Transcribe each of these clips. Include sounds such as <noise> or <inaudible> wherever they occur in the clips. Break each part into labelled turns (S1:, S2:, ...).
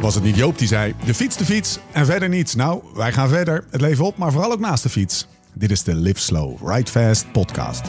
S1: Was het niet Joop die zei: de fiets, de fiets en verder niets? Nou, wij gaan verder. Het leven op, maar vooral ook naast de fiets. Dit is de Live Slow, Ride Fast podcast.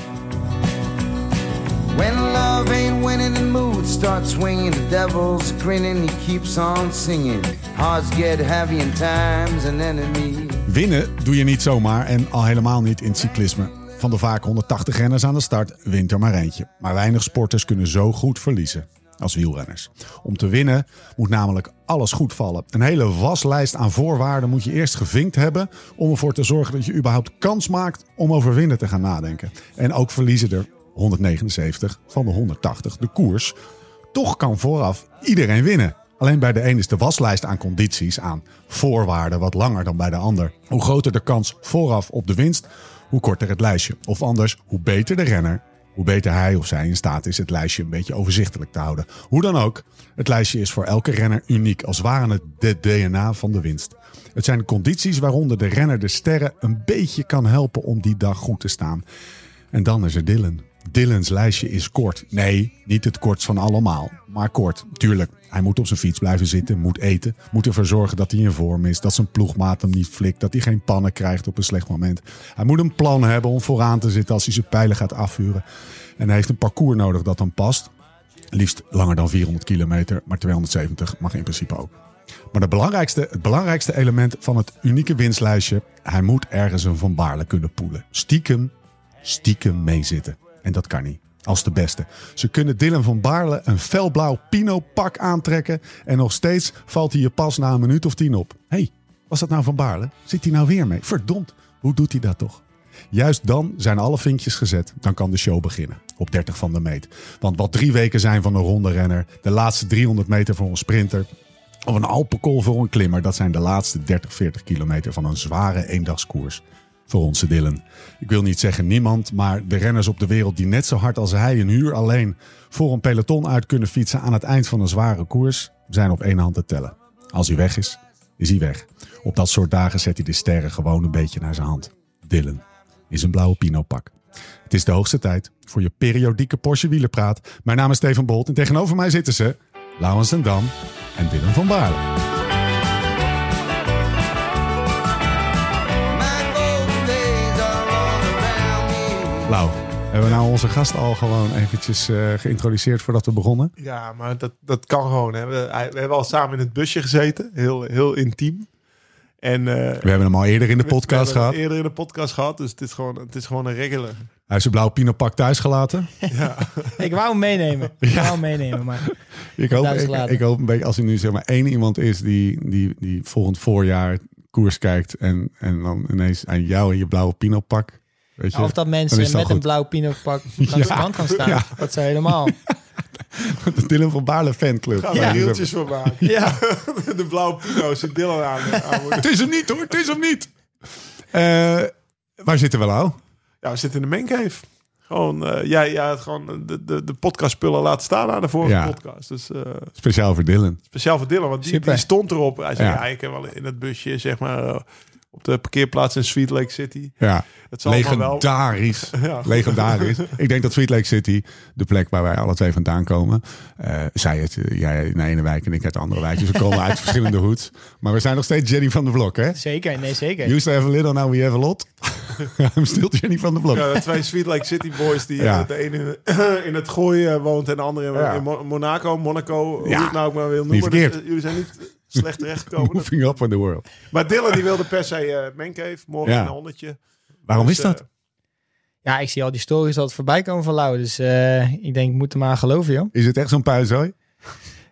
S2: When love ain't winning, the mood starts swinging. The devil's grinning, he keeps on singing. Hearts get heavy, and time's an enemy.
S1: Winnen doe je niet zomaar en al helemaal niet in het cyclisme. Van de vaak 180 renners aan de start wint er maar eentje. Maar weinig sporters kunnen zo goed verliezen als wielrenners. Om te winnen moet namelijk alles goed vallen. Een hele waslijst aan voorwaarden moet je eerst gevinkt hebben om ervoor te zorgen dat je überhaupt kans maakt om over winnen te gaan nadenken. En ook verliezen er 179 van de 180 de koers. Toch kan vooraf iedereen winnen. Alleen bij de een is de waslijst aan condities, aan voorwaarden wat langer dan bij de ander. Hoe groter de kans vooraf op de winst, hoe korter het lijstje. Of anders, hoe beter de renner, hoe beter hij of zij in staat is het lijstje een beetje overzichtelijk te houden. Hoe dan ook, het lijstje is voor elke renner uniek, als waren het de DNA van de winst. Het zijn de condities waaronder de renner de sterren een beetje kan helpen om die dag goed te staan. En dan is er Dylan. Dylan's lijstje is kort. Nee, niet het kortst van allemaal, maar kort. Tuurlijk, hij moet op zijn fiets blijven zitten, moet eten, moet ervoor zorgen dat hij in vorm is, dat zijn ploegmaat hem niet flikt, dat hij geen pannen krijgt op een slecht moment. Hij moet een plan hebben om vooraan te zitten als hij zijn pijlen gaat afvuren. En hij heeft een parcours nodig dat dan past. Liefst langer dan 400 kilometer, maar 270 mag in principe ook. Maar de belangrijkste, het belangrijkste element van het unieke winstlijstje, hij moet ergens een Van Baarle kunnen poelen. Stiekem stiekem meezitten. En dat kan niet. Als de beste. Ze kunnen Dylan van Baarle een felblauw Pino-pak aantrekken. En nog steeds valt hij je pas na een minuut of tien op. Hé, hey, was dat nou van Baarle? Zit hij nou weer mee? Verdomd, hoe doet hij dat toch? Juist dan zijn alle vinkjes gezet. Dan kan de show beginnen. Op 30 van de meet. Want wat drie weken zijn van een ronde renner. De laatste 300 meter voor een sprinter. Of een alpenkool voor een klimmer. Dat zijn de laatste 30, 40 kilometer van een zware eendagskoers voor onze Dylan. Ik wil niet zeggen niemand, maar de renners op de wereld die net zo hard als hij een uur alleen voor een peloton uit kunnen fietsen aan het eind van een zware koers, zijn op één hand te tellen. Als hij weg is, is hij weg. Op dat soort dagen zet hij de sterren gewoon een beetje naar zijn hand. Dylan is een blauwe pinopak. Het is de hoogste tijd voor je periodieke Porsche wielerpraat. Mijn naam is Steven Bolt en tegenover mij zitten ze Lauwens en Dam en Dylan van Baarle.
S2: My golden days are all around me.
S1: Lau, hebben we nou onze gast al gewoon eventjes eh, geïntroduceerd voordat we begonnen?
S3: Ja, maar dat, dat kan gewoon. Hè. We, hij- we hebben al samen in het busje gezeten. Heel, heel intiem. En, eh,
S1: We hebben hem al eerder in de
S3: we- we hebben
S1: podcast
S3: het
S1: gehad.
S3: Eerder in de podcast gehad. Dus het is gewoon, het is gewoon een regular.
S1: Hij heeft zijn blauwe pinopak thuis gelaten.
S4: Ik wou hem meenemen. Ik wou hem
S1: <laughs>
S4: meenemen, maar
S1: Ik hoop,
S4: Thuis
S1: ik,
S4: gelaten.
S1: ik hoop een beetje als er nu zeg maar één iemand is die, die, die volgend voorjaar koers kijkt en, en dan ineens aan jou in je blauwe pinopak. Weet je,
S4: of dat mensen
S1: is
S4: met
S1: het al
S4: een
S1: goed.
S4: blauw pinopak langs
S1: <laughs> Ja.
S4: de kant gaan staan. Dat zou
S1: <laughs>
S4: helemaal.
S1: <laughs> de Dylan van Baarle fanclub.
S3: Gaan
S1: Weet
S3: we
S1: je,
S3: reeltjes
S1: <laughs>
S3: voor maken.
S4: Ja.
S3: <laughs> de blauwe pino's zit Dylan aan. aan
S1: Het is hem niet hoor, het is hem niet. Eh, waar zitten we nou?
S3: ja, we zitten in de mancave. Gewoon, eh jij ja, gewoon de, de, de podcastspullen laten staan aan de vorige
S1: Ja.
S3: podcast. Dus eh,
S1: Speciaal voor Dylan.
S3: speciaal voor Dylan, want die,
S4: Super.
S3: die stond erop. Hij zei,
S1: Ja.
S3: ja. ik heb wel in het busje, zeg maar, eh, op de parkeerplaats in Sweet Lake City.
S1: Ja.
S3: Het zal allemaal wel...
S1: Legendarisch.
S3: <laughs> Ja, goed.
S1: Legendarisch. Ik denk dat Sweet Lake City, de plek waar wij alle twee vandaan komen. eh, zij het, eh, jij in de ene wijk en ik uit de andere wijk. Dus we komen uit verschillende hoeds. Maar we zijn nog steeds Jenny van de Blok, hè?
S4: Zeker, nee, zeker.
S1: You used to have a little, now we have a lot. <laughs> I'm still Jenny van de Blok.
S3: Ja, de twee Sweet Lake City boys die
S1: Ja.
S3: eh, de ene in, <clears throat> in het gooien woont en de andere in,
S1: Ja.
S3: in Mo- Monaco, Monaco,
S1: Ja.
S3: hoe je het nou ook maar wil noemen.
S1: verkeerd.
S3: eh, jullie zijn niet slecht terechtgekomen.
S1: Moving up in the world.
S3: maar Dylan die wilde per se eh Mancave, morgen
S1: Ja.
S3: een honderdje.
S1: Waarom
S3: Dus,
S1: is dat?
S3: eh,
S4: Ja, ik zie al die stories altijd voorbij komen van Lau. Dus eh, ik denk, ik moet hem aan geloven, joh.
S1: Is het echt zo'n puinzooi?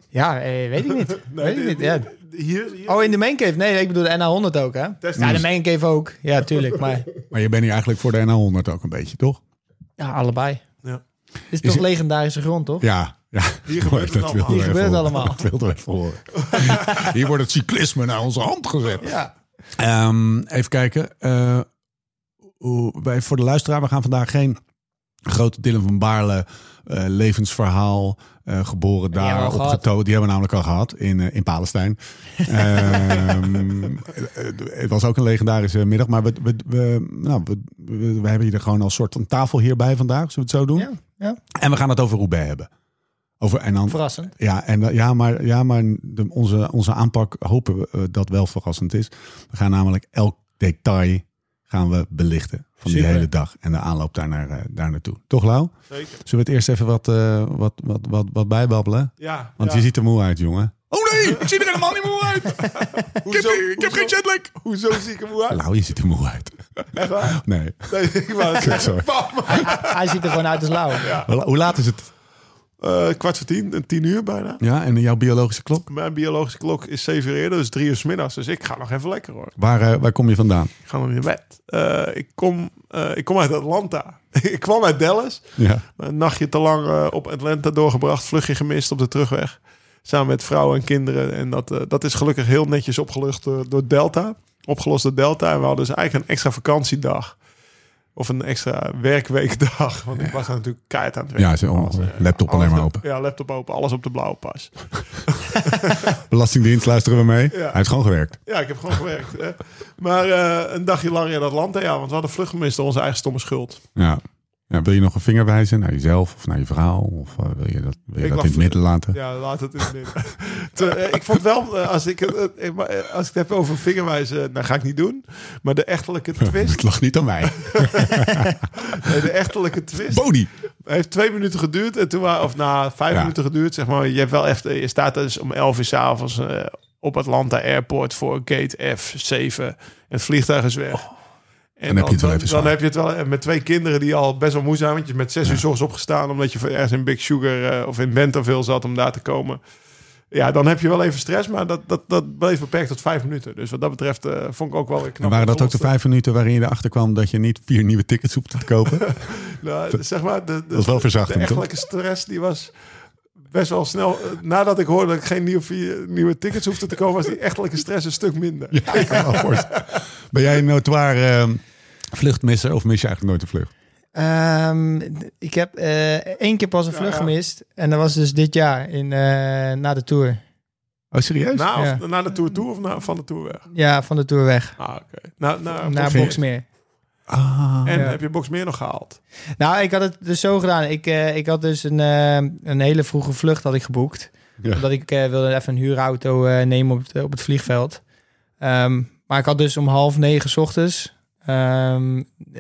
S4: Ja, eh, weet ik
S1: <laughs>
S4: niet.
S3: nee,
S4: weet ik
S3: dit-
S4: niet, ja.
S3: dit- Hier, hier-
S4: Oh, in de maincave? Nee, ik bedoel de NA100 ook, hè?
S3: Test-
S4: Ja, de maincave ook. Ja,
S1: <laughs>
S4: tuurlijk. Maar
S1: Maar je bent hier eigenlijk voor de NA100 ook een beetje, toch?
S4: ja, allebei.
S3: Ja.
S4: Dit is, toch
S1: het-
S4: legendarische grond, toch?
S1: Ja. ja. <laughs>
S3: Hier gebeurt het
S1: Dat wilden
S3: allemaal.
S1: we
S4: Hier
S1: even
S4: gebeurt het
S1: horen.
S4: allemaal.
S1: Dat wilden we even horen. Hier wordt het cyclisme naar onze hand gezet.
S4: Ja.
S1: Ehm, even kijken. Eh, hoe- wij, voor de luisteraar, we gaan vandaag geen grote Dylan van Baarle eh, levensverhaal, eh, geboren
S4: Die hebben
S1: daar,
S4: we al
S1: opgetogen. Die hebben we namelijk al gehad in, eh, in Palestijn.
S4: <laughs>
S1: Ehm, eh, eh, het was ook een legendarische middag, maar we, we, we, nou, we, we- we hebben hier gewoon als soort van tafel hierbij vandaag, zullen we het zo doen?
S4: Ja, ja.
S1: En we gaan het over Roubaix hebben. Over, en dan,
S4: verrassend.
S1: ja, en, dat- ja, maar, ja, maar de, onze, onze aanpak hopen we eh, dat wel verrassend is. We gaan namelijk elk detail gaan we belichten van die
S4: Super.
S1: hele dag. En de aanloop daar, naar, eh, daar naartoe. Toch, Lau?
S3: Zeker.
S1: Zullen we het eerst even wat, eh, wat, wat, wat, wat bijbabbelen?
S3: Ja.
S1: Want
S3: ja.
S1: je ziet er moe uit, jongen.
S3: Oh nee, ik zie er helemaal niet moe uit. hoezo, ik heb geen jetlag. Hoezo zie ik er moe uit?
S1: Lau, je ziet er moe uit. <laughs>
S3: Echt waar?
S1: Nee.
S3: Nee, ik wou het zeggen.
S1: Sorry.
S3: Pam.
S4: Hij ziet er gewoon uit als lauw.
S1: Hoe hoe laat is het?
S3: Eh, kwart voor tien, eh, tien uur bijna.
S1: Ja, en jouw biologische klok?
S3: Mijn biologische klok is zeven uur eerder, dus drie uur 's middags. Dus ik ga nog even lekker hoor.
S1: Waar, eh, waar kom je vandaan?
S3: Ik ga nog weer naar bed. Eh, ik, kom, eh, ik kom uit Atlanta. <laughs> ik kwam uit Dallas.
S1: Ja.
S3: Een nachtje te lang eh, op Atlanta doorgebracht. Vlugje gemist op de terugweg. Samen met vrouwen en kinderen. En dat, eh, dat is gelukkig heel netjes opgelucht eh, door Delta. Opgelost door Delta. En we hadden dus eigenlijk een extra vakantiedag. Of een extra werkweekdag. <laughs> Want ik was daar natuurlijk keihard aan het werk.
S1: Ja, zo,
S3: Alles, eh,
S1: laptop alleen
S3: alles
S1: maar
S3: op-
S1: open.
S3: Ja, laptop open. Alles op de blauwe pas.
S1: Belastingdienst luisteren we mee.
S3: Ja.
S1: Hij heeft gewoon gewerkt.
S3: Ja, ik heb gewoon gewerkt. Hè. Maar eh, een dagje langer in Atlanta. Ja, want we hadden vlucht gemist door onze eigen stomme schuld.
S1: Ja. Ja, wil je nog een vinger wijzen naar jezelf of naar je vrouw? Of eh, wil je dat, wil je
S3: Ik
S1: dat
S3: mag-
S1: in het midden laten?
S3: Ja, laat het in het midden. <laughs> Te- eh, ik vond wel, eh, als ik, het- het- eh, maar, eh, als ik het heb over vingerwijzen, dan ga ik niet doen. Maar de echtelijke twist,
S1: <laughs>
S3: <laughs>
S1: Het lag niet aan mij.
S3: eh, de echtelijke twist
S1: Boni.
S3: heeft twee minuten geduurd. En toen, wa- of na vijf
S1: Ja.
S3: minuten geduurd, zeg maar. Je, hebt wel echt, je staat dus om elf uur s'avonds eh op Atlanta Airport voor gate F7. En het vliegtuig is weg. En
S1: Oh. Dan heb je het wel even
S3: dan
S1: zwaar.
S3: heb je het wel en met twee kinderen die al best wel moe zijn. Want je bent met zes uur 's ochtends opgestaan. Omdat je ergens in Big Sugar eh, of in Bentonville zat om daar te komen. Ja, dan heb je wel even stress. Maar dat, dat, dat bleef beperkt tot vijf minuten. Dus wat dat betreft eh, vond ik ook wel weer knap.
S1: En waren dat ook de
S3: Soms-
S1: vijf minuten waarin je erachter kwam dat je niet vier nieuwe tickets hoeft te kopen?
S3: Nou, zeg maar, de, de,
S1: Dat is wel
S3: de
S1: verzachting, toch?
S3: echtelijke stress die was best wel snel. eh, Nadat ik hoorde dat ik geen nieuwe, vier- nieuwe tickets hoefde te kopen, was die echtelijke stress een stuk minder.
S1: Ja, ik kan me wel voorstellen. Ben jij een notoire ehm, vluchtmisser of mis je eigenlijk nooit een vlucht?
S4: Ehm, d- ik heb eh, één keer pas een
S3: Ja,
S4: vlucht
S3: ja.
S4: gemist. En dat was dus dit jaar, in, eh, na de Tour.
S1: Oh, serieus?
S3: Na,
S4: Ja.
S3: of, na de tour toe of na, van de tour weg?
S4: Ja, van de Tour weg.
S3: Ah, oké. Na, na,
S4: naar
S1: Boxmeer.
S4: Boxmeer.
S1: Ah.
S3: En
S4: Ja.
S3: heb je Box meer nog gehaald?
S4: Nou, ik had het dus zo gedaan. Ik, eh, ik had dus een, eh, een hele vroege vlucht had ik geboekt.
S1: Ja.
S4: Omdat ik eh, wilde even een huurauto eh, nemen op het, op het vliegveld. Ehm, maar ik had dus om half negen 's ochtends ehm,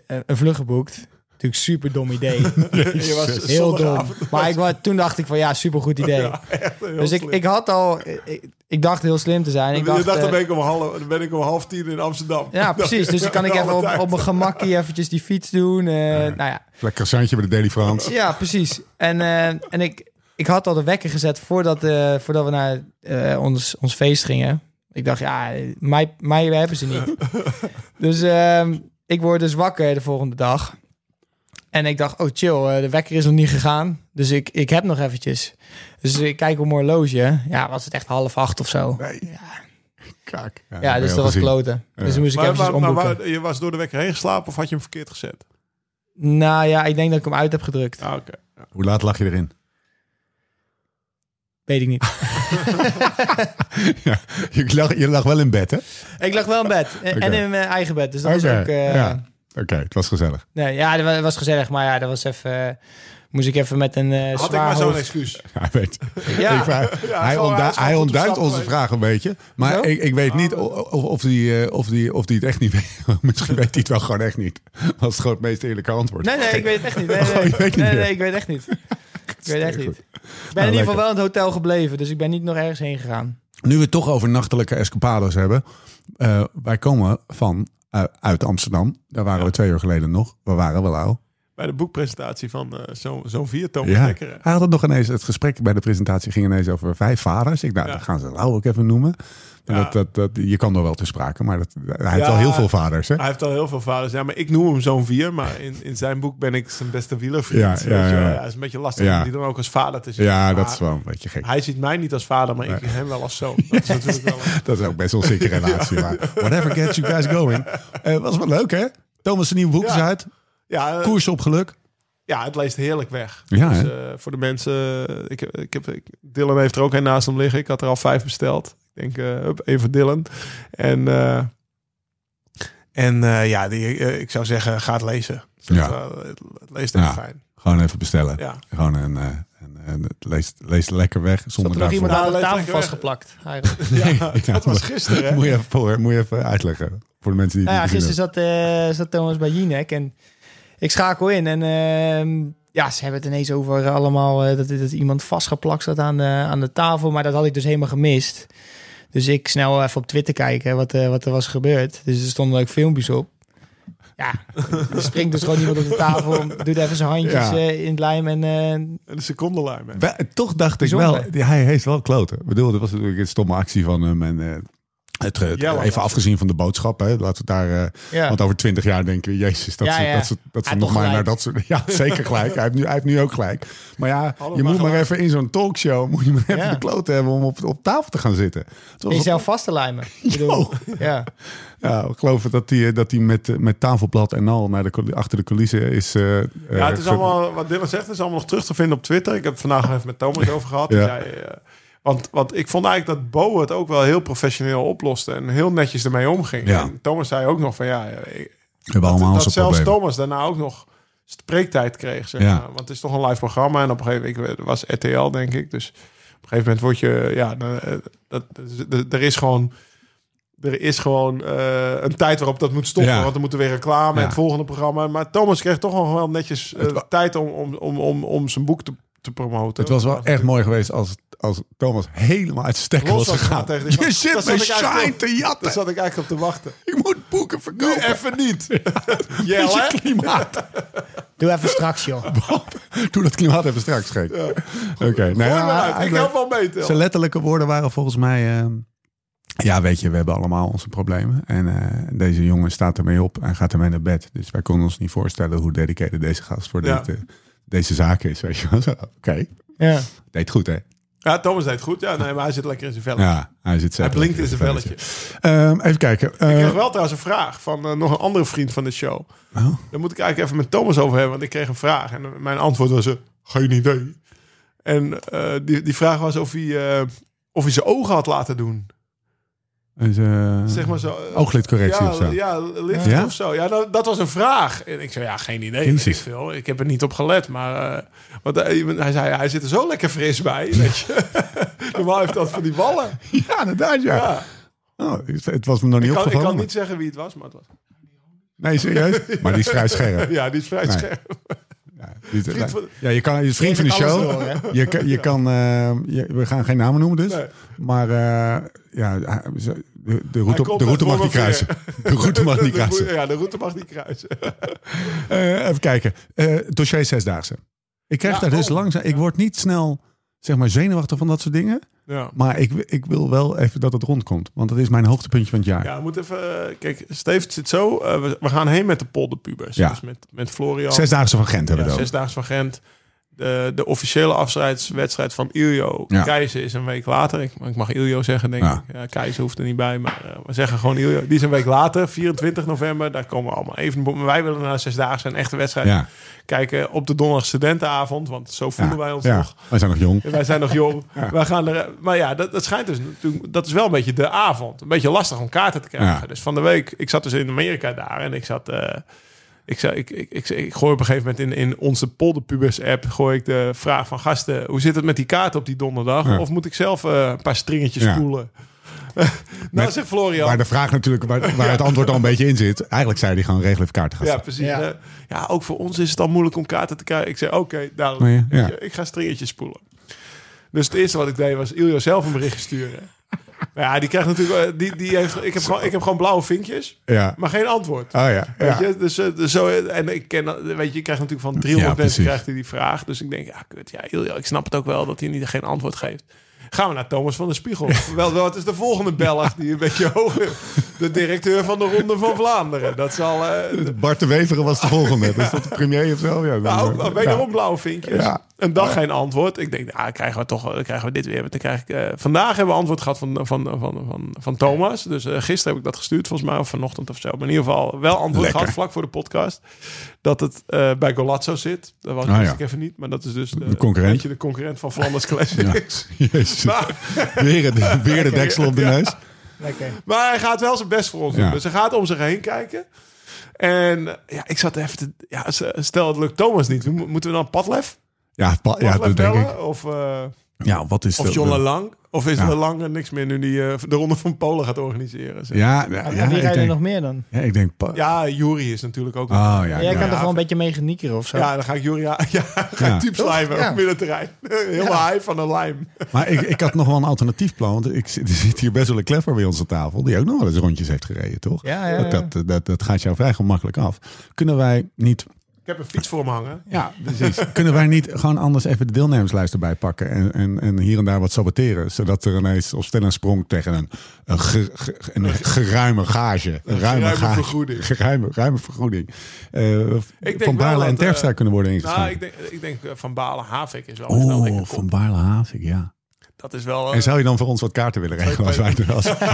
S4: een een vlucht geboekt. Natuurlijk super
S3: <laughs>
S4: dom idee.
S3: Je was
S4: Heel dom.
S3: zondagavond-
S4: Maar ik, wa- toen dacht ik van ja, super goed idee.
S3: Ja, echt heel
S4: dus ik,
S3: slim.
S4: ik had al, ik, ik dacht heel slim te zijn. Ik dacht,
S3: je dacht, dan
S4: eh,
S3: ben, ik om half, dan ben ik om half tien in Amsterdam. <laughs>
S4: ja, precies. Dus dan kan ik
S3: Alle
S4: even op,
S3: tijd.
S4: op mijn
S3: <laughs>
S4: gemakkie eventjes die fiets doen. eh, Nou ja,
S1: Lekker croissantje bij de Daily France.
S4: Ja, precies. En, eh, en ik, ik had al de wekker gezet voordat, eh, voordat we naar eh, ons, ons feest gingen. Ik dacht, ja, mij, mij hebben ze
S3: <laughs>
S4: niet. dus ehm, ik word dus wakker de volgende dag. En ik dacht, oh chill, eh, de wekker is nog niet gegaan. Dus ik, ik heb nog eventjes. Dus ik kijk op mijn horloge. Ja, was het echt half acht of zo.
S1: Kaak.
S4: Ja, dus dat was
S1: klopt.
S4: kloten. Dus toen moest ik
S3: Maar,
S4: eventjes
S3: maar- maar
S4: omboeken.
S3: waar- je was door de wekker heen geslapen of had je hem verkeerd gezet?
S4: Nou ja, ik denk dat ik hem uit heb gedrukt.
S3: Ah, oké.
S1: Hoe laat lag je erin? <laughs>
S4: Weet ik niet.
S1: ja, je, lag, je lag wel in bed, hè?
S4: <laughs> ik lag wel in bed. <laughs> En
S1: Oké.
S4: en in mijn eigen bed. Dus dat is
S1: Oké,
S4: ook... eh,
S1: ja. Oké, het was gezellig.
S4: Nee, ja, dat wa- dat was gezellig, maar ja, dat was even. eh, moest ik even met een eh
S3: Had ik
S4: zwaar
S3: maar zo'n
S4: hoofd-
S3: excuus.
S1: Hij weet.
S4: <laughs>
S1: Ik
S4: Ja,
S1: vraag-
S3: <laughs> Ja,
S1: hij
S3: zo, hij
S1: ontdu-
S3: is wel
S1: hij
S3: goed op
S1: ontduikt
S3: stap
S1: onze
S3: geweest.
S1: vraag een beetje. Maar
S4: Hoezo?
S1: ik, ik weet niet o- of, of, die, eh, of, die, of die het echt niet weet. <laughs> Misschien weet hij het wel gewoon echt niet. <laughs> Dat is gewoon het meest eerlijke antwoord.
S4: nee, nee, ik weet het echt niet. <laughs> Nee, nee,
S1: Oh, je weet niet
S4: nee, nee,
S1: meer.
S4: ik weet het echt <laughs> niet. Ik weet het echt
S1: Goed.
S4: niet. Ik ben
S1: Nou,
S4: in ieder
S1: lekker.
S4: geval wel in het hotel gebleven, dus ik ben niet nog ergens heen gegaan.
S1: Nu we het toch over nachtelijke escapados hebben. eh, wij komen van eh, uit Amsterdam. Daar waren we twee uur geleden nog. We waren wel oud.
S3: bij de boekpresentatie van eh, zo- zo'n viertoon
S1: Ja.
S3: lekker.
S1: Hij had het nog ineens, het gesprek bij de presentatie ging ineens over vijf vaders. Ik, nou,
S3: Ja.
S1: dat gaan ze Lau ook even noemen. Maar
S3: Ja.
S1: Dat, dat, dat, je kan er wel te sprake, maar dat, hij heeft
S3: Ja.
S1: al heel veel vaders. Hè?
S3: Hij heeft al heel veel vaders. Ja, maar ik noem hem zo'n vier. Maar in, in zijn boek ben ik zijn beste wielervriend.
S1: Ja,
S3: weet je
S1: ja,
S3: wel.
S1: ja.
S3: Ja, is een beetje lastig
S1: Ja.
S3: om die dan ook als vader te zien.
S1: Ja,
S3: Maar
S1: dat is wel een beetje gek.
S3: Hij ziet mij niet als vader, maar ik hem wel als
S1: <laughs>
S3: zoon. Dat is natuurlijk wel...
S1: Dat is ook best wel een zieke relatie. Maar whatever gets you guys going. Eh, was wel leuk, hè? Thomas, zijn nieuwe boek is
S3: Ja.
S1: uit.
S3: Ja, eh,
S1: Koers op geluk.
S3: ja, het leest heerlijk weg.
S1: Ja,
S3: dus,
S1: hè?
S3: eh, voor de mensen... eh, Ik, heb- ik heb, ik, Dylan heeft er ook een naast hem liggen. Ik had er al vijf besteld. Ik denk, eh hup, één voor Dylan. En, eh, en eh, ja, die, eh, ik zou zeggen, ga het lezen. Dus dat,
S1: Ja.
S3: eh, het, het leest echt
S1: Ja.
S3: fijn.
S1: Gewoon even bestellen.
S3: Ja.
S1: <laughs> Gewoon een... eh, een- een- het leest, leest lekker weg zonder
S4: Zat er nog
S1: daarvoor.
S4: iemand aan de
S3: Ja,
S4: tafel
S3: lekker weg.
S4: vastgeplakt? eigenlijk?
S1: Nee, <laughs> ik
S3: Ja, dat
S1: dacht-
S3: was gisteren, hè?
S1: Moet je, even, voor- moet je even uitleggen voor de mensen die
S4: Nou
S1: het
S4: ja,
S1: niet
S4: gisteren
S1: gezien
S4: zat, eh, zat Thomas bij Jinek en ik schakel in. En ehm, ja, ze hebben het ineens over allemaal eh, dat, dat iemand vastgeplakt zat aan de, aan de tafel. Maar dat had ik dus helemaal gemist. Dus ik snel even op Twitter kijken wat, eh, wat er was gebeurd. Dus er stonden ook filmpjes op. Ja, er springt dus gewoon iemand op de tafel, doet even zijn handjes
S1: Ja.
S4: eh, in het lijm en eh,
S3: Een seconde lijn, hè?
S1: hebben. Wel, Toch dacht ik wel,
S4: Bijzonder.
S1: ja, hij heeft wel kloten. Ik bedoel, dat was natuurlijk een stomme actie van hem. En, eh, het, het-
S3: Ja,
S1: even
S3: maar-
S1: afgezien van de boodschap, hè, laten we het daar... eh,
S4: ja.
S1: Want over twintig jaar denken we, jezus, dat
S4: Ja,
S1: ze,
S4: ja.
S1: Dat ze, dat ze
S4: Hij
S1: nog
S4: had
S1: maar naar
S4: toch gelijk.
S1: dat soort...
S3: <laughs>
S1: Ja, zeker gelijk. Hij heeft nu, hij heeft nu ook gelijk. Maar ja, je
S3: Hadden we
S1: moet
S3: maar
S1: maar
S3: gelijk.
S1: even in zo'n talkshow... moet je maar even
S4: Ja.
S1: de kloten hebben om op, op tafel te gaan zitten. Het was- Oh,
S4: jezelf vast te lijmen. Ik bedoel, ja.
S1: ja, ik geloof dat hij dat die met, eh, met tafelblad en al naar de, couli- achter de coulissen is... eh, eh,
S3: Ja, het is
S1: ge-
S3: allemaal, wat Dylan zegt, is allemaal nog terug te vinden op Twitter. Ik heb het vandaag nog even met Thomas over gehad.
S1: Ja.
S3: Die zei, eh, want, want ik vond eigenlijk dat Bo het ook wel heel professioneel oploste en heel netjes ermee omging.
S1: Ja.
S3: En Thomas zei ook nog van ja, eh,
S1: We hebben allemaal
S3: dat
S1: onze
S3: zelfs
S1: problemen.
S3: Thomas daarna ook nog spreektijd kreeg. Zeg
S1: Ja.
S3: maar. Want het is toch een live programma en op een gegeven moment ik was RTL, denk ik. Dus op een gegeven moment word je, ja, dan, eh, dat, dat- er is gewoon. Er is gewoon eh, een tijd waarop dat moet stoppen.
S1: Ja.
S3: Want er moeten weer reclame en
S1: Ja.
S3: het volgende programma. Maar Thomas kreeg toch nog wel netjes eh,
S1: Het wa-
S3: tijd om, om, om, om, om zijn boek te, te promoten.
S1: Het was wel echt mooi geweest als, als Thomas helemaal uit de stekker
S3: Los
S1: was
S3: had
S1: gegaan.
S3: gegaan tegen die
S1: Je
S3: gast.
S1: zit
S3: Dat
S1: bij
S3: zat ik eigenlijk
S1: Shine
S3: op-
S1: te
S3: Daar
S1: jatten.
S3: zat ik eigenlijk op te
S1: <laughs>
S3: wachten.
S1: Je moet boeken
S3: Nu
S1: verkopen.
S3: even
S1: <laughs>
S3: niet.
S1: Is
S3: Jelle,
S1: je
S3: hè?
S1: klimaat.
S4: Doe even straks, joh.
S1: Doe dat klimaat even straks, gek. Oké, nou
S3: Gooi maar
S1: ja,
S3: uit. Ik
S1: eigenlijk-
S3: help wel mee, Tel.
S1: Zijn letterlijke woorden waren volgens mij... ehm, ja, weet je, we hebben allemaal onze problemen. En eh, deze jongen staat ermee op en gaat ermee naar bed. Dus wij konden ons niet voorstellen hoe dedicated deze gast voor
S3: Ja.
S1: dit, eh, deze zaak is. Weet je wel. Zo, Oké,
S4: Ja.
S1: deed goed hè?
S3: Oh. Ja, Thomas deed het goed. Ja, nee, maar hij zit lekker in zijn vel.
S1: Ja, hij zit
S3: Hij
S1: zelf
S3: blinkt in
S1: lekker
S3: zijn velletje.
S1: Ehm, even kijken. eh,
S3: Ik kreeg wel trouwens een vraag van eh, nog een andere vriend van de show.
S1: Oh.
S3: Daar moet ik eigenlijk even met Thomas over hebben, want ik kreeg een vraag. En eh, mijn antwoord was, eh, geen idee. En eh, die, die vraag was of hij, eh, of hij zijn ogen had laten doen.
S1: is, eh,
S3: Zeg maar zo. eh,
S1: ooglidcorrectie
S3: ja,
S1: of zo.
S3: Ja, lift
S1: Ja?
S3: of zo. Ja, dat, dat was een vraag. En ik zei, ja, geen idee.
S1: Jezus.
S3: Weet ik, veel. ik heb er niet op gelet. Maar eh, want hij, hij zei, hij zit er zo lekker fris bij. <laughs> Weet je. Normaal heeft dat van die wallen.
S1: <laughs> Ja, inderdaad ja.
S3: Ja.
S1: Oh, het- het was me nog niet
S3: Ik, kan, ik
S1: opgevallen.
S3: kan niet zeggen wie het was, maar het was...
S1: Nee, serieus?
S3: <laughs>
S1: Maar die is vrij scherp.
S3: Ja, die is vrij
S1: Nee.
S3: scherp.
S1: Ja, die-
S3: Vriend van-
S1: ja, je kan, je is vriend van de
S4: Geef het
S1: show.
S4: alles door, hè?
S1: Je, kan- je kan, eh, je- we gaan geen namen noemen dus.
S3: Nee.
S1: Maar eh, ja, hij- ze- de, de route,
S3: komt
S1: de route
S3: uit
S1: mag niet kruisen. De route <laughs> mag
S3: <laughs>
S1: niet
S3: De roe-
S1: kruisen.
S3: Ja, de route mag niet kruisen.
S1: Eh, even kijken. Eh, dossier Zesdaagse. Ik krijg
S3: Ja,
S1: daar dus
S3: oh.
S1: langzaam... Ik word niet snel zeg maar, zenuwachtig van dat soort dingen.
S3: Ja.
S1: Maar ik, wi- ik wil wel even dat het rondkomt. Want dat is mijn hoogtepuntje van het jaar.
S3: Ja, we moeten even... eh, Kijk, Steve zit zo. eh, we, we gaan heen met de polderpubers.
S1: Ja.
S3: Dus met, met Florian.
S1: Zesdaagse van Gent hebben we
S3: ja,
S1: dat.
S3: Zesdaags van Gent. De, de officiële afscheidswedstrijd van Iljo
S1: Ja.
S3: Keizer is een week later. Ik, ik mag Iljo zeggen, denk
S1: Ja.
S3: ik. Ja, Keizer hoeft er niet bij, maar eh, we zeggen gewoon Iljo. Die is een week later, 24 november. Daar komen we allemaal even. Maar wij willen naar Zesdaagse een echte wedstrijd
S1: Ja.
S3: kijken op de donderdag studentenavond. Want zo voelen wij ons
S1: ja.
S3: nog.
S1: Wij zijn nog jong.
S3: Wij zijn nog
S1: <laughs>
S3: jong. Wij gaan er, maar ja, dat, dat schijnt dus natuurlijk. Dat is wel een beetje de avond. Een beetje lastig om kaarten te krijgen.
S1: Ja.
S3: Dus van de week, ik zat dus in Amerika daar en ik zat. eh, ik, zei, ik, ik, ik, ik gooi op een gegeven moment in, in onze Polderpubers-app... gooi ik de vraag van gasten... hoe zit het met die kaart op die donderdag?
S1: Ja.
S3: Of moet ik zelf eh, een paar stringetjes
S1: Ja.
S3: spoelen? <laughs> nou,
S1: Met-
S3: zegt Florian...
S1: Waar de vraag natuurlijk, waar, waar
S3: <laughs>
S1: het antwoord al een beetje in zit. Eigenlijk zei hij gewoon regel even kaarten gaan
S3: Ja,
S1: staan.
S3: precies.
S4: Ja.
S3: hè. ja, ook voor ons is het al moeilijk om kaarten te krijgen. Ik zei, oké, duidelijk.
S1: Nee, ja.
S3: Weet je, Ik ga stringetjes spoelen. Dus het eerste wat ik deed was Iljo zelf een berichtje sturen. <laughs> Maar ja, die krijgt natuurlijk... eh, Die, die heeft, ik, heb gewoon, ik heb gewoon blauwe vinkjes,
S1: Ja.
S3: maar geen antwoord.
S1: Oh ja.
S3: Weet
S1: ja.
S3: je? Dus, eh, dus zo, eh, en ik ken, dat- weet je, je krijgt natuurlijk van 300
S1: Ja,
S3: mensen
S1: precies.
S3: krijgt hij die vraag. Dus ik denk, ja, kut, ja, Ilja, ik snap het ook wel dat hij niet, geen antwoord geeft. Gaan we naar Thomas van der Spiegel. Wel, wel, het is de volgende Belg die een
S1: <laughs>
S3: beetje hoger... De directeur van de Ronde van Vlaanderen. Dat zal... eh
S1: Bart de Weveren was de volgende. Dus dat de premier of zo? Ja, dan,
S3: nou,
S1: eh,
S3: ook wederom blauwe vinkjes.
S1: Ja.
S3: Een dag geen antwoord. Ik denk, ah, krijgen we toch wel- krijgen we dit weer. Want Dan krijg ik, eh, vandaag hebben we antwoord gehad van, van, van, van, van Thomas. Dus eh, gisteren heb ik dat gestuurd, volgens mij, of vanochtend of zo. Maar in ieder geval wel antwoord
S1: Lekker.
S3: gehad vlak voor de podcast. Dat het eh, bij Golazzo zit. Dat was
S1: Ah,
S3: wist
S1: ja.
S3: ik even niet. Maar dat is dus de,
S1: De concurrent.
S3: een beetje de concurrent van Flanders Classics.
S1: ja. <laughs> Jezus.
S3: <laughs> Maar,
S1: Weer, de, weer de deksel op de neus.
S4: Lekker.
S3: maar hij gaat wel zijn best voor ons doen.
S1: Ja.
S3: Dus hij gaat om zich heen kijken. En eh, ja, ik zat even te... Ja, stel het lukt Thomas niet. Mo- Moeten we dan Padlef?
S1: Ja, pa- ja
S3: Padlef
S1: dat denk
S3: bellen?
S1: ik.
S3: Of... eh,
S1: Ja, wat is
S3: Of
S1: dat?
S3: John Lang. Of is
S1: Ja.
S3: er Lang en niks meer nu die eh, de Ronde van Polen gaat organiseren? zeg.
S1: Ja, ja,
S4: En
S1: ja,
S4: wie
S1: ik
S4: rijden er nog
S1: denk...
S4: meer dan?
S1: Ja, ik denk pa-
S3: Ja, Jury is natuurlijk ook.
S1: Oh ja.
S4: Jij
S1: ja.
S4: kan toch wel een beetje meegeniekeren of zo?
S3: Ja, dan ga ik Jury. Ja, <laughs> ja, ga
S1: Ja.
S3: ik type slijmen
S4: Ja.
S3: op middenterrein. <laughs> Heel high van een lijm.
S1: Maar ik, ik had nog wel een alternatief plan. Want ik, zit- er zit hier best wel een klepper bij ons aan tafel. Die ook nog wel eens rondjes heeft gereden, toch?
S4: Ja, ja, ja.
S1: Dat, dat, dat, dat gaat jou vrij gemakkelijk af. Kunnen wij niet...
S3: Ik heb een fiets voor me hangen.
S1: Ja, precies. <laughs> Kunnen wij niet gewoon anders even de deelnemerslijst erbij pakken en, en, en hier en daar wat saboteren? Zodat er ineens op stel en sprong tegen een, een, ge- ge- een geruime gage. Een ruime,
S3: geruime
S1: gage,
S3: vergoeding.
S1: <laughs> Geruime, ruime vergoeding. eh,
S3: denk
S1: van
S3: wel
S1: Baarle
S3: dat,
S1: en
S3: eh,
S1: Terpstra kunnen worden
S3: Nou,
S1: ingeschreven.
S3: ik denk, ik denk eh, Van Balen Havik is wel. is wel
S1: Oh,
S3: lekker
S1: van
S3: kop.
S1: Baarle Havik, ja.
S3: Dat is wel. eh,
S1: En zou je dan voor ons wat kaarten willen regelen als wij, als,
S3: <laughs>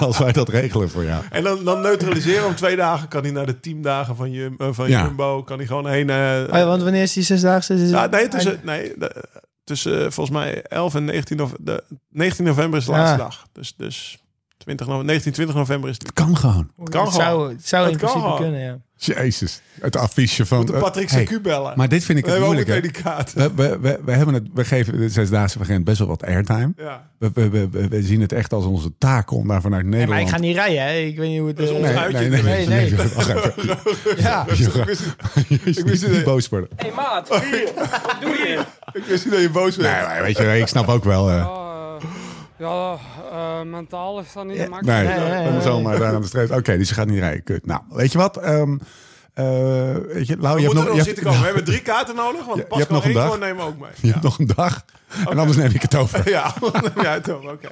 S1: als wij dat regelen voor jou?
S3: En dan, dan neutraliseren om twee dagen. Kan hij naar de teamdagen van, Jum, eh, van
S1: Ja.
S3: Jumbo. Kan hij gewoon heen. eh,
S4: Oh ja, want wanneer is die zesdaagse? Is
S3: Ja, nee, tussen, nee, de- tussen eh, volgens mij 11 en 19, nove- de, 19 november is de
S4: Ja.
S3: laatste dag. Dus, dus 20, nove- 19, 20 november is het.
S1: Kan gewoon.
S3: kan
S4: het zou, het zou
S3: Dat
S4: in
S3: kan
S4: principe
S3: gewoon.
S4: kunnen, ja.
S1: Jezus. Het affiche van...
S3: Moeten Patrick
S1: eh, hey,
S3: CQ bellen.
S1: maar dit vind ik
S3: we
S1: het
S3: hebben ook
S1: moeilijk.
S3: meteen
S1: hè. Eh,
S3: die kaart.
S1: We, we, we, we hebben het, we geven de Zesdaagse Vergent best wel wat airtime.
S3: Ja,
S1: We, we, we- we, we zien het echt als onze taak om daar vanuit Nederland...
S4: Nee, maar ik ga niet rijden, hè. Ik weet niet hoe het...
S3: Dat is
S4: eh,
S3: ons
S1: Nee,
S3: uitje
S1: nee, nee. nee,
S4: erin. Nee, nee.
S1: Wacht even.
S4: ja.
S1: Je gaat- <laughs> Je moet niet boos worden.
S5: Hey maat, hier, wat doe je?
S3: ik wist niet dat je boos werd.
S1: Nee, maar oh, weet je, ik snap ook wel... eh,
S5: ja, eh, mentaal is dat niet
S4: Ja,
S5: te makkelijk.
S1: Nee,
S4: Nee, nee, nee,
S1: om
S4: nee.
S1: zomaar daar aan de streep. Oké, dus je gaat niet rijden. Kut. Nou, weet je wat? Ehm eh, weet je, Lau,
S3: we
S1: je hebt nog, <laughs>
S3: moeten er
S1: je
S3: nog
S1: hebt-
S3: zitten komen. We hebben drie kaarten nodig. Want
S1: je
S3: Pascal
S1: hebt nog een dag.
S3: Eekhoorn nemen we ook mee.
S1: <laughs> je hebt nog een dag. En anders neem ik het over.
S3: Ja, <laughs> ja toch, oké.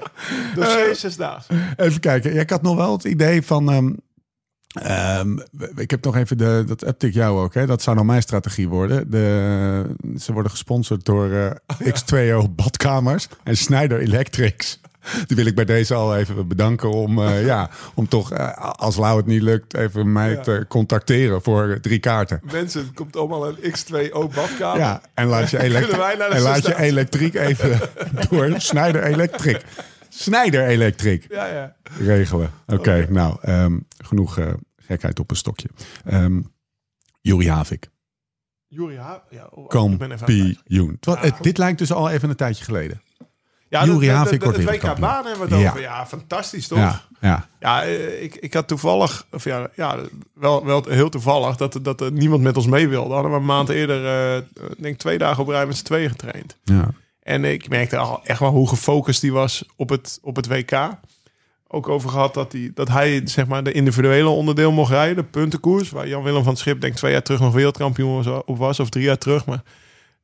S3: Dus zes, zes dagen.
S1: Even kijken. Ja, ik had nog wel het idee van... ehm, ehm, we- ik heb nog even de, dat uptick jou ook. Hè? Dat zou nou mijn strategie worden. De, ze worden gesponsord door
S3: <laughs>
S1: eh,
S3: Oh,
S1: X2O Badkamers en Snyder Electrics. Die wil ik bij deze al even bedanken om,
S3: <laughs>
S1: eh, ja, om toch, eh, als Lau het niet lukt, even mij te contacteren voor eh, drie kaarten.
S3: Mensen, het komt allemaal een X2O badkamer.
S1: Ja, en laat
S3: <laughs>
S1: je, elekt-
S3: Oh. Kunnen wij naar de
S1: en laat je
S3: zesdaagse?
S1: elektriek
S3: <laughs>
S1: even door Snijder Electric. Snijder Electric
S3: ja, ja.
S1: regelen. Oké, nou, ehm, genoeg eh, gekheid op een stokje. Ehm Juri Havik,
S3: Juri Ha- ja, oh, ik ben even aan het
S1: kampioen. Het was- het- dit lijkt dus al even een tijdje geleden.
S3: Ja,
S1: Juri
S3: dat- dat-
S1: Havik
S3: dat-
S1: wordt
S3: Het WK
S1: wereldkampioen.
S3: baan hebben we het
S1: Ja.
S3: over. Ja, fantastisch toch?
S1: Ja, ja.
S3: Ja, eh, ik, ik had toevallig, of ja, ja wel, wel heel toevallig, dat, dat er niemand met ons mee wilde. Hadden we een maand eerder, eh, ik denk twee dagen op rij met z'n tweeën getraind.
S1: ja.
S3: En ik merkte al echt wel hoe gefocust die was op het, op het WK. Ook over gehad dat, die, dat hij zeg maar, de individuele onderdeel mocht rijden, de puntenkoers. Waar Jan-Willem van het Schip, denk ik, twee jaar terug nog wereldkampioen was- op was, of drie jaar terug. Maar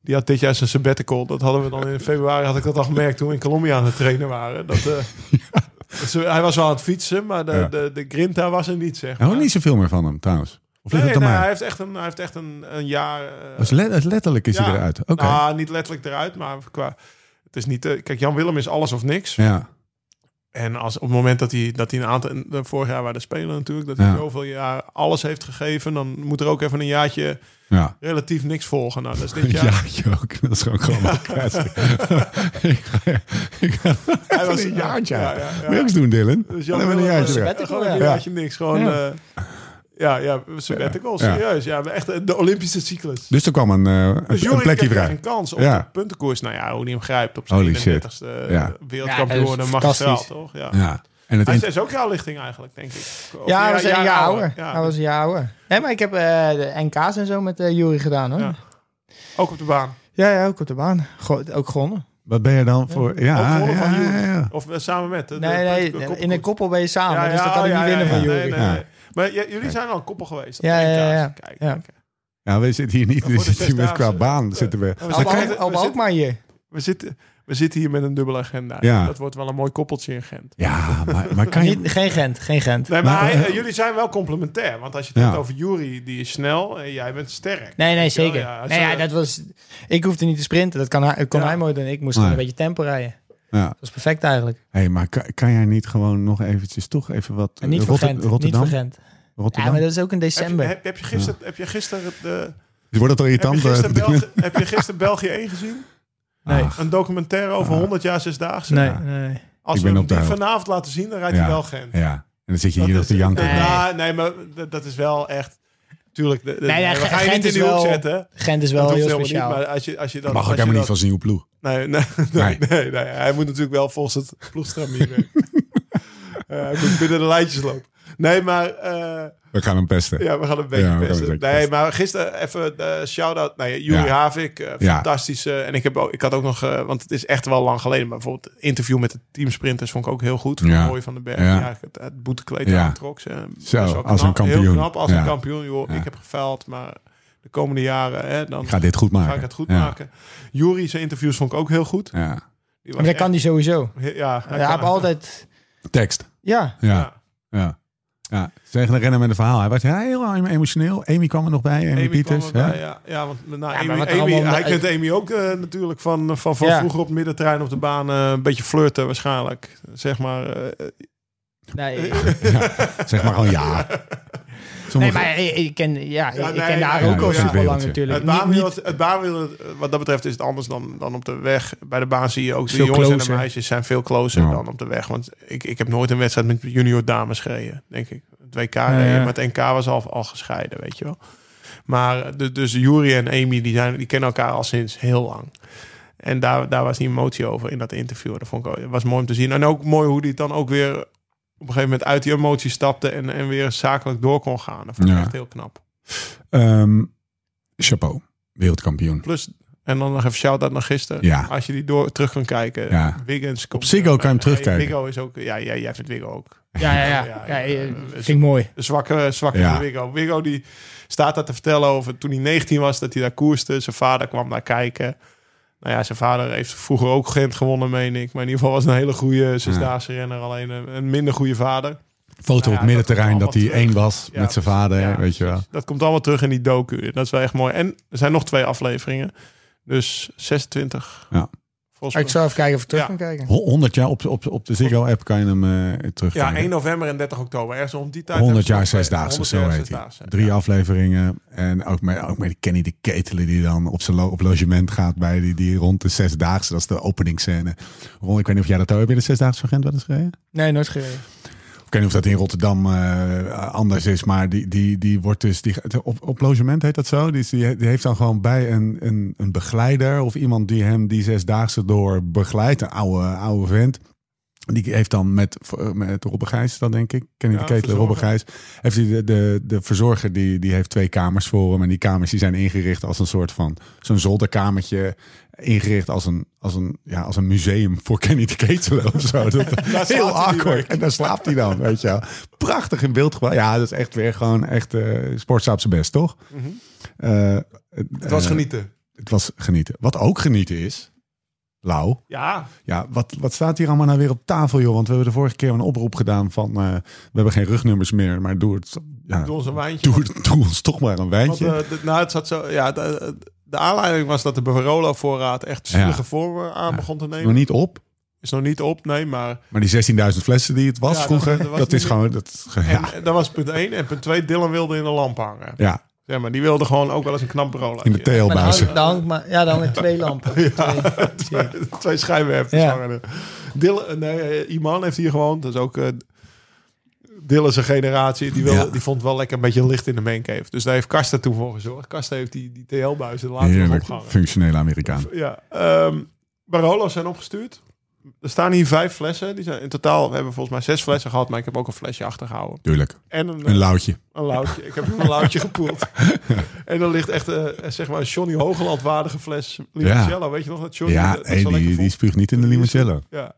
S3: die had dit jaar zijn sabbatical. Dat hadden we dan in februari, had ik dat al gemerkt toen we in Colombia aan het trainen waren. Dat, eh, ze- hij was wel aan het fietsen, maar de,
S1: Ja. Oh,
S3: de, de grinta was er niet, zeg
S1: Ik
S3: maar.
S1: hoor niet zoveel meer van hem trouwens. Of
S3: nee,
S1: ligt het
S3: nee,
S1: aan
S3: hij
S1: mij?
S3: heeft echt een, hij heeft echt een, een jaar... eh,
S1: Dus le- het letterlijk is hij
S3: ja.
S1: eruit. Oké.
S3: Nou, niet letterlijk eruit, maar qua. Het is niet. eh, kijk, Jan Willem is alles of niks.
S1: ja.
S3: En als op het moment dat hij dat hij een aantal. en, eh, Vorig jaar waren de spelen natuurlijk, dat hij
S1: Ja.
S3: zoveel jaar alles heeft gegeven, dan moet er ook even een jaartje
S1: Ja.
S3: relatief niks volgen. Nou, dat is
S1: <laughs>
S3: dit
S1: Ja,
S3: jaar.
S1: ja, ook. Dat is gewoon gewoon <laughs> ik ga, ik ga hij was <laughs>
S3: was-
S1: een jaartje.
S3: ja,
S1: Ja,
S3: ja, ja.
S1: Moet je ook eens doen, Dylan.
S3: Dus
S1: Dan hebben we een
S3: Willem,
S1: jaartje
S3: eh,
S1: eruit.
S4: eruit.
S3: Gewoon een
S4: Ja.
S3: jaartje niks. Gewoon.
S4: Ja.
S3: Ja. ja, ja, sabbatical,
S1: Ja.
S3: serieus. Ja, echt eh, de Olympische cyclus.
S1: Dus er kwam een, eh,
S3: Dus
S1: een, een
S3: Jorik
S1: plekje
S3: kreeg
S1: vrij.
S3: een kans op
S1: Ja.
S3: de puntenkoers. Nou ja, hoe die hem grijpt op
S1: Holy
S3: zijn
S1: shit.
S3: 31ste
S1: Ja.
S3: wereldkampioen.
S4: Ja, dat is
S3: en magistraal,
S4: fantastisch.
S3: toch? Ja.
S1: Ja. En het
S3: Hij
S1: in-
S3: is, is ook jouw lichting eigenlijk, denk ik. Of
S4: Ja, hij was een jaar ouder.
S3: Ja.
S4: Hij was een jaar ouder. Nee, maar ik heb eh, de NK's en zo met eh Jury gedaan, hoor.
S3: Ja.
S4: Ja.
S3: Ook op de baan.
S4: ja, ook op de baan. Go- ook gewonnen.
S1: Wat ben je dan voor... Ja,
S3: Ook gewonnen
S1: ja,
S3: van
S1: ja,
S3: Jury.
S1: ja.
S3: Of eh, samen met. hè, de-
S4: Nee, nee,
S3: de- de
S4: in een koppel ben je samen,
S3: Ja,
S4: dus dan
S3: ja,
S4: kan
S3: oh,
S4: ik niet
S3: ja,
S4: winnen
S3: ja,
S4: van
S3: nee,
S4: jullie.
S3: nee,
S1: Ja.
S3: nee. Maar j- jullie zijn al een koppel geweest. op
S4: Ja,
S3: de
S4: ja, ja,
S3: EK's.
S4: ja.
S3: Kijk,
S4: Ja.
S3: kijk.
S1: Ja, we Nou, zitten hier niet. <laughs>
S3: Voor
S1: We
S3: de
S1: zitten hier met qua
S3: zesdaagse.
S1: baan. Zitten we. Dan
S3: Oh, maar-
S1: krijg-
S4: Alba,
S3: je-
S4: Alba ook maar hier.
S3: We zitten, we zitten hier met een dubbele agenda.
S1: Ja.
S3: Dat wordt wel een mooi koppeltje in Gent.
S1: Ja, maar, maar
S4: <laughs>
S1: kan je...
S4: Niet, geen Gent, geen Gent.
S3: Nee, maar
S1: Maar,
S3: hij-
S1: eh,
S3: eh, jullie zijn wel complementair. Want als je het
S1: Ja.
S3: hebt over Jury, die is snel en jij bent sterk.
S4: Nee, nee, zeker.
S3: Ja, ja,
S4: nee, ja,
S3: zo-
S4: dat was, ik hoefde niet te sprinten, dat kan, hij- kon
S3: Ja.
S4: hij mooi doen. Ik moest
S1: Nee.
S4: gewoon een beetje tempo rijden.
S1: Ja.
S4: Dat is perfect eigenlijk.
S1: Hey, maar kan, kan jij niet gewoon nog eventjes toch even wat... eh,
S4: En niet voor
S1: Rotter-
S4: Gent, niet
S1: Rotterdam?
S4: voor Gent. Ja,
S1: Rotterdam?
S4: maar dat is ook in
S3: Heb je,
S4: december.
S3: heb, heb je gisteren, heb je gisteren, de,
S1: Wordt het al
S3: heb je
S1: irritant?
S3: gisteren,
S1: eh, <laughs>
S3: Belgi- heb je gisteren België 1 gezien?
S4: Nee.
S1: Ach,
S3: Een documentaire over
S1: Ah.
S3: 100 jaar zesdaagse.
S4: nee,
S1: Ja.
S4: nee.
S3: Als
S1: Ik
S3: we
S1: ben
S3: hem
S1: op de
S3: die
S1: hoogte.
S3: vanavond laten zien, dan rijdt
S1: Ja.
S3: hij wel Gent.
S1: ja. En dan zit je hier nog
S3: is-
S1: te janken.
S3: Nee,
S4: Nee.
S3: nou, nee, maar d- dat is wel echt... Tuurlijk, de, de-
S4: Nee, nee,
S3: we gaan je niet
S4: Gent
S3: in
S4: is
S3: die hoek
S4: wel-
S3: zetten. Dat
S4: Gent is
S3: hoeft
S4: wel heel
S3: helemaal
S4: speciaal.
S3: Niet, maar als je, als je dat,
S1: Dat mag ook
S3: als je
S1: helemaal niet
S3: dat-
S1: van zijn nieuwe ploeg.
S3: Nee, <laughs> nee, nee, nee. nee. hij moet natuurlijk wel volgens het ploegstramien
S1: <laughs>
S3: werken. Eh, hij moet binnen de lijntjes lopen. Nee, maar eh,
S1: We gaan hem pesten.
S3: ja, we gaan een beetje
S1: Ja, we gaan
S3: pesten.
S1: een beetje
S3: Nee,
S1: pesten.
S3: maar gisteren even eh shout-out naar Juri
S1: Ja.
S3: Havik. eh,
S1: Ja.
S3: Fantastische. En ik, heb ook, ik had ook nog, eh, want het is echt wel lang geleden, maar bijvoorbeeld het interview met de teamsprinters vond ik ook heel goed. Van
S1: Ja.
S3: Roy van den Berg.
S1: Ja.
S3: Ja. het, het boetekleed
S1: Ja.
S3: aantrok. Ze, best
S1: Zo,
S3: wel
S1: als een
S3: knap. Heel
S1: kampioen.
S3: knap als
S1: Ja.
S3: een kampioen. Joh,
S1: Ja.
S3: Ik heb gefaald, maar de komende jaren hè, dan
S1: Ik ga dit goed maken.
S3: ga ik het goed
S1: Ja.
S3: maken. Juri, zijn interviews vond ik ook heel goed.
S1: Ja.
S3: Die
S4: Maar
S3: was
S4: dat kan die sowieso.
S3: echt- Ja, hij
S4: Ja, hij
S3: kan-
S4: heeft altijd...
S1: Tekst.
S4: Ja,
S1: Ja. Ja. Ja. Tegen de renner met een verhaal. Hij was heel emotioneel. Amy kwam er nog bij. Amy,
S3: Amy
S1: Pieters.
S3: kwam erbij,
S1: ja.
S3: ja. ja, want nou,
S4: maar
S3: Amy,
S4: wat er
S3: Amy-
S4: allemaal-
S3: hij kent Amy ook eh, natuurlijk van, van, van
S4: Ja.
S3: vroeger op middentrein op de baan. eh, een beetje flirten waarschijnlijk. Zeg maar. eh,
S4: nee,
S1: Zeg maar gewoon
S3: <laughs>
S1: ja.
S4: nee
S1: Sommige-
S4: maar ik, ik ken, ja,
S3: Ja,
S4: ik
S3: nee,
S4: ken daar
S3: ja,
S4: ook al
S3: ja,
S4: super lang
S1: wereldje.
S4: natuurlijk.
S3: het
S4: Niet-
S3: baanwiel,
S4: niet-
S3: het baanwiel, eh, wat dat betreft is het anders dan, dan op de weg. Bij de baan zie je ook, de
S4: Veel
S3: jongens en
S4: closer.
S3: de meisjes zijn veel closer
S1: Ja.
S3: dan op de weg. Want ik, ik heb nooit een wedstrijd met junior dames gereden, denk ik. Het WK
S4: Nee,
S3: reden,
S4: ja.
S3: maar het NK was al, al gescheiden, weet je wel. Maar eh, dus, dus Jury en Amy, die, zijn, die kennen elkaar al sinds heel lang. En daar, daar was die emotie over in dat interview. Dat vond ik ook, het was mooi om te zien. En ook mooi hoe die het dan ook weer op een gegeven moment uit die emotie stapte... en, en weer zakelijk door kon gaan. Dat vond ik
S1: Ja.
S3: echt heel knap.
S1: Ehm, chapeau. Wereldkampioen.
S3: Plus, en dan nog even shout-out naar gisteren.
S1: Ja.
S3: Als je die door, terug kan kijken.
S1: Ja.
S3: Wiggins komt,
S1: Ziggo kan
S3: eh,
S1: je hem
S3: eh,
S1: terugkijken.
S3: Wiggo is ook... Ja, ja, jij vindt Wiggo ook.
S4: Ja, ja, ja.
S3: Ja,
S4: ja,
S3: ja,
S4: eh,
S3: eh,
S4: vind ik mooi.
S3: Een zwakke, eh, zwakke
S1: Ja.
S3: Wiggo. Wiggo die staat daar te vertellen over toen hij 19 was... dat hij daar koerste. Zijn vader kwam daar kijken. Nou ja, zijn vader heeft vroeger ook Gent gewonnen, meen ik. Maar in ieder geval was een hele goede zesdaagse renner. Alleen een, een minder goede vader.
S1: Foto
S3: Nou
S1: op
S3: ja,
S1: middenterrein
S3: dat
S1: dat
S3: komt
S1: hij
S3: allemaal
S1: één was
S3: Ja,
S1: met zijn vader.
S3: ja,
S1: weet je wel.
S3: Dat komt allemaal terug in die docu. Dat is wel echt mooi. En er zijn nog twee afleveringen. Dus 26.
S1: Ja.
S3: Volgens mij.
S4: Ik zou even kijken of ik terug
S3: Ja.
S4: kan kijken.
S1: Ho- 100 jaar op, op, op de Ziggo-app kan je hem eh
S3: Ja,
S1: terugkijken.
S3: 1 november en 30 oktober. Ergens om die tijd.
S1: 100 jaar
S3: hebben ze nog twee-
S1: zesdaagse,
S3: 100
S1: zo
S3: jaar
S1: heet hij.
S3: zesdaagse.
S1: Drie afleveringen. En ook met, ook met Kenny de Ketelen die dan op zijn lo- op logement gaat bij die, die rond de zesdaagse. Dat is de openingsscène. Ron, ik weet niet of jij dat ook heb je de zesdaagse van Gent wel eens gereden?
S4: Nee, nooit gereden.
S1: Ik weet niet of dat in Rotterdam eh, anders is, maar die, die, die wordt dus die, gaat- op, op logement heet dat zo. Die, is- die, die heeft dan gewoon bij een, een, een begeleider of iemand die hem die zesdaagse door begeleidt, een oude, oude vent. Die heeft dan met, met Robbe Gijs, dat denk ik. Ken je
S3: Ja,
S1: de ketel Robbe
S3: verzorger.
S1: Gijs? Heeft hij de, de, de verzorger die, die heeft twee kamers voor hem. En die kamers die zijn ingericht als een soort van zo'n zolderkamertje. Ingericht als een, als een, ja, als een museum voor Kenny de Ketelen of zo.
S3: <laughs>
S1: Dat,
S3: slaapt hij
S1: heel
S3: die
S1: awkward.
S3: week.
S1: En daar slaapt hij dan, weet je wel. Prachtig in beeld gebracht. Ja, dat is echt weer gewoon echt eh sportzaam zijn best, toch?
S3: Mhm.
S1: Eh, eh,
S3: Het was genieten.
S1: het was genieten. Wat ook genieten is, Lau,
S3: Ja,
S1: ja, wat, wat staat hier allemaal nou weer op tafel, joh? Want we hebben de vorige keer een oproep gedaan van... eh, we hebben geen rugnummers meer, maar doe het... Ja,
S3: door zijn wijntje.
S1: doe, doe ons toch maar een
S3: Want,
S1: wijntje.
S3: eh, de- nou, het zat zo. Ja, de, de aanleiding was dat de Barolo-voorraad echt zielige
S1: Ja.
S3: vormen aan begon te
S1: Nog
S3: nemen.
S1: niet op,
S3: Is nog niet op, nee, maar
S1: maar die 16.000 flessen die het was
S3: Ja, dat-
S1: vroeger...
S3: dat
S1: Dat,
S3: was
S1: is
S3: niet-
S1: gewoon... Dat,
S3: En
S1: <laughs> ja,
S3: dat was punt 1. En punt 2, Dylan wilde in de lamp hangen.
S1: ja,
S3: Zeg maar, die wilde gewoon ook wel eens een knap bureau
S1: in de
S4: Maar dan
S1: TL-buizen.
S4: hangt- dan hangt maar, ja, dan hangen twee lampen.
S3: <laughs>
S4: Twee.
S3: Twee schijnwerpers
S4: Ja.
S3: hangen er. Dylan, nee, eh, Iman heeft hier gewoond. Dat is ook eh Dylan zijn generatie. Die, wil,
S1: Ja.
S3: die vond wel lekker een beetje licht in de mancave. Dus daar heeft Karsten toen voor gezorgd. Karsten heeft die, die TL-buizen later nog
S1: Heerlijk,
S3: opgehangen.
S1: functionele Amerikaan.
S3: Ja, ehm Barolo's zijn opgestuurd. er staan hier vijf flessen. Die zijn, in totaal we hebben volgens mij zes flessen gehad, maar ik heb ook een flesje achtergehouden.
S1: Tuurlijk.
S3: En een, eh,
S1: Een lauwtje.
S3: een loutje. Ik heb een loutje
S1: <laughs>
S3: gepoeld. en dan ligt echt eh, zeg maar een Johnny Hogeland waardige fles limoncello. Weet je nog dat Johnny? eh,
S1: Ja,
S3: dat- dat
S1: hey,
S3: zo lekker
S1: die, die
S3: voelt?
S1: spuugt niet in de limoncello.
S3: Ja.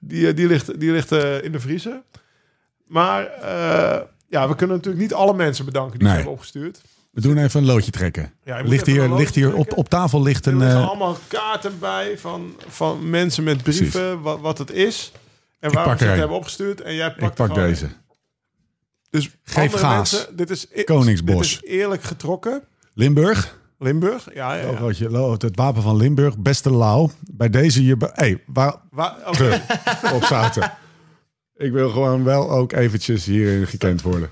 S3: Die, eh, die ligt, die ligt eh, in de vriezer. Maar eh, ja, we kunnen natuurlijk niet alle mensen bedanken die
S1: Nee.
S3: ze hebben opgestuurd.
S1: We doen even een loodje trekken.
S3: Ja, je moet
S1: Ligt
S3: even een
S1: hier,
S3: loodje
S1: ligt hier op,
S3: trekken.
S1: op tafel ligt een...
S3: er liggen
S1: eh,
S3: allemaal kaarten bij van, van mensen met brieven, wat, wat het is. En
S1: pak
S3: waarom
S1: er
S3: ze het
S1: een.
S3: hebben opgestuurd. En jij pakt,
S1: ik pak deze.
S3: Dus
S1: Geef
S3: andere
S1: gaas.
S3: mensen, dit is,
S1: Koningsbos.
S3: Dit is eerlijk getrokken.
S1: Limburg.
S3: Limburg, ja. ja, ja.
S1: Logootje, lo- het wapen van Limburg. Beste lauw. Bij deze hier... Hé, hey, waar...
S3: <laughs> Waar- oké.
S1: op zaten. Ik wil gewoon wel ook eventjes hierin gekend worden.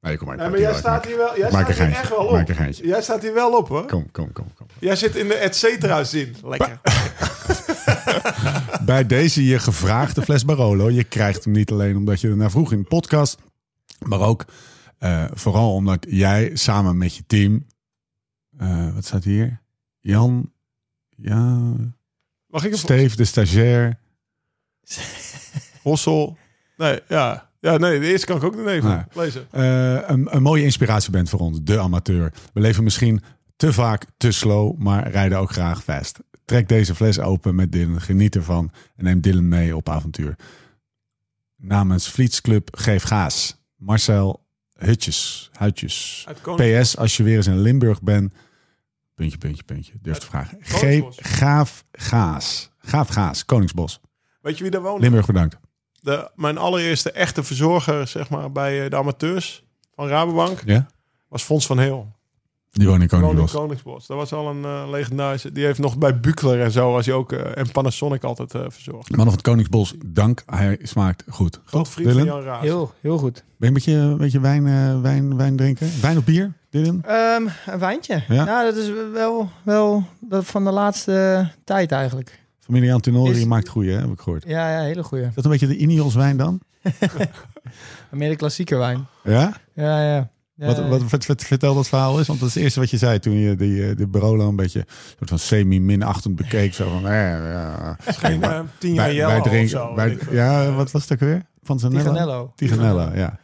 S1: Nee, kom maar. ik
S3: Nee,
S1: maak
S3: maar jij
S1: wel- ik
S3: staat
S1: maak-
S3: hier wel, jij
S1: ik maak
S3: staat
S1: een
S3: hier
S1: geintje.
S3: echt wel
S1: ik Maak een
S3: op.
S1: geintje.
S3: Jij staat hier wel op, hoor.
S1: Kom, kom, kom, kom.
S3: Jij zit in de et cetera zin. Lekker.
S1: Bij deze je gevraagde fles Barolo. Je krijgt hem niet alleen omdat je ernaar vroeg in de podcast. Maar ook eh, vooral omdat jij samen met je team... eh, wat staat hier? Jan... Ja,
S3: Mag ik een
S1: Steve, de stagiair.
S3: Hossel. Nee, ja. Ja, nee, de eerste kan ik ook niet even
S1: Nee.
S3: lezen.
S1: Eh, een, een mooie inspiratie bent voor ons, de amateur. We leven misschien te vaak te slow, maar rijden ook graag vast. Trek deze fles open met Dylan, geniet ervan en neem Dylan mee op avontuur. Namens Fleets Club Geef Gaas, Marcel Hutjes, Huitjes.
S3: Uit Koning-
S1: PS, als je weer eens in Limburg bent, puntje, puntje, puntje, durf te vragen. Geef
S3: Koningsbos.
S1: Gaaf Gaas, Gaaf Gaas, Koningsbos.
S3: Weet je wie daar woont?
S1: Limburg bedankt.
S3: De, mijn allereerste echte verzorger, zeg maar, bij eh, de amateurs van Rabobank
S1: Ja?
S3: was Fons van Heel.
S1: Die woont in
S3: Woonde in
S1: Koningsbos.
S3: Koningsbos. Dat was al een eh, legendarische. Die heeft nog bij Bukler en zo was hij ook eh, en Panasonic altijd eh, verzorgd.
S1: Man van het Koningsbos, dank. Hij smaakt goed.
S3: Groot
S1: Toch,
S3: vriend van
S1: Dylan?
S3: Jan Raas.
S4: Heel, heel goed.
S1: Ben je een beetje, een beetje wijn, eh, wijn, wijn drinken? Wijn of bier, Dylan?
S4: Ehm, een wijntje.
S1: Ja.
S4: Ja. dat is wel, wel dat van de laatste tijd eigenlijk.
S1: Familie Antinori
S4: Is-
S1: maakt goeie, hè, heb ik gehoord.
S4: Ja, ja hele goeie.
S1: Is dat een beetje de Ineos wijn dan?
S4: Meer de klassieke wijn.
S1: Ja?
S4: Ja, ja. ja
S1: Wat, wat, wat- wat- vertel dat verhaal eens. Want dat is het eerste wat je zei toen je die, eh, de Barolo een beetje soort van semi-minachtend bekeek. Zo van, eh, ja.
S3: Geen eh, tien jaar
S1: Wij-
S3: Jelle
S1: wij
S3: of
S1: drinken-
S3: zo.
S1: wij- ja, wat was het ook weer? Van Zanella?
S4: Tiganello.
S1: Tiganella, ja.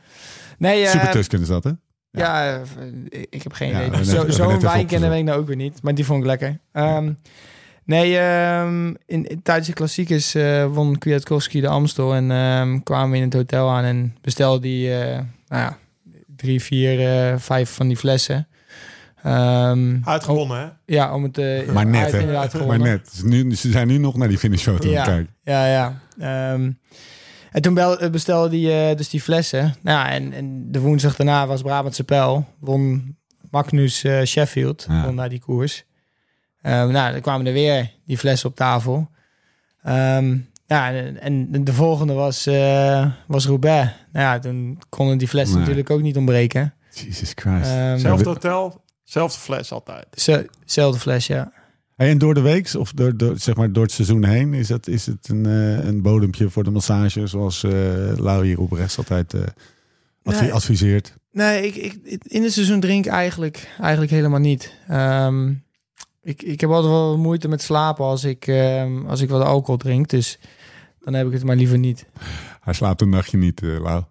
S4: Nee, eh,
S1: Super Tusken is dat, hè?
S4: ja, eh, ik heb geen
S1: Ja, we
S4: idee.
S1: hebben net- we
S4: Zo-
S1: hebben net
S4: Zo'n
S1: even
S4: wijn
S1: opgezocht.
S4: kennen weet ik nou ook weer niet. Maar die vond ik lekker. Ehm, nee, ehm, in, in- tijdens de klassiekers eh, won Kwiatkowski de Amstel. En ehm, kwamen we in het hotel aan en bestelde die eh, nou ja, drie, vier, eh, vijf van die flessen. Ehm,
S3: Uitgewonnen, hè?
S4: Ja, om het... eh,
S1: Maar net,
S4: uit-
S1: hè?
S4: inderdaad
S1: Maar
S4: gewonnen.
S1: net. Ze nu- Ze zijn nu nog naar die finishshow aan het
S4: Ja.
S1: kijken.
S4: Ja, ja. Ehm, en toen bel, eh, bestelde hij dus die flessen. Nou, ja, en, en de woensdag daarna was Brabantse Pijl. Won Magnus eh, Sheffield.
S1: Ja.
S4: Won daar die koers. Ehm, nou, dan kwamen er weer die flessen op tafel. Ehm, ja, en, en de volgende was, eh, was Roubaix. Nou ja, toen konden die flessen
S1: Nee.
S4: natuurlijk ook niet ontbreken.
S1: Jesus Christ.
S4: Ehm,
S3: Zelfde hotel, zelfde fles
S4: <laughs>
S3: altijd.
S4: ze- Zelfde fles, ja.
S1: Hey, en door de week, of door, door, zeg maar door het seizoen heen, is, dat, is het een, eh, een bodempje voor de massage, zoals eh Lau hier op rechts altijd eh, advi-
S4: Nee.
S1: adviseert.
S4: Nee, ik, ik, in het seizoen drink ik eigenlijk, eigenlijk helemaal niet. Ehm, ik, ik heb altijd wel moeite met slapen als ik, ehm, als ik wat alcohol drink. Dus dan heb ik het maar liever niet.
S1: Hij slaapt een nachtje niet, eh, Lau.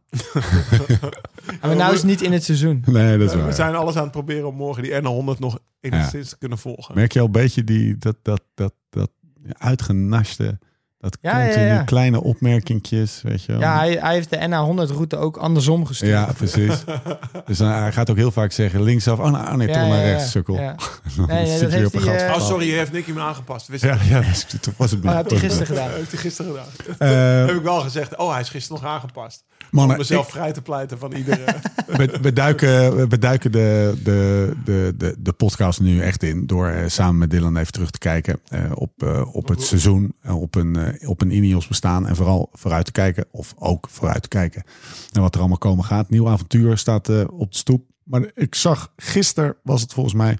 S4: Maar nou is het niet in het seizoen.
S1: <laughs> Nee, dat is
S3: Eh, we
S1: waar.
S3: zijn alles aan het proberen om morgen die N100 nog enigszins te kunnen volgen.
S1: Merk je al een beetje die, dat, dat, dat, dat uitgenaste, dat
S4: Ja, ja,
S1: continu
S4: ja.
S1: kleine opmerkingjes, weet je wel.
S4: Ja, hij, hij heeft de NA100-route ook andersom gestuurd.
S1: Ja, precies.
S4: <laughs>
S1: dus dan, hij gaat ook heel vaak zeggen linksaf, oh, nou, oh nee,
S4: Ja,
S1: toch naar
S4: ja, ja,
S1: rechts, sukkel.
S4: ja.
S1: <laughs> Dan
S4: Nee, nee,
S1: zit
S4: dat
S1: je
S4: heeft
S1: op een
S4: hij,
S1: gat.
S4: eh, Nou,
S3: Oh, sorry, hier heeft Nicky me aangepast. Wist ik.
S1: Ja, ja, dat, is- dat was het.
S4: Maar dat heb je
S1: punt.
S4: gisteren
S3: Dat
S4: gedaan.
S3: heeft hij gisteren gedaan.
S1: Eh,
S3: heb ik wel gezegd, oh, hij is gisteren nog aangepast. Om
S1: mannen,
S3: mezelf
S1: ik-
S3: vrij te pleiten van
S1: <laughs>
S3: iedere... eh,
S1: we, we duiken, we duiken de, de, de, de, de podcast nu echt in. Door eh, samen met Dylan even terug te kijken eh, op, eh, op het seizoen. eh, op, een, eh, op een Ineos bestaan. En vooral vooruit te kijken. Of ook vooruit te kijken. En wat er allemaal komen gaat. Nieuw avontuur staat eh, op de stoep. Maar ik zag gisteren was het volgens mij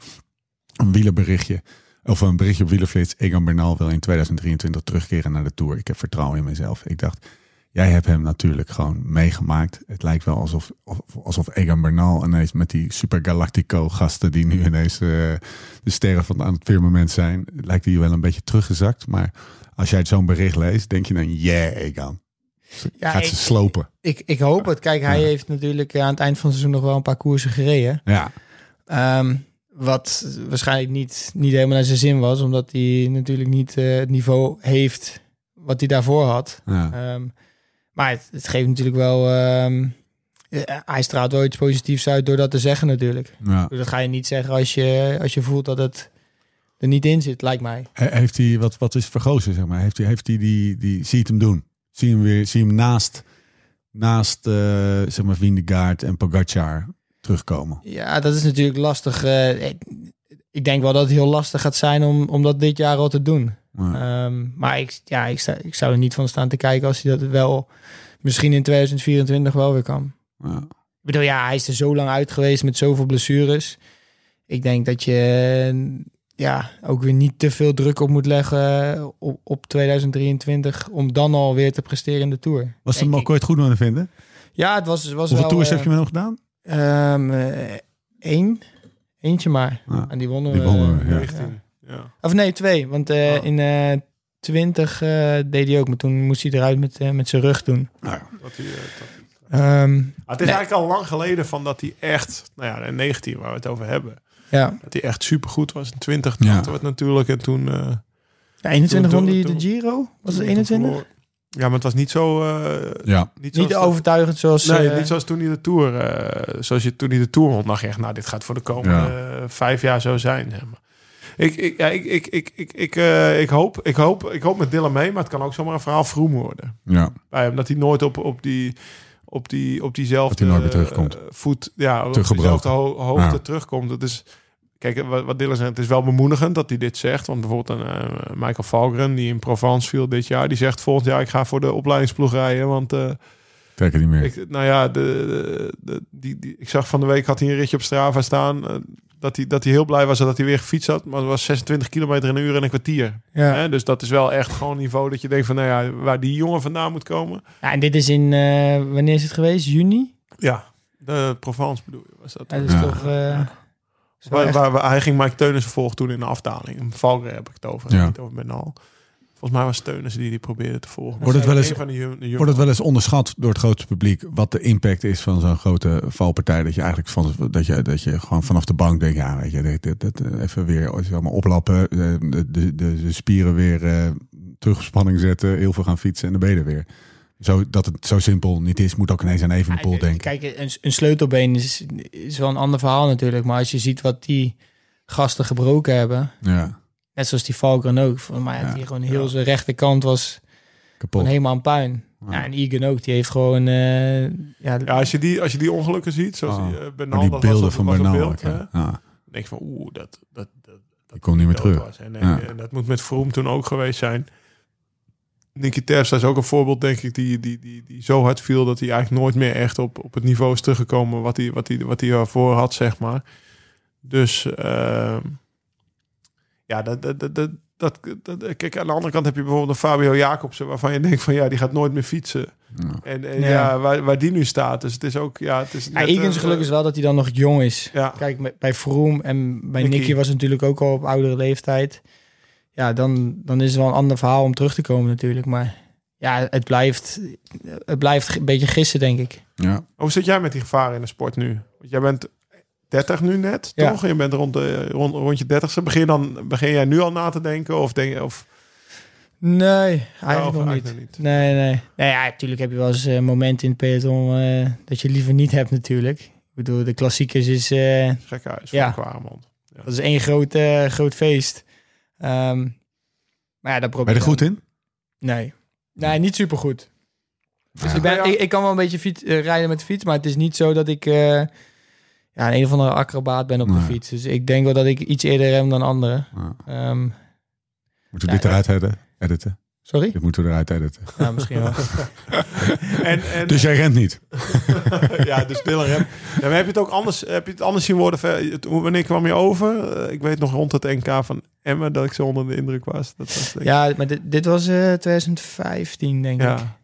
S1: een wielerberichtje. Of een berichtje op wielerflits. Egan Bernal wil in 2023 terugkeren naar de Tour. Ik heb vertrouwen in mezelf. Ik dacht, Jij hebt hem natuurlijk gewoon meegemaakt. Het lijkt wel alsof, of- alsof Egan Bernal ineens met die Super Galactico gasten die nu ineens eh, de sterren van aan het firmament zijn, lijkt hij wel een beetje teruggezakt. Maar als jij zo'n bericht leest, denk je dan, yeah Egan. Ze-
S4: Ja,
S1: gaat
S4: ik-
S1: ze slopen.
S4: Ik, ik hoop het. Kijk, hij
S1: Ja.
S4: heeft natuurlijk eh, aan het eind van het seizoen nog wel een paar koersen gereden.
S1: Ja,
S4: Ehm, wat waarschijnlijk niet, niet helemaal naar zijn zin was, omdat hij natuurlijk niet eh, het niveau heeft wat hij daarvoor had.
S1: ja.
S4: Ehm, maar het, het geeft natuurlijk wel. ehm, eh, hij straalt wel iets positiefs uit door dat te zeggen, natuurlijk.
S1: ja.
S4: Dat ga je niet zeggen als je, als je voelt dat het er niet in zit, lijkt mij.
S1: He- Heeft hij, wat, wat is vergozen, zeg maar? Heeft hij, heeft hij die, die, zie je het hem doen? Zie je hem weer, zie je hem naast, naast eh zeg maar, Vindegaard en Pogacar terugkomen?
S4: Ja, dat is natuurlijk lastig. eh, ik- ik denk wel dat het heel lastig gaat zijn om, om dat dit jaar al te doen.
S1: Ja.
S4: Ehm, maar ik, ja, ik, sta, ik zou er niet van staan te kijken als hij dat wel misschien in 2024 wel weer kan.
S1: Ja.
S4: Ik bedoel, ja, hij is er zo lang uit geweest met zoveel blessures. Ik denk dat je eh, ja, ook weer niet te veel druk op moet leggen eh, op, op 2023 om dan alweer te presteren in de Tour.
S1: Was het
S4: Denk
S1: hem al
S4: ik.
S1: kort goed aan het vinden?
S4: Ja, het was, was
S1: Hoeveel
S4: wel...
S1: tours
S4: eh,
S1: heb je met hem gedaan?
S4: ehm, eh, één. Eentje maar.
S1: Ja.
S4: En die wonnen
S1: Die
S4: we,
S1: wonnen we,
S4: eh,
S1: ja.
S3: 19. Ja.
S4: Of nee, twee. Want eh,
S3: Oh.
S4: in eh 20 eh, deed hij ook. Maar toen moest hij eruit met, eh, met zijn rug doen.
S3: Dat hij, eh, dat-
S4: Ehm,
S3: Ah, het is
S4: Nee.
S3: eigenlijk al lang geleden van dat hij echt, nou ja, in 19 waar we het over hebben,
S4: ja.
S3: dat hij echt supergoed was. In 20
S1: Ja.
S3: ja. het natuurlijk en toen... eh,
S4: 21
S3: Toen-
S4: won hij
S3: toen-
S4: de Giro? Was het
S3: toen
S4: 21?
S3: verloor- Ja, maar het was niet zo... eh,
S1: Ja.
S3: niet zoals
S4: Niet
S3: dat-
S4: overtuigend zoals...
S3: Nee,
S4: eh,
S3: niet zoals toen hij de Tour... eh, zoals je toen hij de Tour won, dacht je echt... Nou, dit gaat voor de komende eh, vijf jaar zo zijn. Zeg maar. Ik, ik, ja, ik, ik, ik, ik, ik, eh, ik, hoop, ik, hoop, ik hoop met Dylan mee, maar het kan ook zomaar een verhaal vroem worden.
S1: ja.
S3: bij hem. Dat hij nooit op, op, die, op, die, op diezelfde
S1: Dat hij nooit meer terugkomt.
S3: eh, voet, ja, op
S1: Teruggebroken.
S3: diezelfde ho- hoogte
S1: Ja.
S3: terugkomt. Dat is, kijk, wat, wat Dylan zegt, het is wel bemoedigend dat hij dit zegt. Want bijvoorbeeld een, eh, Michael Valgren, die in Provence viel dit jaar, die zegt volgend jaar ik ga voor de opleidingsploeg rijden. Want eh,
S1: Trek het niet meer.
S3: ik, nou ja, de, de, de- die, die, ik zag van de week had hij een ritje op Strava staan. eh, dat hij, dat hij heel blij was dat hij weer gefietst had. Maar het was 26 kilometer in een uur en een kwartier.
S4: ja.
S3: Hè? Dus dat is wel echt gewoon niveau dat je denkt van... nou ja, waar die jongen vandaan moet komen.
S4: Ja, en dit is in... eh, wanneer is het geweest? Juni?
S3: Ja, de Provence bedoel je, was dat.
S4: Ja, dat is
S1: Ja.
S4: toch... eh, is wel
S3: waar,
S4: echt-
S3: waar, waar- hij ging Mike Teunissen volgen toen in de afdaling. Valgren heb ik het over,
S1: Ja.
S3: niet over Benal. Volgens mij was Teunissen die die probeerde te volgen.
S1: Wordt het wel eens-
S3: Een van de jum- de jum-
S1: Wordt het wel eens onderschat door het grote publiek wat de impact is van zo'n grote valpartij? Dat je eigenlijk van, dat je, dat je gewoon vanaf de bank denkt, ja, weet je, dit, dit, dit, eh, even weer als je allemaal oplappen, eh, de, de, de, de spieren weer eh, terug op spanning zetten, heel veel gaan fietsen en dan ben je er weer. Zo, dat het zo simpel niet is, moet ook ineens aan
S4: Ja,
S1: Evenepoel
S4: eh,
S1: denken.
S4: Kijk, een, een sleutelbeen is, is wel een ander verhaal natuurlijk. Maar als je ziet wat die gasten gebroken hebben...
S1: ja,
S4: Net zoals die Valken ook. Volgens mij had
S1: Ja.
S4: hij gewoon heel zijn rechterkant was...
S1: kapot.
S4: Gewoon helemaal aan puin.
S1: Ja.
S4: Ja. en Egan ook, die heeft gewoon... eh, ja,
S3: Ja, als je, die, als je die ongelukken ziet, zoals
S1: Oh,
S3: die, eh, Bernal...
S1: maar die
S3: dat
S1: beelden
S3: was,
S1: van
S3: was een
S1: Bernal,
S3: beeld,
S1: ook, hè.
S3: hè.
S1: Ja,
S3: Dan denk je van, oeh, dat... dat, dat
S1: die komt niet meer
S3: dat
S1: terug.
S3: was. En, eh,
S1: Ja.
S3: en dat moet met Vroom toen ook geweest zijn. Nicky Terpstra is ook een voorbeeld, denk ik, die, die, die, die zo hard viel dat hij eigenlijk nooit meer echt op, op het niveau is teruggekomen wat hij, wat hij, wat hij ervoor had, zeg maar. Dus ehm, ja, dat, dat, dat, dat, dat, dat- kijk, aan de andere kant heb je bijvoorbeeld een Fabio Jacobsen, waarvan je denkt van ja, die gaat nooit meer fietsen.
S1: Ja.
S3: En, en ja,
S4: Ja.
S3: waar, waar die nu staat. Dus het is ook, ja, het is.
S4: ja,
S3: net,
S4: Egan's
S3: eh,
S4: geluk is wel dat hij dan nog jong is.
S3: Ja,
S4: Kijk, met- bij Vroom en bij
S3: Nicky.
S4: Nicky. was het natuurlijk ook al op oudere leeftijd. Ja, dan, dan is het wel een ander verhaal om terug te komen natuurlijk. Maar ja, het blijft, het blijft een beetje gissen, denk ik.
S1: Ja.
S3: Hoe zit jij met die gevaren in de sport nu? Want jij bent 30 nu net,
S4: Ja.
S3: toch? Je bent rond, de, rond, rond je 30ste. Begin, dan, begin jij nu al na te denken? Of denk je. Of,
S4: Nee, Nou, eigenlijk
S3: of
S4: nog
S3: eigenlijk
S4: niet. Nee, nee. Nee, ja, natuurlijk heb je wel eens eh, momenten in het peloton eh, dat je liever niet hebt natuurlijk. Ik bedoel, de klassiekers is... eh,
S3: Gekhuis van
S4: Ja. <laughs>
S3: Kwaremond.
S4: dat is één groot, eh, groot feest. Ehm, maar ja, dat
S1: Ben
S4: probeer
S1: je er
S4: dan-
S1: goed in?
S4: Nee. Nee, niet supergoed. Dus ik, ben,
S3: Ja.
S4: ik, ik kan wel een beetje fiets, eh, rijden met de fiets, maar het is niet zo dat ik eh, ja, een of andere acrobaat ben op
S1: Nee.
S4: de fiets. Dus ik denk wel dat ik iets eerder rem dan anderen.
S1: Ja.
S4: Ehm,
S1: Moeten we
S4: Ja,
S1: dit eruit editen? editen?
S4: sorry?
S1: Dit moeten we eruit editen.
S4: Ja, misschien
S3: <laughs>
S4: wel.
S3: En, en,
S1: Dus jij rent niet?
S3: <laughs> ja, dus Dylan Rem. Ja, maar heb je het ook anders, heb je het anders zien worden? Ver- het- hoe- Wanneer kwam je over? Eh, ik weet nog rond het NK van Emmen dat ik zo onder de indruk was. Dat was denk ik-
S4: Ja, maar dit, dit was eh, 2015, denk
S3: ja.
S4: ik.
S3: Ja,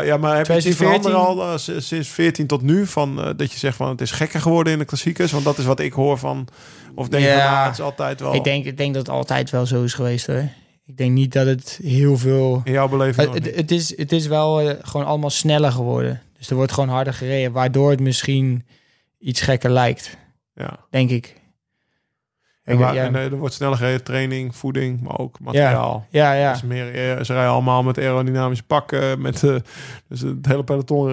S3: Ja, ja, maar heb je die
S4: 2014?
S3: veranderen al eh, s- sinds 14 tot nu? Van, eh, dat je zegt van het is gekker geworden in de klassiekers? Want dat is wat ik hoor van... Of denk je
S4: Ja.
S3: van, ah, het is altijd wel
S4: Ik, denk, ik denk dat het altijd wel zo is geweest hoor. Ik denk niet dat het heel veel...
S3: in jouw beleving nog
S4: Eh, Het,
S3: niet.
S4: het, het is, het is wel eh, gewoon allemaal sneller geworden. Dus er wordt gewoon harder gereden, waardoor het misschien iets gekker lijkt,
S3: Ja.
S4: denk ik.
S3: En,
S4: Ik-
S3: waar-
S4: ja.
S3: en, eh, er wordt sneller gereden, training, voeding, maar ook materiaal.
S4: ja, ja.
S3: Dus meer, eh, ze rijden allemaal met aerodynamische pakken. Met, eh, dus het hele peloton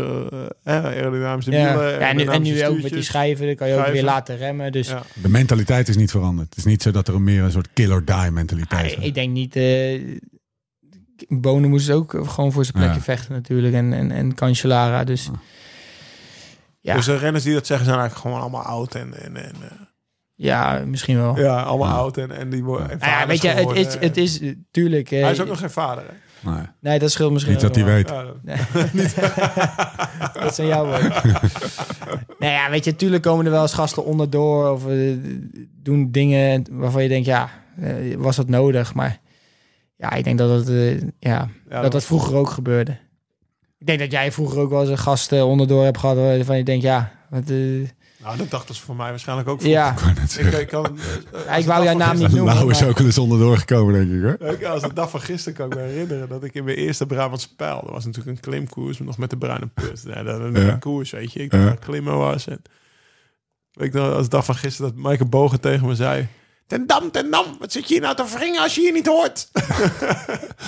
S3: eh, eh, aerodynamische
S4: Ja,
S3: wielen.
S4: ja en, nu, en nu
S3: aerodynamische
S4: ook met die
S3: stuurtjes.
S4: schijven, dan kan je ook
S3: Schijven.
S4: weer laten remmen. Dus
S3: Ja.
S1: De mentaliteit is niet veranderd. Het is niet zo dat er meer een soort kill or die
S4: ah,
S1: mentaliteit is.
S4: ik denk niet... eh Bonen moest ook gewoon voor zijn plekje
S1: Ja.
S4: vechten natuurlijk. En, en, en Cancellara, dus...
S1: Ja.
S4: Ja.
S3: Dus de renners die dat zeggen zijn eigenlijk gewoon allemaal oud. En, en, en, eh,
S4: Ja, misschien wel.
S3: ja, allemaal
S1: Ja.
S3: oud. En, en die worden en
S4: Oh. Nou ja,
S3: vaders
S4: weet je, het
S3: geworden.
S4: is, het is eh, tuurlijk... eh,
S3: Hij is ook nog geen vader, hè?
S1: Nee,
S4: Nee, dat scheelt misschien
S1: niet dat hij
S4: wel.
S1: weet. <laughs>
S3: Ja, dat-
S4: Dat zijn jouw woorden.
S1: <laughs>
S4: nou ja, weet je, tuurlijk komen er wel eens gasten onderdoor of eh, doen dingen waarvan je denkt, ja, eh, was dat nodig? Maar ja, ik denk dat dat, eh, ja,
S3: ja,
S4: dat, dat vroeger ook gebeurde. Ik denk dat jij vroeger ook wel eens een gast eh, onderdoor hebt gehad waarvan je denkt, ja, wat, eh,
S3: Nou, dat dachten ze voor mij waarschijnlijk ook. vroeger.
S4: ja,
S1: Ik wou net
S3: Ik,
S1: zeggen.
S3: ik kan, eh,
S4: ik wou jouw naam niet noemen.
S1: Nou is
S4: maar-
S1: ook wel eens onderdoor gekomen, denk ik hoor.
S3: <laughs> niet. Als de dag van gisteren kan ik me herinneren dat ik in mijn eerste Brabantse pijl, dat was natuurlijk een klimkoers, nog met de bruine put. Ja, dat een
S1: Ja.
S3: koers, weet je. Ik dacht
S1: Ja.
S3: dat ik klimmen was. En, weet ik nog, als de dag van gisteren dat Maaike Bogen tegen me zei, ten dam, ten dam, wat zit je hier nou te wringen als je hier niet hoort?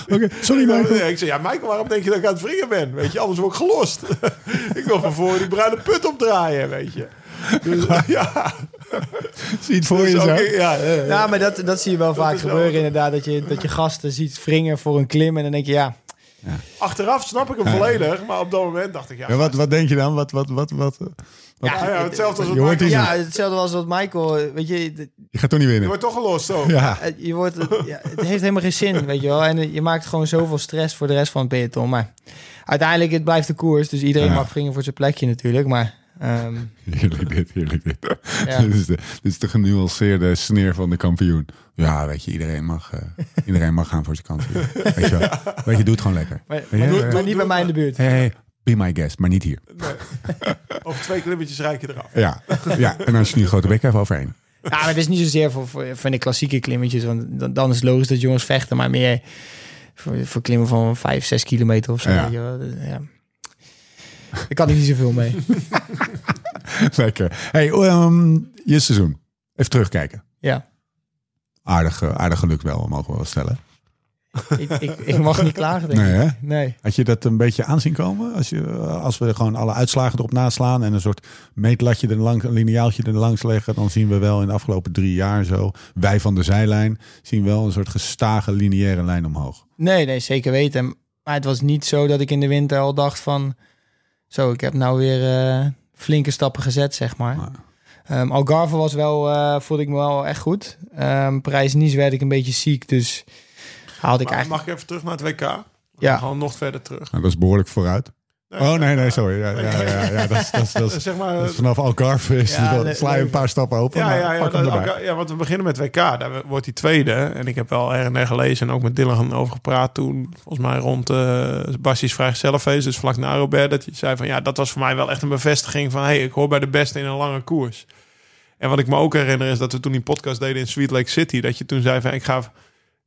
S1: Oké, sorry Michael.
S3: Ik zei, <laughs> ja Michael, waarom denk je dat ik aan het wringen ben? Weet je, anders word ik gelost. <laughs> ik wil van voor die bruine put opdraaien,
S1: <laughs>
S3: weet je. Dus, ja,
S1: Zie het voor
S3: dus
S1: je zo.
S3: ook- ja, ja, ja.
S4: Ja, maar dat, dat zie je wel vaak
S3: is wel-
S4: gebeuren inderdaad. Dat je, dat je gasten ziet wringen voor een klim en dan denk je, ja,
S3: Achteraf snap ik hem volledig, maar op dat moment dacht ik ja.
S1: Ja, wat, wat denk je dan? Wat, wat, wat, wat? eh,
S3: ja, ja, hetzelfde als
S1: Je
S3: wat
S1: hoort
S3: Michael-
S1: die-
S4: ja, hetzelfde als wat Michael, eh, weet je, d-
S1: Je gaat toch niet
S3: Je
S1: winnen?
S3: wordt toch gelost zo.
S1: Ja.
S4: Eh, Je <laughs> wordt, het- ja, het heeft helemaal geen zin, weet je wel. En eh, je maakt gewoon zoveel stress voor de rest van het peloton. Maar uiteindelijk, het blijft de koers. Dus iedereen
S1: Ja.
S4: mag wringen voor zijn plekje natuurlijk. Maar ehm,
S1: Heerlijk dit, heerlijk dit.
S4: ja.
S1: <laughs> Dit, is de, dit is de genuanceerde sneer van de kampioen. Ja, weet je, iedereen mag, eh, iedereen mag gaan voor zijn kant. Weet je,
S3: <laughs>
S1: wel. weet je, doe het gewoon lekker.
S4: maar,
S1: Ja,
S4: maar
S1: ja,
S4: niet,
S1: ja.
S4: maar niet bij mij in de buurt.
S1: Hey, hey, be my guest, maar niet hier.
S3: Over twee klimmetjes rijk je eraf.
S1: Ja, ja en als je nu een grote bek hebt, overheen. <laughs>
S4: Ja, maar het is niet zozeer voor, voor, voor de klassieke klimmetjes. Want dan, dan is het logisch dat jongens vechten. Maar meer voor, voor klimmen van 5, 6 kilometer of zo.
S1: Ja.
S4: Weet je wel. Dus, ja. Daar kan ik niet zoveel mee.
S1: Lekker. Hey, ehm, je seizoen. Even terugkijken.
S4: Ja,
S1: Aardig, eh, aardig geluk wel, mogen we wel stellen.
S4: ik, ik, ik mag niet klagen, denk
S1: Nee,
S4: ik.
S1: hè?
S4: Nee.
S1: Had je dat een beetje aanzien komen? Als, je, eh, als we gewoon alle uitslagen erop naslaan en een soort meetlatje er langs, een lineaaltje er langs leggen, dan zien we wel in de afgelopen drie jaar zo, wij van de zijlijn, zien wel een soort gestage lineaire lijn omhoog.
S4: Nee, nee, zeker weten. Maar het was niet zo dat ik in de winter al dacht van... Zo, ik heb nou weer eh, flinke stappen gezet, zeg maar.
S1: Maar,
S4: Ehm, Algarve was wel, eh, voelde ik me wel echt goed. Ehm Parijs Nice werd ik een beetje ziek, dus haalde ik
S3: Maar
S4: eigenlijk...
S3: mag ik even terug naar het WK?
S4: Ja.
S3: Gewoon nog verder terug.
S1: nou, dat is behoorlijk vooruit. Oh nee, nee, sorry. Ja, ja, ja, ja, dat, is, dat, is, dat,
S3: Eh, <laughs>
S1: is,
S3: Zeg maar.
S1: dat
S3: eh,
S1: is vanaf Algarve is,
S4: Ja,
S1: dan
S4: le-
S1: sla je een
S4: leuk.
S1: paar stappen open,
S3: Ja,
S1: maar
S3: ja, ja,
S1: pak hem
S3: dat-
S1: erbij.
S3: elkaar- ja, want we beginnen met WK. Daar wordt hij tweede. En ik heb wel er en der gelezen en ook met Dylan over gepraat toen. Volgens mij rond eh Basti's vrijgezellenfeest, dus vlak na Robert. Dat je zei van ja, dat was voor mij wel echt een bevestiging van... hey, ik hoor bij de beste in een lange koers. En wat ik me ook herinner is dat we toen die podcast deden in Sweet Lake City. Dat je toen zei van ik ga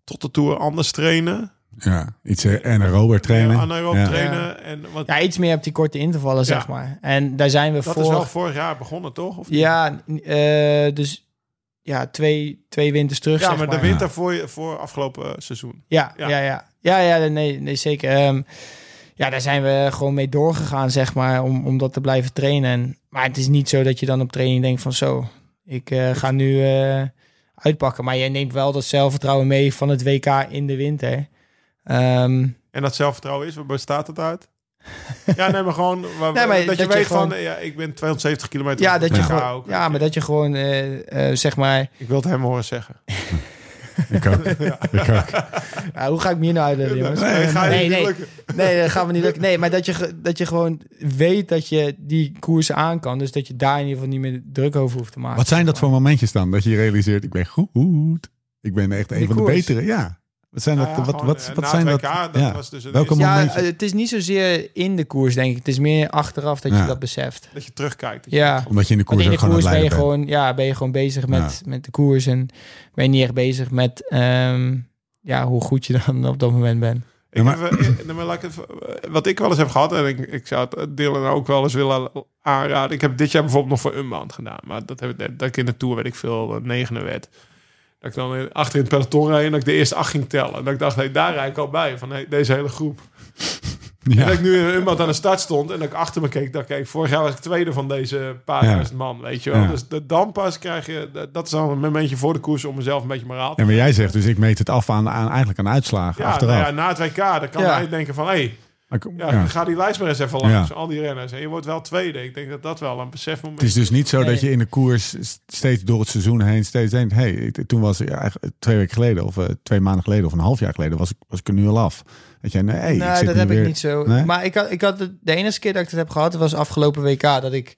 S3: tot de Tour anders trainen.
S1: Ja, iets eh, anaerobe trainen.
S3: Ja, anaerobe
S1: Ja.
S3: trainen. En wat,
S4: Ja, iets meer op die korte intervallen, zeg maar. En daar zijn we
S3: dat
S4: voor...
S3: is wel vorig jaar begonnen, toch? Of niet?
S4: Ja, eh, dus ja, twee, twee winters terug,
S3: ja
S4: zeg
S3: maar de
S4: maar.
S3: winter voor, je- voor afgelopen eh, seizoen.
S4: Ja,
S3: Ja.
S4: ja, ja. Ja, ja, nee, nee zeker. Ehm, ja, daar zijn we gewoon mee doorgegaan, zeg maar, om, om dat te blijven trainen. En, maar het is niet zo dat je dan op training denkt van zo, ik eh, ga nu eh, uitpakken. Maar je neemt wel dat zelfvertrouwen mee van het WK in de winter. Ehm,
S3: En dat zelfvertrouwen is, waar bestaat het uit? <laughs> Ja, nee, maar gewoon waar-
S4: Nee, maar
S3: dat, je
S4: dat je
S3: weet van,
S4: gewoon-
S3: ja, ik ben 270 kilometer.
S4: ja,
S3: op de
S4: dat je
S3: WK
S4: gewoon,
S3: ook.
S4: ja, maar dat je gewoon, eh, eh, zeg maar,
S3: Ik wil het hem horen zeggen.
S1: Ik ook.
S3: <laughs>
S1: Ik ook.
S4: ja, hoe ga ik me hier nou uitleggen, jongens?
S3: Nee, ga je
S4: nee,
S3: niet
S4: nee.
S3: lukken.
S4: Nee, dat gaan we niet lukken. Nee, maar dat je, ge- dat je gewoon weet dat je die koers aan kan. Dus dat je daar in ieder geval niet meer druk over hoeft te maken.
S1: Wat zijn dat voor momentjes dan? Dat je realiseert, ik ben goed. Ik ben echt een
S4: Die
S1: van de
S4: koers.
S1: betere. Ja. Wat zijn dat?
S3: Nou ja,
S1: wat
S3: gewoon,
S1: wat,
S3: eh,
S1: wat
S3: na
S1: zijn
S3: het
S1: dat?
S3: WK, dat
S1: ja.
S3: was dus een
S1: Welke
S3: eerste-
S1: moment-
S4: Ja, eh,
S1: momentje.
S4: het is niet zozeer in de koers, denk ik. Het is meer achteraf dat je
S1: Ja.
S4: dat beseft.
S3: Dat je terugkijkt. Dat je-
S4: Ja.
S1: Omdat je in de
S4: Want
S1: koers
S4: in de
S1: ook gewoon aan
S4: koers
S1: het
S4: ben je,
S1: leiden bent.
S4: gewoon, ja, ben je gewoon bezig met, met de koers en ben je niet echt bezig met ehm, ja, hoe goed je dan op dat moment bent.
S1: Ja,
S3: Ik
S1: maar-
S3: heb, eh, eh, nou, maar laat ik even, eh, wat ik wel eens heb gehad, en ik, ik zou het eh, Dylan ook wel eens willen aanraden. Ik heb dit jaar bijvoorbeeld nog voor Unbound gedaan. Maar dat, heb ik, net- dat ik in de Tour, weet ik veel, eh, negende werd. Dat ik dan in- achter in het peloton reed en dat ik de eerste acht ging tellen. En dat ik dacht, hey, daar rijd ik al bij, van hey, deze hele groep. En
S1: Ja.
S3: dat ik nu in Unbound aan de start stond en dat ik achter me keek. Dat ik, vorig jaar was ik tweede van deze paar
S1: Ja.
S3: duizend man, weet je wel.
S1: Ja.
S3: Dus de, dan pas krijg je, dat- dat is dan een momentje voor de koers om mezelf een beetje moraal te
S1: En wat jij zegt, dus ik meet het af aan, aan eigenlijk aan uitslagen
S3: ja,
S1: achteraf.
S3: nou ja, na het WK, dan kan
S4: Ja.
S3: hij denken van... Hey,
S1: Maar ik-
S3: Ja,
S1: ja.
S3: ga die lijst maar eens even langs.
S1: Ja.
S3: Al die renners. En je wordt wel tweede. Ik denk dat dat wel een besefmoment
S1: Het is
S3: is.
S1: dus niet zo
S4: Nee.
S1: dat je in de koers s- steeds door het seizoen heen steeds denkt... hey, ik- toen was ik ja, eigenlijk twee weken geleden of eh, twee maanden geleden of een half jaar geleden was ik, was ik er nu al af. Dat je, nee, ik
S4: nou,
S1: zit
S4: dat
S1: nu
S4: heb
S1: weer-
S4: ik niet zo.
S1: Nee?
S4: Maar ik had, ik had het, de enige keer dat ik dat heb gehad, was afgelopen WK. Dat ik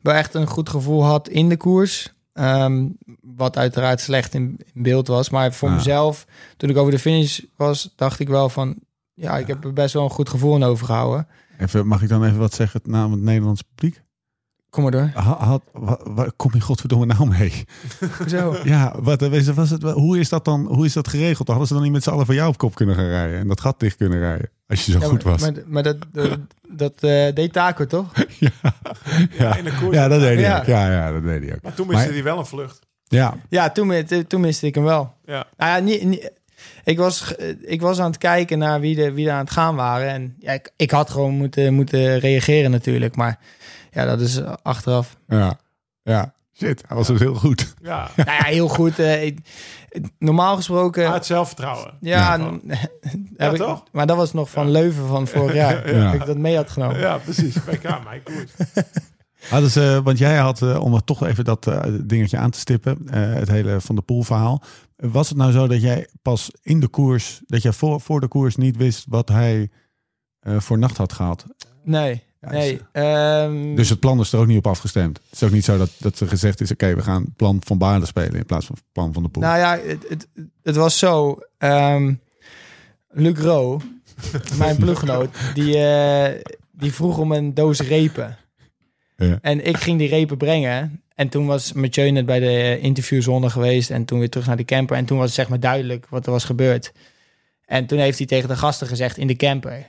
S4: wel echt een goed gevoel had in de koers. Ehm, wat uiteraard slecht in, in beeld was. Maar voor
S1: Ja.
S4: mezelf, toen ik over de finish was, dacht ik wel van... Ja, ik heb er best wel een goed gevoel aan overgehouden.
S1: Even, mag ik dan even wat zeggen namens het Nederlands publiek?
S4: Kom
S1: <laughs>
S4: maar door.
S1: Ha- had, wa- waar kom je godverdomme nou mee?
S4: Zo.
S1: Ja, wat, eh, was- was het, hoe is dat dan hoe is dat geregeld? Hadden ze dan niet met z'n allen voor jou op kop kunnen gaan rijden? En dat gat dicht kunnen rijden? Als je zo
S4: Ja,
S1: goed
S4: maar,
S1: was.
S4: Maar, maar dat, dat, dat, eh, deed Taco toch?
S1: ja.
S3: in de koers.
S1: ja, dat deed hij
S4: Ja.
S1: ook. Ja, ja, dat deed hij ook.
S3: Maar toen miste
S1: dus- Maar-
S3: hij wel een vlucht.
S1: Ja,
S4: Ja, toen, mi- toen miste ik hem wel.
S3: Ja.
S4: Nou ja, niet, niet- ik, was, ge- ik was aan het kijken naar wie er wie er aan het gaan waren. En ja, ik, ik had gewoon moeten, moeten reageren natuurlijk. Maar ja, dat is eh, achteraf.
S3: <laughs>
S1: ja, ja. Shit, hij was dus heel goed.
S3: Ja.
S4: nou ja, heel goed. eh, ik- normaal gesproken...
S3: Maar het zelfvertrouwen.
S4: ja,
S3: Ja.
S4: n-
S3: Ah,
S4: <laughs>
S3: Ja,
S4: heb ik,
S3: toch?
S4: maar dat was nog van Leuven van vorig jaar.
S1: Ja.
S4: Dat ik dat mee had genomen.
S3: Ja, precies. WK, mijn koers.
S1: Hadden ze, want jij had, Ah, dus, eh, om het toch even dat eh, dingetje aan te stippen, eh, het hele Van de Poel verhaal. Was het nou zo dat jij pas in de koers, dat jij voor, voor de koers niet wist wat hij eh, voor nacht had gehad?
S4: Nee,
S1: Ja,
S4: nee.
S1: dus-
S4: ehm,
S1: Dus het plan is er ook niet op afgestemd. Het is ook niet zo dat, dat ze gezegd is, oké, we gaan het plan van Baarden spelen in plaats van het plan van de Poel.
S4: Nou ja, het, het, het was zo. ehm, Luc
S1: <laughs>
S4: Ro, mijn ploeggenoot, die, eh, die vroeg om een doos repen.
S1: Ja.
S4: En ik ging die repen brengen. En toen was Mathieu net bij de interviewzone geweest. En toen weer terug naar de camper. En toen was het zeg maar duidelijk wat er was gebeurd. En toen heeft hij tegen de gasten gezegd in de camper.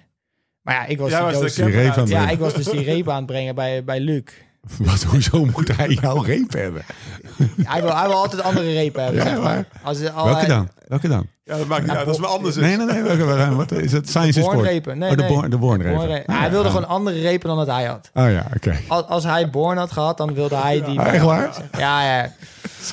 S4: Maar ja, ik was,
S3: Jij
S4: die
S3: was de
S4: doos-
S1: Die reep aan
S3: camper.
S1: het
S4: ja,
S1: brengen.
S4: ik was dus die repen aan het brengen bij, bij Luc.
S1: <laughs> Wat, hoezo moet hij jouw reep hebben?
S4: Hij wil, hij wil altijd andere repen hebben.
S1: Ja,
S4: zeg maar. Als, al-
S1: Welke dan? Welke dan?
S3: Ja, dat maakt niet uit. Dat is wel anders. is.
S1: Nee, nee, nee. Welke, welke- wat is het? Science is sport.
S4: Bornrepen. Nee,
S1: oh, de
S4: nee.
S1: born, de bornrepen.
S4: Born repen.
S1: Ah,
S4: hij wilde
S1: ah.
S4: gewoon andere repen dan dat hij had.
S1: Oh ja, oké.
S4: Als, als hij Born had gehad, dan wilde hij
S1: <laughs>
S4: die.
S1: Ah, echt waar?
S4: Ja, ja.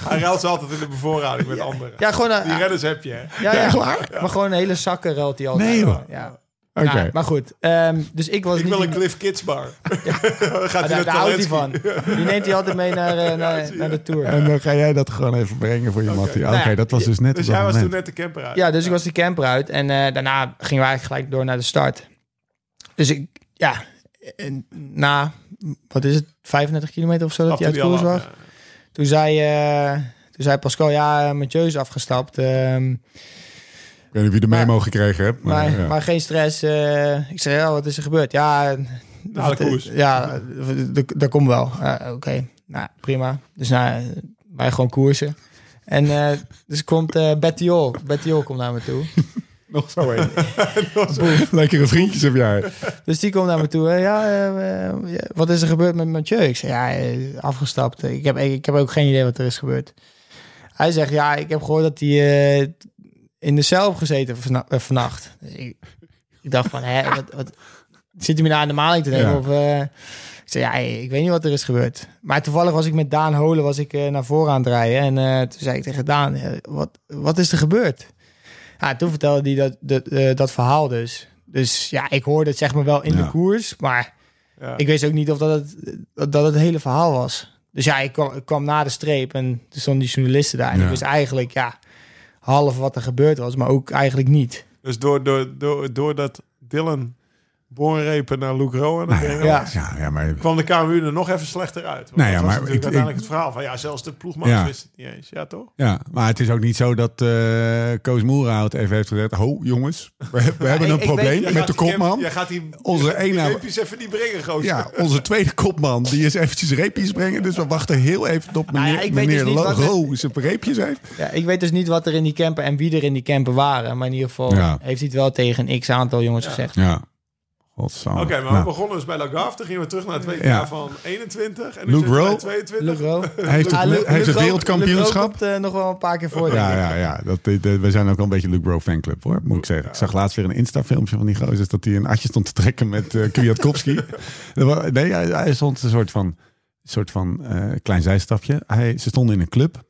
S3: Hij ruilt ze altijd in de bevoorrading met anderen.
S4: Ja, gewoon een,
S3: Die redders heb je. hè.
S4: ja, ja,
S1: Echt waar?
S4: Maar gewoon een hele zakken ruilt hij altijd.
S1: Nee, joh.
S4: Ja.
S1: Oké.
S4: Ja, maar goed, ehm, dus ik was
S3: Ik
S4: niet...
S3: wil
S4: die-
S3: een Cliff Kids
S4: <laughs>
S3: bar. Dan <laughs> Gaat
S4: Ah,
S3: hij naar
S4: daar, daar houdt hij
S3: Talensky.
S4: van. Die neemt hij altijd mee
S3: <laughs>
S4: naar, eh, naar, naar de tour.
S1: En dan ga jij dat gewoon even brengen voor je Mattie. Oké,
S4: Nou ja,
S1: dat was dus net
S3: Dus
S1: op dat
S3: jij was toen
S1: moment.
S3: net de camper uit.
S4: Ja, dus ik was de camper uit. En eh, daarna gingen we eigenlijk gelijk door naar de start. Dus ik, ja, en na, wat is het, 35 kilometer of zo dat
S3: Gaf
S4: hij uit
S3: hij al
S4: koers
S3: af,
S4: was?
S3: ja.
S4: Toen zei, eh, toen zei Pascal, ja, Mathieu is afgestapt. ehm,
S1: Ik weet niet wie de
S4: Maar-
S1: memo gekregen hebt. Maar,
S4: maar,
S1: ja.
S4: maar geen stress. eh, ik zei, ja, wat is er gebeurd? Ja, eh,
S3: Na Nou, de
S4: eh,
S3: koers.
S4: Ja, eh, dat- dat komt wel. Eh, Oké, nou, prima. Dus nou, eh, wij gewoon koersen. En eh, dus komt eh Bettiol. Bettiol komt naar me toe.
S1: nog zo <laughs> een. Lekkere vriendjes heb jij.
S4: Dus die komt naar me toe. hè, Ja, eh, eh, ja, wat is er gebeurd met Mathieu? Ik zeg, ja, eh, afgestapt. Ik heb, ik heb ook geen idee wat er is gebeurd. Hij zegt, ja, ik heb gehoord dat hij eh, in de cel heeft gezeten vana- eh, vannacht. Dus ik, ik dacht van, hè, wat, wat, zit hij me nou aan de maling te nemen?
S1: Ja.
S4: Of, eh, ik zeg, ja, ik weet niet wat er is gebeurd. Maar toevallig was ik met Daan Holen was ik, eh, naar voren aan het rijden. En eh, toen zei ik tegen Daan, eh, wat, wat is er gebeurd? Ja, toen vertelde hij dat, dat, eh, dat verhaal dus. Dus ja, ik hoorde het zeg maar wel in
S1: Ja.
S4: de koers. Maar
S3: Ja.
S4: ik wist ook niet of dat het, dat dat het hele verhaal was. Dus ja, ik kwam, ik kwam na de streep en toen stonden die journalisten daar. En
S1: Ja.
S4: ik wist eigenlijk, ja, half wat er gebeurd was, maar ook eigenlijk niet.
S3: Dus door, door, door, doordat Dylan Bornrepen naar Luke Rowan. Dan denk je,
S4: <laughs> Ja.
S1: Ja, ja, maar
S3: Kwam de KMU er nog even slechter uit? Want
S1: Nou ja,
S3: dat was
S1: maar
S3: natuurlijk
S1: ik-
S3: uiteindelijk
S1: ik-
S3: het verhaal van ja, zelfs de ploegmaat
S1: Ja.
S3: wist het niet eens. Ja, toch?
S1: Ja, maar het is ook niet zo dat eh Koos Moerhout even heeft gezegd... Ho, jongens, we, we hebben
S4: ik-
S1: een
S4: ik
S1: probleem
S3: Jij
S1: met
S3: gaat
S1: de
S3: die camp-
S1: kopman.
S3: Jij gaat die
S1: Onze
S3: die
S1: ene-
S3: reepjes even niet brengen, gozer.
S1: Ja, onze tweede kopman, die is eventjes reepjes brengen. Dus we wachten heel even op meneer,
S4: Nou ja, ik weet dus
S1: meneer
S4: niet wat het-
S1: Logo zijn reepjes heeft.
S4: Ja, ik weet dus niet wat er in die camper en wie er in die camper waren. Maar in ieder geval
S1: Ja.
S4: heeft hij het wel tegen een x-aantal jongens gezegd.
S1: Ja, godsamme.
S3: Oké, maar
S1: Nou,
S3: we begonnen dus bij Lagarde. Toen gingen we terug naar het WK
S1: Ja.
S3: van 21. En nu
S1: Luke
S3: zitten we bij
S1: Rowe.
S3: 22.
S4: Luc Rowe.
S1: Hij heeft,
S4: Ah,
S1: het,
S4: Luc-
S1: hij heeft het
S4: Luc Rowe-
S1: wereldkampioenschap.
S4: Luc Rowe komt eh, nog wel een paar keer voor. denk
S1: Ja,
S4: ik.
S1: ja, ja. Dat, dat- we zijn ook wel een beetje Luke Bro fanclub, hoor, moet ik zeggen. Ik zag laatst weer een Insta-filmpje van die gozers... dat hij een atje stond te trekken met eh Kwiatkowski. Er wa- nee, hij, hij stond een soort van, soort van eh, klein zijstapje. Hij, ze stonden in een club.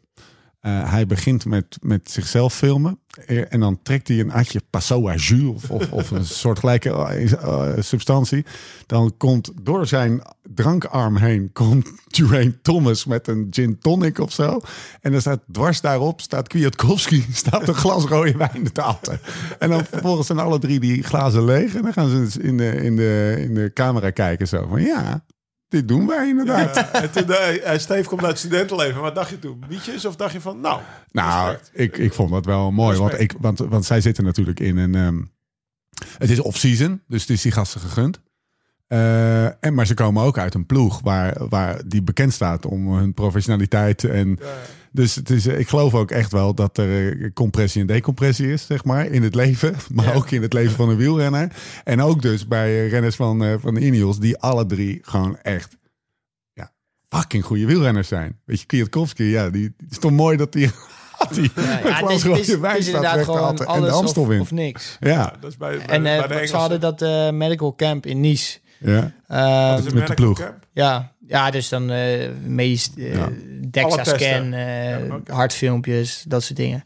S1: Eh, hij begint met, met zichzelf filmen. Eh, En dan trekt hij een atje Passoa jus of, of, of een <laughs> soort gelijke eh, eh, substantie. Dan komt door zijn drankarm heen komt <laughs> Duane Thomas met een gin tonic of zo. En dan staat dwars daarop staat Kwiatkowski <laughs> staat een glas rode wijn te atten. En dan vervolgens zijn alle drie die glazen leeg. En dan gaan ze in de, in de, in de camera kijken zo van ja, dit doen wij inderdaad.
S3: Ja, <laughs> en toen, eh, eh, Steve komt uit het studentenleven. Wat dacht je toen? Mietjes of dacht je van, nou,
S1: Nou,
S3: Respect.
S1: ik, ik vond dat wel mooi. Want, ik,
S3: Respect.
S1: want, want zij zitten natuurlijk in een... ehm, het is off-season, dus het is die gasten gegund. Eh, en, maar ze komen ook uit een ploeg waar, waar die bekend staat om hun professionaliteit. En, Dus het is, eh, ik geloof ook echt wel dat er eh, compressie en decompressie is, zeg maar, in het leven. <laughs> Maar ook in het leven van een wielrenner. En ook dus bij eh, renners van, eh, van de Ineos, die alle drie gewoon echt fucking goede wielrenners zijn. Weet je, Kwiatkowski, ja, die het is toch mooi dat die <laughs> die
S4: Ja,
S1: een
S4: het
S1: glas
S4: is, het is-
S1: rode
S4: het
S1: wijn
S4: is
S1: staat weg
S4: inderdaad
S1: te
S4: gewoon
S1: atten en de
S4: alles of,
S1: Amstel wint.
S4: of niks.
S1: Ja,
S3: dat is bij, bij,
S4: En
S3: bij
S4: eh,
S3: de
S4: ze
S3: Engelsen.
S4: hadden dat eh, medical camp in Nice.
S1: ja,
S4: Eh,
S3: Dat
S1: met
S3: is
S1: de
S3: medical
S1: ploeg.
S3: camp.
S4: ja. ja, dus dan eh meest eh,
S1: Ja.
S4: DEXA
S3: Alle testen.
S4: scan, eh,
S3: Ja, oké.
S4: hartfilmpjes, dat soort dingen.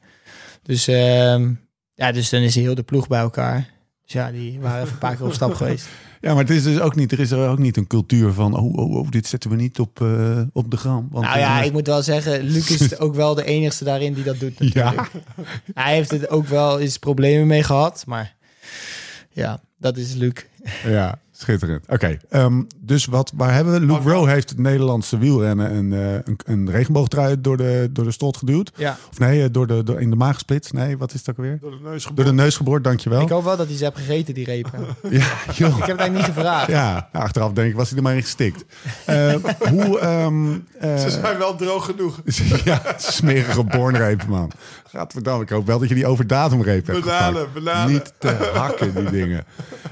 S4: Dus, ehm, ja, dus dan is heel de ploeg bij elkaar. Dus ja, die waren even een paar keer op
S3: <laughs>
S4: stap geweest.
S1: ja, maar het is dus ook niet, er is er ook niet een cultuur van, oh, oh, oh dit zetten we niet op, eh, op de gram. Want,
S4: Nou ja,
S1: eh,
S4: ik moet wel zeggen, Luc
S3: <laughs>
S4: is ook wel de enigste daarin die dat doet.
S1: <laughs> Ja.
S4: Natuurlijk. Hij heeft het ook wel eens problemen mee gehad, maar ja, dat is Luc.
S1: ja, schitterend. Oké, ehm, dus wat, waar hebben we?
S4: Oh,
S1: Luke Rowe heeft het Nederlandse wielrennen een, eh, een, een regenboogtrui door de, door de strot geduwd.
S4: Ja.
S1: Of nee, eh, door de, door, in de maag gesplitst. Nee, wat is het ook weer?
S3: Door de neus
S1: Door de neus geboord, dankjewel.
S4: Ik
S3: Oh.
S4: hoop wel dat hij ze hebt gegeten, die repen.
S1: Ja, joh.
S4: Ik heb het eigenlijk niet gevraagd.
S1: Ja, nou, achteraf denk ik, was hij er maar in
S4: <laughs>
S1: gestikt. Eh, hoe... ehm, eh,
S3: Ze zijn wel droog genoeg.
S1: <laughs> ja, smerige bornreep, man. Gadverdamme, ik hoop wel dat je die over datumreep hebt
S3: Bananen,
S1: gepakt.
S3: bananen.
S1: Niet te hakken, die dingen.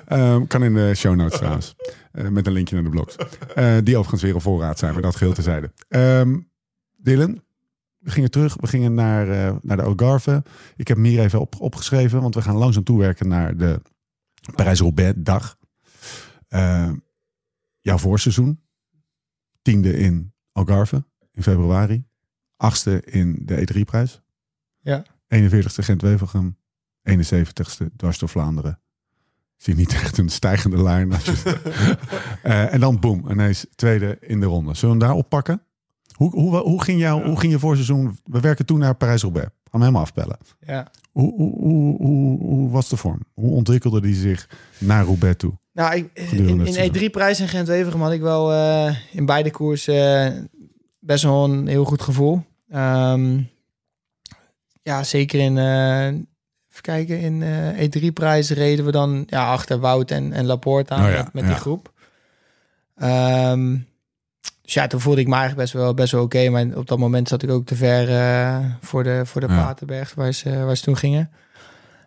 S1: Ehm, kan in de show notes trouwens. Eh, met een linkje naar de blogs. Eh, die overigens weer een voorraad zijn, maar dat geheel terzijde. Ehm Dylan, we gingen terug. We gingen naar, eh, naar de Algarve. Ik heb hem hier even op, opgeschreven, want we gaan langzaam toewerken naar de Parijs-Roubaix-dag. Eh, jouw voorseizoen. Tiende in Algarve in februari. Achtste in de E E3-prijs.
S4: Ja.
S1: 41ste Gent-Wevelgem. 71ste dwars door Vlaanderen. Ik zie niet echt een stijgende
S4: <laughs>
S1: lijn. <laughs> Als je... Eh, en dan boem, ineens tweede in de ronde. Zullen we hem daar oppakken? Hoe, hoe, hoe, ging jou, hoe ging je voorseizoen? We werken toen naar Parijs-Roubaix. Gaan we hem afbellen.
S4: Ja.
S1: Hoe, hoe, hoe, hoe, hoe was de vorm? Hoe ontwikkelde die zich naar Roubaix toe?
S4: Nou, ik, in,
S1: Gedurende het
S4: in E3-prijs en Gent-Wevergem had ik wel eh, in beide koersen eh, best wel een heel goed gevoel. Ehm, ja, zeker in... eh, even kijken, in eh, E3-prijs reden we dan ja, achter Wout en, en Laporte aan
S1: Oh ja,
S4: met, met
S1: ja.
S4: die groep. Ehm, dus ja, toen voelde ik me eigenlijk best wel, best wel oké. maar op dat moment zat ik ook te ver eh, voor de, voor de
S1: Ja.
S4: Paterberg waar ze, waar ze toen gingen.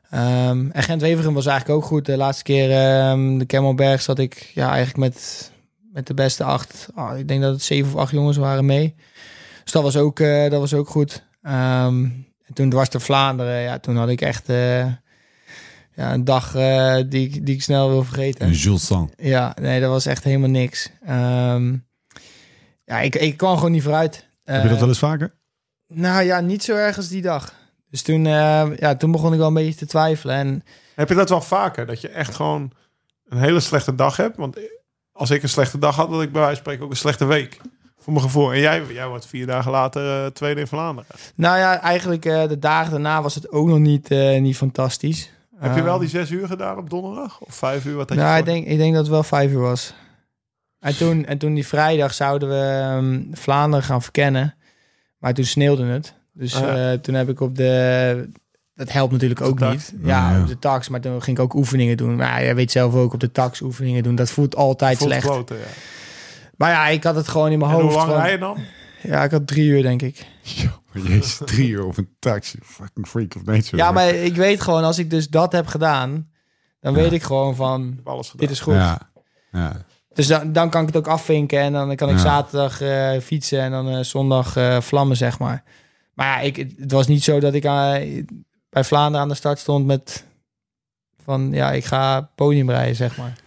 S4: Ehm, en Gent-Wevergem was eigenlijk ook goed. De laatste keer ehm, de Kemmelberg zat ik ja, eigenlijk met, met de beste acht. ah, ik denk dat het zeven of acht jongens waren mee. Dus dat was ook, eh, dat was ook goed. Ehm, en toen dwars de Vlaanderen. Ja, toen had ik echt eh, ja, een dag eh, die, ik- die ik snel wil vergeten.
S1: En Jules Sang.
S4: Ja, nee, dat was echt helemaal niks. Ehm, ja, ik, ik kwam gewoon niet vooruit.
S1: Heb je dat
S4: Eh,
S1: wel eens <laughs> vaker?
S4: Nou ja, niet zo erg als die dag. Dus toen, eh, ja, toen begon ik wel een beetje te twijfelen. En
S3: Heb je dat wel vaker? Dat je echt gewoon een hele slechte dag hebt? Want als ik een slechte dag had, had ik bij wijze van spreken ook een slechte week. Voor mijn gevoel. En jij, jij wordt vier dagen later eh, tweede in Vlaanderen.
S4: Nou ja, eigenlijk eh, de dagen daarna was het ook nog niet, eh, niet fantastisch. Ehm,
S3: Heb je wel die zes uur gedaan op donderdag? Of vijf uur? Wat had je
S4: Nou, ik
S3: voor-
S4: denk, ik denk dat het wel vijf uur was. En toen, en toen die vrijdag zouden we ehm, Vlaanderen gaan verkennen. Maar toen sneeuwde het. Dus
S3: Ah, ja.
S4: eh, toen heb ik op de... Dat helpt natuurlijk
S3: Op de
S4: ook
S3: tax?
S4: niet. Ja,
S1: Ja.
S4: op de tax. Maar toen ging ik ook oefeningen doen. Maar jij weet zelf ook, op de tax oefeningen doen. Dat voelt altijd
S3: Voelt
S4: slecht.
S3: kloten, ja.
S4: Maar ja, ik had het gewoon in mijn
S3: En hoe
S4: hoofd.
S3: lang
S4: van-
S3: rij je dan?
S4: Ja, ik had drie uur, denk ik.
S1: Jezus, drie uur of een taxi. Fucking freak of nature.
S4: Ja, maar ik weet gewoon, als ik dus dat heb gedaan... dan
S1: Ja.
S4: weet ik gewoon van,
S3: Ik heb alles gedaan.
S4: dit is goed.
S1: Ja. ja.
S4: Dus dan, dan kan ik het ook afvinken en dan kan ik
S1: Ja.
S4: zaterdag eh, fietsen en dan eh, zondag eh, vlammen, zeg maar. Maar ja, ik, het het was niet zo dat ik eh, bij Vlaanderen aan de start stond met van ja, ik ga podium rijden, zeg maar.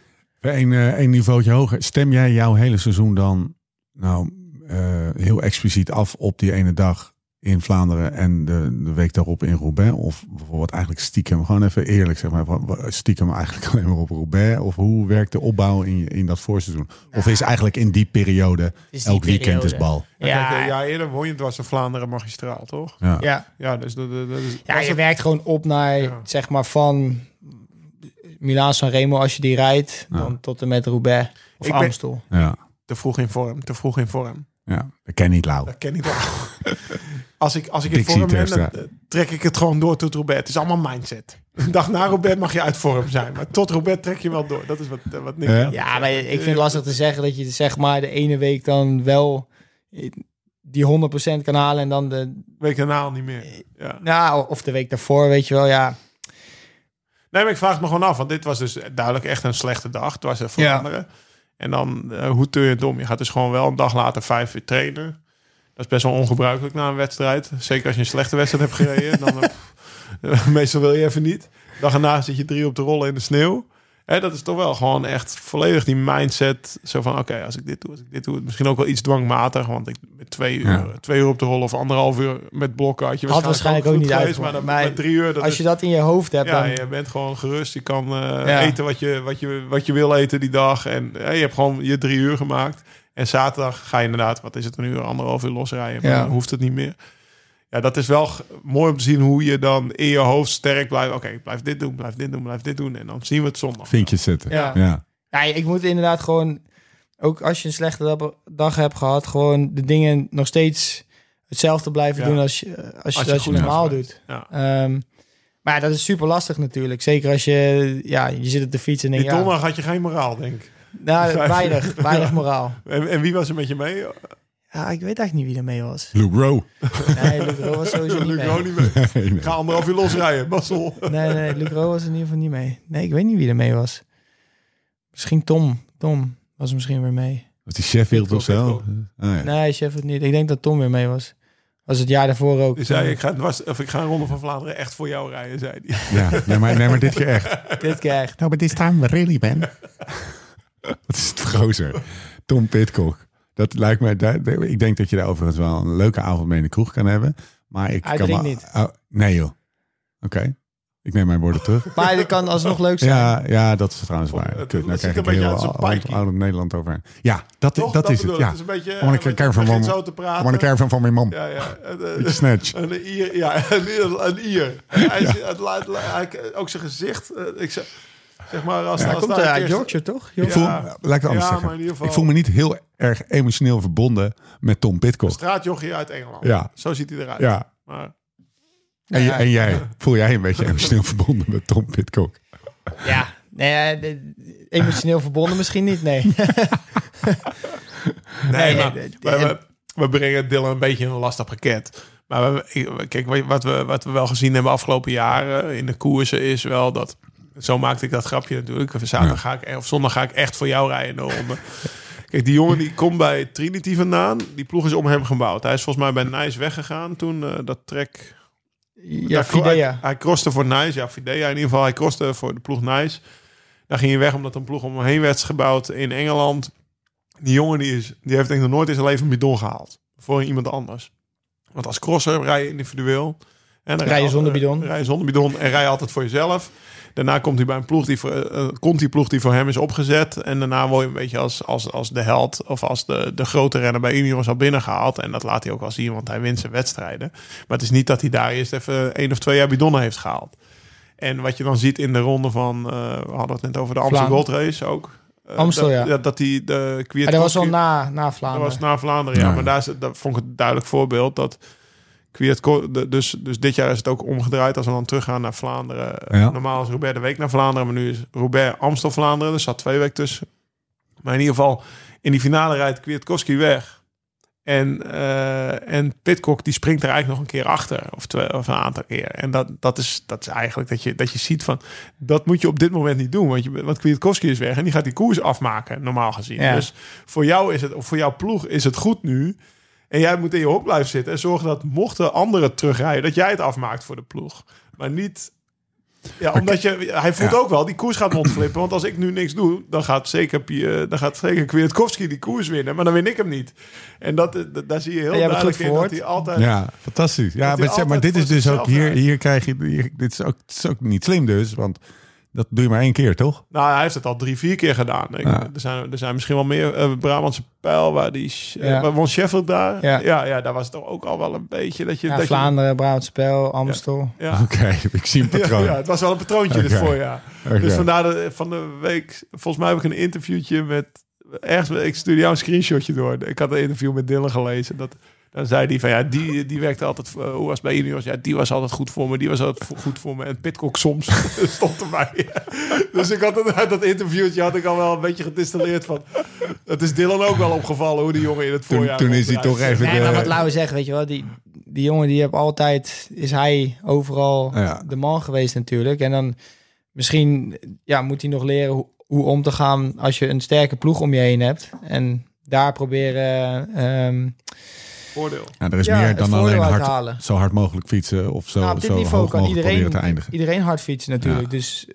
S1: Een, eh een niveautje hoger. Stem jij jouw hele seizoen dan nou, eh, heel expliciet af op die ene dag in Vlaanderen en de, de week daarop in Roubaix? Of bijvoorbeeld eigenlijk stiekem, gewoon even eerlijk zeg maar, wa- wa- stiekem eigenlijk <laughs> alleen maar op Roubaix? Of hoe werkt de opbouw in, je- in dat voorseizoen? Of is eigenlijk in die periode elk weekend is bal?
S3: Ja. Kijk,
S4: Ja,
S3: eh,
S4: ja,
S3: ja, eerder woon je dwars in Vlaanderen magistraal, toch?
S1: Ja.
S4: ja.
S3: Ja, dus dat, dat, dat is... was
S4: je
S3: het-
S4: werkt gewoon op naar,
S3: Ja.
S4: zeg maar, van Milaan San Remo als je die rijdt,
S1: Ja.
S4: dan tot en met Roubaix of
S3: Ik ben-
S4: Amstel.
S1: ja.
S3: Te vroeg in vorm, te vroeg in vorm.
S1: Ja, ik ken niet Lau.
S3: Dat ken ik wel.
S4: <laughs>
S3: als ik, als ik in
S1: Dixie
S3: vorm ben,
S1: Terpstra.
S3: dan eh, trek ik het gewoon door tot Robert. Het is allemaal mindset. Een dag na Robert mag je uit vorm zijn. Maar tot Robert trek je wel door. Dat is wat, eh, wat Nick
S1: Ja.
S3: had.
S4: Ja, maar ik vind het lastig te zeggen dat je zeg maar de ene week dan wel die 100% kan halen en dan de
S3: Week daarna al niet meer. Ja.
S4: nou of de week daarvoor, weet je wel, ja.
S3: Nee, maar ik vraag het me gewoon af. Want dit was dus duidelijk echt een slechte dag. Het was even
S4: Ja.
S3: veranderen. En dan, eh, hoe teur je het om? Je gaat dus gewoon wel een dag later vijf uur trainen. Dat is best wel ongebruikelijk na een wedstrijd. Zeker als je een slechte wedstrijd hebt gereden. Dan, eh, pff, <laughs> meestal wil je even niet. Dag erna zit je drie op de rollen in de sneeuw. Hè, dat is toch wel gewoon echt volledig die mindset. Zo van, oké, als ik dit doe, als ik dit doe. Misschien ook wel iets dwangmatig. Want ik, met twee uur,
S1: Ja.
S3: twee uur op de rollen of anderhalf uur met blokken... Had je
S4: Had waarschijnlijk ook
S3: goed
S4: niet
S3: geweest, Maar,
S4: uitgekomen.
S3: dan,
S4: Maar
S3: met drie uur, dat
S4: Als
S3: is-
S4: je dat in je hoofd hebt,
S3: ja,
S4: dan,
S3: je bent gewoon gerust. Je kan eh,
S4: Ja.
S3: eten wat je, wat, je, wat je wil eten die dag. En eh, je hebt gewoon je drie uur gemaakt. En zaterdag ga je inderdaad, wat is het, een uur, anderhalf uur losrijden. Maar
S4: Ja.
S3: dan hoeft het niet meer. Ja, dat is wel g- mooi om te zien hoe je dan in je hoofd sterk blijft. Oké, ik blijf dit doen, blijf dit doen, blijf dit doen. En dan zien we het zondag.
S1: Vinkjes zetten.
S4: Ja.
S1: Ja.
S4: Ja, ik moet inderdaad gewoon, ook als je een slechte dab- dag hebt gehad, gewoon de dingen nog steeds hetzelfde blijven
S3: Ja.
S4: doen als je, als je, als je,
S3: goed
S4: normaal
S3: bent.
S4: doet.
S3: Ja.
S4: Ehm, maar ja, dat is super lastig natuurlijk. Zeker als je, ja, je zit op de fiets en
S3: Die
S4: denk ja,
S3: donderdag had je geen moraal, denk ik. <laughs>
S4: nou, weinig, weinig moraal.
S3: En, en wie was er met je mee?
S4: Ja, ik weet eigenlijk niet wie er mee was.
S1: Lou Bro.
S4: Nee, Luc Rowe
S3: <laughs>
S4: was sowieso niet
S3: Luc
S4: mee.
S3: gewoon niet mee.
S1: <laughs> Nee, nee.
S3: Ga anderhalf uur losrijden, Basel.
S4: Nee, nee, Luc Rowe was in ieder geval niet mee. Nee, ik weet niet wie er mee was. Misschien Tom. Tom was misschien weer mee.
S1: Was die Sheffield of
S3: Pitcock,
S1: zo? Ah, ja.
S4: Nee, chef het niet. Ik denk dat Tom weer mee was. Was het jaar daarvoor ook.
S3: Die zei, ik ga, dwars- of ik ga een Ronde van Vlaanderen echt voor jou rijden, zei hij.
S1: Ja, nee, maar, nee, maar dit keer echt.
S4: Dit keer echt.
S1: Nou, maar dit staan we really, Ben. <laughs> Wat is het gozer. Tom Pitcock. Dat lijkt mij, daar- ik denk dat je daar overigens wel een leuke avond mee in de kroeg kan hebben. Maar ik
S4: Hij
S1: kan
S4: drinkt
S1: me-
S4: niet.
S1: Oh, nee joh. Oké, ik neem mijn woorden terug.
S3: <laughs>
S4: Maar dat kan alsnog leuk zijn.
S1: Ja, ja, dat is trouwens
S3: Vond-
S1: waar.
S3: Oh, het-
S1: Kut, nou
S3: het ziet
S1: krijg
S3: er
S1: ik
S3: een beetje
S1: heel
S3: uit als een
S1: oud-
S3: pikkie.
S1: oud Nederland over. Ja, dat,
S3: Toch?
S1: dat, is
S3: bedoel
S1: het.
S3: ik.
S1: Ja.
S3: Het is een beetje...
S1: Kom maar een keer
S3: eh,
S1: kijken van
S3: begint
S1: mama.
S3: zo te praten.
S1: Maar de caravan van mijn mam.
S3: Ja, ja. Eh, eh,
S1: Beetje snatch.
S3: Een ier, ja, een ier. Een ier. Hij, is- het laat- hij- ook zijn gezicht. eh, Ik zeg, zeg maar, als,
S4: Hij
S3: als
S4: komt
S3: daar
S4: eh,
S3: een
S4: uit
S3: keer-
S4: Yorkshire, toch?
S1: Ik
S4: Yorkshire.
S1: voel,
S3: Ja.
S1: laat ik het anders
S3: Ja,
S1: zeggen.
S3: maar in ieder geval-
S1: Ik voel me niet heel erg emotioneel verbonden met Tom Pitcock.
S3: straatjochie uit Engeland.
S1: Ja.
S3: Zo ziet hij eruit.
S1: Ja,
S3: Maar,
S1: En, j- en jij, voel jij een beetje emotioneel verbonden met Tom Pitcock?
S4: Ja. Nee, eh, de- emotioneel verbonden misschien niet, nee.
S3: nee, <laughs>
S4: Nee,
S3: maar we,
S4: eh,
S3: we, we brengen Dylan een beetje in een lastig pakket. Maar we, kijk, wat we, wat we wel gezien hebben afgelopen jaren in de koersen is wel dat... Zo maakte ik dat grapje natuurlijk. Zaterdag ga ik, eh, of zondag ga ik echt voor jou rijden in de ronde. <laughs> Kijk, die jongen die komt bij Trinity vandaan. Die ploeg is om hem gebouwd. Hij is volgens mij bij Nice weggegaan toen eh, dat trek...
S4: Ja,
S3: Daar- Hij,
S4: Fidea.
S3: hij crosste voor Nice. Ja, Fidea in ieder geval. Hij crosste voor de ploeg Nice. Daar ging hij weg omdat een ploeg om hem heen werd gebouwd in Engeland. Die jongen die, is, die heeft denk ik nog nooit in zijn leven een bidon gehaald. Voor iemand anders. Want als crosser rij je individueel. En dan
S4: Rij je zonder
S3: eh,
S4: bidon.
S3: Rij je zonder bidon en rij je altijd voor jezelf. Daarna komt hij bij een ploeg die voor, eh, komt die ploeg die voor hem is opgezet. En daarna word je een beetje als, als, als de held of als de, de grote renner bij juniors al binnengehaald. En dat laat hij ook wel zien, want hij wint zijn wedstrijden. Maar het is niet dat hij daar eerst even één of twee jaar bidonnen heeft gehaald. En wat je dan ziet in de ronde van, eh, we hadden het net over de Amstel
S4: Vlaanderen.
S3: Gold Race ook. Eh,
S4: Amstel,
S3: dat,
S4: ja.
S3: Dat, dat die de
S4: Maar dat was wel na, na
S3: Dat
S4: Vlaanderen.
S3: was na Vlaanderen, ja.
S1: Ja.
S3: Maar daar, is het- daar vond ik het een duidelijk voorbeeld dat Kwiatkowski... de- Dus, dus dit jaar is het ook omgedraaid als we dan teruggaan naar Vlaanderen. eh,
S1: Ja.
S3: Normaal is Robert de week naar Vlaanderen, maar nu is Robert Amstel-Vlaanderen. Er zat twee weken tussen. Maar in ieder geval, in die finale rijdt Kwiatkowski weg. En, eh en Pitcock die springt er eigenlijk nog een keer achter. Of, twee, of een aantal keer. En dat, dat, is, dat is eigenlijk dat je, dat je ziet van... Dat moet je op dit moment niet doen. Want, je, want Kwiatkowski is weg en die gaat die koers afmaken, normaal gezien.
S4: Ja.
S3: Dus voor jou is het, of voor jouw ploeg is het goed nu. En jij moet in je hok blijven zitten. En zorgen dat mochten anderen terugrijden, dat jij het afmaakt voor de ploeg. Maar niet. Ja, omdat je, hij voelt
S1: Ja.
S3: ook wel, die koers gaat me ontglippen. Want als ik nu niks doe, dan gaat zeker, Pie- eh, dan gaat zeker Kwiatkowski die koers winnen. Maar dan win ik hem niet. En dat, dat- daar zie je heel
S4: En jij hebt het
S3: duidelijk
S4: goed
S3: in dat
S4: verwoord.
S3: hij altijd...
S1: Ja, fantastisch. Ja,
S3: Dat hij
S1: maar, zeg, maar
S3: altijd
S1: dit is
S3: voor
S1: dus ook
S3: zichzelf
S1: hier,
S3: rijdt.
S1: hier krijg je. hier- dit is ook, het is ook niet slim, dus. Want dat doe je maar één keer, <laughs> toch?
S3: Nou, hij heeft het al drie, vier keer gedaan. Ik-
S1: Ja.
S3: er, zijn, er zijn misschien wel meer eh, Brabantse pijl waar die... eh,
S4: Ja.
S3: waar won Sheffield daar?
S4: Ja.
S3: Ja. Ja, daar was het toch ook al wel een beetje dat je...
S4: Ja,
S3: dat je-
S4: Vlaanderen, Brabant Spel, Amstel.
S3: ja.
S1: Ah, Oké, ik <laughs> zie een
S3: Ja,
S1: patroon.
S3: ja, het was wel een patroontje dit
S1: Oké.
S3: voorjaar.
S1: Oké.
S3: Dus vandaar de, van de week, volgens mij heb ik een interviewtje met ergens. Ik stuurde jou een screenshotje door. Ik had een interview met Dylan gelezen. Dat, dan zei hij van ja, die, die werkte altijd. eh, Hoe was het bij juniors? Ja, die was altijd goed voor me. Die was altijd vo- goed voor me. En Pitcock soms <laughs> stond erbij. <laughs> dus ik had het, uit dat interviewtje had ik al wel een beetje gedistilleerd van. Het is Dylan ook wel opgevallen hoe die jongen in het
S1: Toen-
S3: voorjaar.
S1: toen is hij
S3: opdraait.
S1: toch even-
S4: Nee, maar
S1: de-
S4: wat Lauwe zegt, weet je wel, die, die jongen die heb altijd, is hij overal
S1: Ja.
S4: de man geweest natuurlijk. En dan misschien ja, moet hij nog leren hoe, hoe om te gaan als je een sterke ploeg om je heen hebt. En daar proberen ehm,
S3: Voordeel.
S1: Ja, Nou, er is
S4: ja,
S1: meer
S4: het
S1: dan
S4: voordeel
S1: alleen
S4: uit te
S1: hard,
S4: halen.
S1: zo hard mogelijk fietsen of zo,
S4: nou, op dit
S1: zo
S4: niveau
S1: hoog
S4: kan
S1: mogelijk proberen te
S4: iedereen,
S1: eindigen.
S4: iedereen hard fietsen natuurlijk.
S1: Ja.
S4: Dus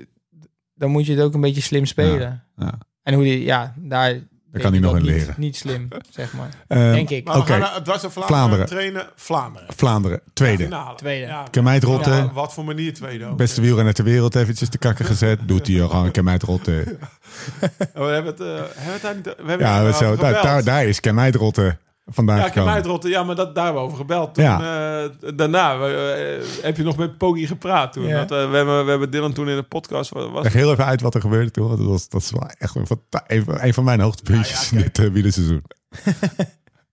S4: dan moet je het ook een beetje slim spelen.
S1: ja.
S4: En hoe die, ja, daar denk
S1: kan hij
S4: ik
S1: nog
S4: dat
S1: in
S4: niet-
S1: leren.
S4: Niet
S1: <laughs>
S4: slim, zeg maar.
S1: Ehm,
S4: Denk ik.
S3: Maar we
S1: Oké.
S3: gaan naar het was Vlaanderen
S1: Vlaanderen.
S3: trainen. Vlaanderen.
S1: Vlaanderen, tweede.
S3: Finale.
S4: Tweede.
S3: Ja,
S1: Kan mij het rotten.
S3: Ja, wat voor manier tweede ook.
S1: Beste wielrenner ter wereld eventjes te kakken gezet. Doet hij gewoon een keer mij het rotten.
S3: We hebben het, eh, hebben we het daar niet we hebben het
S1: Ja,
S3: daar
S1: dat
S3: over
S1: zo, daar,
S3: gebeld.
S1: daar, daar is Kemijt rotten vandaan
S3: ja, ik heb
S1: gekomen.
S3: mij het rotten. Ja, maar dat, daar hebben we over gebeld. Toen, eh, daarna eh, heb je nog met Pogi gepraat toen.
S4: Ja.
S3: Dat, eh, we, hebben, we hebben Dylan toen in de podcast. wa- Was,
S1: Leg heel even uit wat er gebeurde toen. want Dat, was, dat is wel echt een, fanta- een van- een van mijn hoogtepuntjes
S3: Nou ja, kijk.
S1: in dit eh, wielerseizoen.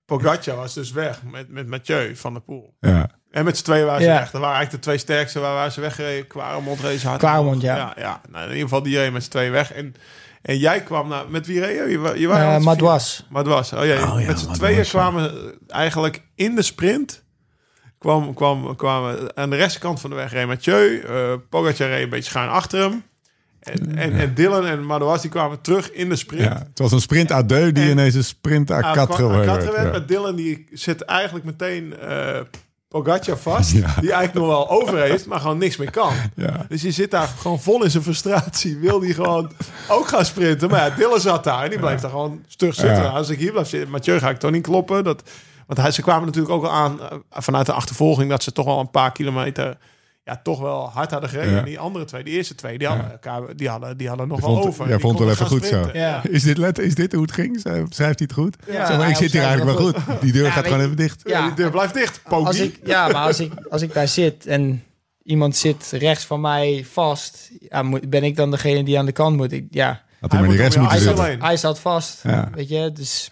S3: Pogacar was dus weg met, met Mathieu van der Poel.
S1: Ja.
S3: En met z'n tweeën waren ze
S4: Ja.
S3: weg. Dat waren eigenlijk de twee sterkste waar waren ze weggereden. Quaremont race hard.
S4: Quaremont, ja.
S3: ja, Nou, in ieder geval die reden met z'n tweeën weg. En, en jij kwam naar... Met wie reed je? je? wa- je waren
S4: Eh
S3: met z'n vier-
S4: Madouas.
S3: Madouas. Oh, ja,
S1: Oh ja,
S3: met z'n
S1: Madouas,
S3: tweeën
S1: ja.
S3: kwamen ze eigenlijk in de sprint. Kwam, kwam, kwamen aan de rechterkant van de weg reed Mathieu. eh Pogacar reed een beetje schuin achter hem. En, en, en Dylan en Madouas die kwamen terug in de sprint.
S1: Ja. Het was een sprint à deux die
S3: En-
S1: ineens een sprint à
S3: Aan
S1: quatre
S3: Ah, kwa- aan
S1: werd.
S3: Quatre werd,
S1: Ja.
S3: Maar Dylan die zit eigenlijk meteen eh Pogacar
S1: <laughs>
S3: vast.
S1: Ja.
S3: Die eigenlijk nog wel over heeft, maar gewoon niks meer kan.
S1: Ja.
S3: Dus je zit daar gewoon vol in zijn frustratie. Wil die gewoon ook gaan sprinten. Maar ja, Dylan zat daar en die blijft daar gewoon stug zitten.
S1: Ja.
S3: Als ik hier blijf zitten, Mathieu ga ik toch niet kloppen. Dat, want hij, ze kwamen natuurlijk ook al aan eh, vanuit de achtervolging... dat ze toch wel een paar kilometer... Ja, toch wel hard hadden gereden.
S1: Ja.
S3: En die andere twee, die eerste twee, die hadden, elkaar, die hadden, die hadden nog
S1: Ik
S3: wel
S1: vond-
S3: over.
S1: jij
S3: Die
S1: vond het wel
S3: konden
S1: even
S3: gaan
S1: goed zo.
S3: sprinten.
S4: Ja.
S1: Is dit, let, is dit hoe het ging? Schrijft hij het goed?
S4: Ja,
S1: zeg maar,
S4: hij
S1: ik zit hier
S4: omschrijft
S1: eigenlijk
S4: dat
S1: wel goed. Die deur
S4: Ja,
S1: gaat
S4: weet
S1: gewoon
S4: je-
S1: even dicht.
S3: Ja.
S4: Ja.
S3: die deur blijft dicht, Pogi.
S4: Als ik, ja, maar als ik, als ik daar zit en iemand zit rechts van mij vast, ja, moet- ben ik dan degene die aan de kant moet. Ik, ja,
S1: Had hij maar die
S3: moet
S1: rechts
S3: op je
S1: moeten
S4: hij,
S3: Is
S4: zat,
S1: zitten.
S3: alleen.
S4: hij zat vast.
S1: Ja.
S4: Weet je, dus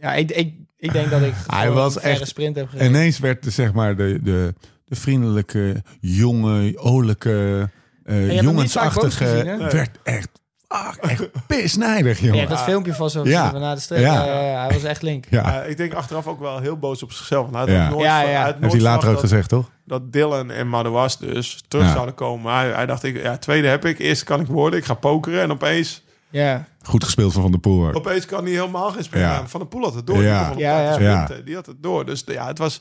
S4: ja, ik, ik, ik denk
S1: <laughs>
S4: dat ik gewoon
S1: was
S4: een verre
S1: echt-
S4: sprint heb
S1: En
S4: gereden.
S1: ineens werd de, zeg maar, de, de, de vriendelijke, jonge, olijke, eh,
S4: hebt hem niet
S1: jongensachtige...
S4: vaak boos gezien, hè?
S1: werd echt, ah, echt <laughs> pisnijdig,
S4: Ja,
S1: jongen.
S4: je hebt dat filmpje vast wel
S1: Ja.
S4: gezien van na de streep.
S1: Ja.
S4: Ja. ja, ja, hij was echt link.
S1: Ja.
S3: Ja, ik denk achteraf ook wel heel boos op zichzelf. Want hij had
S1: Ja.
S3: ook nooit,
S4: Ja,
S3: hij
S4: ja.
S3: had
S4: Heeft
S1: Heeft
S3: nooit
S1: hij later ook gezegd,
S3: verwacht dat,
S1: toch?
S3: dat Dylan en Madouas dus terug
S1: Ja.
S3: zouden komen. Hij, hij dacht, ik, ja, tweede heb ik, eerste kan ik worden, ik ga pokeren. En opeens,
S4: Ja,
S1: Goed gespeeld van Van der Poel. ook.
S3: opeens kan hij helemaal geen springen.
S1: Ja.
S3: Van de Poel had het
S1: Ja.
S3: door. Die, kon wel op
S4: Ja,
S3: elkaar te
S1: ja.
S3: sprinten. die had het door. Dus ja, het was,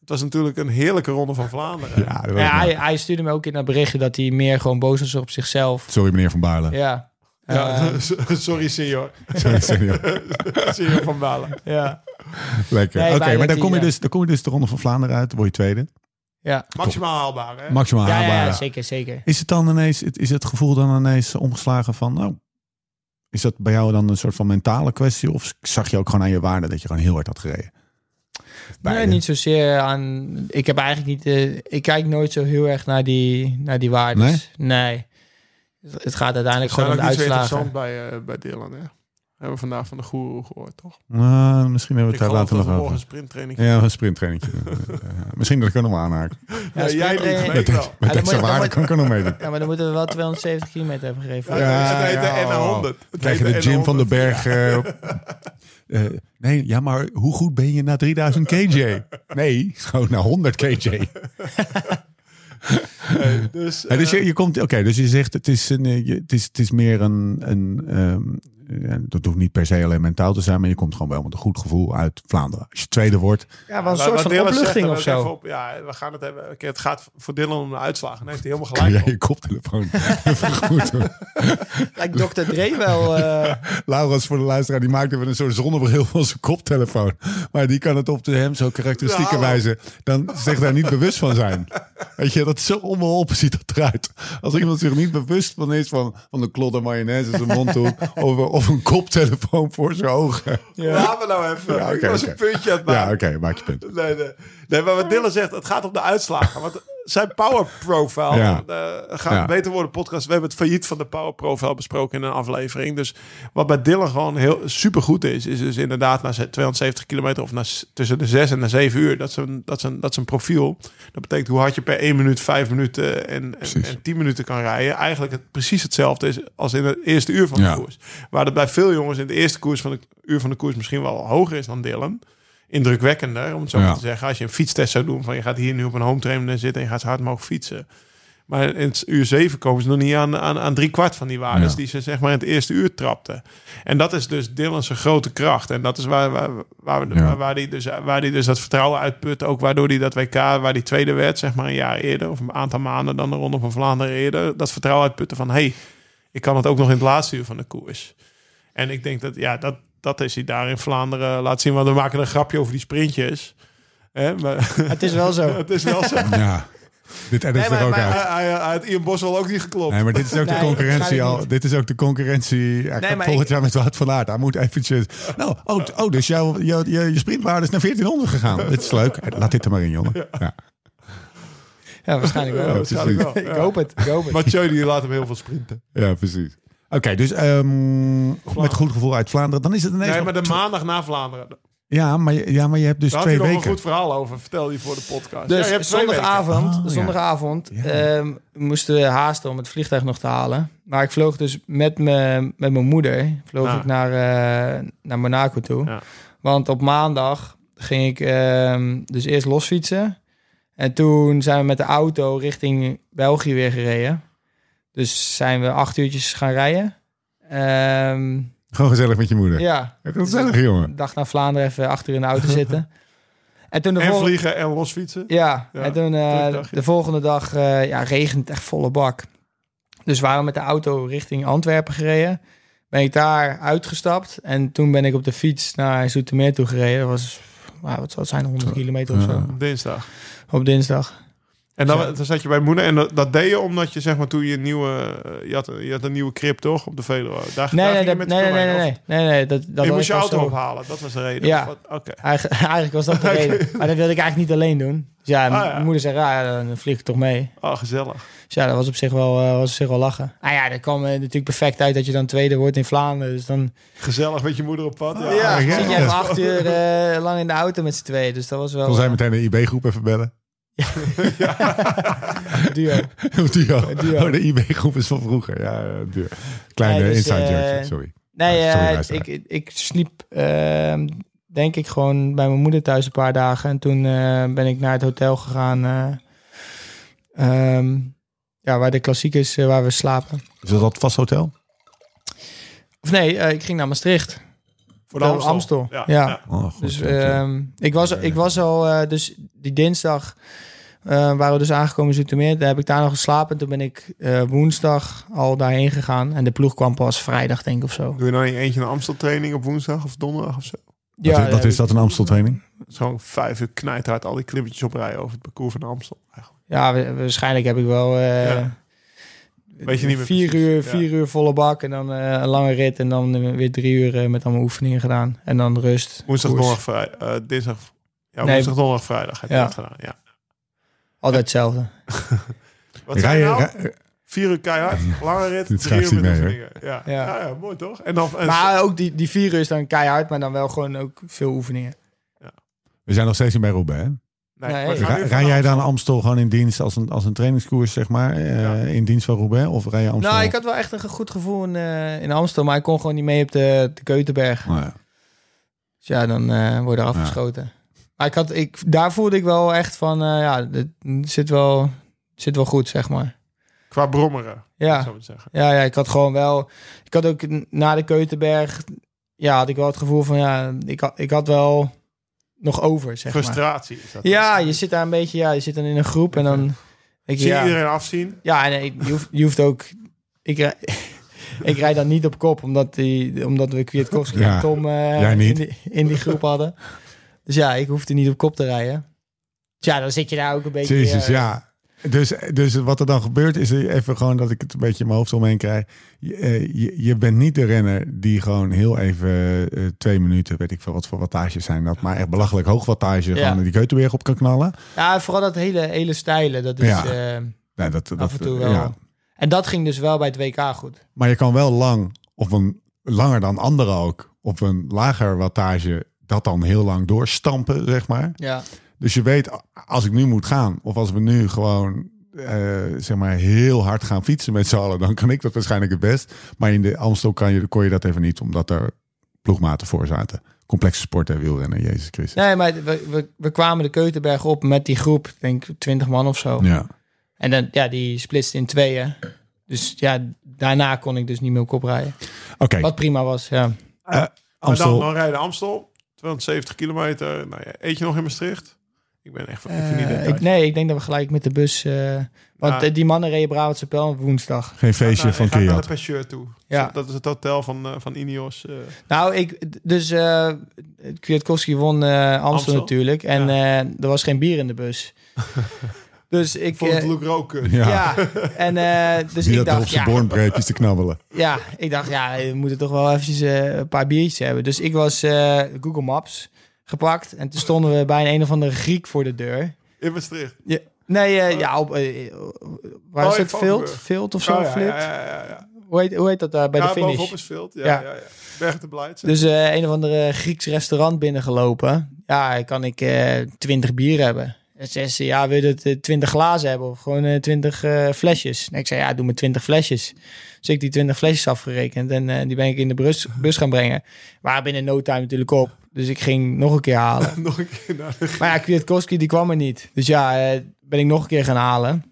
S3: het was natuurlijk een heerlijke ronde van Vlaanderen.
S1: Ja, dat was
S4: ja
S1: mooi.
S4: hij, hij stuurde me ook in dat berichtje dat hij meer gewoon boos was op zichzelf.
S1: Sorry, meneer Van Baarle.
S4: Ja.
S3: Ja, <laughs>
S4: Eh,
S3: sorry, <laughs> senior.
S1: <laughs> Sorry, senior.
S3: Senior van Balen.
S4: ja.
S1: Lekker.
S4: Nee,
S1: Oké,
S4: bijna
S1: maar dan
S4: die,
S1: kom, je
S4: ja.
S1: dus, dan kom je dus de Ronde van Vlaanderen uit. Word je tweede.
S4: Ja.
S3: Maximaal haalbaar, hè?
S1: Maximaal
S4: Ja, ja,
S1: haalbaar.
S4: ja, zeker, zeker.
S1: Is het dan ineens, is het gevoel dan ineens omgeslagen van, nou, is dat bij jou dan een soort van mentale kwestie? Of zag je ook gewoon aan je waarde dat je gewoon heel hard had gereden? Beide.
S4: Nee, niet zozeer aan. Ik heb eigenlijk niet. eh, ik kijk nooit zo heel erg naar die, naar die waardes. Nee. Het het gaat uiteindelijk gewoon om de
S3: Waarschijnlijk niet zo
S4: uitslagen.
S3: interessant bij, eh bij Dylan, hè? Hebben we vandaag van de goeroe gehoord, toch?
S1: Nou, misschien hebben
S3: Ik
S1: we het
S3: geloof
S1: daar later
S3: dat
S1: nog
S3: we morgen
S1: over.
S3: een sprinttraining
S1: Ja, een sprinttraining. <laughs> misschien dat ik er nog aanhaken.
S4: Ja,
S3: Ja, jij niet,
S4: sprinttraining.
S3: maar ik wel.
S4: Ja,
S1: Met
S4: dan moet
S1: deze
S4: je- dan
S1: waarde
S4: moet-
S1: kan ik er nog meedoen.
S4: Ja, maar dan moeten we wel 270 kilometer hebben gegeven.
S3: Ja,
S1: Ja,
S3: het heet
S1: ja,
S3: de
S1: oh.
S3: NA100. Het
S1: Krijg je
S3: heet
S1: de Jim van den
S3: NA100.
S1: Berg. <laughs> eh, eh, nee, ja, maar hoe goed ben je na 3000 kj? Nee, gewoon na 100 <laughs> kj.
S3: Nee, Dus,
S1: Ja, dus
S3: eh,
S1: je, je komt, oké, dus je zegt het is, een, eh, je- het is, het is meer een, een ehm, ja, dat hoeft niet per se alleen mentaal te zijn, maar je komt gewoon wel met een goed gevoel uit Vlaanderen. Als je tweede wordt,
S4: Ja, wel een
S3: Wat-
S4: soort
S3: wat
S4: van
S3: Dylan zegt,
S4: opluchting
S3: daar
S4: of
S3: wil ik
S4: zo.
S3: even op- ja, we gaan het hebben. Oké, het gaat voor Dylan om de uitslagen. Nee, heeft hij helemaal
S1: kan
S3: gelijk.
S1: jij
S3: op.
S1: je koptelefoon <laughs> even goed doen.
S4: Lijkt Dr. Dre wel.
S3: <laughs>
S4: eh,
S1: Laurens voor de luisteraar, die maakte weer een soort zonnebril van zijn koptelefoon. Maar die kan het op de hem zo karakteristieke
S3: Nou.
S1: wijze dan zich daar niet bewust van zijn. Weet je, dat is zo onbeholpen ziet dat eruit. Als iemand zich niet bewust van is van, van de klodder mayonaise in zijn mondhoek of, of een koptelefoon voor zijn ogen.
S3: Laten we nou even.
S1: Ja, oké,
S3: ik was
S1: oké.
S3: een puntje aan het
S1: Ja,
S3: maken.
S1: oké, maak je punt.
S3: Nee, nee. nee, maar wat Dylan zegt, het gaat om de uitslagen. Want zijn power profile,
S1: Ja.
S3: eh, gaat
S1: Ja.
S3: beter worden podcast. We hebben het failliet van de power profile besproken in een aflevering. Dus wat bij Dylan gewoon heel supergoed is, is dus inderdaad na 270 kilometer of na, s- tussen de 6 en de 7 uur. Dat is, een, dat, is een, dat is een profiel. Dat betekent hoe hard je per 1 minuut, 5 minuten en, en,
S1: Precies.
S3: en 10 minuten kan rijden. Eigenlijk het, precies hetzelfde is als in het eerste uur van
S1: Ja.
S3: de koers. Waar dat bij veel jongens in de eerste koers van de, uur van de koers misschien wel hoger is dan Dylan indrukwekkender, om het zo
S1: Ja.
S3: maar te zeggen. Als je een fietstest zou doen, van je gaat hier nu op een home trainer zitten en je gaat zo hard mogelijk fietsen. Maar in het uur 7 komen ze nog niet aan, aan, aan drie kwart van die waardes
S1: Ja.
S3: die ze zeg maar in het eerste uur trapten. En dat is dus Dylan zijn grote kracht. En dat is waar, waar, waar,
S1: Ja.
S3: waar, waar hij dus, waar die dus dat vertrouwen uitput. Ook waardoor hij dat WK, waar die tweede werd, zeg maar een jaar eerder, of een aantal maanden dan de Ronde van Vlaanderen eerder, dat vertrouwen uitputten van hey, ik kan het ook nog in het laatste uur van de koers. En ik denk dat, ja, dat, dat is hij daar in Vlaanderen laat zien. Want we maken een grapje over die sprintjes. Hè, maar <laughs>
S4: het is wel zo.
S3: het is wel zo.
S1: <laughs> Ja, dit edit
S3: Nee,
S1: er
S3: maar,
S1: ook
S3: maar
S1: uit.
S3: hij, hij- hij had Ian Boswell ook niet geklopt.
S1: Nee, maar dit is ook
S4: Nee,
S1: de concurrentie
S4: waarschijnlijk
S1: al.
S4: niet.
S1: Dit is ook de concurrentie. Hij gaat
S4: maar
S1: volgend
S4: ik-
S1: jaar met Wout van Aert. Hij moet eventjes... Nou, oh, t- oh dus jouw jouw je, je sprintwaarde is naar 1400 gegaan. dit is leuk. Eh, Laat dit er maar in, jongen. Ja.
S4: Ja, waarschijnlijk
S3: Ja,
S4: wel.
S3: waarschijnlijk wel.
S4: Ik hoop het. Ik hoop het.
S3: Mathieu die laat hem heel veel sprinten.
S1: Ja, precies. Oké, dus ehm, met goed gevoel uit Vlaanderen. Dan is het ineens...
S3: Nee,
S1: nog
S3: maar de
S1: tw-
S3: maandag na Vlaanderen. Daar
S1: ja, maar, je- ja, maar je hebt dus
S3: had hij
S1: twee
S3: nog een
S1: weken.
S3: goed verhaal over. Vertel je voor de podcast. Ja,
S4: Dus
S3: je hebt twee
S4: zondagavond,
S1: Oh, ja.
S4: zondagavond
S1: Ja.
S4: ehm, moesten we haasten om het vliegtuig nog te halen. Maar ik vloog dus met, me, met mijn moeder vloog
S3: Ah.
S4: ik naar, eh, naar Monaco toe.
S3: Ja.
S4: Want op maandag ging ik ehm, dus eerst losfietsen. En toen zijn we met de auto richting België weer gereden. Dus zijn we acht uurtjes gaan rijden. Ehm,
S1: Gewoon gezellig met je moeder.
S4: ja,
S1: Gezellig, jongen.
S4: een dag naar Vlaanderen even achter in de
S3: <laughs>
S4: auto zitten. En toen de
S3: weken. En
S4: volgende-
S3: vliegen en losfietsen.
S4: ja,
S3: Ja,
S4: en toen eh,
S3: terugdagje.
S4: de volgende dag eh, ja, regent het echt volle bak. Dus waren we met de auto richting Antwerpen gereden. Ben ik daar uitgestapt en toen ben ik op de fiets naar Zoetermeer toe gereden. Dat was, nou, wat zou het zijn, 100 kilometer of zo,
S1: Ja.
S3: Dinsdag.
S4: op dinsdag.
S3: En dan,
S4: Ja.
S3: dan zat je bij moeder. En dat, dat deed je omdat je zeg maar toen je een nieuwe... eh, Je had, een- je had een nieuwe crib toch? Op de Veluwe. Daar, daar
S4: Nee,
S3: ging
S4: nee,
S3: je
S4: dat- nee,
S3: met de
S4: nee,
S3: fiets
S4: nee,
S3: heen, of-
S4: nee, nee, nee, dat, dat
S3: je
S4: was
S3: moest je
S4: pas
S3: auto
S4: zo.
S3: ophalen. Dat was de reden.
S4: Ja.
S3: Of wat? Oké.
S4: Eigen- <laughs> eigenlijk was
S3: <laughs>
S4: dat de reden. Maar dat wilde ik eigenlijk niet alleen doen. Dus ja,
S3: Ah, ja.
S4: mijn moeder zei, ja, dan vlieg ik toch mee.
S3: Oh, gezellig.
S4: Dus ja, dat was op zich wel, eh, was op zich wel lachen. Ah ja, dat kwam eh, natuurlijk perfect uit dat je dan tweede wordt in Vlaanderen. Dus dan
S3: Gezellig met je moeder op pad. Ja,
S1: Ja, ja.
S4: zit je even acht uur eh, lang in de auto met z'n tweeën. Dus dat was wel
S1: Dan zijn meteen de IB-groep even bellen. <laughs>
S4: een duo.
S1: duo.
S4: Duo.
S1: Oh, de IB-groep is van vroeger. Ja, ja, duo. Kleine
S4: Nee, dus,
S1: inside
S4: eh,
S1: joke, sorry.
S4: Nee,
S1: Ja, Ah, sorry,
S4: eh,
S1: luisteraar.
S4: ik, ik sliep eh, denk ik gewoon bij mijn moeder thuis een paar dagen. En toen eh, ben ik naar het hotel gegaan eh, ehm, ja, waar de klassiek is eh, waar we slapen.
S1: Is dat dat vast hotel?
S4: Of nee, eh, ik ging naar Maastricht.
S3: Voor
S4: Hotel Amstel, ja.
S1: Oh, goed.
S4: Dus
S1: goed, ja.
S4: ehm, ik, was, ik was al, eh, dus die dinsdag eh, waren we dus aangekomen in Zoetermeer. Daar heb ik daar nog geslapen. Toen ben ik eh, woensdag al daarheen gegaan. En de ploeg kwam pas vrijdag, denk ik, of zo.
S3: Doe je dan in je eentje een Amstel training op woensdag of donderdag of zo?
S1: Wat is-
S4: daar
S1: wat
S4: heb
S1: is
S4: ik-
S1: dat, een Amstel-training?
S3: Het is gewoon vijf uur knijterhard al die klimmetjes oprijden over het parcours van de Amstel. Eigenlijk.
S4: Ja, wa- waarschijnlijk heb ik wel... eh,
S3: Ja. Weet je niet meer
S4: vier
S3: precies,
S4: uur,
S3: ja.
S4: vier uur volle bak en dan eh, een lange rit. En dan eh, weer drie uur eh, met allemaal oefeningen gedaan. En dan rust.
S3: Woensdag,
S4: koers.
S3: donderdag, vrij, eh, dinsdag. Ja, Ja,
S4: Nee.
S3: woensdag, donderdag, vrijdag heb je
S4: Ja.
S3: dat gedaan. Ja.
S4: Altijd hetzelfde.
S3: Wat
S1: Rij
S3: zei je
S1: je,
S3: nou?
S1: rij-
S3: Vier uur keihard, lange rit,
S1: Dit
S3: drie
S1: schrijft
S3: uur met
S1: hij mee,
S3: oefeningen. Ja. Ja.
S4: Ja.
S3: Ja, mooi toch? En dan, en
S4: Maar ook die, die vier uur is dan keihard, maar dan wel gewoon ook veel oefeningen.
S1: we zijn nog steeds in bij Roubaix. hè?
S3: nee,
S4: Nee,
S3: we gaan
S4: ja.
S1: Rij,
S3: nu
S1: rij jij
S3: vanaf-
S1: dan Amstel gewoon in dienst als een, als een trainingskoers, zeg maar? eh,
S3: Ja.
S1: In dienst van Roubaix? Of rij je Amstel?
S4: Nou, ik had wel echt een ge- goed gevoel in, eh, in Amsterdam, maar ik kon gewoon niet mee op de, de Keutenberg.
S1: Nou ja.
S4: Dus ja, dan eh worden er
S1: Ja.
S4: afgeschoten. Maar ik had, ik, daar voelde ik wel echt van, eh, ja, dit zit wel, zit wel goed, zeg maar.
S3: Qua brommeren,
S4: Ja.
S3: zou ik zeggen.
S4: Ja, ja, ik had gewoon wel. Ik had ook n- na de Keutenberg. Ja, had ik wel het gevoel van ja, ik had, ik had wel nog over, zeg maar.
S3: Frustratie is dat.
S4: Ja, je zit daar een beetje, ja, je zit dan in een groep en dan. Ik,
S3: Zie je
S4: ja,
S3: iedereen afzien?
S4: ja en ik- je, hoeft, je hoeft ook. Ik, rij- <laughs> ik rijd dan niet op kop, omdat, die, omdat we Kwiatkowski
S1: Ja,
S4: en Tom eh,
S1: jij niet.
S4: In, die, in die groep hadden. Dus ja, ik hoefde niet op kop te rijden. Dus ja, dan zit je daar ook een beetje.
S1: Jezus,
S4: eh,
S1: ja. Dus, dus wat er dan gebeurt is eh, even gewoon dat ik het een beetje in mijn hoofd omheen krijg. Je, eh, je, je bent niet de renner die gewoon heel even eh, twee minuten, weet ik veel wat voor wattages zijn dat, maar echt belachelijk hoog wattage
S4: Ja.
S1: gewoon die Keutenberg op kan knallen.
S4: Ja, vooral dat hele, hele stijlen. Dat is
S1: Ja.
S4: eh,
S1: Nee, dat, dat,
S4: af en toe
S3: eh,
S4: wel.
S1: ja.
S4: En dat ging dus wel bij het WK goed.
S1: Maar je kan wel lang, of een, langer dan anderen ook, op een lager wattage dat dan heel lang doorstampen, zeg maar.
S4: Ja.
S1: Dus je weet, als ik nu moet gaan, of als we nu gewoon eh, zeg maar heel hard gaan fietsen met z'n allen, dan kan ik dat waarschijnlijk het best. Maar in de Amstel kan je, kon je dat even niet, omdat er ploegmaten voor zaten. Complexe sport en wielrennen, Jezus Christus.
S4: Nee, maar we, we, we kwamen de Keutenberg op met die groep, ik denk 20 man of zo.
S1: Ja.
S4: En dan, ja, die splitst in tweeën. Dus ja, daarna kon ik dus niet meer op kop rijden.
S1: Oké,
S4: Wat prima was, ja.
S1: eh,
S3: Maar dan,
S1: Amstel.
S3: dan rijden Amstel, 270 kilometer. Nou ja, eet je nog in Maastricht? Ik ben echt van even niet
S4: Eh,
S3: details.
S4: ik, nee, ik denk dat we gelijk met de bus... eh, want
S3: Ah.
S4: eh, die mannen reden Brabantse Pijl op woensdag.
S1: Geen
S3: Ga
S1: feestje
S4: eh,
S3: naar-
S1: van
S3: ga naar
S1: Kiat.
S3: de Pêcheur toe.
S4: Ja.
S3: Zo, Dat is het hotel van, eh, van Ineos. eh.
S4: Nou, ik, dus eh Kwiatkowski won eh Amstel,
S3: Amstel?
S4: natuurlijk. En eh, er was geen bier in de
S3: <laughs>
S4: bus. dus ik...
S3: Voor het
S4: eh,
S3: Luke Roken.
S1: Ja,
S4: ja, en eh, dus
S1: die
S4: ik
S1: dat op
S4: dacht,
S1: zijn
S4: ja,
S1: bornbreedjes te knabbelen.
S4: Ja, ik dacht, ja, we moeten toch wel eventjes eh, een paar biertjes hebben. Dus ik was eh, Google Maps gepakt en toen stonden we bij een, een of andere Griek voor de deur.
S3: In Maastricht.
S4: Ja, nee, eh, ja, op, eh, waar
S3: Oh,
S4: is
S3: in
S4: het? Vilt?
S3: Valkenburg.
S4: Vilt of zo?
S3: Oh, ja,
S4: Flit?
S3: ja, ja, ja, ja.
S4: Hoe, heet, hoe heet dat daar bij
S3: ja,
S4: de finish?
S3: bovenop is Vilt. Ja, ja.
S4: Ja.
S3: Ja, Bergen te Blijt.
S4: Dus eh, een of andere Grieks restaurant binnengelopen. Ja, kan ik eh, twintig bier hebben. En zei ze, ja, wil je het twintig glazen hebben of gewoon eh, twintig flesjes? En ik zei, ja, doe me twintig flesjes. Dus ik die twintig flesjes afgerekend en eh, die ben ik in de bus, bus gaan brengen. Maar binnen no time natuurlijk op. Dus ik ging nog een keer
S3: <laughs>
S4: halen.
S3: Nog een keer naar de
S4: Maar ja, Kwiatkowski die kwam er niet. Dus ja, eh, ben ik nog een keer gaan halen.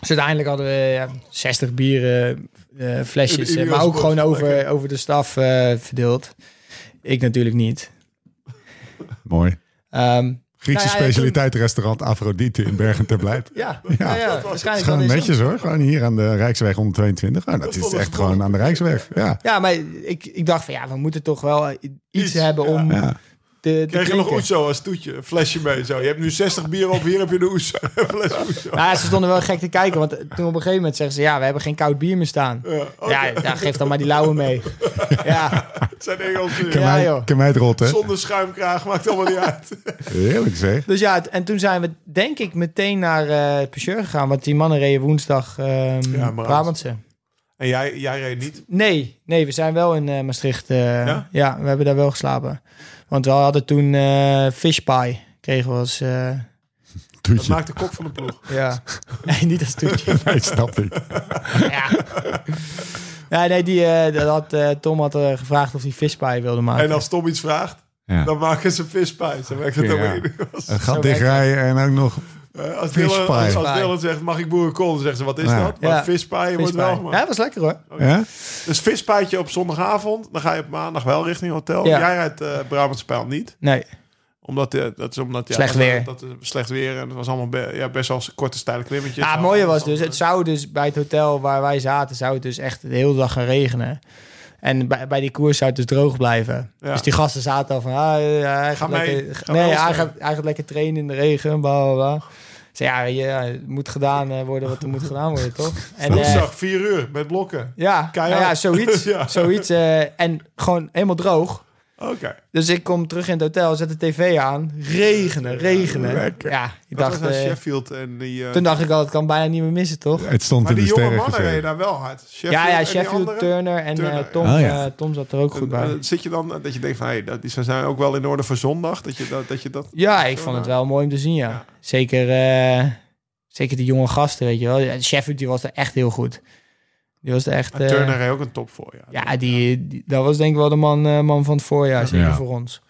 S4: Dus uiteindelijk hadden we ja, 60 bieren, eh,
S3: In de
S4: flesjes. eh,
S3: Ineos
S4: maar ook
S3: bus.
S4: gewoon over,
S3: Lekker.
S4: over de staf eh, verdeeld. Ik natuurlijk niet.
S1: Mooi.
S4: Ehm,
S1: Griekse
S4: Nou ja, ja,
S1: specialiteitsrestaurant Afrodite in Bergen ter Blijt.
S4: ja,
S1: Ja,
S4: ja, ja,
S1: dat Het is
S4: waarschijnlijk
S1: gewoon
S4: wel deze-
S1: netjes hoor. Gewoon hier aan de Rijksweg 122. Nou, dat
S3: Dat
S1: is
S3: stond
S1: echt
S3: het
S1: gewoon aan de Rijksweg. Ja.
S4: Ja, maar ik, ik dacht van ja, we moeten toch wel iets,
S3: Iets,
S4: hebben
S3: ja.
S4: om
S1: ja.
S4: te, te
S3: Krijg je nog
S4: drinken.
S3: Oezo als toetje? Een flesje mee zo. Je hebt nu 60 bier op, hier heb je de Oezo. <laughs> Een flesje Oezo.
S4: Nou, ja, ze stonden wel gek te kijken, want toen op een gegeven moment zeggen ze ja, we hebben geen koud bier meer staan.
S3: Ja, oké.
S4: Ja, daar geef dan maar die lauwe
S3: <laughs>
S4: mee. ja,
S3: Het zijn Engels.
S1: Kan
S4: Ja,
S1: mij-
S4: joh.
S1: Kan mij het rotten.
S3: Zonder schuimkraag, maakt allemaal niet uit.
S1: Heerlijk zeg.
S4: Dus ja, t- en toen zijn we denk ik meteen naar eh Pecheur gegaan. Want die mannen reden woensdag ehm
S3: maar als-
S4: Brabantse.
S3: En jij, jij reed niet.
S4: Nee, nee, we zijn wel in eh, Maastricht. eh,
S3: Ja?
S4: ja? we hebben daar wel geslapen. Want we hadden toen eh fish pie. Kregen we als... eh,
S3: Dat
S1: Toetje.
S3: maakt de kop van de ploeg. <laughs>
S4: ja. nee, niet als toetje.
S1: <laughs> Nee, snap ik.
S4: ja. <laughs> Ja, nee, die, eh, dat had, eh, Tom had eh, gevraagd of hij fish pie wilde maken.
S3: En als Tom iets vraagt,
S1: Ja.
S3: dan maken ze vispijs. Dan werkt het
S1: Ja.
S3: helemaal niet. Als,
S1: Een gat
S4: Zo werkt
S1: dichtrijden en ook nog...
S3: eh, als,
S1: Fish
S3: Dylan,
S1: pie.
S3: als, als
S4: Fish pie.
S3: Dylan zegt, mag ik boerenkool? Dan zeggen ze, wat is
S1: Ja.
S3: dat? Maar
S4: Ja.
S3: vispij
S4: Fish
S3: wordt wel
S4: pie. Ja,
S3: gemaakt.
S4: dat was lekker hoor.
S1: Ja?
S3: Dus vispijtje op zondagavond. Dan ga je op maandag wel richting hotel.
S4: Ja.
S3: Jij rijdt eh Brabantse Pijl niet.
S4: Nee,
S3: Omdat, eh, dat is omdat ja,
S4: Slecht
S3: dat-
S4: weer.
S3: Dat, is slecht weer. En het was allemaal be- ja, best wel korte, steile klimmetjes.
S4: Ja, het mooie was dus, het zou dus bij het hotel waar wij zaten, zou het dus echt de hele dag gaan regenen. En bij, bij die koers zou het dus droog blijven.
S3: Ja.
S4: Dus die gasten zaten al van, ah, eh, hij gaat
S3: mee.
S4: lekker,
S3: Ga
S4: nee,
S3: wel
S4: hij
S3: snel.
S4: gaat, hij gaat lekker trainen in de regen, bla bla bla. Ik zei, ja, ja, het moet gedaan eh, worden wat er moet gedaan worden,
S3: <laughs>
S4: toch? En, eh,
S3: Woensdag, vier uur, met blokken.
S4: ja, nou
S3: Keihard.
S4: ja,
S3: <laughs>
S4: zoiets.
S3: Ja.
S4: zoiets eh, en gewoon helemaal droog.
S3: Oké.
S4: Dus ik kom terug in het hotel, zet de tv aan. Regenen, regenen.
S3: Lekker.
S4: Ja, ik
S3: Dat
S4: dacht,
S3: was naar
S4: eh,
S3: Sheffield en die... eh,
S4: toen dacht ik al, het kan bijna niet meer missen, toch?
S1: Het stond
S3: maar
S1: in
S3: die
S1: de
S3: jonge
S1: sterren
S3: mannen
S1: geschreven.
S3: reden daar wel hard. Sheffield
S4: ja,
S3: en
S4: ja,
S3: die
S4: Sheffield,
S3: anderen.
S4: Turner en eh,
S3: Turner, ja.
S4: Tom,
S1: Oh, ja.
S4: eh, Tom zat er ook goed bij.
S3: En, eh, Zit je dan, eh, dat je denkt van, hé, dat die zijn ook wel in orde voor zondag? Dat je dat... dat, je dat
S4: Ja, ik vond het wel mooi om te zien, ja.
S3: Ja.
S4: Zeker, eh, zeker die jonge gasten, weet je wel. Ja, Sheffield, die was er echt heel goed. Die was er echt...
S3: En
S4: eh,
S3: Turner heeft ook een top voor, ja. Dus
S4: ja, die, die- dat was denk ik wel de man, eh, man van het voorjaar, zeker
S1: Ja.
S4: voor ons.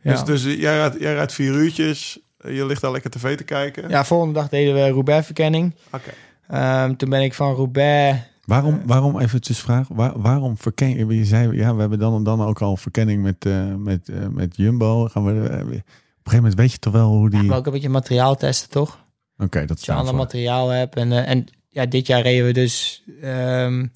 S4: Ja.
S3: Dus, dus eh, jij, rijdt, jij rijdt vier uurtjes. eh, Je ligt daar lekker tv te kijken.
S4: ja, volgende dag deden we Roubaix-verkenning.
S3: Oké.
S4: Ehm, toen ben ik van Roubaix...
S1: Waarom, waarom eventjes vraag, waar, waarom verkenning? Je zei, ja, we hebben dan en dan ook al verkenning met, eh, met, eh, met Jumbo. Gaan we, eh, op een gegeven moment weet je toch wel hoe die...
S4: Ja, maar
S1: Oké,
S4: ook een beetje materiaal testen, toch?
S1: dat
S4: Dat
S1: is
S4: je ander
S1: daarvoor.
S4: materiaal hebt. En, eh, en ja, dit jaar reden we dus ehm,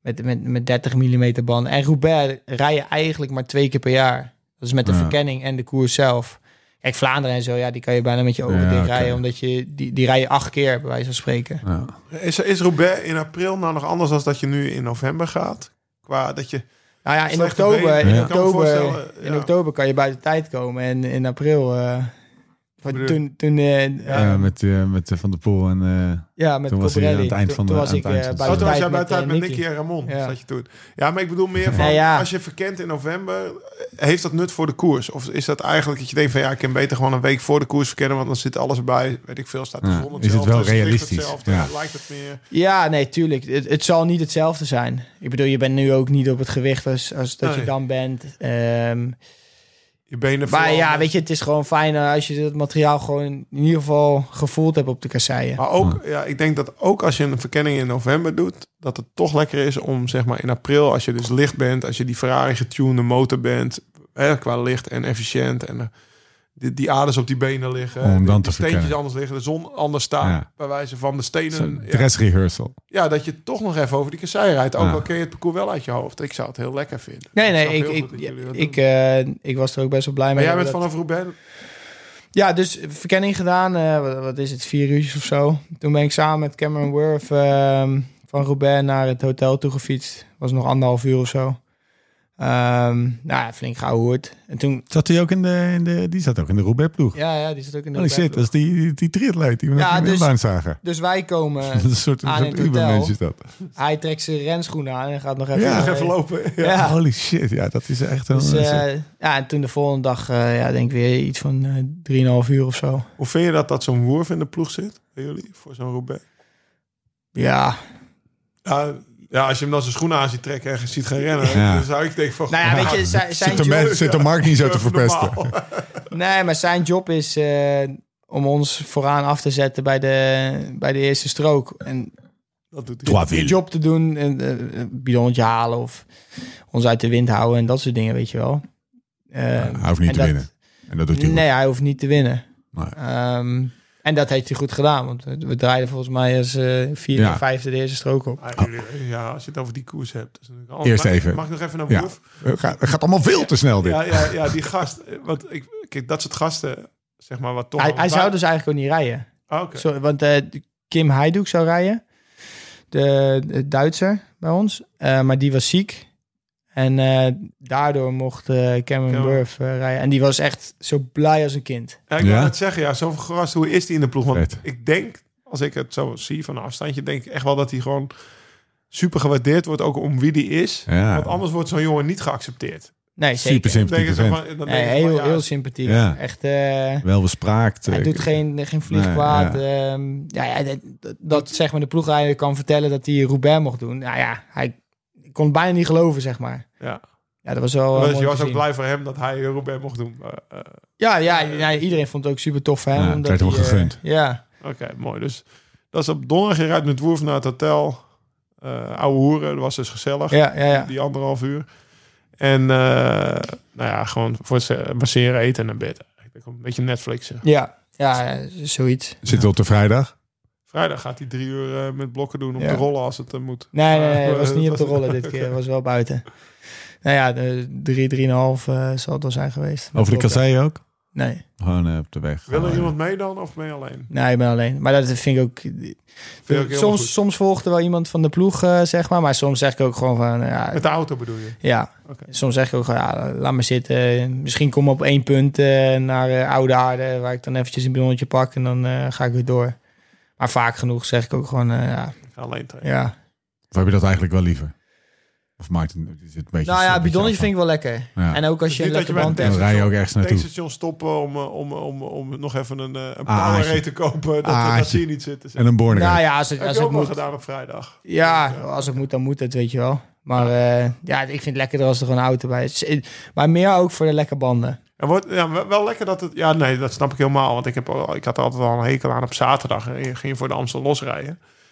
S4: met, met, met 30 mm banden. En Roubaix rij je eigenlijk maar twee keer per jaar. Dat is met de
S1: Ja.
S4: verkenning en de koers zelf. Kijk, Vlaanderen en zo, ja, die kan je bijna met je ogen
S1: Ja,
S4: dicht
S1: oké.
S4: rijden. Omdat je, die, die rij je acht keer, bij wijze van spreken.
S1: Ja.
S3: Is, is Roubaix in april nou nog anders dan dat je nu in november gaat? Qua dat je...
S4: Nou ja, in
S3: Slechte
S4: oktober,
S3: benen,
S4: in,
S1: ja.
S3: ik kan me
S4: oktober,
S3: voorstellen,
S4: in
S3: ja.
S4: oktober kan je buiten tijd komen. En in april... eh, want
S3: bedoel-
S4: toen, toen eh,
S3: Ja.
S1: Ja, met, eh, met eh, Van der Poel en... eh,
S4: ja, met
S1: toen was hij
S4: Cobrelli.
S1: aan het eind
S4: Toen-
S1: van de-
S4: toen was
S1: aan
S4: ik
S1: het eind
S4: eh,
S1: van de
S3: Oh, toen was jij
S4: buiten
S3: bij
S4: tijd
S3: tijd met Nicky en Ramon.
S4: Ja.
S3: Zat je toen. Ja, maar ik bedoel meer van...
S4: Nee, ja.
S3: Als je verkent in november, heeft dat nut voor de koers? Of is dat eigenlijk dat je denkt van... Ja, ik kan beter gewoon een week voor de koers verkennen... want dan zit alles erbij. Weet ik veel, staat de
S1: Ja.
S3: zon
S1: Is het
S3: hetzelfde,
S1: wel
S3: ligt
S1: realistisch?
S3: hetzelfde,
S1: Ja.
S3: Lijkt het meer...
S4: Ja, nee, tuurlijk. Het, het zal niet hetzelfde zijn. Ik bedoel, je bent nu ook niet op het gewicht als, als dat
S3: Nee.
S4: je dan bent. Ehm,
S3: Je benen
S4: maar
S3: verlamd.
S4: ja, weet je, het is gewoon fijn eh, als je het materiaal gewoon in ieder geval gevoeld hebt op de kasseien.
S3: Maar ook, ja, Hm. ik denk dat ook als je een verkenning in november doet, dat het toch lekker is om zeg maar in april, als je dus licht bent, als je die Ferrari getunede motor bent, hè, qua licht en efficiënt en eh, die, die aders op die benen liggen,
S1: Om
S3: die-
S1: dan
S3: die
S1: te
S3: steentjes
S1: verkennen.
S3: anders liggen, de zon anders staat,
S1: Ja.
S3: bij wijze van de stenen.
S1: Zo'n
S3: Ja,
S1: dress rehearsal.
S3: ja, dat je toch nog even over die kassei rijdt, ook
S1: Ja.
S3: al ken je het parcours wel uit je hoofd. Ik zou het heel lekker vinden.
S4: Nee, nee,
S3: snap
S4: ik,
S3: heel
S4: ik,
S3: goed dat jullie dat
S4: ik,
S3: doen.
S4: eh, ik was er ook best wel blij
S3: maar
S4: mee.
S3: jij
S4: dat
S3: bent
S4: we dat-
S3: vanaf Roubaix.
S4: Ja, dus verkenning gedaan. eh, wat, wat is het, vier uurtjes of zo. Toen ben ik samen met Cameron Worth ehm, van Roubaix naar het hotel toe gefietst. Was nog anderhalf uur of zo. Ehm, nou ja, flink gehoord. En toen...
S1: Zat hij ook in de, in de, die zat ook in de Roubaix-ploeg.
S4: Ja, ja, die zat ook in de
S1: Oh, ik zit, dat is die, die, die triatleet die we
S4: Ja,
S1: net in de
S4: dus-
S1: inbaan zagen.
S4: Dus wij komen,
S1: <laughs> Dat is een soort, een
S4: aan
S1: soort
S4: het hotel.
S1: Ubermens is dat.
S4: hij trekt zijn renschoenen aan en gaat nog even...
S1: Ja,
S4: eh,
S3: Even lopen.
S4: Ja,
S1: Holy shit, ja, dat is echt een...
S4: Dus,
S1: een soort-
S4: eh, ja, en toen de volgende dag, eh, ja, denk ik weer iets van eh, 3,5 uur of zo.
S3: Hoe vind je dat dat zo'n Woerf in de ploeg zit bij jullie voor zo'n Roubaix?
S4: Ja,
S3: Ja, ja, als je hem dan zijn schoenen aan ziet trekken en je ziet gaan rennen,
S1: Ja.
S3: dan zou ik denken van...
S4: nou ja, weet je, zijn, zijn
S1: zit, de
S4: job,
S1: mens, zit de markt niet zo te verpesten.
S4: nee, maar zijn job is eh, om ons vooraan af te zetten bij de, bij de eerste strook. En
S3: <laughs> Dat doet hij.
S1: Trois
S4: je
S1: villes.
S4: job te doen, en, eh, een bidonnetje halen of ons uit de wind houden en dat soort dingen, weet je wel. Eh,
S1: Hij hoeft niet
S4: en
S1: te
S4: dat-
S1: winnen. En dat doet hij goed.
S4: Nee, hij hoeft niet te winnen.
S1: Maar-
S4: Ehm, en dat heeft hij goed gedaan, want we draaiden volgens mij als eh vierde
S1: Ja.
S4: en vijfde de eerste strook op.
S3: Ah, jullie- Ja, als je het over die koers hebt. dat is natuurlijk anders.
S1: Eerst
S3: Mag-
S1: even.
S3: Mag ik nog even naar
S1: Ja.
S3: Woerf?
S1: Het gaat, het gaat allemaal veel te snel dit.
S3: Ja, ja, ja, die gast. eh, Want ik, kijk, dat soort gasten, zeg maar, wat toch...
S4: Hij,
S3: nog
S4: hij
S3: bij-
S4: zou dus eigenlijk ook niet rijden.
S3: Ah, oké.
S4: Zo, want eh, Kim Heidoek zou rijden, de, de Duitser bij ons, Eh, maar die was ziek. En eh, daardoor mocht eh, Cameron
S3: Cameron.
S4: Burf rijden. En die was echt zo blij als een kind.
S3: Ja, ik wil
S1: Ja?
S3: net zeggen, ja, zo'n gast, hoe is die in de ploeg? Want
S1: Vet.
S3: ik denk, als ik het zo zie van een afstandje, denk ik echt wel dat hij gewoon super gewaardeerd wordt, ook om wie die is.
S1: Ja.
S3: Want anders wordt zo'n jongen niet geaccepteerd.
S4: Nee, zeker.
S1: Super
S3: Dan denk
S1: sympathieke
S3: ik zo
S1: vent.
S3: van- dan denk
S4: Nee,
S3: ik van,
S4: heel,
S3: ja,
S4: heel sympathiek.
S1: Ja.
S4: Echt, eh,
S1: Wel bespraakt.
S4: Hij
S1: eh,
S4: doet geen, geen vlieg
S1: Nee,
S4: kwaad.
S1: ja.
S4: Ehm, ja, ja, dat, dat- dat zeg maar de ploegrijder kan vertellen dat hij Roubaix mocht doen. Nou ja, hij kon het bijna niet geloven, zeg maar.
S3: Ja.
S4: Ja, dat was wel eh,
S3: Dus
S4: mooi
S3: je
S4: te
S3: was ook
S4: zien.
S3: blij voor hem dat hij Robert mocht doen. Eh, eh,
S4: Ja, ja, ja, iedereen vond het ook super tof. Hè,
S1: Ja, het
S4: omdat
S1: werd hem
S4: hij, eh,
S1: gegund.
S4: ja.
S3: Oké, mooi. Dus dat is op donderdag. Je rijdt met Woerf naar het hotel. Eh oude hoeren, dat was dus gezellig.
S4: Ja, ja, ja.
S3: Die anderhalf uur. En eh, nou ja, gewoon voor het masseren, eten en naar bed. eigenlijk. Een beetje Netflixen.
S4: Ja, ja, eh, zoiets.
S1: Zitten we op de vrijdag?
S3: Vrijdag gaat hij drie uur eh, met blokken doen om
S4: Ja.
S3: te rollen als het eh, moet.
S4: Nee, nee, nee,
S3: Maar,
S4: het
S3: <laughs>
S4: was
S3: eh,
S4: niet op
S3: dat
S4: de
S3: was-
S4: rollen dit keer. Het was wel buiten. Nou ja, de drie, drieënhalf eh zal het wel zijn geweest.
S1: Over de kassei ook?
S4: Nee,
S6: Gewoon eh, op de weg.
S3: Wil er
S6: Gewoon,
S3: iemand mee dan of ben je alleen?
S4: nee, ik ben alleen. Maar dat vind ik ook...
S3: Vind ik helemaal goed.
S4: Eh, soms, soms volgt er wel iemand van de ploeg, eh, zeg maar. Maar soms zeg ik ook gewoon van... eh, ja,
S3: Met de auto bedoel je?
S4: ja.
S3: Oké.
S4: soms zeg ik ook gewoon, ja, laat me zitten. Misschien kom ik op één punt eh, naar eh, Oude Aarde... waar ik dan eventjes een ballonnetje pak en dan eh, ga ik weer door. Maar vaak genoeg zeg ik ook gewoon, eh, ja,
S3: Ik ga alleen trainen.
S4: ja.
S1: Of heb je dat eigenlijk wel liever? Of maakt het, is het een beetje...
S4: Nou ja,
S1: een beetje
S4: bidonnetje vind ik wel lekker.
S1: Ja.
S4: En ook als
S3: Dus
S4: je
S3: niet dat
S4: lekker
S3: je bij
S4: band
S3: een
S1: En
S4: hebt.
S1: dan rij je ook ergens naartoe.
S3: Tankstation stoppen om, eh, om, om, om nog even een, eh, een
S4: Ah,
S1: Aatje.
S3: powerade te kopen. Dat,
S1: Aatje.
S3: dat zie je niet zitten.
S1: En een borne.
S4: Nou ja, als het,
S3: Heb
S4: als
S3: je
S4: het
S3: ook nog
S4: moet.
S3: gedaan op vrijdag?
S4: Ja, als het moet, dan moet het, weet je wel. Maar eh, ja, ik vind het lekkerder als er gewoon een auto bij is. Maar meer ook voor de lekke banden.
S3: En wordt, ja, wel- wel lekker dat het... Ja, nee, dat snap ik helemaal. Want ik, heb, al- ik had er altijd al een hekel aan op zaterdag. En je ging je voor de Amstel losrijden.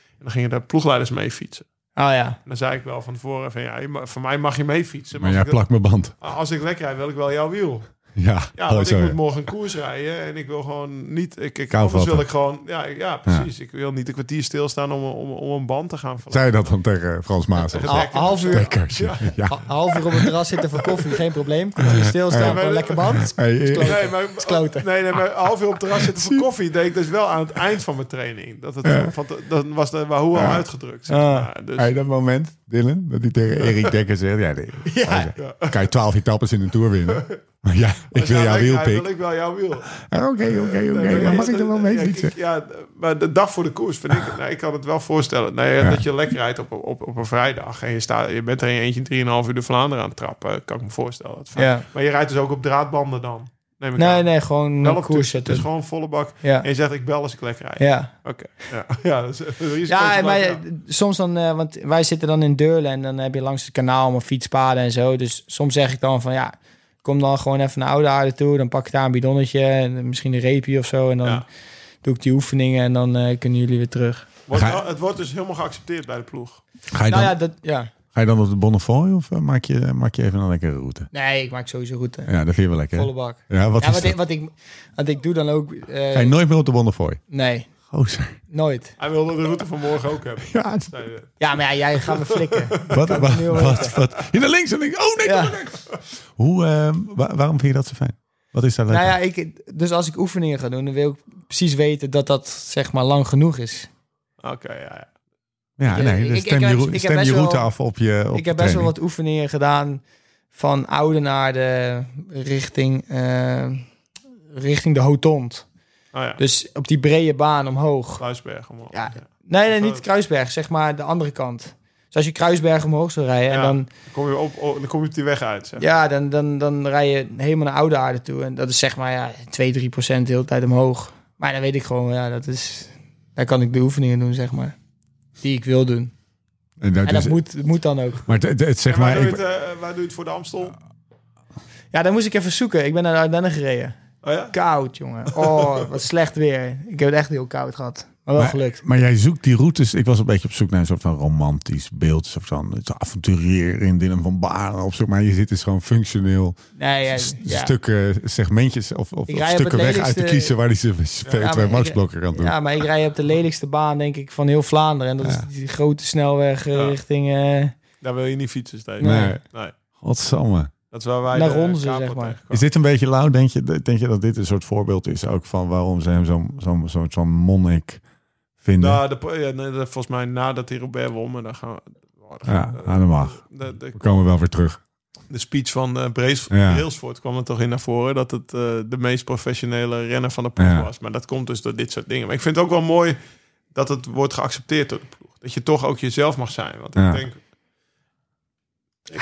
S3: En dan gingen de ploegleiders mee fietsen.
S4: Oh ja.
S3: En dan zei ik wel van tevoren van... Ja, je ma- voor mij mag je mee fietsen.
S1: maar
S3: als,
S1: jij
S3: ik, dat-
S1: plakt mijn band.
S3: als ik lekker rijd, wil ik wel jouw wiel.
S1: Ja,
S3: Ja,
S1: oh,
S3: want
S1: zo,
S3: ik
S1: ja.
S3: moet morgen een koers rijden. En ik wil gewoon niet... Ik, ik,
S1: Kou
S3: anders wil
S1: vatten.
S3: ik gewoon... Ja, ik- ja precies. Ik wil niet een kwartier stilstaan om, om, om een band te gaan verleggen.
S1: Zei je dat dan tegen Frans Maas?
S3: Tegen
S4: Een
S3: Lekker.
S4: half uur,
S1: Dekkers. Ja.
S4: een half uur op het terras zitten voor koffie, geen probleem. Komt hier stilstaan voor een lekke band.
S1: Hey, eh,
S4: kloten.
S3: Nee, maar,
S4: is kloten.
S3: Nee, nee, maar half uur op het terras zitten voor koffie deed ik dus wel aan het eind van mijn training. Dat het, van, dan was de Wahoo al uitgedrukt. Zeg maar. dus,
S1: hey, dat moment, Dylan, dat hij tegen Erik Dekker zegt... Ja, nee, kan je twaalf etappes in een Tour winnen? Maar ja, ik
S3: als
S1: wil
S3: jij
S1: jouw
S3: lekker
S1: wiel
S3: rijdt,
S1: pik.
S3: wil ik wel jouw wiel.
S1: Ah, Oké, oké,
S3: Nee,
S1: oké.
S3: maar
S1: Dan mag
S3: dat-
S1: ik er wel eh, mee
S3: ja, ik-
S1: fietsen.
S3: Ja, maar de dag voor de koers vind ik... Nou, ik kan het wel voorstellen. Nee, Dat je lekker rijdt op, op, op een vrijdag... en je, staat, je bent er in je eentje 3,5 uur de Vlaanderen aan het trappen. Kan ik me voorstellen. Dat is fijn.
S4: Ja.
S3: Maar je rijdt dus ook op draadbanden dan? Neem ik
S4: Nee,
S3: aan.
S4: nee, gewoon eh,
S3: Wel
S4: een
S3: op
S4: koers
S3: koers. Het is
S4: zetten.
S3: gewoon Dus volle bak.
S4: Ja.
S3: En je zegt, ik bel als ik lekker rijd.
S4: Ja,
S3: Oké. Ja, <laughs> ja, dus, eh, dat is een risico.
S4: ja en
S3: maar,
S4: wij, soms dan, eh, want wij zitten dan in Deurle en dan heb je langs het kanaal allemaal fietspaden en zo. Dus soms zeg ik dan van ja, kom dan gewoon even naar Oude Aarde toe. Dan pak ik daar een bidonnetje en misschien een reepje of zo. En dan
S3: Ja.
S4: doe ik die oefeningen en dan eh, kunnen jullie weer terug.
S3: Wordt-
S1: Ga-
S3: het wordt dus helemaal geaccepteerd bij de ploeg.
S1: Ga je dan,
S4: Nou ja, dat, ja.
S1: ga je dan op de Bonnefoy of eh, maak, je, maak je even een lekkere route?
S4: Nee, ik maak sowieso goed. hè.
S1: Ja, dat vind je wel lekker. hè?
S4: Volle bak.
S1: Ja, wat
S4: ja,
S1: is
S4: wat ik,
S1: dat?
S4: wat, ik, wat ik doe dan ook... eh,
S1: Ga je nooit meer op de Bonnefoy?
S4: Nee,
S1: Gozer.
S4: nooit.
S3: Hij wilde de route van morgen
S1: <laughs>
S3: ook hebben.
S1: Ja,
S3: Zei je.
S4: Ja, maar ja, jij gaat me flikken.
S1: <laughs> Wat, wat,
S4: nu
S1: wat,
S4: hoor.
S1: wat? Ja, naar links en links. Oh nee,
S4: Ja.
S1: kom maar rechts. Hoe, ehm, wa- waarom vind je dat zo fijn? Wat is daar leuk
S4: nou ja,
S1: aan?
S4: ik, dus als ik oefeningen ga doen, dan wil ik precies weten dat dat zeg maar lang genoeg is.
S3: Oké, ja, ja.
S1: ja,
S4: ik-
S1: nee,
S4: ik-
S1: dus
S4: ik
S1: stem
S4: heb-
S1: je,
S4: ik
S1: roe-
S4: heb
S1: stem
S4: best
S1: je
S4: wel-
S1: route af op je op
S4: ik
S1: de
S4: heb best wel
S1: training.
S4: wat oefeningen gedaan van Oudenaarde richting, eh, richting de Hotond.
S3: Oh ja,
S4: Dus op die brede baan omhoog.
S3: Kruisberg omhoog.
S4: Ja.
S3: Ja.
S4: Nee, nee, niet Kruisberg, zeg maar de andere kant. Dus als je Kruisberg omhoog zou rijden en
S3: Ja.
S4: dan
S3: Dan, kom je op, op- dan kom je op die weg uit, zeg.
S4: Ja, dan, dan, dan rij je helemaal naar Oude Aarde toe. En dat is zeg maar ja, 2, 3 procent de hele tijd omhoog. Maar dan weet ik gewoon, ja, dat is... Daar kan ik de oefeningen doen, zeg maar. Die ik wil doen.
S1: En dat
S4: En dat
S1: is-
S4: moet, dat moet dan ook.
S1: Maar het- het zeg
S3: En waar,
S1: maar...
S3: doe je
S1: ik-
S3: het, eh, waar doe je het voor de Amstel?
S4: Ja, dan moest ik even zoeken. Ik ben naar de Ardennen gereden.
S3: Oh ja?
S4: Koud, jongen. <laughs> Oh, wat slecht weer. Ik heb het echt heel koud gehad. Maar wel
S1: Maar-
S4: gelukt.
S1: Maar jij zoekt die routes. Ik was een beetje op zoek naar een soort van romantisch beeld. Een soort van iets avonturier in Dylan van Baarle op zoek. Maar je zit dus gewoon functioneel
S4: Nee, ja,
S1: s-
S4: ja.
S1: stukken, segmentjes of, of,
S4: Ik
S1: of
S4: rij op
S1: stukken weg
S4: het
S1: uit te
S4: lelijkste-
S1: kiezen waar hij zijn
S4: Ja, maar
S1: twee
S4: ik-
S1: marsblokken kan doen.
S4: ja, maar ik rij op de lelijkste baan, denk ik, van heel Vlaanderen. En dat
S1: Ja.
S4: is die grote snelweg eh,
S3: Ja.
S4: richting... eh,
S3: Daar wil je niet fietsen, Steven.
S1: Nee.
S3: Nee.
S1: Godsamme.
S3: Dat is waar wij
S4: Naar
S3: de
S4: onze,
S3: kapel
S4: zeg maar.
S1: Is
S3: tegenkwamen.
S1: dit een beetje lauw? Denk je, denk je dat dit een soort voorbeeld is ook van waarom ze hem zo'n zo'n zo'n zo'n monnik vinden?
S3: Nou, de, ja, nee, dat- volgens mij nadat hij Robert won, maar dan gaan we... oh, dan gaan
S1: ja,
S3: we-
S1: aan de mag.
S3: de, de,
S1: We komen wel weer terug.
S3: de speech van eh Brees,
S1: Ja.
S3: Brailsford kwam er toch in naar voren dat het eh, de meest professionele renner van de ploeg
S1: Ja.
S3: was. Maar dat komt dus door dit soort dingen. Maar ik vind het ook wel mooi dat het wordt geaccepteerd door de ploeg. Dat je toch ook jezelf mag zijn. Want
S1: Ja.
S3: ik denk,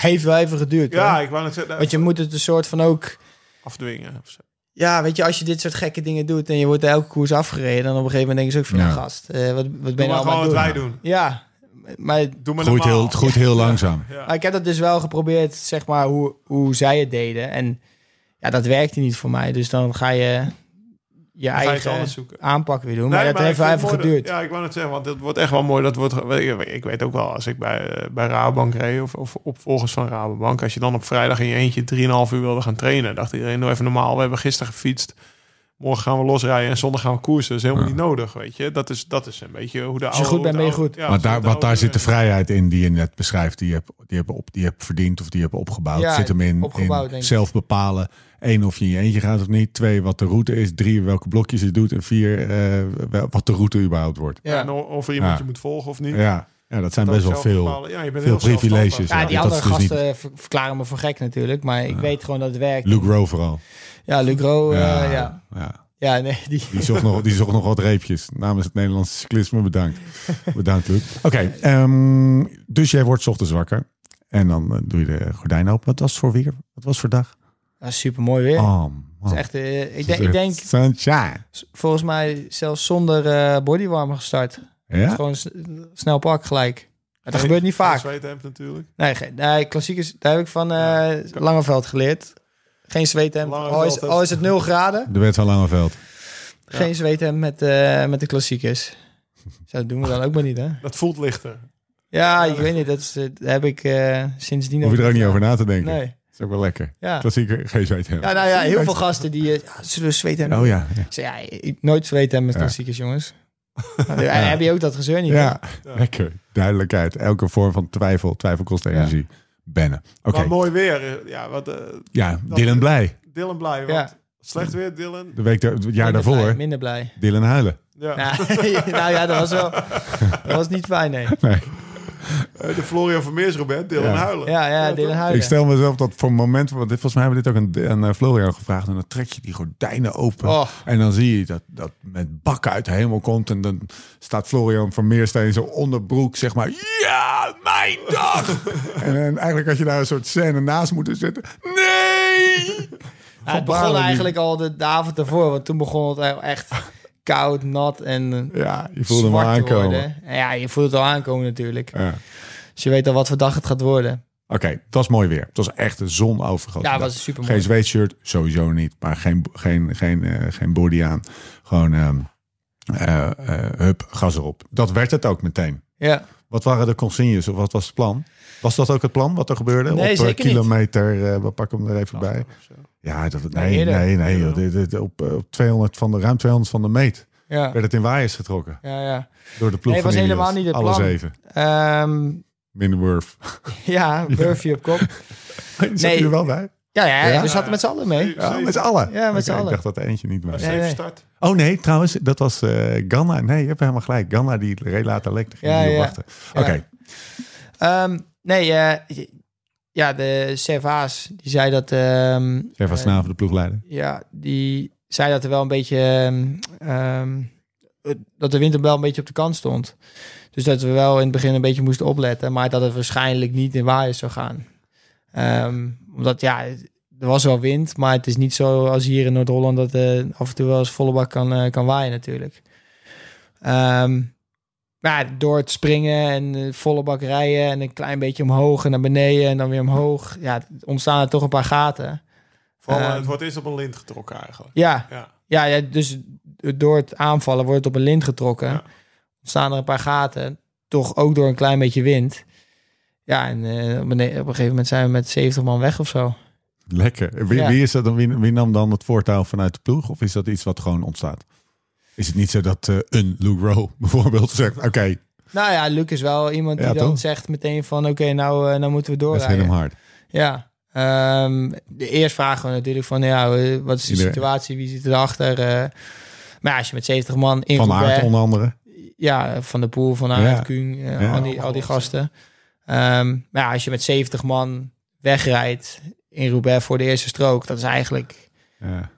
S4: heeft wel even geduurd,
S3: ja,
S4: hoor.
S3: ik wou net zeggen,
S4: Want je moet het een soort van ook...
S3: afdwingen. of zo.
S4: Ja, weet je, als je dit soort gekke dingen doet en je wordt elke koers afgereden, dan op een gegeven moment denk je ook van,
S1: Ja.
S4: ja, gast, eh, wat, wat ben
S3: Doe
S4: je
S3: maar
S4: nou
S3: gewoon
S4: allemaal
S3: wat
S4: aan
S3: wij
S4: het
S3: doen.
S4: doen? Ja, maar,
S3: Doe maar
S1: Het groeit heel,
S3: normaal.
S1: het groeit heel langzaam.
S4: maar ik heb dat dus wel geprobeerd, zeg maar, hoe, hoe zij het deden. En ja, dat werkte niet voor mij. Dus dan ga je je
S3: je het
S4: eigen
S3: anders zoeken.
S4: aanpak weer doen.
S3: Nee,
S4: maar dat
S3: ik
S4: heeft wel
S3: vind
S4: even
S3: het mooi dat-
S4: geduurd.
S3: ja, ik wou net zeggen, want het wordt echt wel mooi. Dat wordt, weet je, ik weet ook wel, als ik bij, eh, bij Rabobank reed of, of opvolgers van Rabobank, als je dan op vrijdag in je eentje 3,5 uur wilde gaan trainen, dacht iedereen, nou even normaal, we hebben gisteren gefietst. Morgen gaan we losrijden en zondag gaan we koersen. Dat is helemaal
S1: Ja.
S3: niet nodig, weet je. Dat is, dat is een beetje hoe de
S4: je
S3: oude...
S4: goed bent,
S3: hoe de
S4: ben je
S3: oude-
S4: goed.
S3: ja,
S1: maar daar,
S3: hoe
S1: wat, daar
S3: oude-
S1: zit de vrijheid in die je net beschrijft. Die je hebt, die hebt, op, die je hebt verdiend of die je hebt opgebouwd.
S4: Ja,
S1: zit hem in,
S4: opgebouwd, denk
S1: in
S4: ik.
S1: zelf bepalen. Eén, of je in je eentje gaat of niet. Twee, wat de route is. Drie, welke blokjes je doet. En vier, eh, wel- wat de route überhaupt wordt.
S3: Ja.
S4: Ja.
S3: en of er iemand
S1: Ja.
S3: je moet volgen of niet.
S1: Ja, ja dat zijn
S3: Dat
S1: best wel
S3: zelf
S1: veel.
S3: bepalen. Ja, je bent
S1: veel
S3: heel zelfstandig.
S1: privileges,
S4: Ja,
S1: Ja,
S4: die
S1: dat
S4: andere
S1: is dus niet-
S4: gasten ver- verklaren me voor gek natuurlijk. Maar ik weet gewoon dat het werkt.
S1: Luke Rowe vooral.
S4: Ja, Lucro. Oh, Ja. ja.
S1: ja.
S4: ja, nee, die...
S1: Die, zocht nog, die zocht nog wat reepjes. Namens het Nederlandse cyclisme bedankt. Bedankt Luke. Oké, ehm, dus jij wordt 's ochtends wakker. En dan eh, doe je de gordijn open. Wat was het voor weer? Wat was het voor dag?
S4: Dat is super mooi weer.
S1: Oh, man.
S4: Dat is echt, eh, ik,
S1: Het is
S4: denk, ik
S1: echt
S4: denk,
S1: Sunshine.
S4: s- volgens mij zelfs zonder eh, bodywarmer gestart.
S1: Ja?
S4: Gewoon s- snel pak gelijk. Maar Dat
S3: Nee,
S4: gebeurt niet
S3: geen
S4: vaak.
S3: zweet hebt natuurlijk.
S4: Nee, ge- nee, klassiek is, daar heb ik van eh, Langeveld geleerd. Geen zweethemd. Al
S3: Langeveld
S4: is,
S3: heeft-
S4: al is het 0 graden,
S1: De wet van Langeveld.
S4: geen zweethemd met, eh, met de klassiekers. Zo, dat doen we dan ook maar niet, hè?
S3: Dat voelt lichter.
S4: Ja, ik weet niet. Dat, is, eh, dat heb ik eh, sindsdien...
S1: Hoef je er ook niet over na te denken.
S4: Nee.
S1: Dat is ook wel lekker.
S4: Ja.
S1: Klassieker, geen zweet hebben.
S4: ja, nou ja, heel veel gasten die eh, ja, zullen zweethemden.
S1: Oh ja. ja.
S4: Ik zei, ja, ik- nooit zweethemden met
S1: Ja.
S4: klassiekers, jongens. Nou,
S1: <laughs>
S4: Heb je ook dat gezeur niet?
S1: Ja, lekker. Duidelijkheid. Elke vorm van twijfel. Twijfel kost energie. Bennen. Oké.
S3: Maar mooi weer. Ja, wat, eh
S1: Ja, Dylan blij.
S3: Dylan blij.
S4: Ja.
S3: Want slecht weer, Dylan.
S1: De week, daar- het jaar
S4: Minder
S1: daarvoor.
S4: blij, minder blij.
S1: Dylan huilen.
S3: Ja.
S4: Nou, <laughs> nou ja, dat was wel... Dat was niet fijn, <laughs> nee.
S3: Eh, de Florian Vermeers, Robert. Dylan
S1: Ja.
S3: huilen.
S4: Ja, Oh, ja, Dylan Huiden.
S1: Ik stel mezelf dat voor momenten, want dit, volgens mij hebben we dit ook aan, aan eh, Florian gevraagd. En dan trek je die gordijnen open.
S4: Oh.
S1: En dan zie je dat dat met bakken uit de hemel komt. En dan staat Florian Vermeerstein in zijn onderbroek, zeg maar. Ja, mijn
S4: <laughs>
S1: dag! en, en eigenlijk had je daar een soort scène naast moeten zitten.
S4: <laughs>
S1: Nee!
S4: Ja, het begon
S1: Balen die-
S4: eigenlijk al de, de avond ervoor, want toen begon het e- echt
S1: <laughs>
S4: koud, nat en eh,
S1: Ja, je voelde hem al
S4: zwart te
S1: aankomen.
S4: worden. En Ja, je voelt het al aankomen natuurlijk.
S1: Ja. Oké,
S4: Dus je weet al wat voor dag het gaat worden.
S1: het was mooi weer. Het was echt een zon overgrote
S4: Ja,
S1: dag.
S4: het was super mooi.
S1: Geen zweetshirt, sowieso niet. Maar geen, geen, geen, eh, geen body aan. Gewoon ehm eh, eh, hup, gas erop. Dat werd het ook meteen.
S4: Ja.
S1: Wat waren de consignes of wat was het plan? Was dat ook het plan wat er gebeurde?
S4: Nee,
S1: op eh,
S4: zeker niet.
S1: kilometer, eh, we pakken hem er even bij. Ja, dat,
S4: Nee,
S1: nee,
S4: eerder.
S1: nee, nee. joh. Dit- dit- op, eh, op 200 van de, ruim 200 van de meet
S4: Ja,
S1: werd het in waaiers getrokken.
S4: ja, ja.
S1: Door de ploeg
S4: Nee,
S1: van
S4: was
S1: Ineos.
S4: helemaal niet het
S1: Alle
S4: plan.
S1: zeven.
S4: Ehm,
S1: <laughs> Minworth.
S4: ja, Murphy op kop.
S1: Zat nee. je er wel bij?
S4: Ja, ja,
S1: Ja?
S4: we zaten met z'n allen mee.
S1: Ja, met z'n allen.
S4: Ja, met z'n
S1: Oké,
S4: allen.
S1: Ik dacht dat er eentje niet was.
S4: Nee,
S3: Zeven
S4: nee.
S3: start.
S1: Oh nee, trouwens, dat was eh Ganna. Nee, je hebt helemaal gelijk. Ganna die reed later lek. Daar ging
S4: Ja,
S1: niet op
S4: ja.
S1: wachten. Oké,
S4: Ja. Ehm, nee, eh, ja, de Servaas, die zei dat... ehm
S1: Gervas van
S4: eh,
S1: Snaven, de ploegleider.
S4: Ja, die zei dat er wel een beetje. ehm, ehm, eh, dat de winter wel een beetje op de kant stond. Dus dat we wel in het begin een beetje moesten opletten. Maar dat het waarschijnlijk niet in waaiers zou gaan. Ehm, omdat ja, er was wel wind. Maar het is niet zo als hier in Noord-Holland. dat eh af en toe wel eens volle bak kan, eh, kan waaien, natuurlijk. Ehm, maar ja, door het springen en eh, volle bak rijden. en een klein beetje omhoog en naar beneden. en dan weer omhoog. Ja, ontstaan er toch een paar gaten.
S3: Vooral, eh,
S4: Ehm.
S3: het wordt eerst op een lint getrokken eigenlijk.
S4: Ja,
S3: Ja.
S4: ja, ja, dus door het aanvallen wordt het op een lint getrokken.
S3: Ja.
S4: Ontstaan er een paar gaten. Toch ook door een klein beetje wind. Ja, en eh, op, een, op een gegeven moment zijn we met 70 man weg of zo.
S1: Lekker. Wie,
S4: Ja.
S1: wie, is dat dan, wie, wie nam dan het voortouw vanuit de ploeg? Of is dat iets wat gewoon ontstaat? Is het niet zo dat eh, een Luke Rowe <laughs> bijvoorbeeld zegt... Oké,
S4: Nou ja, Luc is wel iemand die
S1: Ja,
S4: dan
S1: toch?
S4: zegt meteen van... oké, nou, eh, nou moeten we
S1: dat is hem
S4: doorrijden.
S1: hard.
S4: Ja. Ehm, de eerst vragen we natuurlijk van... ja, eh, wat is de
S1: Iedereen.
S4: situatie? Wie zit erachter? eh? maar ja, als je met 70 man in
S1: Van
S4: Roubaix-
S1: Aert onder andere.
S4: ja, van de Poel, van Aert,
S1: Ja.
S4: Kuhn, eh,
S1: Ja.
S4: al, die, al die gasten. Ehm, maar ja, als je met 70 man wegrijdt in Roubaix voor de eerste strook, dat is eigenlijk
S1: Ja.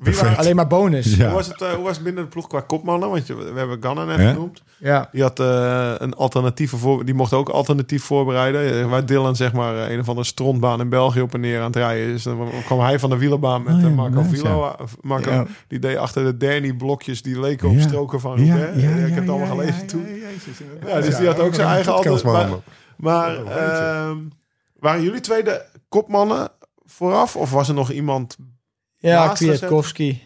S3: Wie waren,
S1: Perfect.
S4: alleen maar bonus. Ja,
S3: hoe,
S1: Ja.
S3: was het, eh, hoe was het binnen de ploeg qua kopmannen? Want je, we hebben Ganna net
S1: Ja.
S3: genoemd.
S4: ja.
S3: Die had eh, een alternatieve voor, die mocht ook alternatief voorbereiden. Eh, Waar Dylan zeg maar eh, een of andere strontbaan in België op en neer aan het rijden is. Dan kwam hij van de wielerbaan met
S1: Oh ja,
S3: eh, Marco
S1: nice,
S3: Vilo.
S1: ja.
S3: eh, Marco,
S1: Ja.
S3: die deed achter de Danny blokjes die leken op
S1: Ja.
S3: stroken van Roubaix. Eh, ik heb het allemaal
S1: ja,
S3: gelezen
S1: ja, ja,
S3: toen.
S1: jezus, inderdaad.
S3: Ja, dus die had ook zijn
S1: een
S3: eigen
S1: podcast
S3: altijd-
S1: behandeld.
S3: Maar
S1: Ja, weet je.
S3: ehm, waren jullie twee de kopmannen vooraf? Of was er nog iemand?
S4: ja
S3: Naast gezet.
S4: Kwiatkowski,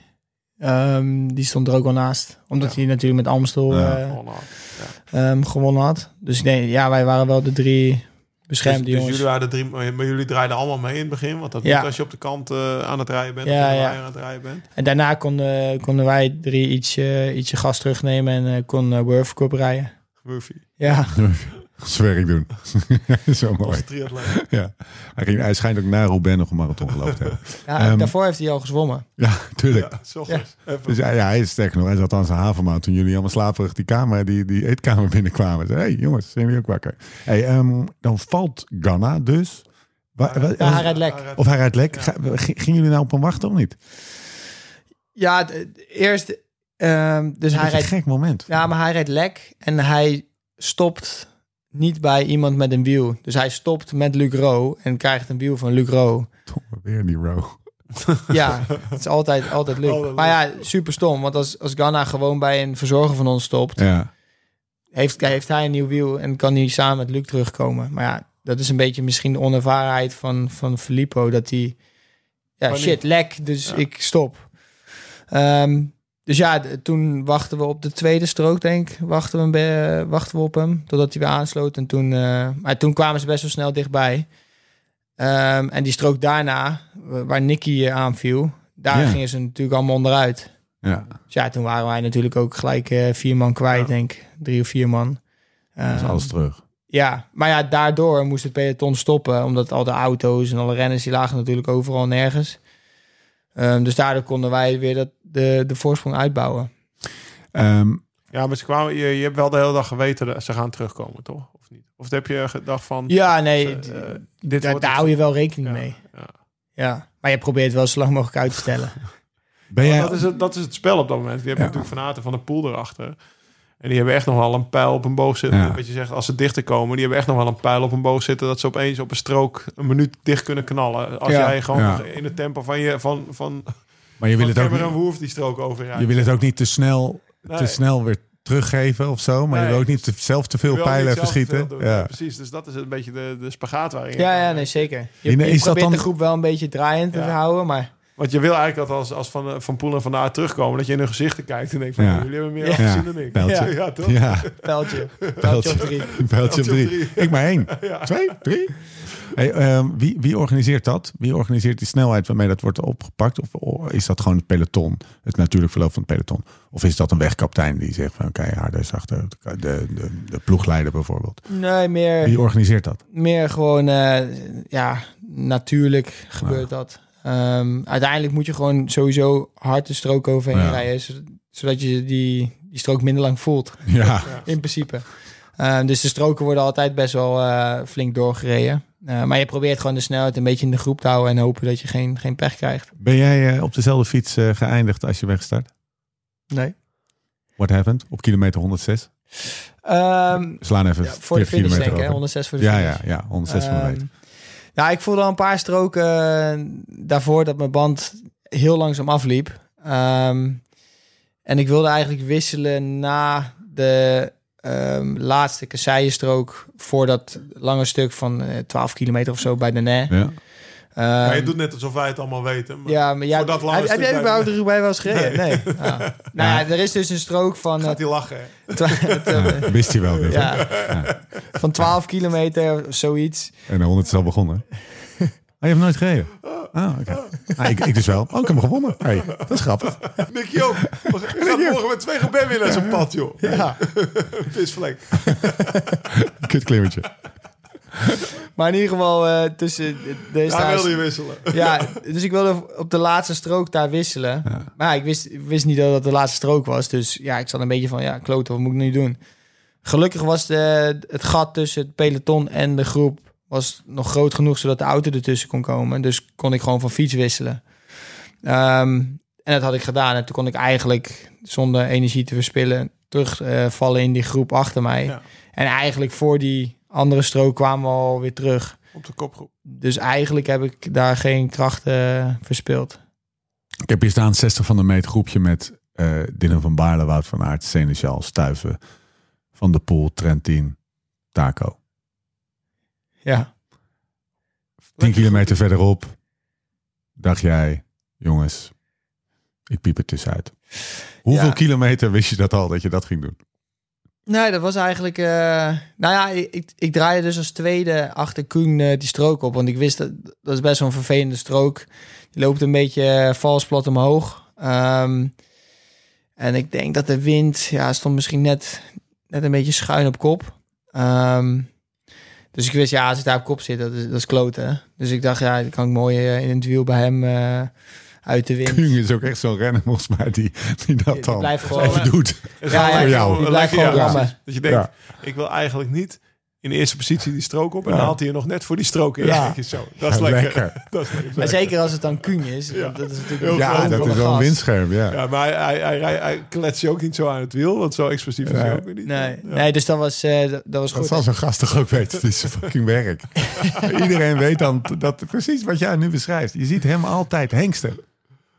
S4: ehm, die stond er ook wel naast. Omdat hij natuurlijk met Amstel
S1: Ja.
S4: eh,
S3: Oh, nou.
S4: ehm, gewonnen had. Dus nee, ja, wij waren wel de drie Beschermde
S3: dus, dus
S4: jongens.
S3: jullie waren de drie, maar jullie draaiden allemaal mee in het begin. Want dat
S4: Ja.
S3: moet als je op de kant eh, aan het rijden bent.
S4: Ja,
S3: of aan de
S4: ja.
S3: waaier aan het rijden bent.
S4: En daarna konden, konden wij drie ietsje, ietsje gas terugnemen en eh, kon eh World Cup rijden.
S3: Murphy.
S4: Ja,
S1: Zijn werk doen. <laughs> Zo mooi.
S3: Als
S4: <laughs>
S3: triatleet.
S1: Ja. Hij, ging, hij schijnt ook na Roubaix nog een marathon gelopen te hebben.
S4: ja
S1: Ehm.
S4: daarvoor heeft hij al gezwommen.
S1: <laughs> Ja, tuurlijk.
S3: Ja, s ochtends. Even.
S1: Dus ja, ja, hij is sterk nog. Hij zat aan zijn havenmaat toen jullie allemaal slaperig die, kamer, die, die eetkamer <laughs> binnenkwamen. Zei, hey jongens, zijn jullie ook wakker? Hey, ehm, dan valt Ghana dus. Wa- wa-
S4: Ja, hij rijdt lek.
S1: Of hij rijdt lek.
S3: Ja. Dus
S1: Ga- g- Gingen jullie nou op hem wachten of niet?
S4: Ja, d- eerst... ehm, dus
S1: Dat
S4: hij
S1: is een
S4: rijdt
S1: gek moment.
S4: Ja, maar hij rijdt lek en hij stopt niet bij iemand met een wiel. Dus hij stopt met Luc Rowe en krijgt een wiel van Luc
S1: <laughs>
S4: Rowe.
S1: Tom, weer die row.
S4: Ja, het is altijd, altijd Luc.
S3: Altijd Luc.
S4: maar ja, super stom. Want als, als Ghana gewoon bij een verzorger van ons stopt,
S1: Ja.
S4: heeft, heeft hij een nieuw wiel en kan hij samen met Luc terugkomen. Maar ja, dat is een beetje misschien de onervarenheid van, van Filippo. Dat hij, ja,
S3: Paniek.
S4: shit, lek, dus
S3: Ja.
S4: ik stop. Ehm, dus ja, d- toen wachten we op de tweede strook, denk ik. Wachten we, een be- wachten we op hem, totdat hij weer aansloot. En toen, eh, maar toen kwamen ze best wel snel dichtbij. Ehm, en die strook daarna, wa- waar Nicky eh, aanviel, daar
S1: Ja.
S4: gingen ze natuurlijk allemaal onderuit.
S1: ja.
S4: Dus ja, toen waren wij natuurlijk ook gelijk eh, vier man kwijt,
S3: Ja.
S4: denk ik. Drie of vier man.
S1: Dat is
S4: Ehm,
S1: alles terug.
S4: Ja, maar ja, daardoor moest het peloton stoppen. Omdat al de auto's en alle renners, die lagen natuurlijk overal nergens. Ehm, dus daardoor konden wij weer dat, de, de voorsprong uitbouwen.
S1: Ehm,
S3: Ja, maar ze kwamen, je, je hebt wel de hele dag geweten dat ze gaan terugkomen, toch? Of niet? Of heb je gedacht van...
S4: Ja,
S3: ze,
S4: nee, d-
S3: eh,
S4: daar,
S3: dit wordt
S4: daar
S3: het.
S4: hou je wel rekening
S3: Ja,
S4: mee.
S3: ja.
S4: Ja, maar je probeert wel zo lang mogelijk uit te
S3: <laughs>
S4: stellen.
S1: ben jij...
S3: Oh, Dat, is het, dat is het spel op dat moment. Je hebt
S1: Ja.
S3: natuurlijk Van Aten van de Poel erachter. En die hebben echt nog wel een pijl op een boog zitten.
S1: Ja.
S3: Wat je zegt, als ze dichter komen, die hebben echt nog wel een pijl op een boog zitten. Dat ze opeens op een strook een minuut dicht kunnen knallen. Als
S4: Ja.
S3: jij gewoon
S1: Ja.
S3: in het tempo van je van, van,
S1: maar je wil,
S3: van
S1: het ook
S3: Cameron
S1: niet,
S3: Wurf die strook overrijdt.
S1: je wil het ook niet te snel, te
S3: Nee.
S1: snel weer teruggeven of zo. Maar je
S3: Nee.
S1: wil ook niet te- zelf te
S3: Je
S1: veel
S3: wil
S1: pijlen
S3: niet zelf te veel
S1: verschieten.
S3: doen. Ja,
S1: Ja.
S3: Precies, dus dat is een beetje de, de spagaat waarin je
S4: Ja,
S3: kan,
S4: ja,
S3: eh,
S4: nee, zeker. Je,
S1: Is
S4: je
S1: dat
S4: probeert
S1: dan-
S4: de groep wel een beetje draaiend te
S3: Ja.
S4: houden, maar...
S3: <laughs> Want je wil eigenlijk dat als, als van, eh, van Poel en Van Aert terugkomen... dat je in hun gezichten kijkt en denkt van...
S1: Ja.
S3: "Joh, jullie hebben meer
S4: Ja.
S3: gezien dan ik.
S1: Pijltje.
S3: Ja, toch?
S1: Ja,
S4: Pijltje. Pijltje
S1: Pijltje.
S4: op drie.
S1: Een pijltje op drie. Ik maar één. Twee, drie. Hey, ehm, wie, wie organiseert dat? Wie organiseert die snelheid waarmee dat wordt opgepakt? Of o- is dat gewoon het peloton, het natuurlijk verloop van het peloton? Of is dat een wegkaptein die zegt van oké, harder is achter de, de, de ploegleider bijvoorbeeld?
S4: Nee, meer...
S1: Wie organiseert dat?
S4: meer gewoon, eh, ja, natuurlijk gebeurt dat. Ehm, uiteindelijk moet je gewoon sowieso hard de strook overheen
S1: Ja.
S4: rijden, zo- zodat je die, die strook minder lang voelt,
S1: Ja,
S4: in principe. Ehm, dus de stroken worden altijd best wel eh, flink doorgereden. Eh, maar je probeert gewoon de snelheid een beetje in de groep te houden en hopen dat je geen, geen pech krijgt.
S1: ben jij eh, op dezelfde fiets eh, geëindigd als je wegstart?
S4: Nee.
S1: What happened? Op kilometer 106? We slaan even
S4: Ehm, voor de
S1: 40
S4: finish
S1: kilometer
S4: denk ik, hè?
S1: over.
S4: 106 voor de
S1: Ja,
S4: finish.
S1: ja, ja, 106 van de meter.
S4: Ehm, nou, ik voelde al een paar stroken eh, daarvoor dat mijn band heel langzaam afliep. Ehm, en ik wilde eigenlijk wisselen na de ehm, laatste kasseienstrook voor dat lange stuk van eh, 12 kilometer of zo bij de NE.
S1: Ja.
S4: <laughs>
S3: Maar je doet net alsof wij het allemaal weten. Maar
S4: ja, maar ja,
S3: voor dat lange
S4: heb, heb
S3: stuk
S4: jij
S3: bij
S4: überhaupt
S3: de-
S4: de bij wel eens gereden? Nee.
S3: <laughs>
S4: Ah. Nou ja, er is dus een strook van... eh,
S3: gaat hij lachen. hè?
S4: twa-
S3: <laughs>
S4: <laughs> twa-
S1: Wist hij wel. dus. dit, hè?
S4: ja, van 12 kilometer, of zoiets.
S1: En de 100 is al <laughs> begonnen. Oh, je hebt nooit gereden? Ah, oké. Ah, ik, ik dus wel. Oh, ik heb hem gewonnen. Hey, dat is grappig.
S3: Nicky ook. We gaan morgen met twee gebed weer naar zijn pad, joh. <laughs>
S4: Ja.
S3: Visvlek.
S1: Kut klimmertje.
S4: Maar in ieder geval eh, tussen... deze
S3: Daar wilde je wisselen.
S4: <laughs> Ja, dus ik wilde op de laatste strook daar wisselen. Maar ja, ik wist, ik wist niet dat dat de laatste strook was. Dus ja, ik zat een beetje van, ja, klote, wat moet ik nu doen? Gelukkig was de, het gat tussen het peloton en de groep was nog groot genoeg zodat de auto ertussen kon komen. Dus kon ik gewoon van fiets wisselen. Ehm, en dat had ik gedaan. En toen kon ik eigenlijk zonder energie te verspillen terugvallen eh, in die groep achter mij.
S3: Ja.
S4: En eigenlijk voor die andere strook kwamen we alweer terug.
S3: <laughs> Op de kopgroep.
S4: Dus eigenlijk heb ik daar geen krachten eh, verspild.
S1: Ik heb hier staan 60 van de meet groepje met eh Dylan van Baarle, Wout van Aert, Seneschal, Stuiven, Van der Poel, Trentin, Taco.
S4: Ja.
S1: 10 kilometer verderop dacht jij, jongens, ik piep er tussenuit. Hoeveel
S4: Ja.
S1: kilometer wist je dat al, dat je dat ging doen?
S4: Nee, dat was eigenlijk... eh, nou ja, ik, ik draaide dus als tweede achter Koen eh, die strook op. Want ik wist, dat, dat is best wel een vervelende strook. Die loopt een beetje eh, vals plat omhoog. Ehm, en ik denk dat de wind... Ja, stond misschien net, net een beetje schuin op kop. Ehm, dus ik wist, ja, als ik daar op kop zit, dat is, dat is kloten. Dus ik dacht, ja, dan kan ik mooi eh, in het wiel bij hem eh, uit de wind.
S1: Kuhn is ook echt zo'n renner, volgens mij, die, die eh, dat
S4: Die
S1: dan
S4: blijft gewoon-
S1: even doet.
S3: Het
S4: Ja,
S3: gaat
S4: ja,
S3: voor
S1: die
S3: jou.
S4: blijft
S3: Lekker,
S4: gewoon
S3: ja.
S4: rammen.
S3: Dat je denkt,
S1: Ja.
S3: ik wil eigenlijk niet in de eerste positie die strook op. En
S1: Ja.
S3: dan haalt hij je nog net voor die strook in.
S1: Ja.
S3: Dan denk je Zo, dat is
S1: Ja,
S3: lekker.
S1: lekker.
S3: <laughs> Dat is lekker.
S4: Maar zeker als het dan Kuhn is. want Dat is natuurlijk
S3: Heel
S1: Ja,
S3: veel
S1: dat
S4: overal
S1: is wel een
S4: gas.
S1: windscherm, ja.
S3: Ja, maar hij, hij, hij, hij- hij klets je ook niet zo aan het wiel. Want zo explosief is hij
S1: Nee.
S3: ook weer niet.
S4: Nee,
S3: Ja.
S4: nee dus dat was, eh, dat, dat was
S1: Dat
S4: goed.
S1: zal zo'n gast toch ook weten. Het is zijn fucking <laughs> werk. Iedereen weet dan t- dat precies wat jij nu beschrijft. Je ziet hem altijd hengsten.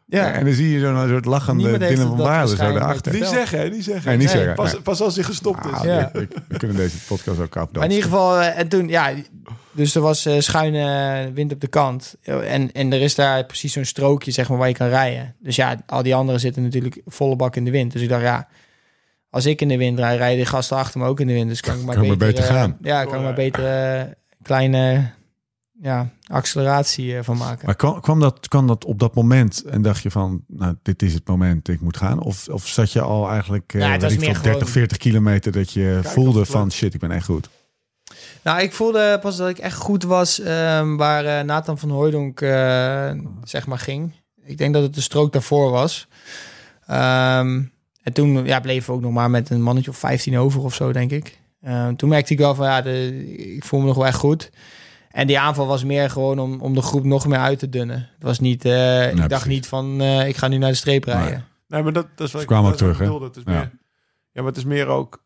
S4: ja,
S1: En dan zie je zo'n soort lachende
S4: Niemand heeft
S1: Dylan van
S4: dat
S1: Baarden zo
S4: waarschijnlijk
S1: daarachter.
S3: Niet
S4: Wel.
S3: zeggen, hè? Niet zeggen.
S1: Nee, niet
S4: Nee, dus
S1: zeggen.
S3: Pas,
S1: Nee.
S3: pas als hij gestopt is.
S1: Ah,
S4: Ja.
S1: we, we- we kunnen deze podcast ook afdansen.
S4: Maar in ieder geval, eh, en toen, ja, dus er was eh, schuine eh, wind op de kant. En, en er is daar precies zo'n strookje, zeg maar, waar je kan rijden. Dus ja, al die anderen zitten natuurlijk volle bak in de wind. Dus ik dacht, ja, als ik in de wind rijd, rijden die gasten achter me ook in de wind. Dus kan ik maar
S1: Kan maar
S4: beter,
S1: beter
S4: eh,
S1: gaan.
S4: Ja, kan ik maar beter eh, kleine ja, acceleratie eh, van maken.
S1: Maar kwam, kwam dat, kwam dat op dat moment en dacht je van, nou, dit is het moment, ik moet gaan? Of, of zat je al eigenlijk eh
S4: Ja, het
S1: weet
S4: was
S1: ik veel,
S4: meer
S1: 30,
S4: gewoon-
S1: 40 kilometer dat je
S3: of
S1: voelde
S3: het
S1: van,
S3: lukt.
S1: shit, ik ben echt goed?
S4: Nou, ik voelde pas dat ik echt goed was ehm, waar eh, Nathan van Hooijdonk eh, zeg maar ging. Ik denk dat het de strook daarvoor was. Ehm, en toen ja, bleven we ook nog maar met een mannetje of 15 over of zo, denk ik. Ehm, toen merkte ik wel van ja, de, ik voel me nog wel echt goed. En die aanval was meer gewoon om, om de groep nog meer uit te dunnen. Het was niet, eh, ik dacht
S1: precies.
S4: niet van eh, ik ga nu naar de streep rijden.
S3: Nee, maar dat, dat is wat
S1: Ze
S3: ik,
S1: kwamen
S3: dat
S1: ook terug,
S3: is wat ik
S1: hè?
S3: bedoelde. Het is
S1: Ja.
S3: meer, ja, maar het is meer ook...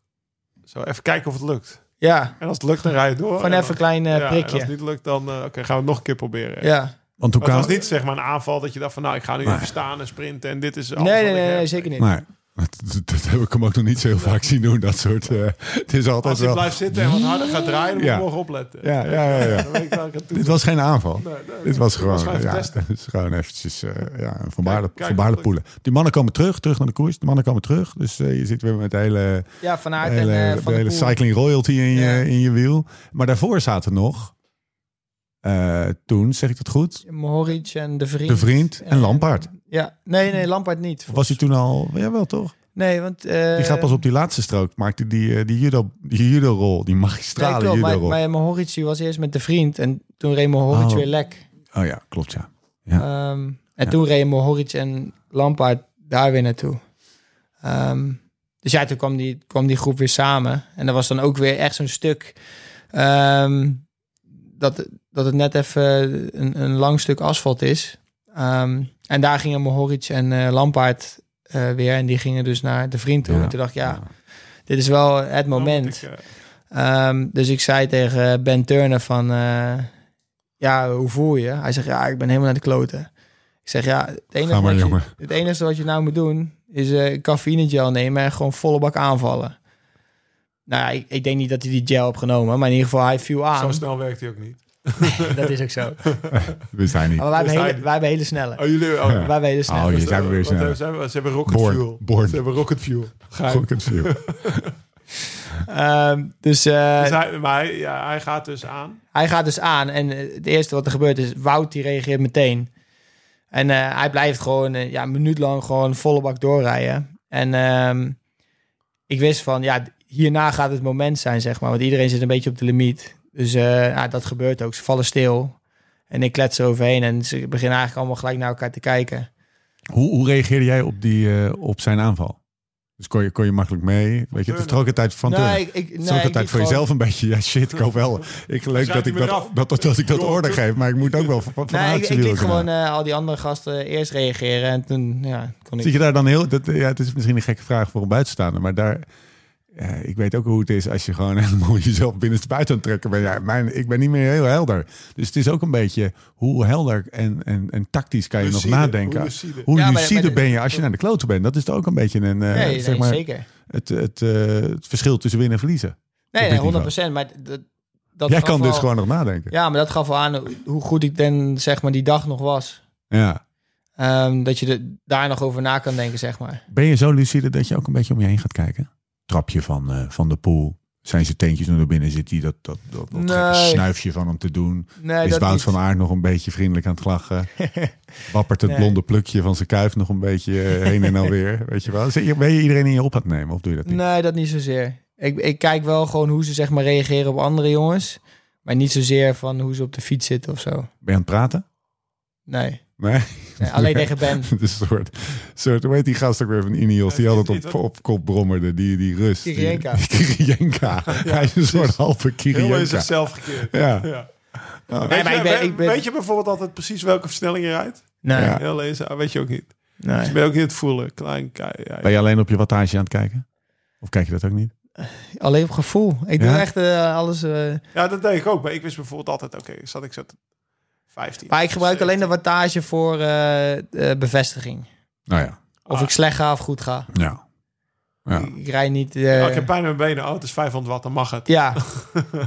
S3: Zo, even kijken of het lukt.
S4: Ja,
S3: En als het lukt, dan rij je door.
S4: gewoon
S3: En
S4: even een klein eh,
S3: dan- ja, en
S4: prikje.
S3: als het niet lukt, dan eh, oké, gaan we het nog een keer proberen. Maar
S4: ja.
S1: Want toen
S3: Het was
S1: kwam...
S3: niet zeg maar een aanval dat je dacht van... Nou, ik ga nu
S1: Nee.
S3: even staan en sprinten en dit is alles
S4: Nee, nee,
S3: wat ik
S4: nee,
S3: heb.
S4: nee, zeker niet.
S1: Nee, dat, dat- dat heb ik hem ook nog niet zo heel vaak zien doen, dat soort... eh, het is altijd
S3: Als hij
S1: wel...
S3: blijft zitten en wat harder gaat draaien, dan
S1: Ja.
S3: moet je morgen opletten.
S1: Ja, ja, ja, ja.
S3: Dan weet ik waar ik aan toe
S1: <laughs> Dit was geen aanval.
S3: ben. Nee, nee,
S1: Dit was
S3: was
S1: gewoon,
S3: gewoon even
S1: ja,
S3: testen.
S1: dit is <laughs> gewoon eventjes eh, ja, een voorbaarde,
S3: Kijk, kijk,
S1: voorbaarde
S3: wat
S1: poelen. Die mannen komen terug, terug naar de koers. De mannen komen terug. Dus eh, je zit weer met de hele,
S4: Ja, vanuit
S1: hele,
S4: en, eh,
S1: de
S4: van de
S1: hele
S4: Poel.
S1: cycling royalty in,
S4: Ja.
S1: je, in je wiel. Maar daarvoor zaten nog, eh, toen zeg ik dat goed,
S4: Mohoric en De Vriend.
S1: De
S4: Eh,
S1: Vriend en Lampaard.
S4: Ja, nee, nee, Lampaard niet.
S1: Of was hij toen al, jawel toch?
S4: Nee, want... eh,
S1: Die gaat pas op die laatste strook, maakte die, eh, die, judo, die judo-rol, die
S4: nee,
S1: magistrale
S4: klopt, maar,
S1: judo-rol.
S4: maar Mohoric die was eerst met De Vriend en toen reed Mohoric
S1: Oh.
S4: weer lek.
S1: Oh ja, klopt ja.
S4: Ehm, en
S1: Ja.
S4: toen reed Mohoric en Lampaard daar weer naartoe. Ehm, dus ja, toen kwam die, kwam die groep weer samen. En dat was dan ook weer echt zo'n stuk... ehm, dat, dat het net even een, een lang stuk asfalt is. Ehm, en daar gingen Mohoric en eh Lampaard eh, weer. En die gingen dus naar de vriend toe.
S1: Ja.
S4: En toen dacht ik, ja, dit is wel het
S3: Dan moet
S4: moment.
S3: ik, eh,
S4: Ehm, dus ik zei tegen eh, Ben Turner van... eh, ja, hoe voel je? Hij zegt, ja, ik ben helemaal naar de kloten. Ik zeg, ja, het enige,
S1: Ga maar,
S4: wat je,
S1: jongen.
S4: het enige wat je nou moet doen... is eh een cafeïnegel nemen en gewoon volle bak aanvallen. Nou ja, ik, ik denk niet dat hij die gel heeft genomen... maar in ieder geval, hij viel aan.
S3: Zo snel werkt hij ook niet.
S4: <laughs> dat is ook zo.
S1: Wist hij
S4: <laughs>
S1: niet.
S4: Maar wij hebben,
S3: Dus hij-
S4: hele, wij hebben hele snelle.
S3: Oh, jullie... Oh,
S1: Ja.
S4: Wij hebben hele snelle.
S1: Oh, je
S3: Dus,
S1: zijn
S3: eh,
S1: weer
S3: wat
S1: sneller.
S3: hebben Ze hebben- ze hebben rocket
S1: Born,
S3: fuel.
S1: born.
S3: Ze hebben rocket fuel. Geheim.
S1: Goed, ik zie je.
S4: Ehm, dus eh,
S3: Dus hij, maar hij, ja, hij gaat dus aan.
S4: hij gaat dus aan. En eh, het eerste wat er gebeurt is, Wout die reageert meteen. En eh, hij blijft gewoon eh, ja, een minuut lang gewoon volle bak doorrijden. En ehm, ik wist van, ja, hierna gaat het moment zijn, zeg maar. Want iedereen zit een beetje op de limiet. Dus eh, ja, dat gebeurt ook. Ze vallen stil. En ik klets er overheen. En ze beginnen eigenlijk allemaal gelijk naar elkaar te kijken.
S1: Hoe, hoe reageerde jij op, die, eh, op zijn aanval? Dus kon je, kon je makkelijk mee? Weet je, het is toch ook een tijd van turnen.
S4: ik, ik,
S1: Het is ook een tijd
S4: ik liet
S1: voor
S4: gewoon-
S1: jezelf een beetje. Ja, shit, ik hoop wel. Ik, leuk
S3: Schrijf
S1: dat ik
S3: hem
S1: dat,
S3: eraf.
S1: dat, dat, dat ik dat
S3: Joh,
S1: order
S3: doe-
S1: geef, maar ik moet ook wel van, van
S4: Nee,
S1: Aertsen
S4: ik, ik liet
S1: wielen kunnen.
S4: gewoon eh, al die andere gasten eerst reageren. En toen ja, kon ik...
S1: Zit je daar dan heel... Dat, eh, ja, het is misschien een gekke vraag voor een buitenstaander, maar daar... eh, ik weet ook hoe het is als je gewoon <laughs> helemaal jezelf binnenstebuiten aan het trekken bent. Ja, mijn, ik ben niet meer heel helder. Dus het is ook een beetje hoe helder en, en, en tactisch kan je
S3: Lucide,
S1: nog nadenken.
S3: hoe
S1: Hoe,
S3: lucide.
S4: Ja, maar-
S1: lucide
S4: maar de-
S1: ben je als je naar de kloten bent. Dat is toch ook een beetje een... eh,
S4: nee, nee,
S1: zeg maar,
S4: zeker.
S1: het, het, eh, het verschil tussen winnen en verliezen.
S4: Nee,
S1: dit
S4: nee, 100 Maar dat, dat
S1: Jij
S4: gaf
S1: kan
S4: wel-
S1: dus gewoon nog nadenken.
S4: Ja, maar dat gaf wel aan hoe goed ik dan, zeg maar, die dag nog was.
S1: Ja.
S4: Ehm, dat je er daar nog over na kan denken, zeg maar.
S1: Ben je zo lucide dat je ook een beetje om je heen gaat kijken? trapje van, eh, van de pool. Zijn zijn teentjes toen er binnen zit die dat, dat, dat, dat gekke
S4: Nee.
S1: snuifje van hem te doen.
S4: Nee,
S1: is
S4: dat
S1: Wout
S4: niet.
S1: van Aert nog een beetje vriendelijk aan het
S4: <laughs>
S1: lachen. Wappert het
S4: Nee.
S1: blonde plukje van zijn kuif nog een beetje eh, heen en
S4: <laughs>
S1: alweer. Weet je wel. Zit je- Ben je iedereen in je op aan het nemen of doe je dat niet?
S4: Nee, dat niet zozeer. Ik, ik kijk wel gewoon hoe ze zeg maar reageren op andere jongens. Maar niet zozeer van hoe ze op de fiets zitten of zo.
S1: Ben je aan het praten?
S4: Nee,
S1: Nee. <laughs>
S4: nee alleen tegen Ben.
S1: Het is een soort, soort, hoe heet die gast ook weer van Ineos? Die altijd op, op kop brommerde, die, die rust. Die-
S4: Kirienka.
S1: die
S4: <laughs>
S1: Kirienka. Hij is een soort halve
S3: Heel in
S1: Kirienka.
S3: zichzelf gekeerd.
S1: Ja.
S3: Ja.
S4: Nee,
S3: Weet,
S4: maar
S3: je,
S4: ik ben-
S3: we-
S4: ik ben-
S3: weet je bijvoorbeeld altijd precies welke versnelling je rijdt?
S4: Nee,
S1: Ja.
S3: Heel lezen, Ah, weet je ook niet.
S4: nee.
S3: Dus ben je ook niet het voelen. Klein, kei, ja,
S1: Ben je alleen op je wattage aan het kijken? Of kijk je dat ook niet?
S4: Alleen op gevoel. Ik
S1: Ja?
S4: doe echt eh, alles. eh,
S3: Ja, dat deed ik ook. Maar ik wist bijvoorbeeld altijd, oké, zat ik zo te- 15.
S4: Maar ik gebruik alleen de
S3: 17.
S4: wattage voor eh, eh, bevestiging.
S1: Nou ja.
S4: Of
S3: Ah.
S4: ik slecht ga of goed ga.
S1: Ja. Ja.
S4: Ik, ik rijd niet. eh,
S3: Oh, ik heb pijn in mijn benen. Oh, het is 500 watt, dan mag het. <laughs>
S4: ja.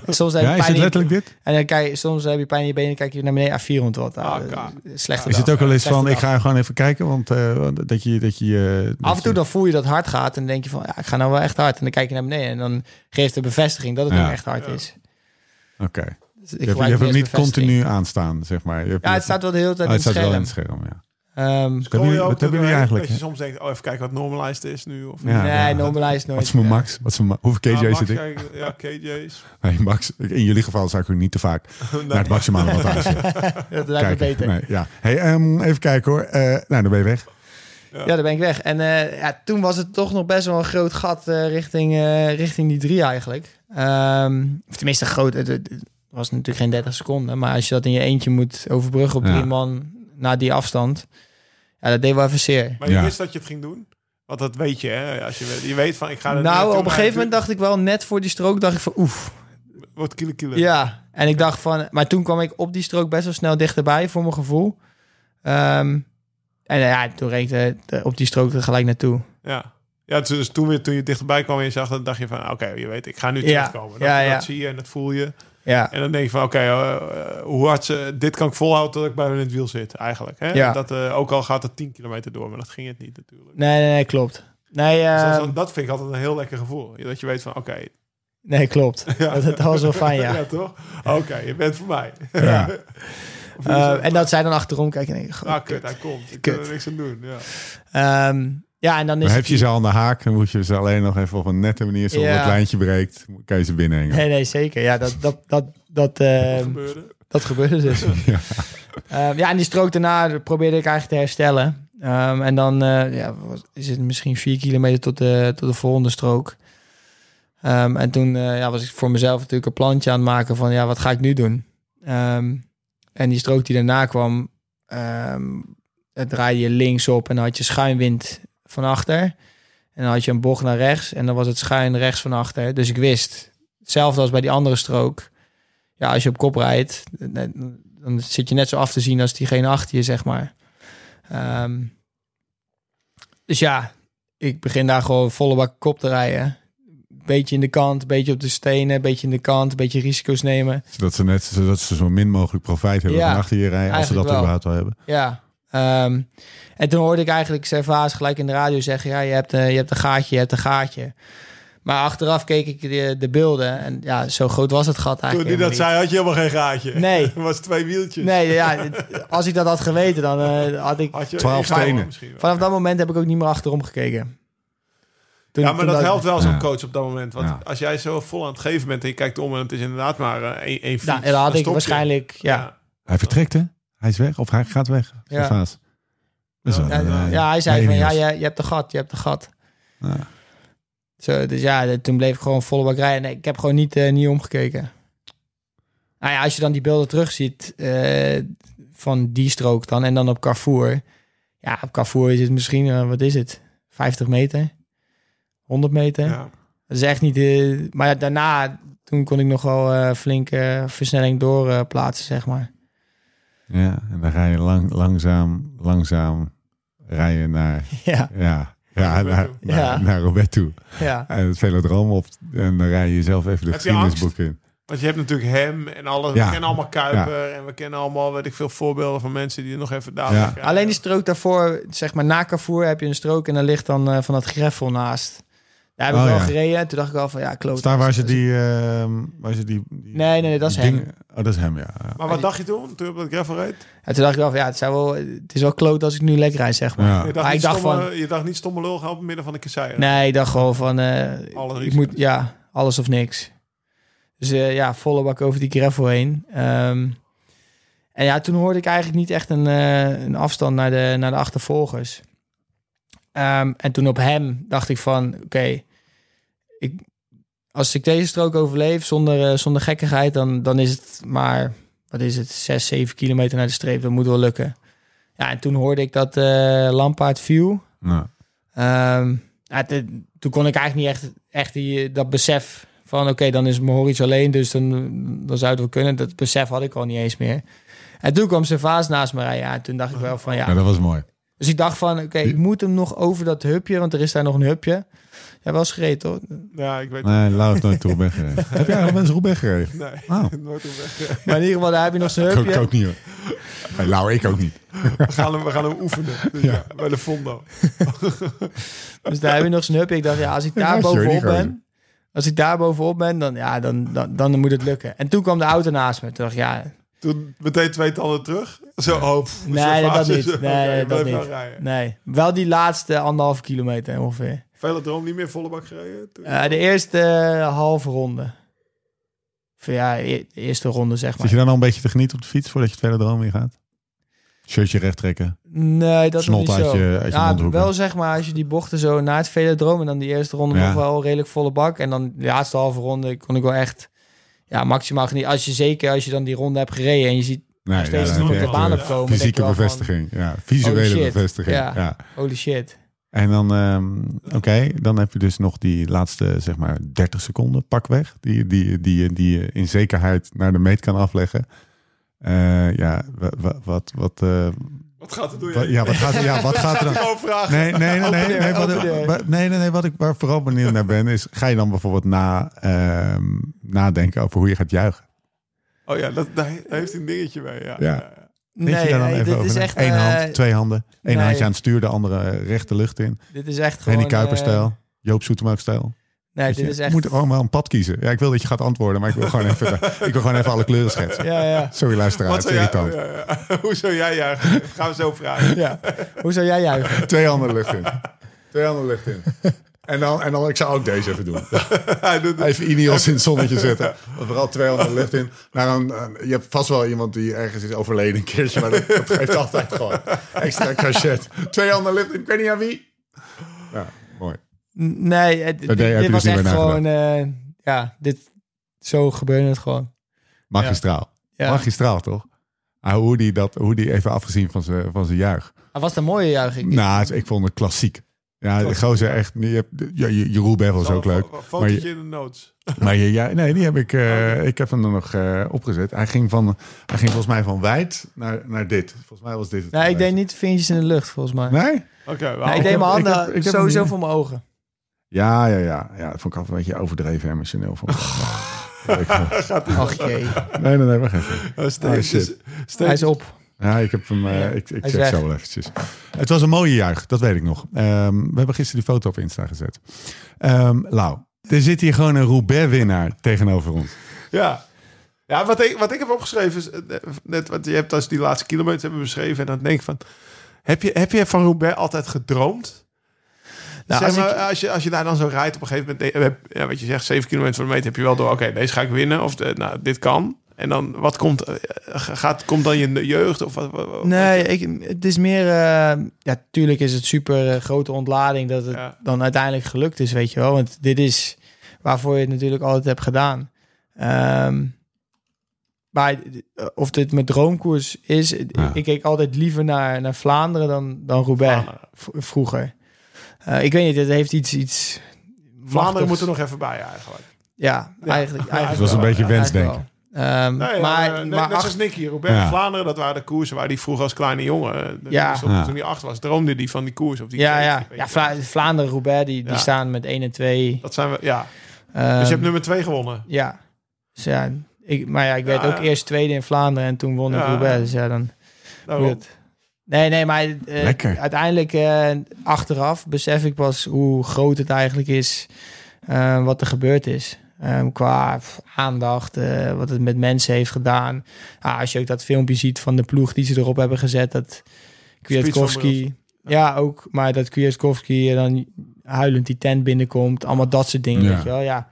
S4: soms heb je
S1: ja, is
S4: pijn
S1: het
S4: in-
S1: letterlijk dit?
S4: En dan kijk, je- soms heb je pijn in je benen, dan kijk je naar beneden, ah, 400 watt. Ah,
S3: Ah, ka.
S4: eh, slechte
S1: Is
S4: dag.
S1: het ook wel eens van,
S4: Slechte
S1: ik
S4: dag.
S1: ga gewoon even kijken, want eh, dat je... Dat je eh, dat
S4: Af en toe
S1: je-
S4: dan voel je dat het hard gaat en dan denk je van, ja, ik ga nou wel echt hard. En dan kijk je naar beneden en dan geeft de bevestiging dat het
S1: Ja.
S4: nou echt hard is.
S1: Oké.
S4: Dus
S1: Je hebt,
S4: ik
S1: je
S4: gebruik
S1: hebt hem
S4: eerst
S1: niet
S4: bevestiging.
S1: continu aanstaan, zeg maar. Je hebt-
S4: Ja, het staat wel de hele tijd
S1: Oh,
S4: in
S1: het
S4: het
S1: staat wel in
S4: scherm.
S1: het scherm, ja.
S4: Ehm,
S1: Wat hebben jullie-
S3: Scroll je ook
S1: wat hebben jullie
S3: doorheen,
S1: eigenlijk?
S3: Dat je soms denkt, oh, even kijken wat normalized is nu. Of
S1: Ja.
S4: nee,
S1: dat-
S4: normalize
S1: Wat
S4: nooit.
S1: is mijn max? Wat is mijn ma- Hoeveel
S3: Ah,
S1: KJ's
S3: Max,
S1: zit ik?
S3: kijk, Ja, KJ's.
S1: Hey Max, ik- in jullie geval zou ik u niet te
S4: <laughs>
S1: vaak naar het maximale wattage
S4: <laughs> Dat lijkt me
S1: kijken.
S4: beter.
S1: Nee, ja. hey, ehm, even kijken hoor. Eh, nou, dan ben je weg.
S4: Ja, daar ben ik weg. En eh, ja, toen was het toch nog best wel een groot gat eh, richting, eh, richting die drie eigenlijk. Ehm, of tenminste, groot. Het, het- het was natuurlijk geen 30 seconden. Maar als je dat in je eentje moet overbruggen op
S1: Ja.
S4: drie man na die afstand. Ja, dat deed wel even zeer.
S3: Maar je
S1: Ja.
S3: wist dat je het ging doen? Want dat weet je, hè? Als je, weet- je weet van, ik ga er
S4: Nou,
S3: naartoe,
S4: op een
S3: maar
S4: gegeven moment
S3: het
S4: dacht ik wel, net voor die strook, dacht ik van oef.
S3: Wordt kilo kilo.
S4: Ja, en ik dacht van... Maar toen kwam ik op die strook best wel snel dichterbij, voor mijn gevoel. Ehm, en eh, ja, toen reed ik eh, de- op die strook er gelijk naartoe.
S3: Ja. Ja, dus- dus toen, weer- toen je dichterbij kwam en je zag dat, dacht je van, oké, je weet, ik ga nu
S4: Ja.
S3: terechtkomen. Dat,
S4: Ja, ja.
S3: dat zie je en dat voel je.
S4: Ja,
S3: En dan denk je van, oké, eh, eh, hoe hard ze, dit kan ik volhouden tot ik bij hun in het wiel zit, eigenlijk. Hè?
S4: Ja.
S3: Dat, eh, ook al gaat het 10 kilometer door, maar dat ging het niet natuurlijk.
S4: nee, nee, nee, klopt. Nee,
S3: Dus dat, is
S4: ehm,
S3: dan- dat vind ik altijd een heel lekker gevoel. Dat je weet van, oké.
S4: nee <laughs> klopt.
S3: ja.
S4: Dat, dat was wel
S3: <laughs>
S4: fijn, ja.
S3: ja, toch? Oké, je bent voor mij.
S1: Ja.
S3: <laughs> Of
S4: Eh,
S3: je zegt,
S4: en dat zij dan achterom kijken. en denken, goh,
S3: Ah, kut,
S4: kut.
S3: hij komt. Ik
S4: Kut.
S3: kan er niks aan doen. Ja.
S4: Ehm, ja, en dan is
S1: Dan heb
S4: het-
S1: je ze al aan de haak. Dan moet je ze alleen nog even op een nette manier, zodat
S4: Ja.
S1: het lijntje breekt, kan je ze binnenhengen.
S4: Nee, nee, zeker. Ja, dat, dat, dat, dat, ehm,
S3: Wat gebeurde?
S4: dat gebeurde dus. ja. ja, en die strook daarna probeerde ik eigenlijk te herstellen. Ehm, en dan eh, ja, was- is het misschien vier kilometer tot de, tot de volgende strook. Ehm, en toen eh, ja, was ik voor mezelf natuurlijk een plantje aan het maken van... ja, wat ga ik nu doen? Ehm, en die strook die daarna kwam... ehm dan draaide je links op en dan had je schuinwind van achter. En dan had je een bocht naar rechts en dan was het schuin rechts van achter. Dus ik wist, hetzelfde als bij die andere strook... ja, als je op kop rijdt, dan- dan zit je net zo af te zien als diegene achter je, zeg maar. Ehm, dus ja, ik begin daar gewoon volle bak kop te rijden. Beetje in de kant, beetje op de stenen, beetje in de kant, beetje risico's nemen.
S1: Zodat ze, net, zodat ze zo min mogelijk profijt hebben
S4: Ja,
S1: van achter je rijden, als ze dat
S4: eigenlijk wel.
S1: überhaupt wel hebben.
S4: Ja. ehm, en toen hoorde ik eigenlijk Servaas gelijk in de radio zeggen... ja, je hebt, eh, je hebt een gaatje, je hebt een gaatje. Maar achteraf keek ik de, de beelden en ja, zo groot was het gat
S3: Toen
S4: eigenlijk
S3: die dat
S4: helemaal
S3: zei, had je helemaal geen gaatje.
S4: Nee.
S3: Het <laughs> was twee wieltjes.
S4: niet. Nee, ja, als ik dat had geweten, dan eh, had ik...
S3: Had je
S1: Twaalf
S3: ingehouden
S1: stenen.
S3: misschien wel.
S4: Vanaf dat moment heb ik ook niet meer achterom gekeken. Toen-
S3: ja, maar
S4: toen
S3: dat helpt wel zo'n
S1: Ja.
S3: coach op dat moment. Want
S1: Ja.
S3: als jij zo vol aan het geven bent en je kijkt om en het is inderdaad maar eh, één, één fiets.
S4: Nou, en dan had ik
S3: stop je.
S4: waarschijnlijk... Ja,
S1: Hij vertrekt, hè? Hij is weg, of hij gaat weg.
S4: Ja.
S1: Ja. Dat is wel,
S4: ja.
S1: eh,
S4: ja, hij zei
S1: bij
S4: van, ja,
S1: Ineos.
S4: je, je hebt een gat, je hebt een gat.
S1: Ja.
S4: Zo, dus ja, de- toen bleef ik gewoon volle bak rijden. Nee, ik heb gewoon niet, eh, niet omgekeken. Nou ja, als je dan die beelden terugziet eh, van die strook dan en dan op Carrefour. Ja, op Carrefour is het misschien, eh, wat is het? 50 meter? 100 meter?
S3: Ja.
S4: Dat is echt niet... eh, maar daarna, toen kon ik nog wel eh flink eh, versnelling doorplaatsen, plaatsen zeg maar.
S1: Ja, en dan ga je lang, langzaam, langzaam rijden naar,
S4: Ja,
S1: <laughs> ja, ja, naar,
S3: Naar Roubaix
S4: toe. Ja.
S1: naar, naar Roubaix toe.
S4: ja.
S1: En het velodroom op en dan rij je zelf even de
S3: Heb je
S1: geschiedenisboek in.
S3: Want je hebt natuurlijk hem en alles.
S1: Ja.
S3: We kennen allemaal Kuiper en we kennen allemaal, weet ik veel, voorbeelden van mensen die er nog even daar
S1: Ja.
S3: liggen.
S4: Alleen die strook daarvoor, zeg maar na Carrefour heb je een strook en daar ligt dan eh, van dat greffel naast. Daar heb ik
S1: Oh,
S4: wel
S1: ja.
S4: gereden. En toen dacht ik al van, ja, klopt.
S1: Is daar waar ze die... ehm, waar ze die, die-
S4: Nee, nee, nee, dat is
S1: die
S4: hem.
S1: dingen- Oh, dat is hem, ja. ja.
S3: Maar wat dacht je toen, toen je op dat gravel reed?
S4: En toen dacht ik wel van, ja, het, zou wel, het is wel kloot als ik nu lek rijd, zeg maar.
S1: Ja.
S3: Je
S4: Maar
S3: dacht, niet
S4: ik dacht
S3: stomme, je dacht niet stomme lul gaan op het midden van de kasseien.
S4: Nee, ik dacht gewoon van, eh,
S3: Alle
S4: ik
S3: risico's.
S4: moet, ja, alles of niks. Dus eh, ja, volle bak over die gravel heen. Ehm, en ja, toen hoorde ik eigenlijk niet echt een, eh, een afstand naar de, naar de achtervolgers. Ehm, en toen op hem dacht ik van, oké, ik- als ik deze strook overleef zonder, eh, zonder gekkigheid, dan, dan is het maar, wat is het, 6, 7 kilometer naar de streep. Dat moet wel lukken. Ja, en toen hoorde ik dat eh Lampaard viel.
S1: Ja.
S4: Ehm, ja, te- toen kon ik eigenlijk niet echt, echt die, dat besef van... oké, dan is Mohoric alleen, dus dan, dan zou het wel kunnen. Dat besef had ik al niet eens meer. En toen kwam Servaas naast me rijden. Ja, toen dacht ik wel van
S1: Ja,
S4: ja.
S1: nou, dat was mooi.
S4: Dus ik dacht van, oké, ik moet hem nog over dat hupje... want er is daar nog een hupje. Ja, wel gereden, toch?
S3: Ja, ik weet
S1: Nee, Lau heeft nooit de Roubaix <laughs> gereden. Heb jij al eens Roubaix gereden?
S3: Nee,
S1: Oh.
S3: nooit op weg. eh,
S4: Maar in ieder geval, daar heb je nog zijn
S1: Ik <laughs> ook, ik
S4: hupje.
S1: ook niet, hoor. Nee, Lau, ik ook niet.
S3: We gaan hem, we gaan hem
S1: <laughs>
S3: oefenen. Dus ja, bij de Fondo.
S4: Dus daar heb je nog zijn hupje. Ik dacht, ja, als ik daar
S1: Ja, Jordi
S4: bovenop
S1: Gordon.
S4: ben... als ik daar bovenop ben, dan, ja, dan, dan, dan moet het lukken. En toen kwam de auto naast me. Toen dacht ik, ja,
S3: Toen meteen twee tanden terug. Zo, oh, pff,
S4: Nee,
S3: zo
S4: dat
S3: vaas
S4: niet.
S3: is- <laughs>
S4: Nee,
S3: Oké,
S4: nee, dat
S3: blijf
S4: niet.
S3: wel rijden.
S4: Nee, wel die laatste anderhalve kilometer ongeveer.
S3: Velodroom niet meer volle bak gereden? Toen-
S4: Eh, de eerste eh, halve ronde. Of ja, e- de eerste ronde zeg
S1: Zit
S4: maar.
S1: je dan al een beetje te genieten op de fiets voordat je het verder droom in gaat? Shirtje recht trekken.
S4: Nee, dat nog
S1: Snot
S4: niet
S1: uit
S4: zo.
S1: je- uit je
S4: ja,
S1: mondhoeken.
S4: wel zeg maar, als je die bochten zo na het velodroom... en dan die eerste ronde
S1: Ja.
S4: nog wel redelijk volle bak... en dan de laatste halve ronde kon ik wel echt ja, maximaal genieten. Als je, zeker als je dan die ronde hebt gereden en je ziet...
S1: Nee,
S4: Nog steeds
S1: ja, dan
S3: niet
S1: heb je
S3: op de
S1: echt,
S3: baan
S1: eh,
S4: opkomen, denk
S1: Fysieke
S4: je wel van-
S1: bevestiging, ja. Visuele
S4: Oh, shit.
S1: bevestiging,
S4: Ja.
S1: ja.
S4: holy shit.
S1: En dan, ehm, oké, dan heb je dus nog die laatste, zeg maar, 30 seconden pakweg. Die, die, die, die je in zekerheid naar de meet kan afleggen. Eh, ja, wa- wa- wat, wat, eh,
S3: Wat gaat er door je
S1: wa-
S3: heen?
S1: ja, wat gaat, ja, wat gaat er dan?
S3: Gewoon vragen.
S1: Nee, nee, nee, nee. nee, wat,
S4: open deur.
S1: wa- nee, nee, nee, wat ik waar vooral benieuwd naar ben, is ga je dan bijvoorbeeld na, ehm, nadenken over hoe je gaat juichen?
S3: Oh ja, dat, daar daar heeft hij een dingetje bij. Ja.
S1: Ja.
S3: Ja.
S1: Denk je
S4: Nee,
S1: daar dan
S4: nee,
S1: even
S4: dit
S1: over
S4: is
S1: na?
S4: echt...
S1: Eén
S4: eh,
S1: hand, twee handen. Eén
S4: nee.
S1: handje aan het stuur, de andere eh, recht de lucht in.
S4: Dit is echt gewoon...
S1: Henny
S4: eh,
S1: Kuiper-stijl, Joop Zoetemelk-stijl.
S4: nee,
S1: Weet
S4: dit
S1: je,
S4: is
S1: Je
S4: echt...
S1: moet gewoon maar een pad kiezen. Ja, ik wil dat je gaat antwoorden, maar ik wil gewoon even, ik wil gewoon even alle kleuren schetsen.
S4: Ja, ja.
S1: Sorry luisteraar,
S3: Wat
S1: het is
S3: zou jij, oh,
S1: irritant.
S3: ja, ja. <laughs> Hoe zou jij juichen? Gaan we zo vragen.
S4: ja. Hoe zou jij juichen?
S1: Twee handen lucht in. Twee handen lucht in. <laughs> En dan, en dan, ik zou ook deze even doen.
S3: Hij doet het.
S1: Even Ineos in het
S3: <laughs>
S1: zonnetje zetten. Maar vooral twee handen lucht in. Nou, dan, eh, je hebt vast wel iemand die ergens is overleden een keertje, maar dat, dat geeft altijd gewoon extra cachet. Twee handen lucht in, ik weet niet aan wie. Ja, mooi.
S4: N- Nee, het, dit,
S1: nee, heb
S4: dit
S1: je
S4: was
S1: dus niet
S4: echt
S1: meer
S4: gewoon... eh, ja, dit, zo gebeurde het gewoon.
S1: Magistraal.
S4: Ja.
S1: Magistraal, toch? Ah, hoe, die dat, hoe die even afgezien van zijn van zijn juich.
S4: Ah, was dat een mooie juiching?
S1: Nou, ik vond het klassiek. Ja, de gozer echt. Je hebt, ja, je- Jeroen Bevel is ook
S3: Een
S1: leuk.
S3: fo- een
S1: Maar,
S3: Fotootje
S1: je,
S3: in de notes.
S1: maar je- ja, nee, die heb ik. eh, ik heb hem er nog eh, opgezet. Hij ging, van, hij ging volgens mij van wijd naar, naar dit. Volgens mij was dit. Het
S4: nee, Nou, ik deed
S1: geweest.
S4: niet vingertjes in de lucht, volgens mij.
S1: Nee?
S3: Oké,
S4: Nee,
S3: wel.
S4: ik deed
S1: heb-
S4: mijn
S1: ik
S4: handen
S1: heb- ik heb hem
S4: sowieso
S1: niet.
S4: voor mijn ogen.
S1: Ja, ja, ja, ja. Dat vond ik altijd een beetje overdreven emotioneel.
S4: <laughs>
S1: Vond ik. eh,
S4: Ach jee,
S1: nee, nee, nee, wacht even.
S3: Eh, Steven-
S1: Oh, shit.
S3: Steven-
S4: hij is op.
S1: Ja, ik heb hem. eh, ik ik
S4: hij is
S1: check
S4: weg.
S1: zo wel eventjes. Het was een mooie juich, dat weet ik nog. Ehm, we hebben gisteren die foto op Insta gezet. Ehm Lau, er zit hier gewoon een Roubaix-winnaar tegenover ons.
S3: Ja. Ja, wat ik, wat ik heb opgeschreven is eh, net wat je hebt als die laatste kilometers hebben beschreven. En dan denk ik van, heb je, heb je van Roubaix altijd gedroomd?
S4: Nou,
S3: zeg
S4: als
S3: maar,
S4: ik,
S3: als, je, als je daar dan zo rijdt op een gegeven moment, eh, heb- ja, wat je zegt, 7 kilometer voor de meter, heb je wel door, oké, deze ga ik winnen of eh, nou, dit kan. En dan, wat komt, eh, gaat, komt dan je jeugd of wat? wat- wat-
S4: nee, ik, het is meer... eh, ja, tuurlijk is het super eh, grote ontlading dat het
S3: Ja.
S4: dan uiteindelijk gelukt is, weet je wel. Want dit is waarvoor je het natuurlijk altijd hebt gedaan. Ehm, maar eh, of dit mijn droomkoers is, eh,
S1: Ja.
S4: ik keek altijd liever naar, naar Vlaanderen dan, dan Roubaix
S3: Vlaanderen,
S4: v- vroeger. Eh, ik weet niet, het heeft iets... iets
S3: Vlaanderen
S4: machtigs.
S3: moet er nog even bij eigenlijk.
S4: Ja,
S3: Ja.
S4: eigenlijk. eigenlijk
S3: Het was
S1: een
S4: wel,
S1: beetje
S4: ja,
S1: wensdenken.
S4: eigenlijk wel. Ehm,
S3: Nee,
S4: maar
S3: eh, net,
S4: maar
S3: net zoals
S4: acht-
S3: Nicky, Robert
S1: Ja.
S3: Vlaanderen, dat waren de koersen waar hij vroeger als kleine jongen, eh,
S4: Ja.
S3: dus op-
S1: Ja.
S3: toen hij acht was, droomde hij van die koers. Of die
S4: ja,
S3: weet
S4: ja.
S3: je
S4: ja
S3: wel.
S4: Vla Vlaanderen, Roubaix, die, die
S3: Ja.
S4: staan met 1 en 2.
S3: Dat zijn we, ja.
S4: Ehm,
S3: Dus je hebt nummer 2 gewonnen.
S4: Ja. Dus ja, ik, maar ja, ik
S3: Ja,
S4: werd ook
S3: ja.
S4: eerst tweede in Vlaanderen en toen won ik
S3: Ja.
S4: Roubaix. Dus ja, dan...
S3: Daarom.
S4: Goed. Nee, nee, maar eh,
S1: Lekker.
S4: uiteindelijk eh, achteraf besef ik pas hoe groot het eigenlijk is eh, wat er gebeurd is. Ehm, qua pff, aandacht, eh, wat het met mensen heeft gedaan. Ah, als je ook dat filmpje ziet van de ploeg die ze erop hebben gezet, dat Kwiatkowski... Ja, ook. Maar dat Kwiatkowski eh, dan huilend die tent binnenkomt. Allemaal dat soort dingen,
S1: Ja.
S4: weet je wel. Ja.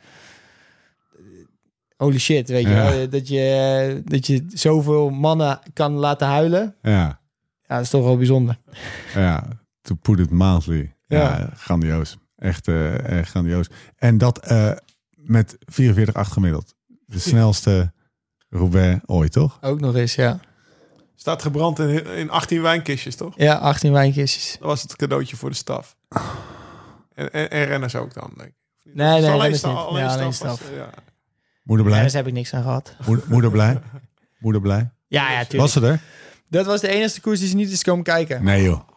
S4: Holy shit, weet je
S1: Ja.
S4: wel. Dat je, dat je zoveel mannen kan laten huilen.
S1: Ja,
S4: Ja, dat is toch wel bijzonder.
S1: Nou ja. To put it mildly. Ja,
S4: Ja.
S1: grandioos. Echt, eh, eh, grandioos. En dat eh, met 44,8 gemiddeld. De snelste Roubaix ooit, toch?
S4: Ook nog eens, ja.
S3: Staat gebrand in, in 18 wijnkistjes, toch?
S4: Ja, 18 wijnkistjes.
S3: Dat was het cadeautje voor de staf. En, en, en renners ook dan, denk ik.
S4: Nee,
S3: Dus
S4: nee,
S3: alleen
S4: renners
S3: sta-
S4: niet.
S3: alleen
S4: Ja, alleen
S3: staf. was,
S4: staf.
S3: eh, ja.
S1: Moeder
S4: Ja,
S1: blij.
S4: daar heb ik niks aan gehad.
S1: Moeder, moeder blij. Moeder blij.
S4: Ja, ja, tuurlijk.
S1: Was ze er?
S4: Dat was de enige koers die ze niet is komen kijken.
S1: Nee, joh.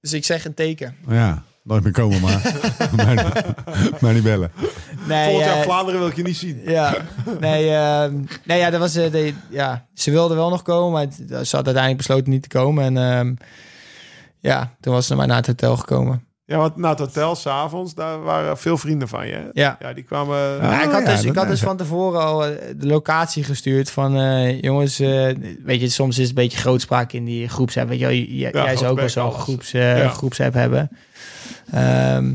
S4: Dus ik zeg een teken.
S1: Ja, nooit meer komen, maar.
S3: <laughs>
S1: <laughs> maar, maar niet bellen.
S3: Oh
S4: Nee,
S3: Volgend jaar
S4: eh,
S3: Vlaanderen wil ik je niet zien.
S4: ja, nee, ehm, nee, ja, dat was, eh, de, ja, ze wilde wel nog komen, maar het- ze had uiteindelijk besloten niet te komen. En ehm, ja, toen was ze maar naar het hotel gekomen.
S3: Ja, want na het hotel, s'avonds, daar waren veel vrienden van je. hè?
S4: Ja.
S3: Ja, die kwamen...
S1: Ah,
S4: Ja, ik had,
S1: ja,
S4: dus, ik
S1: dat-
S4: had dus van tevoren al eh, de locatie gestuurd van... eh, jongens, eh, weet je, soms is het een beetje grootspraak in die groepsapp. Weet je, wel. J- j- jij zou ook wel
S3: groepsapp,
S4: zo'n
S3: alles.
S4: groeps, eh,
S3: Ja.
S4: groepsapp hebben. Ehm,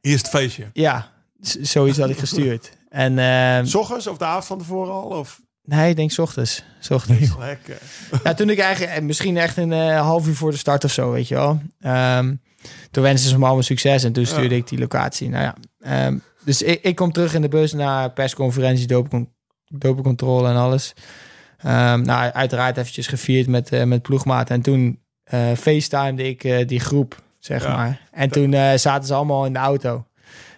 S3: Eerst feestje.
S4: ja, z- zoiets had ik gestuurd. En ehm,
S3: S ochtends of de avond van tevoren al? Of
S4: nee, ik denk 's ochtends. 's ochtends.
S3: lekker.
S4: Ja, toen ik eigenlijk, eh, misschien echt een eh, half uur voor de start of zo, weet je wel. Ehm, toen wensten ze me allemaal succes en toen stuurde ik die locatie. Nou ja, ehm, dus ik, ik kom terug in de bus naar persconferentie, dopecon- dopencontrole en alles. Ehm, nou, uiteraard eventjes gevierd met, eh met ploegmaat. En toen eh facetimede ik eh, die groep, zeg
S3: Ja.
S4: maar. En toen eh, zaten ze allemaal in de auto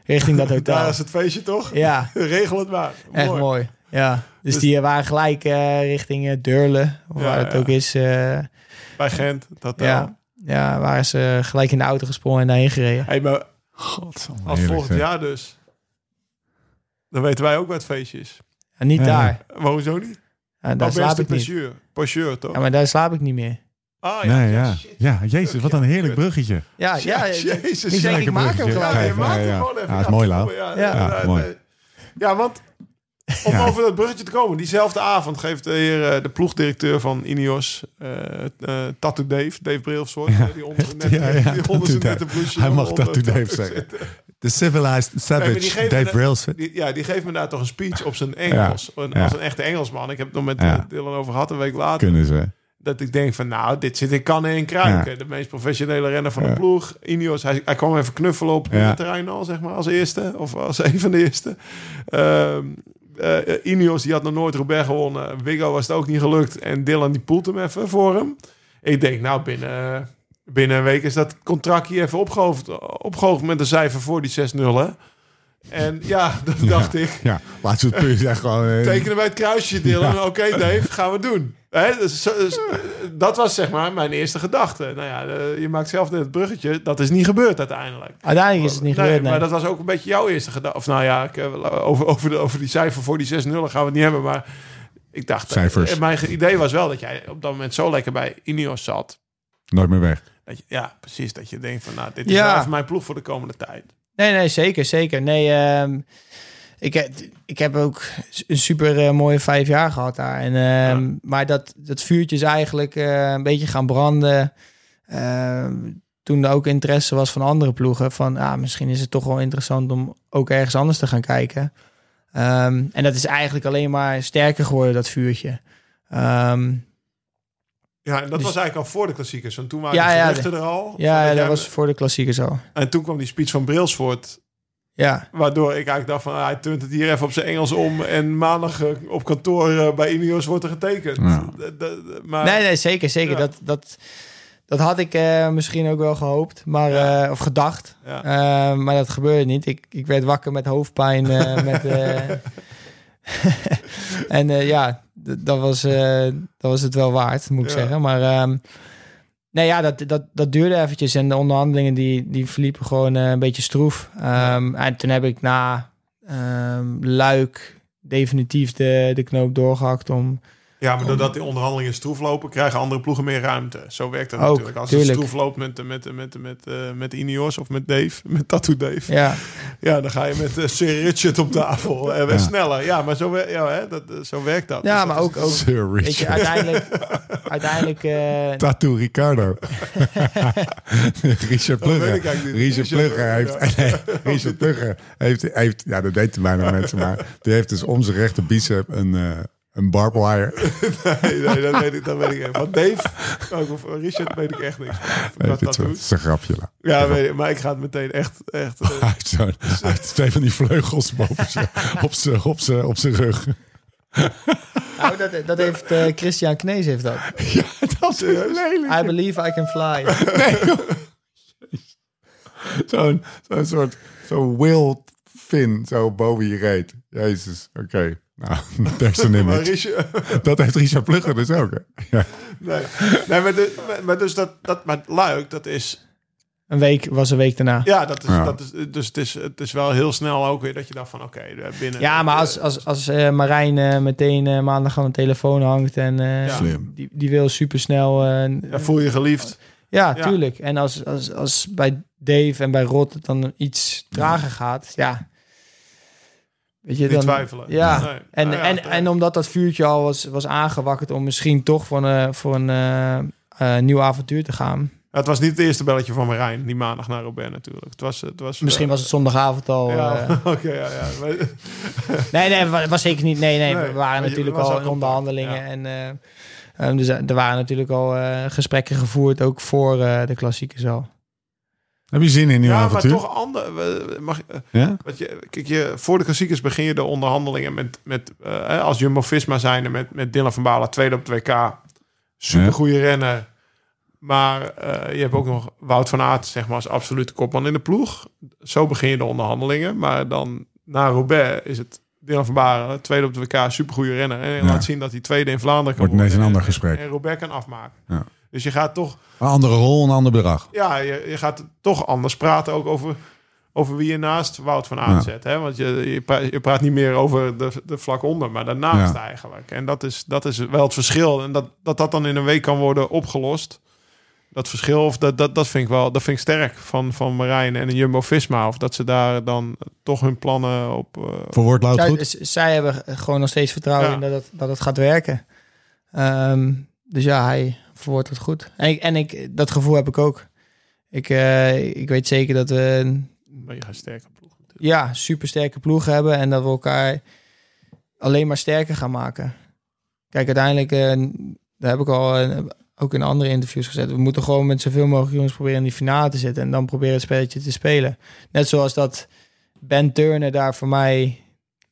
S4: richting
S3: <laughs>
S4: dat
S3: Daar
S4: hotel.
S3: is het feestje toch?
S4: Ja,
S3: <laughs> Regel het maar.
S4: echt mooi. Ja, dus,
S3: Dus-
S4: die eh, waren gelijk eh, richting eh, Deurle, of
S3: Ja,
S4: waar het
S3: ja.
S4: ook is... eh,
S3: Bij Gent, dat
S4: ja, ja, waren ze gelijk in de auto gesprongen en daarheen gereden.
S3: Hey, maar als
S1: Heerlijk,
S3: volgend
S1: zeg.
S3: jaar dus, dan weten wij ook wat het feestje is.
S4: En niet
S1: Ja.
S4: daar.
S3: Maar hoezo niet?
S4: Ja, daar
S3: oh,
S4: slaap
S3: beste
S4: ik niet.
S3: Pageur. Pageur, toch?
S4: Ja, maar daar slaap ik niet meer.
S3: Ah,
S1: Nee, ja.
S3: shit.
S1: Ja, jezus, wat een heerlijk bruggetje.
S4: Ja, ja,
S3: Jezus.
S4: ik
S3: ja.
S4: denk, ik maak hem
S1: bruggetje.
S3: Ja, nee,
S1: Kijk,
S4: gelijk.
S3: maak
S1: ja,
S3: hem
S1: ja.
S3: gewoon even.
S1: Ja, is mooi, Lau.
S3: Ja,
S4: Ja.
S1: Ja,
S3: nee,
S1: mooi.
S3: nee. Ja, want om
S1: Ja.
S3: over dat bruggetje te komen. Diezelfde avond geeft de, heer, eh, de ploegdirecteur van Ineos, eh eh, Tattoo Dave, Dave Brilfsoort, die onder zijn nette,
S1: <laughs> Ja, ja,
S3: die onder zijn
S1: Tattoo Dave.
S3: nette bloesje
S1: Hij mag
S3: onder
S1: Tattoo Dave
S3: zit.
S1: zeggen. De Civilized Savage,
S3: Nee, maar die geven
S1: Dave
S3: de-
S1: Brailsford.
S3: Die, ja, die geeft me daar toch een speech op zijn Engels. Een- Als
S1: ja.
S3: een echte Engelsman. Ik heb het nog met
S1: Ja.
S3: eh, Dylan over gehad een week later.
S1: Kunnen ze.
S3: Dat ik denk van, nou, dit zit in kannen en kruiken. De meest professionele renner van
S1: Ja.
S3: de ploeg. Ineos, hij, hij kwam even knuffelen op
S1: Ja.
S3: het terrein al, zeg maar, als eerste. Of als een van de eerste. Ehm eh, Ineos, die had nog nooit Roubaix gewonnen. Wiggo was het ook niet gelukt. En Dylan, die poelt hem even voor hem. Ik denk, nou, binnen, binnen een week is dat contract hier even opgehoogd, opgehoogd met een cijfer voor die 6-0, hè. En ja, <laughs> dat dacht ik.
S1: Ja, laat ze het puur zeggen. Gewoon, eh,
S3: Tekenen bij het kruisje, Dylan. Oké, Dave, gaan we doen. Hè? dus zo- dus, dat was zeg maar mijn eerste gedachte. Nou ja, eh, je maakt zelf net het bruggetje. Dat is niet gebeurd uiteindelijk.
S4: Uiteindelijk is het niet
S3: Nee,
S4: gebeurd, nee.
S3: Maar dat was ook een beetje jouw eerste gedachte. Of nou ja, ik, eh, over, over, de, over die cijfer voor die 6-0 gaan we het niet hebben. Maar ik dacht... eh,
S1: Cijfers.
S3: Mijn idee was wel dat jij op dat moment zo lekker bij Ineos zat.
S1: Nooit meer weg.
S3: Dat je, ja, precies. Dat je denkt van, nou, dit is
S4: Ja.
S3: wel even mijn ploeg voor de komende tijd.
S4: Nee, nee, zeker, zeker. Nee, ehm, ik, heb- ik heb ook een super eh, mooie vijf jaar gehad daar. En, ehm, Maar dat, dat vuurtje is eigenlijk eh, een beetje gaan branden. Ehm, toen er ook interesse was van andere ploegen. Van ah, misschien is het toch wel interessant om ook ergens anders te gaan kijken. Ehm, en dat is eigenlijk alleen maar sterker geworden, dat vuurtje. Ehm,
S3: Ja, en dat
S4: Dus-
S3: was eigenlijk al voor de klassiekers. Want toen waren
S4: Ja,
S3: de
S4: ja,
S3: geruchten er al.
S4: ja,
S3: Jij-
S4: dat was voor de klassiekers al.
S3: En toen kwam die speech van Brailsford.
S4: Ja,
S3: Waardoor ik eigenlijk dacht van, ah, hij turnt het hier even op zijn Engels om. En maandag eh, op kantoor eh, bij Ineos wordt er getekend.
S1: Ja.
S3: D- d- d- maar,
S4: nee, nee, zeker, zeker.
S3: Ja.
S4: Dat, dat, dat had ik eh, misschien ook wel gehoopt, maar, eh, of gedacht.
S3: Ja.
S4: Eh, maar dat gebeurde niet. Ik, ik werd wakker met hoofdpijn.
S3: <laughs>
S4: eh, met, eh, <laughs> en eh, ja, d- dat was, eh, dat was het wel waard, moet ik
S3: Ja.
S4: zeggen. Maar ehm, nee, ja, dat, dat, dat duurde eventjes. En de onderhandelingen die, die verliepen gewoon eh, een beetje stroef. Ehm, En toen heb ik na ehm, Luik definitief de, de knoop doorgehakt om
S3: Ja, maar doordat die onderhandelingen stroef lopen, krijgen andere ploegen meer ruimte. Zo werkt dat
S4: Ook,
S3: natuurlijk. Als het
S4: tuurlijk.
S3: stroef loopt met, met, met, met, eh met Ineos of met Dave, <laughs> met Tattoo Dave. Ja,
S4: Ja,
S3: dan ga je met eh, Sir Richard op tafel en we
S1: Ja.
S3: sneller. Ja, maar zo, wer- ja, hè, dat, eh, zo werkt dat. Dus
S4: ja
S3: dat
S4: maar
S3: is- <laughs>
S4: ook, ook
S1: Sir
S4: weet je,
S1: Richard.
S4: uiteindelijk, uiteindelijk eh,
S3: <laughs>
S1: Tattoo Ricardo. <laughs> Richard
S3: Dat weet ik
S1: Plugger.
S3: eigenlijk niet.
S1: Richard Plugger heeft... <laughs> Nee, Richard Plugger heeft, heeft... Ja, dat weten bijna
S3: <laughs>
S1: mensen, maar... Die heeft dus om zijn rechter bicep een, eh een barbed
S3: <laughs>
S1: wire.
S3: Nee, nee, dat weet ik, dat weet ik even. Want Dave, ook, of Richard, weet ik echt niks.
S1: Nee,
S3: Wat
S1: dit
S3: dat
S1: soort-
S3: doet.
S1: is een grapje. la.
S3: Ja, weet ik, maar ik ga het meteen echt, echt eh,
S1: Hij heeft, zo'n- hij heeft twee van die vleugels boven zijn- op zijn- op zijn- op zijn rug. <laughs>
S4: nou, dat, dat heeft eh, Christian Knees heeft dat.
S1: Ja, dat is
S3: Serieus?
S1: lelijk.
S4: I believe I can fly.
S1: <laughs> Zo'n zo'n soort zo'n Will fin zo boven je reet. Jezus, oké. Nou, <laughs> daar
S3: <laughs>
S1: is een
S3: maar
S1: image.
S3: Richard,
S1: Dat heeft Richard Plugger dus ook. hè? Ja.
S3: nee, nee, maar, de- maar- maar dus dat, dat, maar Luik, dat is
S4: Een week was een week daarna.
S3: Ja, dat is,
S1: Ja.
S3: Dat is, dus het is, het is wel heel snel ook weer dat je dacht van oké, eh, binnen.
S4: Ja, maar als, als, als eh, Marijn eh, meteen eh, maandag aan de telefoon hangt en eh,
S3: Ja.
S1: Slim.
S4: die, die wil supersnel. eh, n-
S3: Ja, voel je geliefd.
S4: ja,
S3: ja.
S4: tuurlijk. En als, als, als bij Dave en bij Rod het dan iets trager gaat, ja. Weet je,
S3: Niet
S4: dan,
S3: twijfelen.
S4: Ja.
S3: Nee.
S4: En,
S3: Nou ja,
S4: en,
S3: dat-
S4: en omdat dat vuurtje al was, was aangewakkerd om misschien toch voor een, voor een eh, eh, nieuw avontuur te gaan.
S3: Het was niet het eerste belletje van Marijn, die maandag naar Robert natuurlijk. Het was, het was, eh,
S4: Misschien was het zondagavond al.
S3: Ja,
S4: eh,
S3: <laughs> oké, ja, ja. Maar-
S4: Nee, nee, wa- was zeker niet. Nee,
S3: Nee,
S4: nee, we
S3: maar je-
S4: waren natuurlijk
S3: was al
S4: al in
S3: contact, ja.
S4: onderhandelingen. En, eh, ehm, dus eh, er waren natuurlijk al eh, gesprekken gevoerd, ook voor eh, de klassiekers al.
S1: Heb je zin in een nieuw
S3: ja, maar
S1: avontuur?
S3: toch ander. we- Mag, eh,
S1: Ja?
S3: wat je, kijk, je, voor de klassiekers begin je de onderhandelingen met, met eh, hè, als Jumbo-Visma zijn met, met Dylan van Balen, tweede op het WK. Supergoeie renner. Maar eh, je hebt ook nog Wout van Aert zeg maar, als absolute kopman in de ploeg. Zo begin je de onderhandelingen. Maar dan na Roubaix is het Dylan van Baren, tweede op de WK, supergoeie renner. En hij
S1: Ja.
S3: laat zien dat hij tweede in Vlaanderen kan
S1: Wordt ineens
S3: worden
S1: een ander
S3: en-
S1: gesprek.
S3: En Roubaix kan afmaken.
S1: Ja.
S3: Dus je gaat toch,
S1: Een andere rol, een ander bedrag.
S3: ja, je, je gaat toch anders praten ook over, over wie je naast Wout van Aert
S1: Ja.
S3: zet. Hè? Want je, je, pra- je praat niet meer over de, de vlak onder, maar daarnaast
S1: Ja.
S3: eigenlijk. En dat is, dat is wel het verschil. En dat, dat dat dan in een week kan worden opgelost. Dat verschil, of dat, dat, dat vind ik wel dat vind ik sterk van, van Marijn en Jumbo-Visma. Of dat ze daar dan toch hun plannen op... eh,
S1: Verwoord Lout
S4: Zij,
S1: goed?
S4: z- zij hebben gewoon nog steeds vertrouwen
S3: Ja.
S4: in dat het, dat het gaat werken. Ehm, dus ja, hij verwoordt het goed. En, ik, en ik, dat gevoel heb ik ook. Ik, eh, ik weet zeker dat we een
S3: mega sterke ploeg.
S4: ja, supersterke ploeg hebben en dat we elkaar alleen maar sterker gaan maken. Kijk, uiteindelijk, eh, daar heb ik al eh, ook in andere interviews gezet. We moeten gewoon met zoveel mogelijk jongens proberen in die finale te zitten en dan proberen het spelletje te spelen. Net zoals dat Ben Turner daar voor mij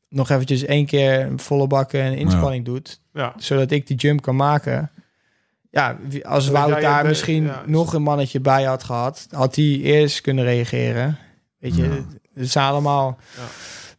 S4: nog eventjes één keer een volle bakken en inspanning doet,
S3: Ja.
S4: zodat ik die jump kan maken. Ja, wie- als
S3: Zodat
S4: Wout
S3: jij het
S4: daar
S3: be-
S4: misschien
S3: ja, dus-
S4: nog een mannetje bij had gehad, had hij eerst kunnen reageren. Weet je,
S1: Ja.
S4: het zijn allemaal
S3: Ja.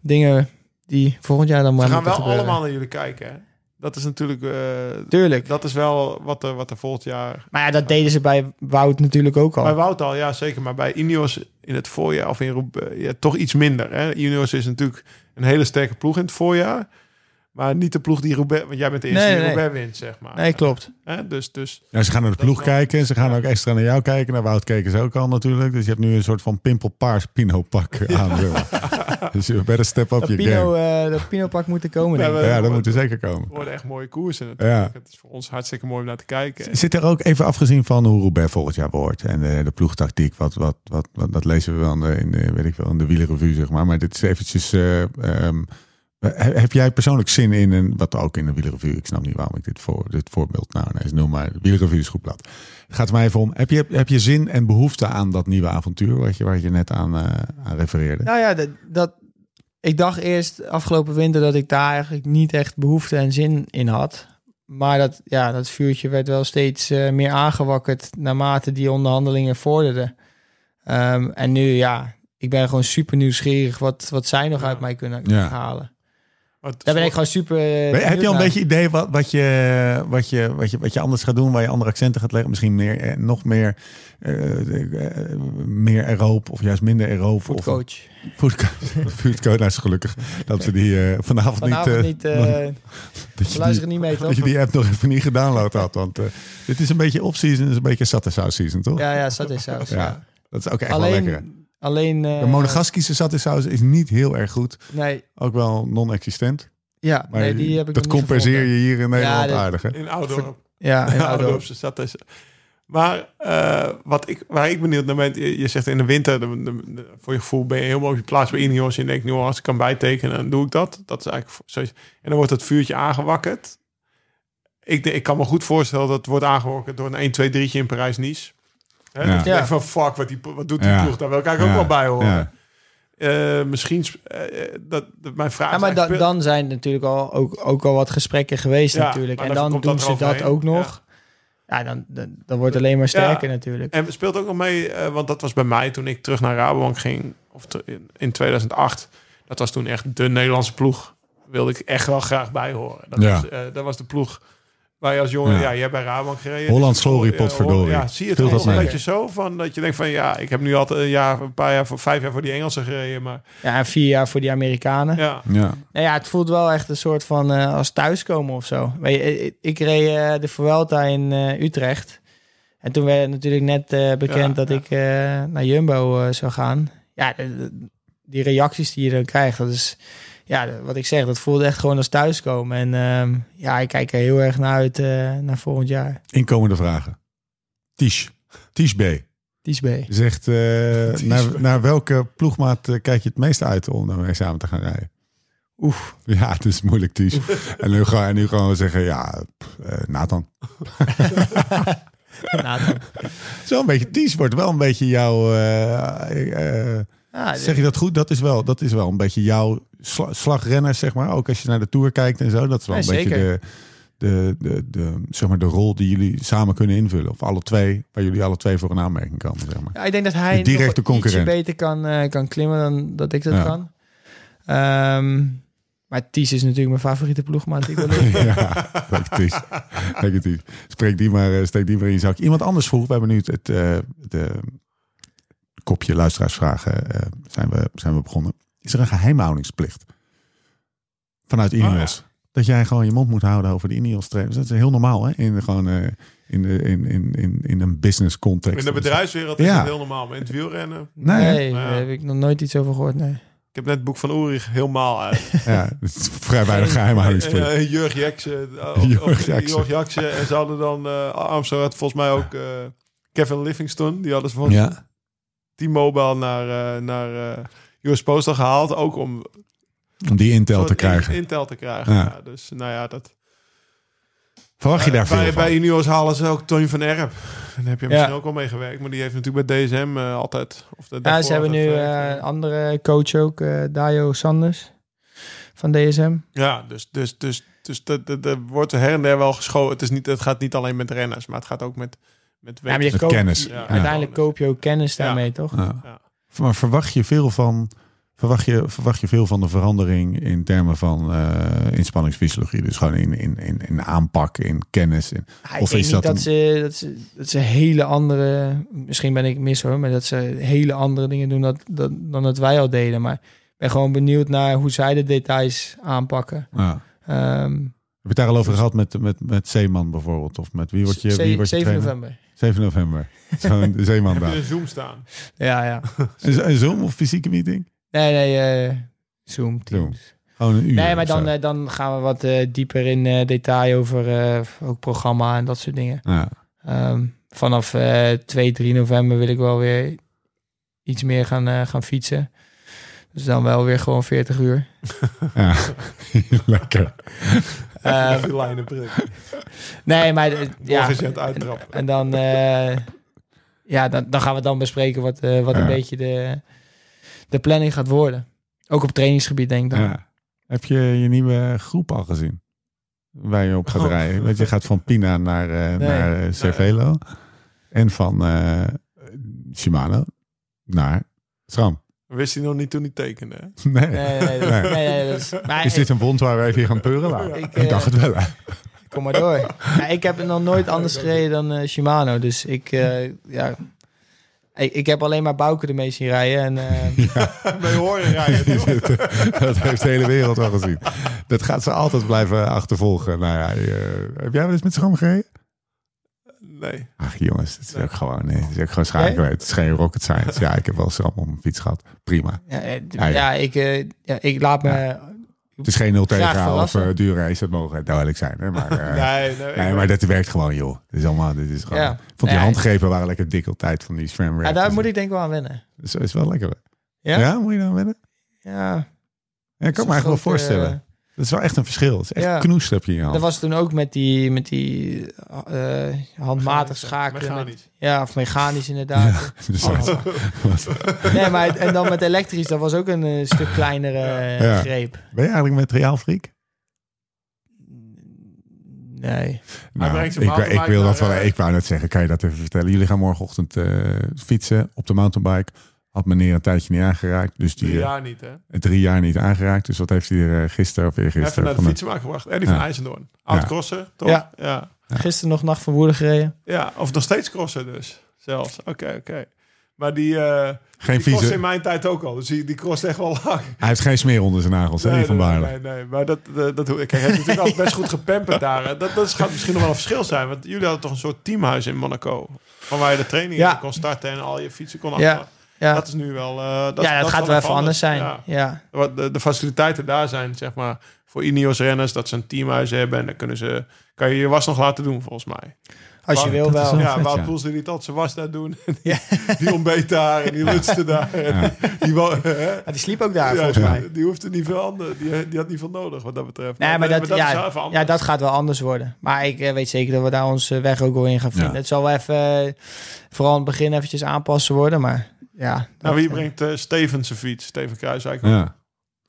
S4: dingen die volgend jaar dan maar
S3: Ze gaan wel
S4: moeten gebeuren.
S3: allemaal naar jullie kijken. Hè? Dat is natuurlijk... eh,
S4: Tuurlijk.
S3: dat is wel wat er, wat er volgend jaar
S4: Maar ja, dat deden ze bij Wout natuurlijk ook al.
S3: Bij Wout al, ja zeker. Maar bij Ineos in het voorjaar of in Roubaix, ja, toch iets minder. Hè? Ineos is natuurlijk een hele sterke ploeg in het voorjaar. Maar niet de ploeg die Roubaix... Want jij bent de eerste
S4: Nee,
S3: die
S4: nee.
S3: Roubaix wint, zeg maar.
S4: Nee, klopt.
S3: Hè? Dus, dus
S1: Ja, ze gaan naar de
S3: Dat
S1: ploeg
S3: wel.
S1: kijken. Ze gaan ook extra naar jou kijken. Naar Wout keken ze ook al natuurlijk. Dus je hebt nu een soort van pimpelpaars pinopak
S3: <laughs>
S1: eh, aan. wil. Dus je better step up
S4: Dat
S1: je
S4: Pino,
S1: game.
S4: eh, dat Pino pak moet er komen. denk ik.
S3: eh,
S1: Ja, dat moet er zeker komen.
S3: het worden echt mooie koersen
S1: Ja.
S3: natuurlijk. Het is voor ons hartstikke mooi om naar te kijken.
S1: Zit er ook even afgezien van hoe Roubaix volgend jaar wordt en eh, de ploegtactiek, wat, wat, wat, wat, dat lezen we wel in, de- in, de, weet ik wel, in de wielerrevue, zeg maar. Maar dit is eventjes, eh, ehm, he- heb jij persoonlijk zin in, een, wat ook in de wielerrevue, ik snap niet waarom ik dit, voor, dit voorbeeld nou ineens noem, maar de wielerrevue is goed plat. Het gaat er mij even om, heb je, heb je zin en behoefte aan dat nieuwe avontuur wat je, waar je net aan, eh, aan refereerde?
S4: Nou ja, dat, dat, ik dacht eerst afgelopen winter dat ik daar eigenlijk niet echt behoefte en zin in had. Maar dat, ja, dat vuurtje werd wel steeds eh, meer aangewakkerd naarmate die onderhandelingen vorderden. Ehm, en nu, ja, ik ben gewoon super nieuwsgierig wat, wat zij nog
S3: Ja.
S4: uit mij kunnen
S1: Ja.
S4: halen.
S3: Maar het-
S4: Daar ben ik gewoon super. eh,
S1: Maar Heb
S4: benieuwd
S1: je al een
S4: naar.
S1: beetje idee wat, wat, je, wat, je, wat, je, wat je anders gaat doen, waar je andere accenten gaat leggen? Misschien meer, eh, nog meer, eh, eh, meer Europe of juist minder Europe.
S4: Goed
S1: of
S4: coach.
S1: <laughs> Foodcoach. Foodcoach, nou is gelukkig dat we die eh, vanavond,
S4: Vanavond
S1: niet... eh,
S4: niet. eh
S1: dat,
S4: we
S1: je die,
S4: luisteren niet mee, toch?
S1: dat je die app <laughs> nog even niet gedownload had. Want eh, dit is een beetje off-season, is een beetje satisau season, toch?
S4: Ja, ja, saté saus.
S1: Ja, Dat is ook echt wel lekker.
S4: Alleen, alleen eh,
S1: De Monegaskische satisau is niet heel erg goed.
S4: Nee,
S1: Ook wel non-existent.
S4: ja,
S1: Maar
S4: nee, die heb ik
S1: dat
S4: nog niet
S1: compenseer je
S4: gevonden.
S1: hier in Nederland
S4: dit-
S1: aardig, hè?
S3: in Ouddorp. <laughs>
S4: Ja, in Ouddorp.
S3: Ouddorpse stad is- Maar eh, wat ik, waar ik benieuwd naar ben, je, je zegt in de winter, de- de- de- voor je gevoel ben je helemaal op je plaats bij Ineos. Je denkt, nu als ik kan bijtekenen, dan doe ik dat. Dat is eigenlijk voor- zoiets. En dan wordt dat vuurtje aangewakkerd. Ik, denk- ik kan me goed voorstellen dat het wordt aangewakkerd door een 1, 2, 3'tje in Parijs-Nice. Hè,
S1: Ja.
S3: Dat je
S4: Ja.
S3: denkt van fuck, wat, die, wat doet die
S1: Ja.
S3: ploeg? Daar wil ik eigenlijk
S1: Ja.
S3: ook wel bij horen.
S1: Ja.
S3: Eh, misschien, sp- eh, eh, dat, dat- mijn vraag
S4: Ja,
S3: is
S4: maar da-
S3: eigenlijk-
S4: dan zijn natuurlijk al, ook, ook al wat gesprekken geweest
S3: Ja,
S4: natuurlijk.
S3: maar
S4: En
S3: dan
S4: dan
S3: komt
S4: doen
S3: dat
S4: ze dat
S3: eroverheen.
S4: ook nog. Ja, dan, dan, dan wordt het alleen maar sterker natuurlijk.
S3: En speelt ook nog mee, eh, want dat was bij mij toen ik terug naar Rabobank ging, of te- in, in 2008. Dat was toen echt de Nederlandse ploeg. Wilde ik echt wel graag bij horen. Dat,
S7: Ja.
S3: was, eh, dat was de ploeg waar je als jongen,
S7: Ja.
S3: ja, je hebt bij Rabobank gereden.
S7: Hollands
S3: Dus-
S7: glorie,
S3: eh, Hol-
S7: potverdorie.
S3: Ja, zie je
S7: Speelt
S3: het ook
S7: dat
S3: een
S7: mee?
S3: beetje zo van dat je denkt van ja, ik heb nu al een jaar, een paar jaar, voor vijf jaar voor die Engelsen gereden, maar
S4: Ja, en vier jaar voor die Amerikanen.
S7: <laughs>
S3: ja.
S7: Ja.
S4: Nou ja, het voelt wel echt een soort van eh, als thuiskomen of zo. Weet je, ik, ik reed eh, de Vuelta in eh, Utrecht. En toen werd natuurlijk net eh, bekend
S3: Ja,
S4: dat
S3: ja.
S4: ik eh, naar Jumbo eh, zou gaan. Ja, de- de- die reacties die je dan krijgt, dat is... Ja, de- wat ik zeg, dat voelde echt gewoon als thuiskomen. En ehm, ja, ik kijk er heel erg naar uit eh, naar volgend jaar.
S7: Inkomende vragen. Tish. Tish B.
S4: Die is B.
S1: Zegt, eh,
S3: is
S1: naar,
S3: waar.
S1: naar welke ploegmaat eh, kijk je het meest uit om daarmee samen te gaan rijden?
S4: Oef.
S1: <laughs> Ja, het is moeilijk, Ties. <laughs> En nu, ga, en nu gaan we zeggen, ja, pff, eh, Nathan.
S4: <laughs> Nathan.
S1: Zo'n beetje, Ties wordt wel een beetje jouw... eh, eh,
S4: Ja,
S1: zeg je dat goed? Dat is wel, dat is wel een beetje jouw sla- slagrenner, zeg maar. Ook als je naar de Tour kijkt en zo. Dat is wel
S4: Ja,
S1: een beetje de,
S4: zeker.
S1: de, de, de, zeg maar de rol die jullie samen kunnen invullen. Of alle twee, waar jullie alle twee voor een aanmerking komen, zeg maar.
S4: Ja, ik denk dat hij
S1: De directe
S4: nog wel ietsje
S1: concurrent.
S4: beter kan, eh, kan klimmen dan dat ik dat
S1: Ja.
S4: kan. Ehm, maar Ties is natuurlijk mijn favoriete ploegmaat. die ik wel leuk.
S1: ja, lekker
S3: <laughs>
S1: Ties. Lekker Ties. Spreek die maar, eh, steek die maar in je zak. Iemand anders vroeg, we hebben nu het, het, eh, de kopje luisteraarsvragen eh, zijn, we, zijn we begonnen. Is er een geheimhoudingsplicht
S3: Oh,
S1: vanuit Ineos? Dat jij gewoon je mond moet houden over de Ineos trainers. Dat is heel normaal hè? In, de- gewoon, eh, in, de, in, in, in, in een business context.
S3: In de bedrijfswereld is
S1: Ja.
S3: het heel normaal, maar in het wielrennen.
S1: <laughs> Nee, hè?
S4: nee,
S3: Ja.
S4: daar heb ik nog nooit iets over gehoord. Nee.
S3: Ik heb net het boek van Ulrich helemaal uit.
S1: Ja, dat is vrij weinig geheimhoudingsplicht.
S3: En, eh, Jurg Jaksen.
S1: <laughs> Jurg
S3: Jurg
S1: Jaksen.
S3: Jaksen. En ze hadden dan... eh Armstrong had volgens mij ook eh, Kevin Livingston. Die hadden ze van
S1: Ja.
S3: T-Mobile naar, eh, naar eh US Postal gehaald. Ook om
S1: Om die intel
S3: soort
S1: te
S3: in-
S1: krijgen.
S3: intel te krijgen.
S1: Ja.
S3: Ja. dus nou ja, dat...
S1: Verwacht je daar veel
S3: Eh, bij,
S1: van?
S3: bij Ineos halen ze ook Tony van Erp. Daar heb je
S4: Ja.
S3: misschien ook al mee gewerkt. Maar die heeft natuurlijk bij DSM eh, altijd... Of de-
S4: Ja,
S3: daarvoor
S4: ze hebben nu
S3: altijd
S4: eh,
S3: gewerkt.
S4: een andere coach ook, eh Dayo Sanders van DSM.
S3: Ja, dus, dus, dus, dus dat- dat- dat wordt her en der wel geschoten. Het, is niet, het gaat niet alleen met renners, maar het gaat ook met... Met
S4: Ja, maar je
S1: Met
S3: wetens-
S4: koopt-
S1: kennis.
S3: Ja.
S4: Uiteindelijk koop je ook kennis daarmee, toch?
S1: Ja.
S3: Ja.
S1: Maar verwacht je veel van. Verwacht je, verwacht je veel van de verandering in termen van eh inspanningsfysiologie? Dus gewoon in, in, in, in aanpak, in kennis. In,
S4: Ja, ik
S1: Of
S4: denk
S1: is
S4: niet
S1: dat
S4: dat,
S1: een-
S4: ze, dat, ze, dat ze hele andere... Misschien ben ik mis hoor, maar dat ze hele andere dingen doen dat, dat, dan dat wij al deden. Maar ik ben gewoon benieuwd naar hoe zij de details aanpakken.
S1: ja. Heb
S4: Ehm
S1: je het daar al over gehad met, met, met Zeeman bijvoorbeeld? Of met wie wordt je, wie wordt je
S4: 7
S1: trainer?
S4: november.
S1: 7 november. <laughs>
S4: <laughs>
S1: Zo'n Zeeman
S3: <laughs> Heb je
S1: daar.
S3: een Zoom staan?
S4: Ja, ja.
S1: Een, zo- een Zoom of fysieke meeting?
S4: Nee, nee, eh Zoom, Teams.
S1: Gewoon een uur.
S4: Nee, maar
S1: of
S4: dan,
S1: zo.
S4: eh, dan gaan we wat eh, dieper in eh, detail over eh, ook programma en dat soort dingen.
S1: ja. <laughs>
S4: Ehm, vanaf eh 2, 3 november wil ik wel weer iets meer gaan, eh, gaan fietsen. Dus dan wel weer gewoon
S1: <laughs>
S4: 40 uur.
S1: ja. Lekker. Eh,
S4: Ehm,
S3: Even die lijnen prikken.
S1: <laughs>
S4: nee, maar eh,
S3: Morgen
S4: ja.
S3: is je aan het uittrappen.
S4: En dan, eh, ja, dan, dan gaan we dan bespreken wat, eh, wat
S1: Ja.
S4: een beetje de, de planning gaat worden. Ook op trainingsgebied denk ik dan.
S1: Ja. Heb je je nieuwe groep al gezien? Waar je op
S4: Oh.
S1: gaat rijden. Want je gaat van Pina naar, eh, naar eh, Cervelo. En van eh Shimano naar Tram.
S3: Wist hij nog niet toen hij tekende. hè?
S1: <laughs> Nee.
S4: Nee, nee, nee.
S1: Nee.
S4: nee, nee, dat
S1: <laughs>
S4: is- maar
S1: Is
S4: ik-
S1: dit een wond waar we even in gaan peuren? Nou,
S4: Ik,
S1: Ik,
S4: eh,
S1: dacht het wel. hè.
S4: Kom maar door. Ja, ik heb nog nooit anders gereden dan eh, Shimano. Dus ik, eh, ja, ik, ik heb alleen maar Bouke ermee zien rijden. En, eh,
S3: Bij horen
S1: <laughs>
S3: <laughs> rijden. joh.
S1: dat heeft de hele wereld al gezien. Dat gaat ze altijd blijven achtervolgen. Nou ja, eh, heb jij wel eens met scham gereden?
S3: Nee.
S1: Ach jongens, het is ook gewoon, nee, het is ook gewoon schakel. Het is geen rocket science. Ja, ik heb wel schram op mijn fiets gehad. Prima.
S4: ja, eh,
S1: Ah, Ja, ja.
S4: ja, ik, eh, ja, ik laat me... Ah,
S1: Het is geen 0
S4: Graag
S1: tegen of
S4: verrassen.
S1: eh, duur race. Dat mogen duidelijk zijn. Hè?
S4: <laughs>
S1: Maar, eh,
S3: Nee, nee, ik
S1: Nee, maar dat werkt gewoon, joh. Dit is allemaal, dit is gewoon.
S4: Ja.
S1: Ik vond die
S4: Nee.
S1: handgrepen waren lekker dik altijd van die SRAM
S4: Ja, daar moet ik denk ik wel aan wennen.
S1: Zo is wel lekker.
S4: Ja?
S1: Ja, moet je dan wennen?
S4: Ja,
S1: Ja, ik kan me eigenlijk wel voorstellen. dat is wel echt een verschil. Het is echt
S4: eh, Ja.
S1: knoest heb je in je hand.
S4: eh, dat was toen ook met die, met die eh, handmatig schakelen. met-
S3: Mechanisch.
S4: ja, of mechanisch inderdaad.
S1: <laughs> Dus dat-
S4: Oh. Nee, maar het- en dan met elektrisch, dat was ook een eh, stuk kleinere eh,
S1: Ja.
S4: greep.
S1: Ben je eigenlijk materiaalfreak?
S4: Nee.
S1: Nou,
S3: brengt
S1: ik,
S3: zijn
S1: wou- ik,
S3: mountainbike
S1: wil dat
S3: naar,
S1: wel,
S3: eh,
S1: ik wou net zeggen, kan je dat even vertellen? Jullie gaan morgenochtend eh, fietsen op de mountainbike. Had meneer een tijdje niet aangeraakt, dus die
S3: Drie
S1: eh,
S3: jaar niet, hè?
S1: drie jaar niet aangeraakt. Dus wat heeft hij er eh, gisteren of
S3: Even
S1: eergisteren
S3: naar de
S1: van een-
S3: fietsenmaker gebracht. En die van
S1: Ja.
S3: IJzendoorn. Oud
S1: Ja.
S3: crosser, toch?
S4: Ja.
S3: ja.
S4: Gisteren nog Nacht van Woerden gereden.
S3: Ja, of nog steeds crossen dus. Zelfs. Oké, oké. Maar die, eh
S1: Geen
S3: die cross in
S1: vieze.
S3: mijn tijd ook al. Dus die, die cross echt wel <laughs> lang.
S1: Hij heeft geen smeer onder zijn nagels, hè, die van
S3: nee,
S1: Baarle.
S3: nee, nee. Maar dat, eh, dat, dat kijk, hij heeft natuurlijk altijd best goed gepamperd daar. hè. Dat, dat gaat misschien nog wel een verschil zijn. Want jullie hadden toch een soort teamhuis in Monaco. Van waar je de training
S4: Ja.
S3: in kon starten en al je fietsen kon
S4: Ja,
S3: afvallen.
S4: Ja,
S3: Dat is nu wel... eh, dat,
S4: ja dat,
S3: dat is
S4: gaat wel
S3: wel
S4: even anders zijn. Ja.
S3: Ja. Wat De, de faciliteiten daar zijn, zeg maar, voor Ineos-renners... dat ze een teamhuis hebben en dan kunnen ze... kan je je was nog laten doen, volgens mij.
S4: Als je
S3: Maar-
S4: wil
S1: dat is
S4: wel.
S1: wel-
S3: Ja,
S1: vet,
S3: Wout
S1: ja.
S3: Poels die liet altijd zijn was daar doen. <laughs> Die, die ontbeet daar en die lutste daar. En Die, wou- hè?
S4: Ja, die sliep ook daar,
S3: Ja,
S4: volgens mij.
S3: die hoefde niet veel ander. Die, die had niet veel nodig wat dat betreft.
S4: Nee, maar dat,
S3: is wel
S4: ja,
S3: even anders.
S4: ja, dat gaat wel anders worden. Maar ik eh, weet zeker dat we daar onze weg ook wel in gaan vinden.
S1: Ja.
S4: Het zal wel even, eh, vooral in het begin eventjes aanpassen worden. Maar ja. dat-
S3: Naar wie brengt eh Steven zijn fiets? Steven Kruiswijk.
S1: Ja,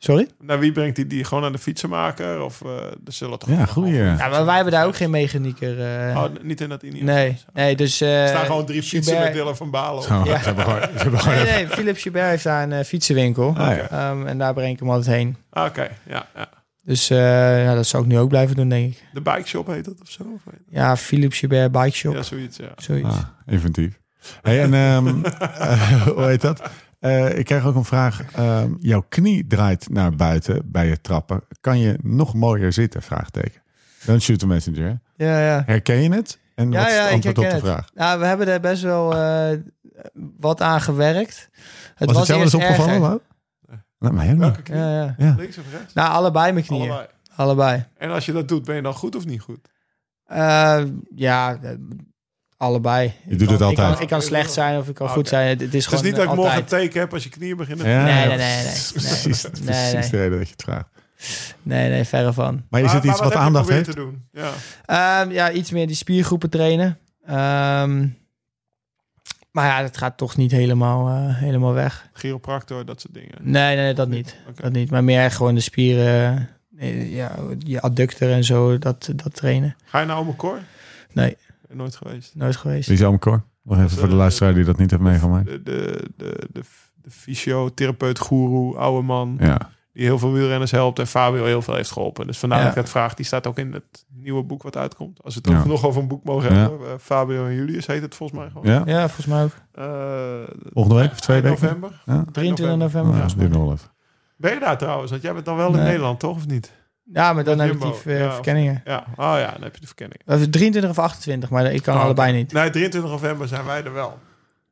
S4: Sorry?
S3: Naar wie brengt hij die, die? Gewoon naar de fietsenmaker? Of eh er zullen toch...
S1: ja goeie.
S4: Ja, maar wij hebben daar ook geen mechanieker. eh.
S3: Oh, niet in dat Ineos.
S4: nee, nee, dus... eh,
S3: Er staan gewoon drie fietsen
S4: Gilbert-
S3: met Dylan van Balen. op.
S1: Ze hebben
S4: Oh. Ja.
S1: gewoon- ze hebben gewoon
S4: Nee,
S1: even-
S4: nee, Philip Schubert heeft daar een eh, fietsenwinkel.
S1: Ah, ja.
S4: Ehm, en daar breng ik hem altijd heen.
S3: Ah, Oké, ja, ja.
S4: Dus eh, ja, dat zou ik nu ook blijven doen, denk ik.
S3: De bike shop heet dat of zo? Of weet-
S4: Ja, Philip Schubert Bike Shop,
S3: Ja, zoiets, ja.
S4: zoiets.
S1: Ah, inventief. Hey, en
S4: <laughs>
S1: ehm, eh, hoe heet dat? Eh, ik krijg ook een vraag. Ehm, jouw knie draait naar buiten bij het trappen. Kan je nog mooier zitten? Vraagteken. Don't shoot the messenger. hè?
S4: Ja, ja.
S1: Herken je het? En
S4: Ja,
S1: wat is
S4: ja,
S1: het
S4: ik
S1: antwoord op de
S4: herken
S1: vraag?
S4: Nou, we hebben er best wel eh, wat aan gewerkt. Het
S1: was het zelf eens
S4: eerst
S1: opgevallen?
S4: erger.
S1: Lau? Nou, mij ook niet.
S3: Welke knie?
S4: Ja, ja.
S3: Links of rechts?
S4: Nou, allebei mijn knieën. Allebei.
S3: Allebei. En als je dat doet, ben je dan goed of niet goed?
S4: Eh, ja, eh, allebei. Je
S1: doet het
S4: Ik kan,
S1: altijd.
S4: ik kan slecht zijn of ik kan
S3: Ah,
S4: goed
S3: oké.
S4: zijn. Het, het is
S3: Het is
S4: gewoon
S3: niet dat ik
S4: eh,
S3: morgen een
S4: altijd.
S3: teken heb als je knieën beginnen.
S1: Ja,
S4: Nee, nee, nee,
S1: dat is
S4: nee, nee.
S1: Precies,
S4: Nee,
S1: precies
S4: nee.
S1: de reden dat je het vraagt.
S4: Nee, nee, verre van.
S1: Maar is
S3: Maar-
S1: het iets wat,
S3: maar heb je
S1: aandacht
S3: geprobeerd
S1: heeft?
S3: te doen? Ja.
S4: Ehm, ja, iets meer die spiergroepen trainen. Ehm, maar ja, dat gaat toch niet helemaal, eh, helemaal weg.
S3: Chiropractor, dat soort dingen.
S4: Nee, nee, nee, dat niet.
S3: Oké.
S4: Dat niet. Maar meer gewoon de spieren, eh, ja, je adductor en zo, dat, dat trainen.
S3: Ga je naar Ome Cor?
S4: Nee.
S3: Nooit geweest.
S4: Nooit geweest.
S1: Lisa Amkor. Nog even voor de luisteraar die dat niet heeft meegemaakt.
S3: De, de, de, de, de fysiotherapeut, goeroe, oude man.
S1: Ja.
S3: Die heel veel wielrenners helpt. En Fabio heel veel heeft geholpen. Dus vandaar
S4: Ja.
S3: dat ik dat vraag. Die staat ook in het nieuwe boek wat uitkomt. Als we het
S1: Ja.
S3: ook nog over een boek mogen
S1: Ja.
S3: hebben. Eh, Fabio en Julius heet het volgens mij gewoon.
S1: ja?
S4: Ja, volgens mij ook.
S3: Eh,
S1: Volgende week of twee
S3: eind
S1: weken?
S3: november.
S1: Ja. Ja,
S4: 23 november.
S1: dat is nu nog wel even.
S3: Ben je daar trouwens? Want jij bent dan wel in
S4: Nee.
S3: Nederland, toch? Of niet?
S4: Ja, maar dan
S3: Met
S4: heb ik die
S3: Jumbo.
S4: eh,
S3: Ja, of-
S4: verkenningen.
S3: Ja. Oh ja, dan heb je de verkenning.
S4: Of 23 of 28, maar ik kan
S3: Oh,
S4: allebei niet.
S3: Nee, 23 november zijn wij er wel.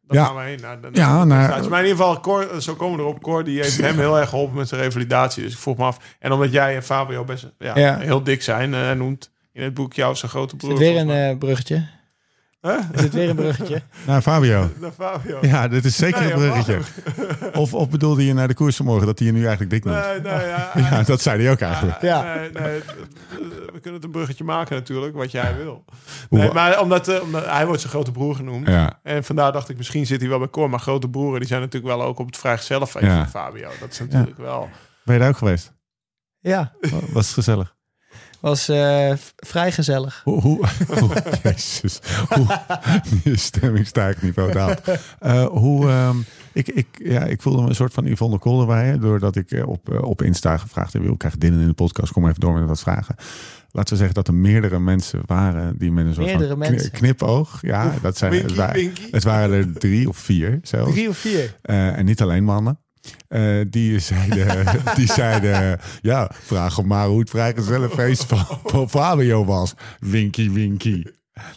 S3: Dan
S1: Ja.
S3: gaan we heen. Naar de,
S1: Ja,
S3: naar de
S1: naar-
S3: prestatie. maar in ieder geval, Cor, eh, zo komen we erop. Cor die heeft hem heel erg geholpen met zijn revalidatie. Dus ik vroeg me af. En omdat jij en Fabio best ja,
S4: Ja.
S3: heel dik zijn. eh, Hij noemt in het boek jou zijn grote
S4: Is het
S3: broer.
S4: weer een
S3: volgens
S4: eh, bruggetje?
S3: mij. Hè?
S4: Is het weer een
S3: <laughs>
S4: bruggetje?
S1: Nou, Fabio.
S3: Naar Fabio.
S1: Ja, dit is zeker
S3: Nee,
S1: een bruggetje. Of, of bedoelde je naar de koers vanmorgen dat hij je nu eigenlijk dik noemt?
S3: Nee, nee, ja,
S1: <laughs> Ja, dat zei hij ook eigenlijk.
S4: Ja.
S3: Nee, nee, het- het- we kunnen het een bruggetje maken natuurlijk, wat jij wil.
S1: Hoe-
S3: Nee, maar omdat, eh, omdat hij wordt zijn grote broer genoemd.
S1: Ja,
S3: En vandaar dacht ik, misschien zit hij wel bij Cor. Maar grote broeren, die zijn natuurlijk wel ook op het vrijgezellenfeest
S1: Ja.
S3: van Fabio. Dat is natuurlijk wel... <laughs>
S1: ben je daar ook geweest?
S4: Ja.
S1: Was het gezellig?
S4: Was eh, v- vrij gezellig.
S1: Hoe, hoe, hoe- jezus, hoe, je stemming stijgt niveau daalt. Eh, hoe, ehm, ik, ik, ja, ik voelde me een soort van Yvonne Kolderweijer, doordat ik eh, op, eh, op Insta gevraagd heb, ik krijg Dylan in de podcast, kom even door met wat vragen. Laten we zeggen dat er meerdere mensen waren die met een soort
S4: Meerdere
S1: van kni-
S4: mensen.
S1: knipoog, ja, dat zijn,
S3: Winky,
S1: het, waren,
S3: winky.
S1: het waren er drie of vier zelfs.
S4: Drie of vier.
S1: Eh, en niet alleen mannen. Eh, die, zeiden, <laughs> die zeiden, ja, vraag hem maar hoe het vrijgezellenfeest van, van Fabio was. Winky, winky.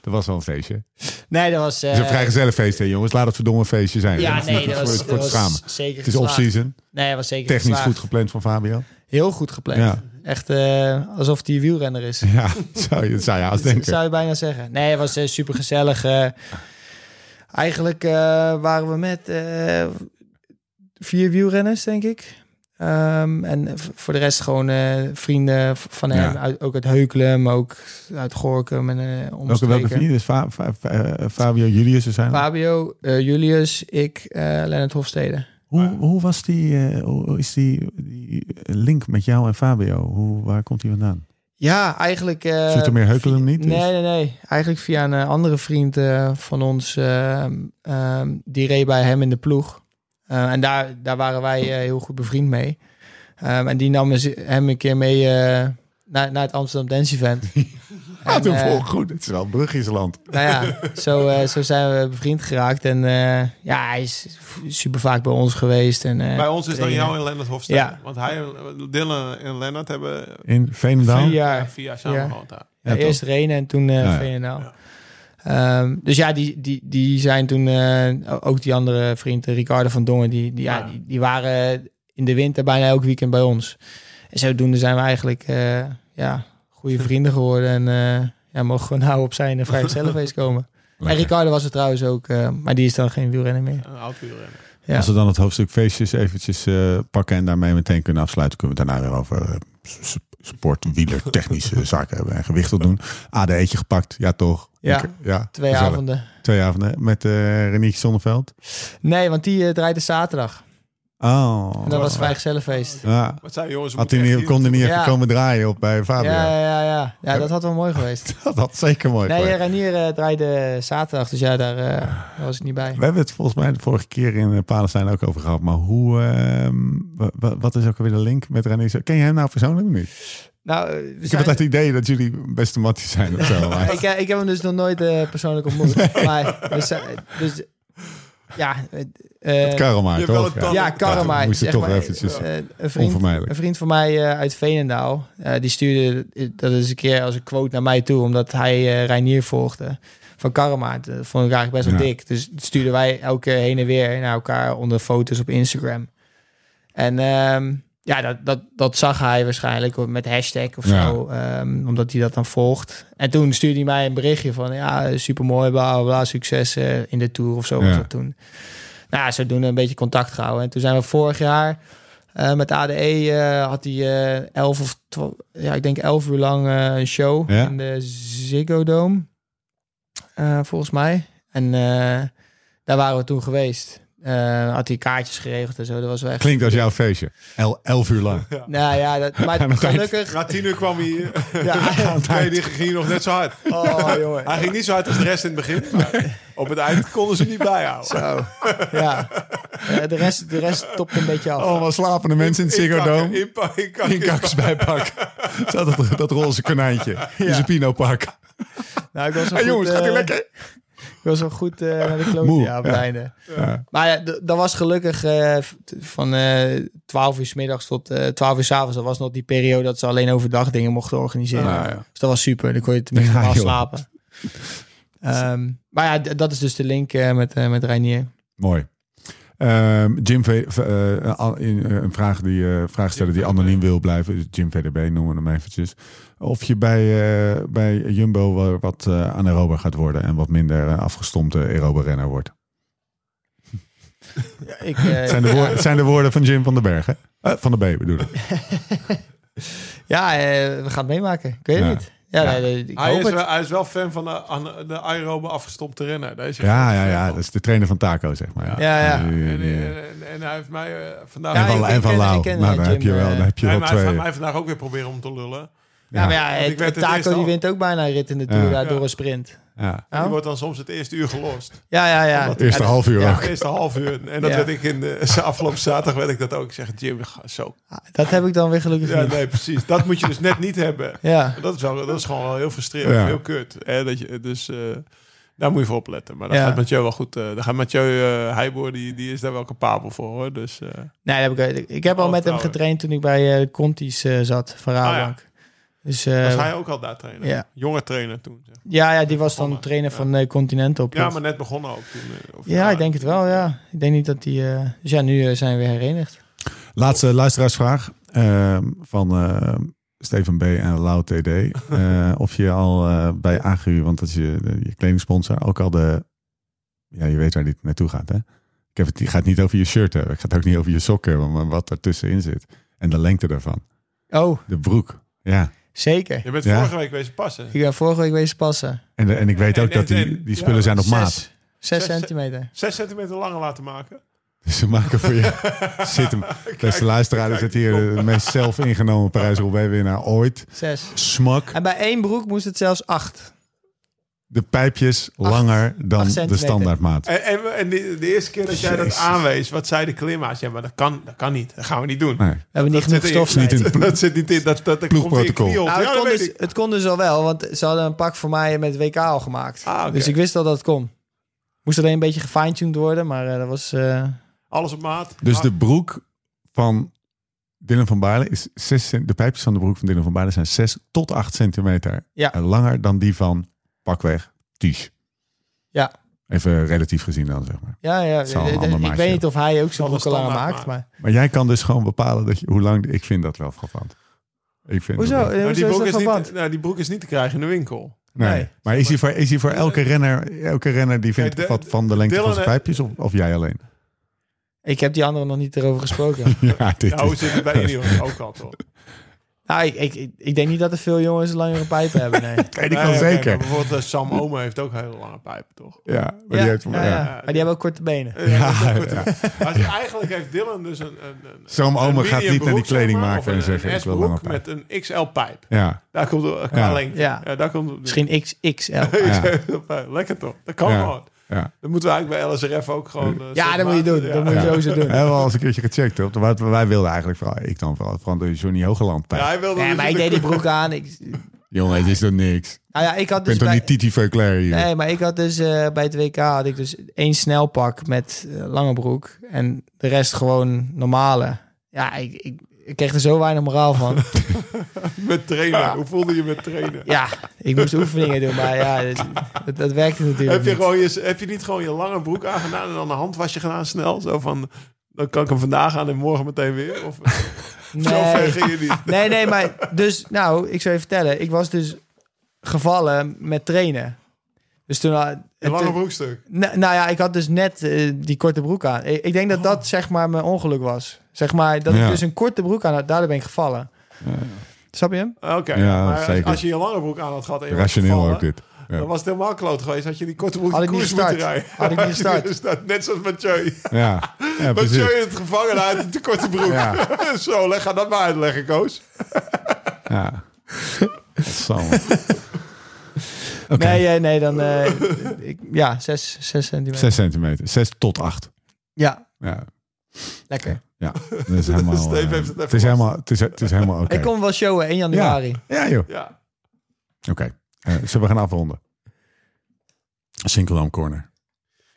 S1: Dat was wel een feestje. Het
S4: Nee, dat was... eh,
S1: is een vrijgezellenfeest, hè jongens. Laat het verdomme feestje zijn.
S4: ja,
S1: is
S4: nee,
S1: niet
S4: dat
S1: voor-
S4: was,
S1: voor
S4: dat
S1: het
S4: was
S1: schamen.
S4: zeker
S1: Het is
S4: geslaagd.
S1: off-season.
S4: Nee, dat was zeker
S1: Technisch
S4: geslaagd.
S1: goed gepland van
S4: <laughs>
S1: Fabio.
S4: Heel goed gepland.
S1: Ja.
S4: Echt eh, alsof die wielrenner is.
S1: Ja, zou je, zou je haast
S4: Dat
S1: denken.
S4: Dus zou je bijna zeggen. Nee, het was super gezellig. eigenlijk eh, waren we met eh, vier wielrenners, denk ik. Ehm, en v- voor de rest gewoon eh, vrienden v- van hem.
S1: Ja.
S4: Uit, ook uit Heukelum, ook uit Gorkum en eh
S1: Welke,
S4: omstreken.
S1: welke vrienden? Dus Fa- Fa- Fa- eh, Fabio Julius er zijn.
S4: Fabio, eh, Julius, ik, eh Lennart Hofstede.
S1: Hoe, hoe was die, eh, hoe hoe is die, die link met jou en Fabio? Hoe, waar komt die vandaan?
S4: Ja, eigenlijk... eh,
S1: Zit er meer heukelen niet?
S4: Nee, nee, nee. Eigenlijk via een eh, andere vriend eh, van ons. ehm, ehm, die reed bij hem in de ploeg. Eh, en daar, daar waren wij eh, heel goed bevriend mee. Ehm, en die nam eens- hem een keer mee eh, naar, naar het Amsterdam Dance Event.
S1: Ja,
S4: En,
S1: toen
S4: eh,
S1: volg goed. Het is wel Bruggesland.
S4: nou ja, zo, eh, zo zijn we bevriend geraakt. En eh, ja, hij is super vaak bij ons geweest. En, eh,
S3: Bij ons is dan
S4: trainen.
S3: jou en Lennart Hofstede.
S4: Ja.
S3: Want hij, en- eh, Dylan en Lennart hebben
S1: In Veenendaal?
S4: Vier jaar.
S3: vier jaar samen
S4: Ja.
S3: gewoond daar.
S1: Ja,
S4: Ja,
S1: toch?
S4: eerst Renen en toen eh
S1: Ja, ja.
S4: VNL. Ehm, dus ja, die, die, die zijn toen eh, ook die andere vriend, eh, Ricardo van Dongen, die, die, ja.
S3: Ja.
S4: die, die waren in de winter bijna elk weekend bij ons. En zodoende zijn we eigenlijk eh, ja, goede vrienden geworden en eh, ja, mogen gewoon nou op zijn vrijgezellenfeest komen. En
S1: Lekker.
S4: Ricardo was het trouwens ook, eh, maar die is dan geen wielrenner meer.
S3: Een oud wielrenner.
S4: Ja.
S1: Als we dan het hoofdstuk feestjes eventjes eh, pakken en daarmee meteen kunnen afsluiten, kunnen we het daarna weer over eh, s- sport, wieler, <laughs> technische zaken hebben en gewichtel doen. ADE'tje gepakt, ja toch?
S4: Ja.
S1: Ik- ja
S4: Twee
S1: gezellig.
S4: avonden.
S1: Twee avonden met eh Renietje Zonneveld.
S4: Nee, want die eh, draait de zaterdag.
S1: Oh.
S4: En dat was vrijgezellenfeest.
S1: Ja.
S3: Wat zijn jongens? we
S1: Had hij
S3: moeten
S1: niet,
S3: echt
S1: kon hij niet
S4: Ja.
S1: even komen draaien op bij Fabio.
S4: Ja, ja, ja, ja. ja, dat had wel mooi geweest.
S1: <laughs> Dat had zeker mooi
S4: Nee,
S1: geweest.
S4: eh, Ranier eh, draaide zaterdag, dus ja, daar, eh, daar was ik niet bij.
S1: We hebben het volgens mij de vorige keer in eh, Palestijn ook over gehad. Maar hoe, ehm, wa- wa- wat is ook alweer de link met René? Ken je hem nou persoonlijk of niet?
S4: Nou, eh, we
S1: Ik
S4: zijn-
S1: heb altijd het idee dat jullie best matties zijn of
S4: <laughs>
S1: zo. maar-
S4: ik, eh, ik heb hem dus nog nooit eh, persoonlijk ontmoet. Maar we zijn- dus, ja, eh, eh,
S1: Karel maar,
S3: Je hebt wel
S1: toch?
S3: een tand.
S4: ja,
S1: Ja,
S4: Karma.
S1: toen moest je
S4: zeg
S1: toch
S4: maar,
S1: eventjes-
S4: eh, een vriend
S1: Onvermijdelijk.
S4: Een vriend van mij eh, uit Veenendaal, eh, die stuurde eh, dat is een keer als een quote naar mij toe, omdat hij eh Reinier volgde van Karma. Dat vond ik eigenlijk best wel
S1: Ja.
S4: dik. Dus dat stuurden wij elke keer heen en weer naar elkaar onder foto's op Instagram. En ehm, ja, dat, dat, dat zag hij waarschijnlijk met hashtag of
S1: Ja.
S4: zo, ehm, omdat hij dat dan volgt. En toen stuurde hij mij een berichtje van ja, supermooi, bla bla, bla succes eh, in de Tour of zo was
S1: Ja.
S4: dat toen. Nou ja, zodoende een beetje contact gehouden. En toen zijn we vorig jaar eh, met ADE eh, had hij eh elf of twa- ja, ik denk elf uur lang eh, een show
S1: Ja.
S4: in de Ziggo Dome, eh, volgens mij. En eh, daar waren we toen geweest. Eh, had hij kaartjes geregeld en zo, dat was wel echt...
S1: Klinkt als jouw feestje. El, elf uur lang.
S4: Nou ja,
S1: <laughs>
S4: dat,
S1: Aan
S4: maar
S1: het eind.
S4: gelukkig...
S3: Na tien uur kwam
S1: <laughs>
S3: hij hier. <laughs>
S4: Ja,
S3: Nee, die ging nog net zo hard.
S4: oh jongen.
S3: Hij ging niet zo hard als de rest in het begin. Maar op het eind konden ze niet <laughs> bijhouden.
S4: Zo, ja. Eh, de, rest, de rest topt een beetje af.
S1: Allemaal slapende mensen in het Ziggo
S3: Inpakken,
S1: Dome.
S3: inpakken, inpakken.
S1: Inkaks bij pak.
S4: <laughs>
S1: Zat dat, dat roze konijntje in zijn pino pak.
S4: Nou, ik was wel
S1: Hey, Ah, jongens,
S4: goed,
S1: gaat ie
S4: eh,
S1: lekker?
S4: Ik was wel goed eh, naar de klote
S1: Moe,
S4: ja, op het
S1: ja.
S4: einde.
S1: Ja.
S4: Maar ja, d- dat was gelukkig eh, v- t- van eh 12 uur s middags tot eh 12 uur s avonds. Dat was nog die periode dat ze alleen overdag dingen mochten organiseren.
S3: Ah,
S1: Nou ja.
S4: Dus dat was super. Dan kon je tenminste
S1: Ja,
S4: normaal
S1: joh.
S4: slapen. Ehm, maar ja, d- dat is dus de link eh, met, eh met Reinier.
S1: Mooi. Ehm, Jim V- v- eh, al- in, eh, een vraag die eh, vraag stellen die anoniem wil blijven. Dus Jim VDB noemen we hem eventjes. Of je bij, eh, bij Jumbo wel wat eh anaerober gaat worden en wat minder eh, afgestompte aerobe renner wordt.
S3: <laughs>
S4: Ik, eh,
S1: Het zijn, de woorden, het zijn de woorden van Jim van den Berg, hè? Eh, van de B bedoel ik.
S4: <laughs> ja, eh, we gaan het meemaken. Ik weet het
S1: Ja.
S4: niet. Ja,
S1: Ja.
S4: nee, ik
S3: Hij
S4: hoop
S3: is,
S4: het.
S3: wel, hij is wel fan van de, an- de aerobe afgestompte renner. Daar is hij
S1: Ja,
S3: fan
S1: ja,
S3: van.
S1: ja. Dat is de trainer van Taco, zeg maar.
S4: Ja, ja.
S1: Die-
S3: En,
S1: die-
S3: en, en- en hij heeft mij eh, vandaag...
S4: Ja,
S1: En
S4: ik-
S1: van,
S4: ik
S1: en van
S4: ken-
S1: Lau.
S4: ik ken,
S1: nou,
S4: eh,
S1: dan
S4: Jim,
S1: heb je wel,
S4: eh,
S1: dan heb je
S3: hij
S1: wel
S3: heeft mij-
S1: twee.
S3: mij vandaag ook weer proberen om te lullen.
S4: Ja, maar ja,
S3: ik
S4: het,
S3: werd het eerst
S4: Taco die
S3: al.
S4: wint ook bijna een rit in de Tour
S1: Ja.
S4: uit door een sprint.
S1: Ja.
S4: Oh?
S3: Die wordt dan soms het eerste uur gelost.
S4: Ja, ja, ja.
S1: Het eerste half uur
S4: Ja.
S1: ook.
S3: Het eerste half uur. En dat
S4: Ja.
S3: werd ik in de <laughs> afgelopen zaterdag werd ik dat ook. Ik zeg, Jim, ga zo.
S4: Dat heb ik dan weer gelukkig
S3: Ja,
S4: niet.
S3: nee, precies. Dat moet je dus net niet hebben.
S4: Ja.
S3: Dat is, wel, dat is gewoon wel heel frustrerend.
S1: Ja.
S3: Heel kut. Hè? Dat je, dus eh, daar moet je voor opletten. Maar daar
S4: Ja.
S3: gaat Mathieu wel goed. eh daar gaat Mathieu eh, Heijboer, die, die is daar wel capabel voor. Hoor. Dus, eh,
S4: Nee, dat heb ik, ik heb al
S3: Oh,
S4: met hem
S3: trouwens. Ah,
S4: getraind toen ik bij eh Conti's eh, zat, van Rabobank. Dus eh,
S3: was hij ook al daar trainen?
S4: ja.
S3: Jonge trainer toen. zeg.
S4: ja, ja, die was dan
S3: Begonnen,
S4: trainer
S3: ja.
S4: van eh Continental.
S3: Ja,
S4: Plus.
S3: maar net begonnen ook toen. eh, of-
S4: Ja, ik denk het wel, ja. Ik denk niet dat die... eh, Dus ja, nu eh, zijn we weer herenigd.
S1: Laatste luisteraarsvraag ehm, van eh, Steven B. en Lau TD.
S3: <laughs>
S1: Eh, of je al eh, bij Agu, want dat is je, je kledingsponsor, ook al de... Ja, je weet waar dit naartoe gaat, hè? Ik heb het, die gaat niet over je shirt hebben. Het gaat ook niet over je sokken hebben, maar wat ertussenin zit. En de lengte daarvan.
S4: Oh,
S1: De broek. Ja.
S4: zeker.
S3: Je bent
S1: Ja.
S3: vorige week wezen passen.
S4: Ik ben vorige week wezen passen.
S1: En, de- en ik weet
S3: En-
S1: ook
S3: en-
S1: dat die,
S3: en-
S1: die spullen
S3: ja,
S1: zijn op maat.
S4: Zes, zes
S3: Zes-
S4: centimeter.
S3: Zes centimeter langer laten maken.
S1: Dus ze maken voor je...
S3: <laughs>
S1: Zit hem. Beste luisteraar, er
S3: kijk,
S1: zit hier de meest zelf ingenomen Parijs-Roubaix-winnaar ooit.
S4: Zes.
S1: Smak.
S4: En bij één broek moest het zelfs acht.
S1: de pijpjes langer dan de
S4: centimeter.
S1: standaardmaat.
S3: En, en, en de, de eerste keer dat jij dat
S1: Jezus.
S3: aanwees, wat zei de klimaat? Ja, maar dat kan, dat kan niet. Dat gaan we niet doen.
S1: Nee.
S4: We hebben niet
S3: Dat
S4: genoeg
S3: zit in-
S4: stof.
S1: Niet in het ploeg-
S3: <laughs> Dat zit niet in. Dat, dat, dat komt in je
S1: Ploegprotocol.
S3: knie op.
S4: Nou,
S3: Ja,
S4: het,
S3: dat
S4: kon
S3: weet
S4: dus,
S3: ik.
S4: het kon dus al wel, want ze hadden een pak voor mij met WK al gemaakt.
S3: Ah, oké.
S4: Dus ik wist al dat het kon. Moest alleen een beetje gefine-tuned worden, maar eh, dat was... eh,
S3: Alles op maat.
S1: Dus
S3: Ah,
S1: de broek van Dylan van Baarle is 6 De pijpjes van de broek van Dylan van Baarle zijn 6 tot 8 centimeter
S4: Ja.
S1: eh, langer dan die van pakweg Ties.
S4: Ja.
S1: Even relatief gezien dan, zeg maar.
S4: ja, ja.
S1: Zal een
S4: eh, eh,
S1: ander
S4: ik
S1: maatje
S4: weet niet of hij ook zijn
S3: Zal een
S4: broek al langer
S3: standaard
S4: maakt, maar...
S1: Maar jij kan dus gewoon bepalen dat je, hoe lang... Ik vind dat wel vervand. Ik vind
S4: Hoezo?
S1: dat wel-
S4: Eh,
S3: maar die
S4: hoezo
S3: broek,
S4: is
S3: is
S4: dat verband?
S3: niet, nou, die broek is niet te krijgen in de winkel.
S1: Nee.
S4: Nee.
S1: Maar is hij voor, is hij voor elke, renner, elke renner die vindt
S3: Eh, Kijk, de-
S1: wat van de lengte
S3: Dylan,
S1: van zijn
S3: eh,
S1: pijpjes of, of jij alleen?
S4: Ik heb die andere nog niet erover
S3: <laughs>
S4: gesproken.
S1: Ja, dit
S3: Nou, hoe
S1: is... <laughs>
S3: zit het bij iedereen ook al toch?
S4: nou, ik, ik, ik, ik denk niet dat er veel jongens een langere pijpen
S1: <laughs>
S4: hebben, nee.
S1: Nee, die
S3: Nee,
S1: kan
S3: oké,
S1: zeker.
S3: maar bijvoorbeeld eh, Sam Omer heeft ook hele lange pijpen, toch?
S1: Ja, maar die
S4: Ja,
S1: heeft...
S4: ja, ja.
S1: ja.
S4: Maar die hebben ook korte benen.
S3: Eh, dat is ook
S1: Ja,
S3: goed. Maar eigenlijk heeft Dylan dus een... een, een
S1: Sam
S3: een
S1: Omer gaat
S3: medium
S1: niet naar die
S3: broek, zeg
S1: kleding
S3: maar,
S1: maken
S3: of
S1: en
S3: een-
S1: zeggen,
S3: een
S1: ik wil lange
S3: S-broek
S1: pijp.
S3: met een XL-pijp. <laughs>
S1: Ja,
S3: Daar komt de qua
S1: Ja.
S3: lengte.
S4: Ja.
S3: Ja, daar komt <laughs>
S4: Misschien XXL.
S1: ja,
S3: Lekker toch? Dat kan
S1: Ja.
S3: gewoon.
S1: ja.
S3: Dat moeten we eigenlijk bij LSRF ook gewoon... eh,
S4: Ja, dat moet je
S3: soort maat-
S4: doen. Dat moet je
S1: Ja.
S4: sowieso
S1: We
S4: doen.
S1: hebben al eens een keertje gecheckt. Op de, wat wij wilden eigenlijk vooral, ik dan vooral, vooral de Johnny Hogeland pijp.
S3: Ja, hij wilde dus
S4: Nee, maar ik deed die broek aan. Ik,
S1: Jongen, het is toch niks.
S4: nou ja, ik had
S1: Ik
S4: dus
S1: ben toch
S4: bij,
S1: niet Titi Verclair hier?
S4: Nee, maar ik had dus eh, bij het WK had ik dus één snelpak met eh, lange broek en de rest gewoon normale. Ja, ik, ik, ik kreeg er zo weinig moraal
S3: <laughs>
S4: van.
S3: Met trainen. Hoe voelde je met trainen?
S4: ja, ik moest oefeningen doen, maar ja, dat, dat, dat werkte natuurlijk
S3: Heb je,
S4: niet.
S3: gewoon je, heb je niet gewoon je lange broek aangedaan en dan een handwasje gedaan snel? Zo van, dan kan ik hem vandaag aan en morgen meteen weer? Of <laughs> zo ver
S4: nee.
S3: ging je niet?
S4: nee, nee, maar dus, nou, ik zou je vertellen. Ik was dus gevallen met trainen. Dus toen... had-
S3: Een lange
S4: toen-
S3: broekstuk.
S4: Nou, nou ja, ik had dus net eh, die korte broek aan. Ik, ik denk dat
S3: Oh.
S4: dat zeg maar mijn ongeluk was. Zeg maar dat
S1: Ja.
S4: ik dus een korte broek aan had. Daardoor ben ik gevallen. Snap je hem?
S3: Oké,
S1: Ja,
S3: maar als-
S1: zeker.
S3: als je je lange broek aan had gehad en je was
S1: Rationeel
S3: gevallen,
S1: ook dit. Ja.
S3: dan was het helemaal kloot geweest. Had je die korte broek
S4: Had
S3: de
S4: ik niet
S3: koers moeten
S4: gestart.
S3: rijden.
S4: Had ik
S3: <laughs>
S4: niet gestart.
S3: gestart. Net zoals Mathieu.
S1: Ja,
S3: <laughs>
S1: ja
S3: Mathieu
S1: precies.
S3: in het gevangen uit de korte broek.
S1: Ja.
S3: <laughs> zo, leg, ga dat maar uitleggen, Koos.
S1: Ja. Sam.
S3: <laughs>
S1: Oké,
S4: Nee, eh, nee, dan... eh,
S3: <laughs>
S4: ik, ja, 6 zes centimeter.
S1: 6 centimeter. 6 tot 8.
S4: Ja,
S1: Ja,
S4: lekker.
S1: ja. Dat is helemaal...
S3: <laughs> Steve
S1: eh,
S3: heeft het even
S1: het, is
S3: vast.
S1: helemaal het, is, het is helemaal oké.
S4: Ik kom wel showen 1 januari.
S1: Ja, joh.
S3: Ja.
S1: Oké. Eh, zullen we gaan afronden? Sinkeldam Corner.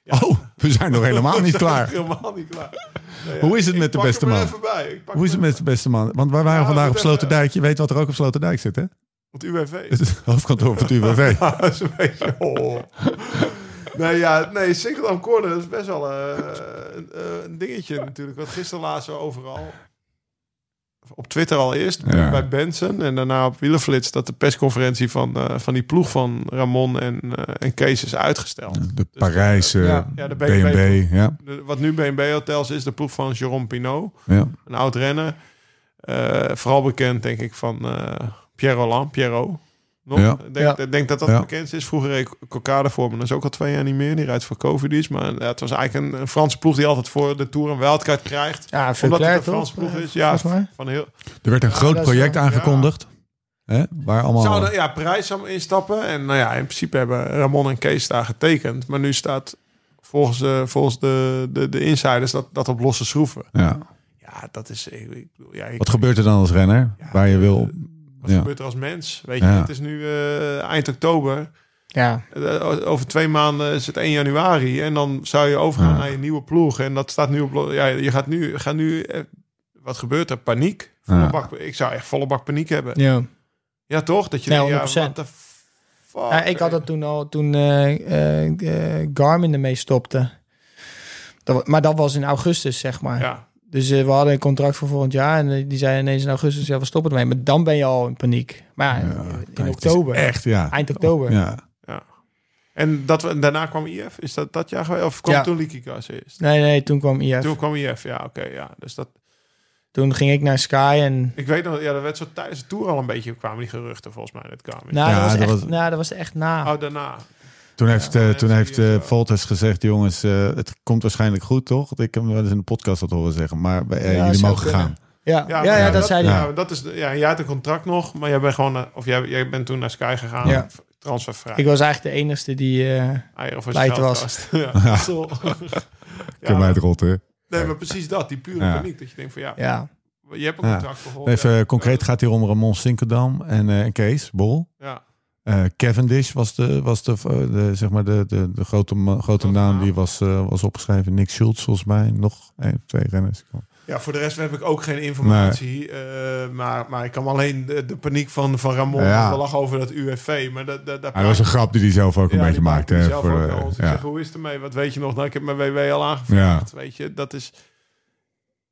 S1: Oh, we zijn nog helemaal
S3: <laughs>
S1: niet klaar.
S3: Helemaal niet klaar. Nee,
S1: Hoe is het
S3: ik
S1: met de
S3: pak
S1: beste
S3: hem er
S1: man?
S3: even bij. Ik pak
S1: Hoe is het
S3: hem
S1: met de beste man? Want wij waren
S3: Ja,
S1: vandaag
S3: moet
S1: op
S3: even-
S1: Sloterdijk. Je weet wat er ook op Sloterdijk zit, hè?
S3: even- Het UWV.
S1: <laughs> Het is het hoofdkantoor van het UWV.
S3: Ja, <laughs> dat is een beetje...
S1: <laughs>
S3: Oh. Nee, ja, nee, Sinkeldam Corner dat is best wel eh, een, eh, een dingetje natuurlijk. Want gisteren lazen we overal... Op Twitter al eerst,
S1: Ja.
S3: bij Benson. En daarna op Wielenflits dat de persconferentie van, eh, van die ploeg van Ramon en, eh, en Kees is uitgesteld.
S1: De eh, Parijse
S4: Ja.
S3: Ja, de BNB.
S1: B&B. Ja,
S3: De- Wat nu BNB Hotels is, de ploeg van Jérôme Pinot.
S1: ja.
S3: Een oud renner. Eh, vooral bekend, denk ik, van eh Pierre Roland. Pierrot. Nog?
S1: Ja.
S3: Ik
S4: Ja.
S3: denk, ik denk dat dat
S1: Ja.
S3: bekend is. Vroeger reed Kokade voor me. Dat is ook al twee jaar niet meer. Die rijdt voor Covidis. Maar ja, het was eigenlijk een, een Franse ploeg die altijd voor de Tour een wildcard krijgt.
S4: Ja,
S3: Omdat
S4: Verclair
S3: het een
S4: toch?
S3: Franse ploeg is.
S4: Ja,
S3: Ja,
S4: volgens mij.
S3: van heel...
S1: Er werd een groot
S4: dat is
S1: project
S4: wel-
S1: aangekondigd. Hè? Waar allemaal...
S3: Zouden ja, prijs aan instappen. En nou ja, in principe hebben Ramon en Kees daar getekend. Maar nu staat volgens, eh, volgens de, de, de insiders dat, dat op losse schroeven.
S1: ja.
S3: Ja, dat is. Ik, ik, bedoel, ja, ik-
S1: Wat gebeurt er dan als renner?
S3: Ja,
S1: waar je wil...
S3: wat
S1: ja.
S3: gebeurt er als mens? Weet je,
S1: Ja.
S3: het is nu eh, eind oktober.
S4: Ja,
S3: Eh, Over twee maanden is het 1 januari. En dan zou je overgaan
S1: Ja.
S3: naar je nieuwe ploeg. En dat staat nu op. lo- Ja, je gaat nu. Gaat nu eh, wat gebeurt er? Paniek. Volle
S1: Ja.
S3: bak, ik zou echt volle bak paniek hebben. Ja,
S4: ja.
S3: toch? Dat je
S4: Ja,
S3: denkt,
S4: 100%.
S3: what the fuck?
S4: Ja, ik had dat toen al, toen eh, eh, eh, Garmin ermee stopte. Dat, wa- maar dat was in augustus, zeg maar.
S3: Ja,
S4: Dus eh, we hadden een contract voor volgend jaar en eh, die zei ineens in augustus, ja, we stoppen ermee. Maar dan ben je al in paniek. Maar ja,
S1: Ja, kijk,
S4: in
S1: het is
S4: oktober,
S1: Echt, ja.
S4: eind oktober.
S1: ja.
S3: En dat we, daarna kwam IF? Is dat dat jaar geweest? Of kwam
S4: Ja.
S3: toen Likikas eerst?
S4: Nee, nee, toen kwam IF.
S3: Toen
S4: Toen,
S3: kwam IF, ja, oké. ja. Dus dat,
S4: ging ik naar Sky en...
S3: ik weet nog, ja, dat werd zo tijdens de Tour al een beetje, kwamen die geruchten volgens mij. Dat kwamen.
S4: Nou,
S1: Ja,
S4: dat, was
S1: dat
S4: echt,
S1: was-
S4: nou, dat was echt na.
S3: Oh, daarna.
S1: Toen heeft, eh,
S3: Ja,
S1: toen
S3: zie
S1: heeft
S3: je
S1: eh,
S3: zo.
S1: Voltes gezegd, jongens, eh, het komt waarschijnlijk goed, toch? Ik heb hem wel eens in de podcast dat horen zeggen, maar eh,
S4: Ja,
S1: jullie
S4: zou
S1: mogen
S4: kunnen.
S1: gaan.
S4: Ja, ja,
S3: maar
S4: ja, dat zei hij.
S1: ja.
S3: ja, maar dat is, de- ja, jij had een contract nog, maar jij bent gewoon, naar- of jij, jij bent toen naar Sky gegaan.
S4: Ja.
S3: v- Transfervrij. Ah,
S4: Ik was eigenlijk de enigste die... eh,
S3: Eieren voor
S4: Pleit
S3: zichzelf
S4: was.
S3: kast. <laughs> ja.
S1: <laughs>
S3: zo.
S1: Ik heb mij
S3: Ja,
S1: het rot, hè?
S3: nee, maar precies dat, die pure
S1: Ja.
S3: paniek. Dat je denkt van ja,
S4: ja.
S3: je hebt een
S1: Ja.
S3: contract geholpen.
S1: Even eh, concreet gaat hier om Ramon Sinkerdam en eh, en Kees Bol.
S3: Ja,
S1: Eh, Cavendish was de, was de, eh, de, zeg maar de, de, de grote, ma- grote naam die was, eh, was opgeschreven. Nick Schultz volgens mij. Nog één, twee renners.
S3: Ja, voor de rest heb ik ook geen informatie. eh, maar, maar ik kan alleen de, de paniek van, van Ramon.
S1: Ja.
S3: Ja. lag over dat UFV. Maar dat, dat, dat
S1: Hij Ah, was een grap die hij zelf ook
S3: Ja,
S1: een beetje
S3: die
S1: maakte.
S3: maakte
S1: hè,
S3: zelf
S1: voor,
S3: ook
S1: eh,
S3: wel. Dus ik
S1: ja.
S3: zeg, hoe is het ermee? Wat weet je nog? Nou, ik heb mijn WW al aangevraagd.
S1: Ja.
S3: Weet je, dat is...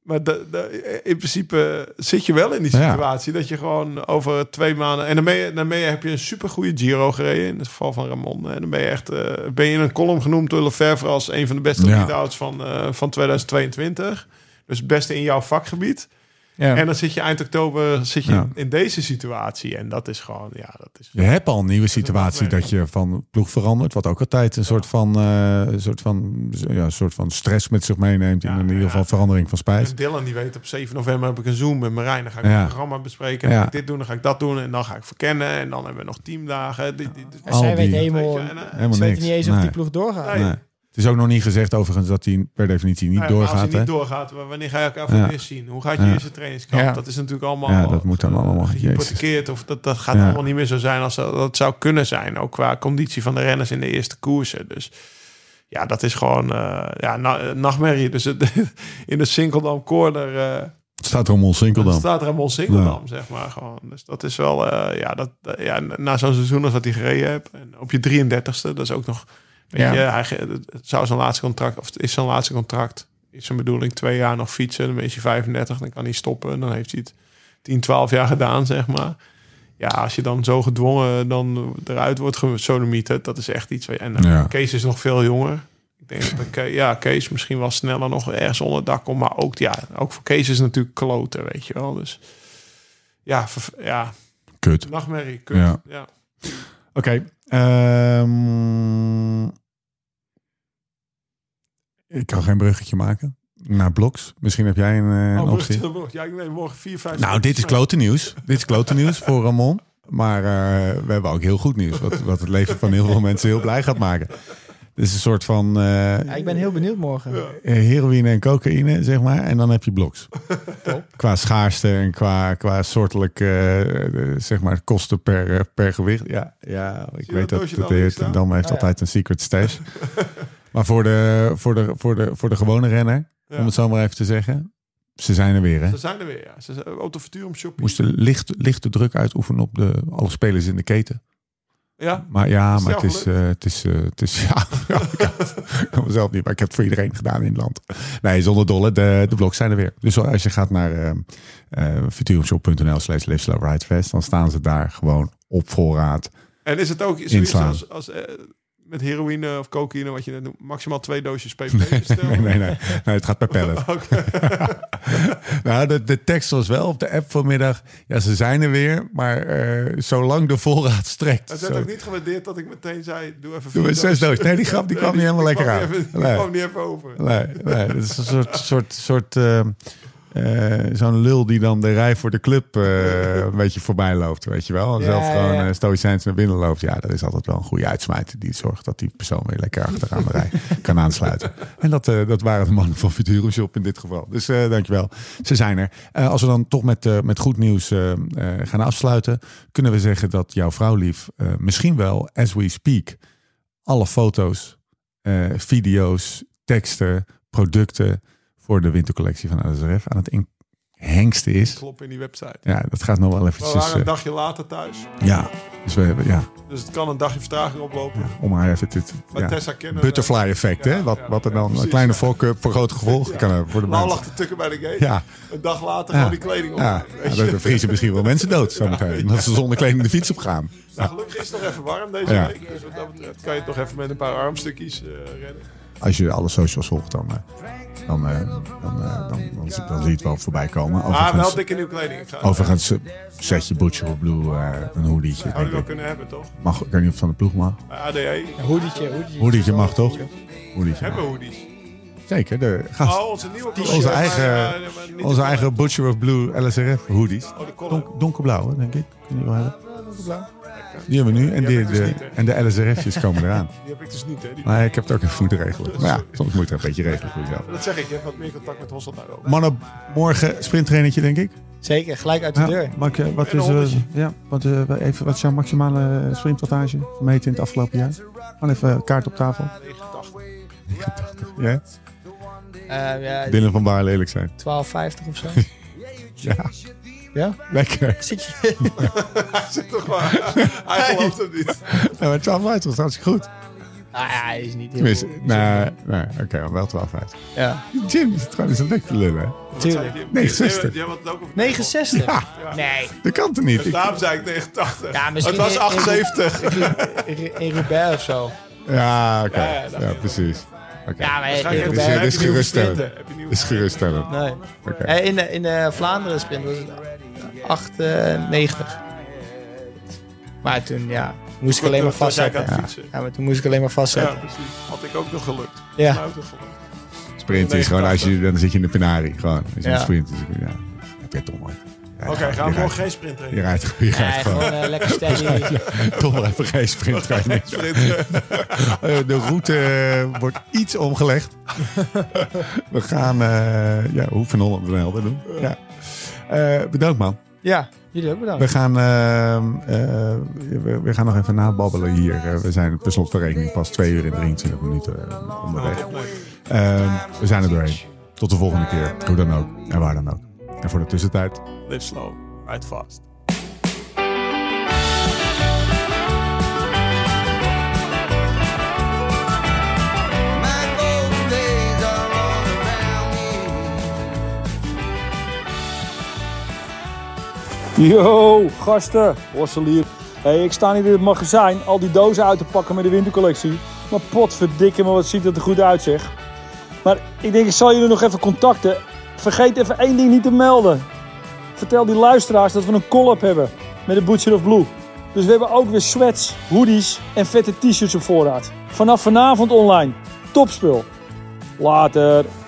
S3: Maar da- da- in principe zit je wel in die
S1: Ja.
S3: situatie dat je gewoon over twee maanden... En daarmee, daarmee heb je een supergoeie Giro gereden, in het geval van Ramon. En dan ben je echt eh, ben je in een column genoemd door Lefebvre als een van de beste
S1: Ja.
S3: leadouts van, eh, van 2022. Dus het beste in jouw vakgebied.
S4: ja.
S3: En dan zit je eind oktober zit je
S1: Ja.
S3: in, in deze situatie. En dat is gewoon, ja, dat is...
S1: Je hebt al een nieuwe situatie
S3: opmerking.
S1: dat je van ploeg verandert. Wat ook altijd een soort van, eh, een soort van, ja, een soort van stress met zich meeneemt.
S3: Ja,
S1: in, in ieder
S3: ja.
S1: geval verandering van spijs.
S3: En Dus Dylan die weet op 7 november heb ik een Zoom met Marijn. Dan ga ik
S1: Ja.
S3: een programma bespreken. Dan
S1: Ja.
S3: ga ik dit doen, dan ga ik dat doen. En dan ga ik verkennen. En dan hebben we nog teamdagen. Dit, dit, dit.
S4: En zij
S1: al
S4: weet
S1: die-
S4: helemaal,
S3: Weet je, en, eh,
S4: ze
S1: Helemaal
S4: weten
S1: niks.
S4: niet eens of
S1: Nee.
S4: die ploeg doorgaat.
S3: Nee.
S1: Nee. Het is ook nog niet gezegd overigens dat hij per definitie niet
S3: Nou ja, maar
S1: doorgaat.
S3: Als hij
S1: hè?
S3: niet doorgaat, wa- wanneer ga je elkaar voor
S1: Ja.
S3: het eerst zien? Hoe gaat je
S1: Ja.
S3: eerste trainingskamp?
S4: Ja.
S3: Dat is natuurlijk allemaal
S1: Ja, dat moet dan allemaal. Jezus.
S3: gehypothekeerd. Of dat, dat gaat
S1: Ja.
S3: allemaal niet meer zo zijn als dat, dat zou kunnen zijn. Ook qua conditie van de renners in de eerste koersen. Dus ja, dat is gewoon eh, ja, na- eh, nachtmerrie. Dus het, <laughs> in de Sinkeldam Corner... eh,
S1: Het staat Ramon
S3: Dan
S1: Sinkeldam.
S3: staat Ramon Singeldam, zeg maar gewoon. Dus dat is wel, eh, ja, dat, eh, ja, na zo'n seizoen als dat hij gereden hebt. En op je 33ste, dat is ook nog, weet
S4: Ja.
S3: je, hij ge- het zou zijn laatste contract, of het is zijn laatste contract, is zijn bedoeling twee jaar nog fietsen. Dan is hij 35, dan kan hij stoppen. Dan heeft hij het 10, 12 jaar gedaan, zeg maar. Ja, als je dan zo gedwongen dan eruit wordt gesodemieterd, dat is echt iets. waar- En eh,
S1: Ja.
S3: Kees is nog veel jonger. Ik denk dat Ke- ja, Kees misschien wel sneller nog ergens onder het dak komt. Maar ook, ja, ook voor Kees is het natuurlijk kloten, weet je wel. Dus ja, ver- ja
S1: Kut.
S3: nachtmerrie, kut. Ja.
S1: Ja. Oké. ehm, ik kan geen bruggetje maken. Naar blogs. Misschien heb jij een, eh, een
S3: Oh,
S1: optie.
S3: <laughs> morgen- ja, ik neem morgen 4, 5...
S1: Nou, dit is klote nieuws. Dit is klote nieuws voor Ramon. Maar eh, we hebben ook heel goed nieuws. Wat, wat het leven van heel veel mensen heel blij gaat maken. Dit is een soort van eh,
S4: Ja, ik ben heel benieuwd morgen.
S1: heroïne en cocaïne, zeg maar. En dan heb je blogs.
S3: <laughs>
S1: Qua schaarste en qua, qua soortelijk, eh, eh, zeg maar, kosten per, eh, per gewicht. Ja, ja ik
S3: je
S1: weet
S3: dat
S1: dat,
S3: doosje
S1: dat
S3: daar
S1: de heer
S3: links staan?
S1: Dam heeft
S4: Ah, ja.
S1: altijd een secret
S3: <laughs>
S1: stash. maar voor de, voor, de, voor, de, voor de gewone renner,
S3: Ja.
S1: om het zo maar even te zeggen. Ze zijn er weer, hè?
S3: Ze zijn er weer, ja. Ze zijn auto om shopping.
S1: moesten licht, lichte druk uitoefenen op de, alle spelers in de keten.
S3: Ja,
S1: Maar ja,
S3: Is
S1: maar
S3: het
S1: het
S3: jou
S1: is, eh, het is, eh, het is <laughs> ja, ja, ik kan het- ik kan mezelf niet, maar ik heb het voor iedereen gedaan in het land. Nee, zonder dolle, de, de blogs zijn er weer. Dus als je gaat naar eh eh futurumshop.nl slash Live Slow Ride Fest, dan staan ze daar gewoon op voorraad. <laughs>
S3: en is het ook zoiets
S1: Inslaan.
S3: als... als eh, met heroïne of cocaïne, wat je net noemt, maximaal twee doosjes pp
S1: Nee,
S3: bestellen?
S1: nee, nee, nee. nee het gaat per pallet.
S3: <laughs> Oké.
S1: <laughs> Nou, de, de tekst was wel op de app vanmiddag. Ja, ze zijn er weer, maar eh, zolang de voorraad strekt.
S3: Het
S1: Zo-
S3: werd Nou, ook niet gewaardeerd dat ik meteen zei, doe even vier
S1: Doe maar zes doos. Nee, die
S3: <laughs>
S1: grap die kwam niet helemaal lekker
S3: kwam
S1: aan.
S3: niet even- die
S1: Nee.
S3: kwam niet even over.
S1: Nee, nee, dat is een soort, soort, soort eh, eh, zo'n lul die dan de rij voor de club eh, een beetje voorbij loopt, weet je wel. En
S4: Ja,
S1: zelf
S4: ja,
S1: gewoon
S4: ja.
S1: eh, stoïcijns naar binnen loopt. Ja, dat is altijd wel een goede uitsmijter die zorgt dat die persoon weer lekker achteraan de rij kan aansluiten. En dat, eh, dat waren de mannen van Futuro Shop in dit geval. Dus eh dankjewel. Ze zijn er. Eh, als we dan toch met, eh, met goed nieuws eh, eh, gaan afsluiten, kunnen we zeggen dat jouw vrouwlief eh, misschien wel, as we speak, alle foto's, eh, video's, teksten, producten voor de wintercollectie van ASRF aan het in- hengsten is.
S3: Klopt in die website.
S1: Ja, dat gaat nog wel
S3: We
S1: eventjes.
S3: waren een
S1: eh,
S3: dagje later thuis.
S1: ja, dus we hebben, ja,
S3: Dus het kan een dagje vertraging oplopen.
S1: ja, om maar even dit.
S3: Maar
S1: Ja.
S3: Tessa kennen
S1: Butterfly effect,
S3: Ja,
S1: hè? Wat,
S3: ja,
S1: wat er
S3: ja,
S1: dan een
S3: precies,
S1: kleine
S3: ja.
S1: voorkeur voor grote gevolgen kan hebben voor de
S3: Nou
S1: mensen.
S3: lag te tukken bij de gate.
S1: Ja,
S3: Een dag later
S1: Ja.
S3: gewoon die kleding op.
S1: ja,
S3: Weet
S1: ja
S3: je?
S1: dan vriezen misschien wel mensen dood zometeen. Omdat ze zonder kleding de fiets op gaan.
S3: Nou, gelukkig is het nog even warm deze
S1: Ja.
S3: week. Dus wat dat betreft kan je het nog even met een paar armstukjes eh redden.
S1: Als je alle socials volgt, dan, eh, dan, eh, dan, eh, dan, dan, dan, zie je het wel voorbij komen.
S3: Maar Ah, wel
S1: Overigens,
S3: dikke nieuwe kleding. Ik ga-
S1: overigens eh, zet je Butcher of Blue eh, een hoedietje.
S3: Zou
S1: Denk
S3: je wel
S1: ik.
S3: kunnen hebben, toch?
S1: Mag, ik weet niet of het van de ploeg mag.
S3: Bij ADE.
S4: Hoedietje, hoedietje.
S1: Hoedietje mag toch? Hoedietje
S3: Hebben
S1: mag.
S3: we hoodies.
S1: Zeker, de gast.
S3: Oh, onze nieuwe
S1: Onze eigen- Onze eigen Butcher of Blue LSRF hoodies.
S3: Oh, de collar.
S1: Donk, donkerblauw, hè, denk ik. Kun je wel hebben. Die hebben we nu. En,
S3: Die
S1: die,
S3: heb ik dus
S1: de,
S3: niet, hè.
S1: en de
S3: <laughs>
S1: LSRF'jes komen eraan.
S3: Die heb ik dus niet, hè. die-
S1: Maar ik heb het ook even moeten regelen. Maar ja, soms moet je het een beetje regelen voor jezelf.
S3: Dat zeg ik, je hebt wat meer contact met Hossel daarover.
S1: Mannen, morgen sprinttrainertje, denk ik.
S4: Zeker, gelijk uit de deur.
S1: Mark, eh, wat,
S3: En
S1: is,
S3: een
S1: eh,
S3: honderdje.
S1: ja, wat, eh, even, wat is jouw maximale eh, sprintwatage gemeten in het afgelopen jaar? Gewoon even eh, kaart op tafel.
S3: 89.
S1: Ja?
S4: Eh, ja,
S1: Dylan van Baar lelijk zijn.
S4: 12,50
S1: <laughs>
S4: of zo.
S1: Ja,
S4: ja?
S1: lekker.
S4: Zit je? <laughs>
S3: Hij zit toch maar. <laughs> Hij gelooft hem niet.
S1: Ja, Nou, maar 12 uit was hartstikke goed.
S4: Ah ja, hij is niet heel
S1: Tenminste,
S4: goed.
S1: nou, nou oké, maar wel 12 uit.
S4: Ja,
S1: Jim is het gewoon eens een nek te lullen. hè?
S3: Wat
S4: Tuurlijk.
S3: zei je?
S1: 69.
S3: Jij had het ook over-
S4: 69? Nee.
S1: Dat kan toch niet?
S3: Dus
S1: Ik-
S3: daarom zei ik 89.
S4: Ja,
S3: het
S4: misschien
S3: was
S4: in- <laughs>
S3: 78.
S4: In- In Roubaix of zo.
S1: ja, oké.
S3: Ja, ja, dat-
S1: Ja, precies. Oké.
S4: Ja,
S3: Ga
S4: maar
S3: je
S1: dit
S3: even-
S1: is- dit
S3: heb je
S1: is
S3: nieuwe
S1: geruststellend.
S3: sprinten? Heb je nieuwe-
S1: Dat is geruststellend.
S4: Nee.
S1: Oké.
S4: Eh, In, de, in de Vlaanderen sprint was het 98. Maar toen, ja, moest ik alleen maar
S3: Toen- toen zei ik aan
S4: vastzetten.
S3: het fietsen.
S4: Ja, maar toen moest ik alleen maar
S3: Ja,
S4: vastzetten.
S3: precies. Had ik ook nog gelukt.
S4: Ja.
S3: Nou, toch gelukt.
S1: Sprint is gewoon als je dan zit je in de penari gewoon. Als je
S4: Ja.
S1: sprint is ja, heb je toch mooi.
S3: Oké, gaan we morgen geen sprint
S1: Je
S3: trainen.
S1: rijdt, je
S4: Nee,
S1: rijdt
S4: gewoon
S1: gewoon.
S4: eh, lekker steady.
S1: <laughs> Toch maar even geen sprint. ga je niks. Eh, De route eh, wordt iets omgelegd. We gaan eh ja, hoe van Holland en Helder doen. Ja. Eh, bedankt man.
S4: Ja, jullie ook bedankt.
S1: We gaan, eh, eh, we, we gaan nog even nababbelen hier. Eh, we zijn per slotverrekening pas 2 uur en 23 minuten eh, onderweg. Eh, we zijn er doorheen. Tot de volgende keer. Hoe dan ook en waar dan ook. En voor de tussentijd.
S3: Live slow, ride fast.
S2: My golden days are all around me.
S8: Yo, gasten, Hosselier. Hey, ik sta niet in het magazijn al die dozen uit te pakken met de wintercollectie. Maar potverdikke me, wat ziet het er goed uit zeg. Maar ik denk, ik zal jullie nog even contacten. Vergeet even één ding niet te melden. Vertel die luisteraars dat we een collab hebben met de Butcher of Blue. Dus we hebben ook weer sweats, hoodies en vette t-shirts op voorraad. Vanaf vanavond online. Topspul. Later.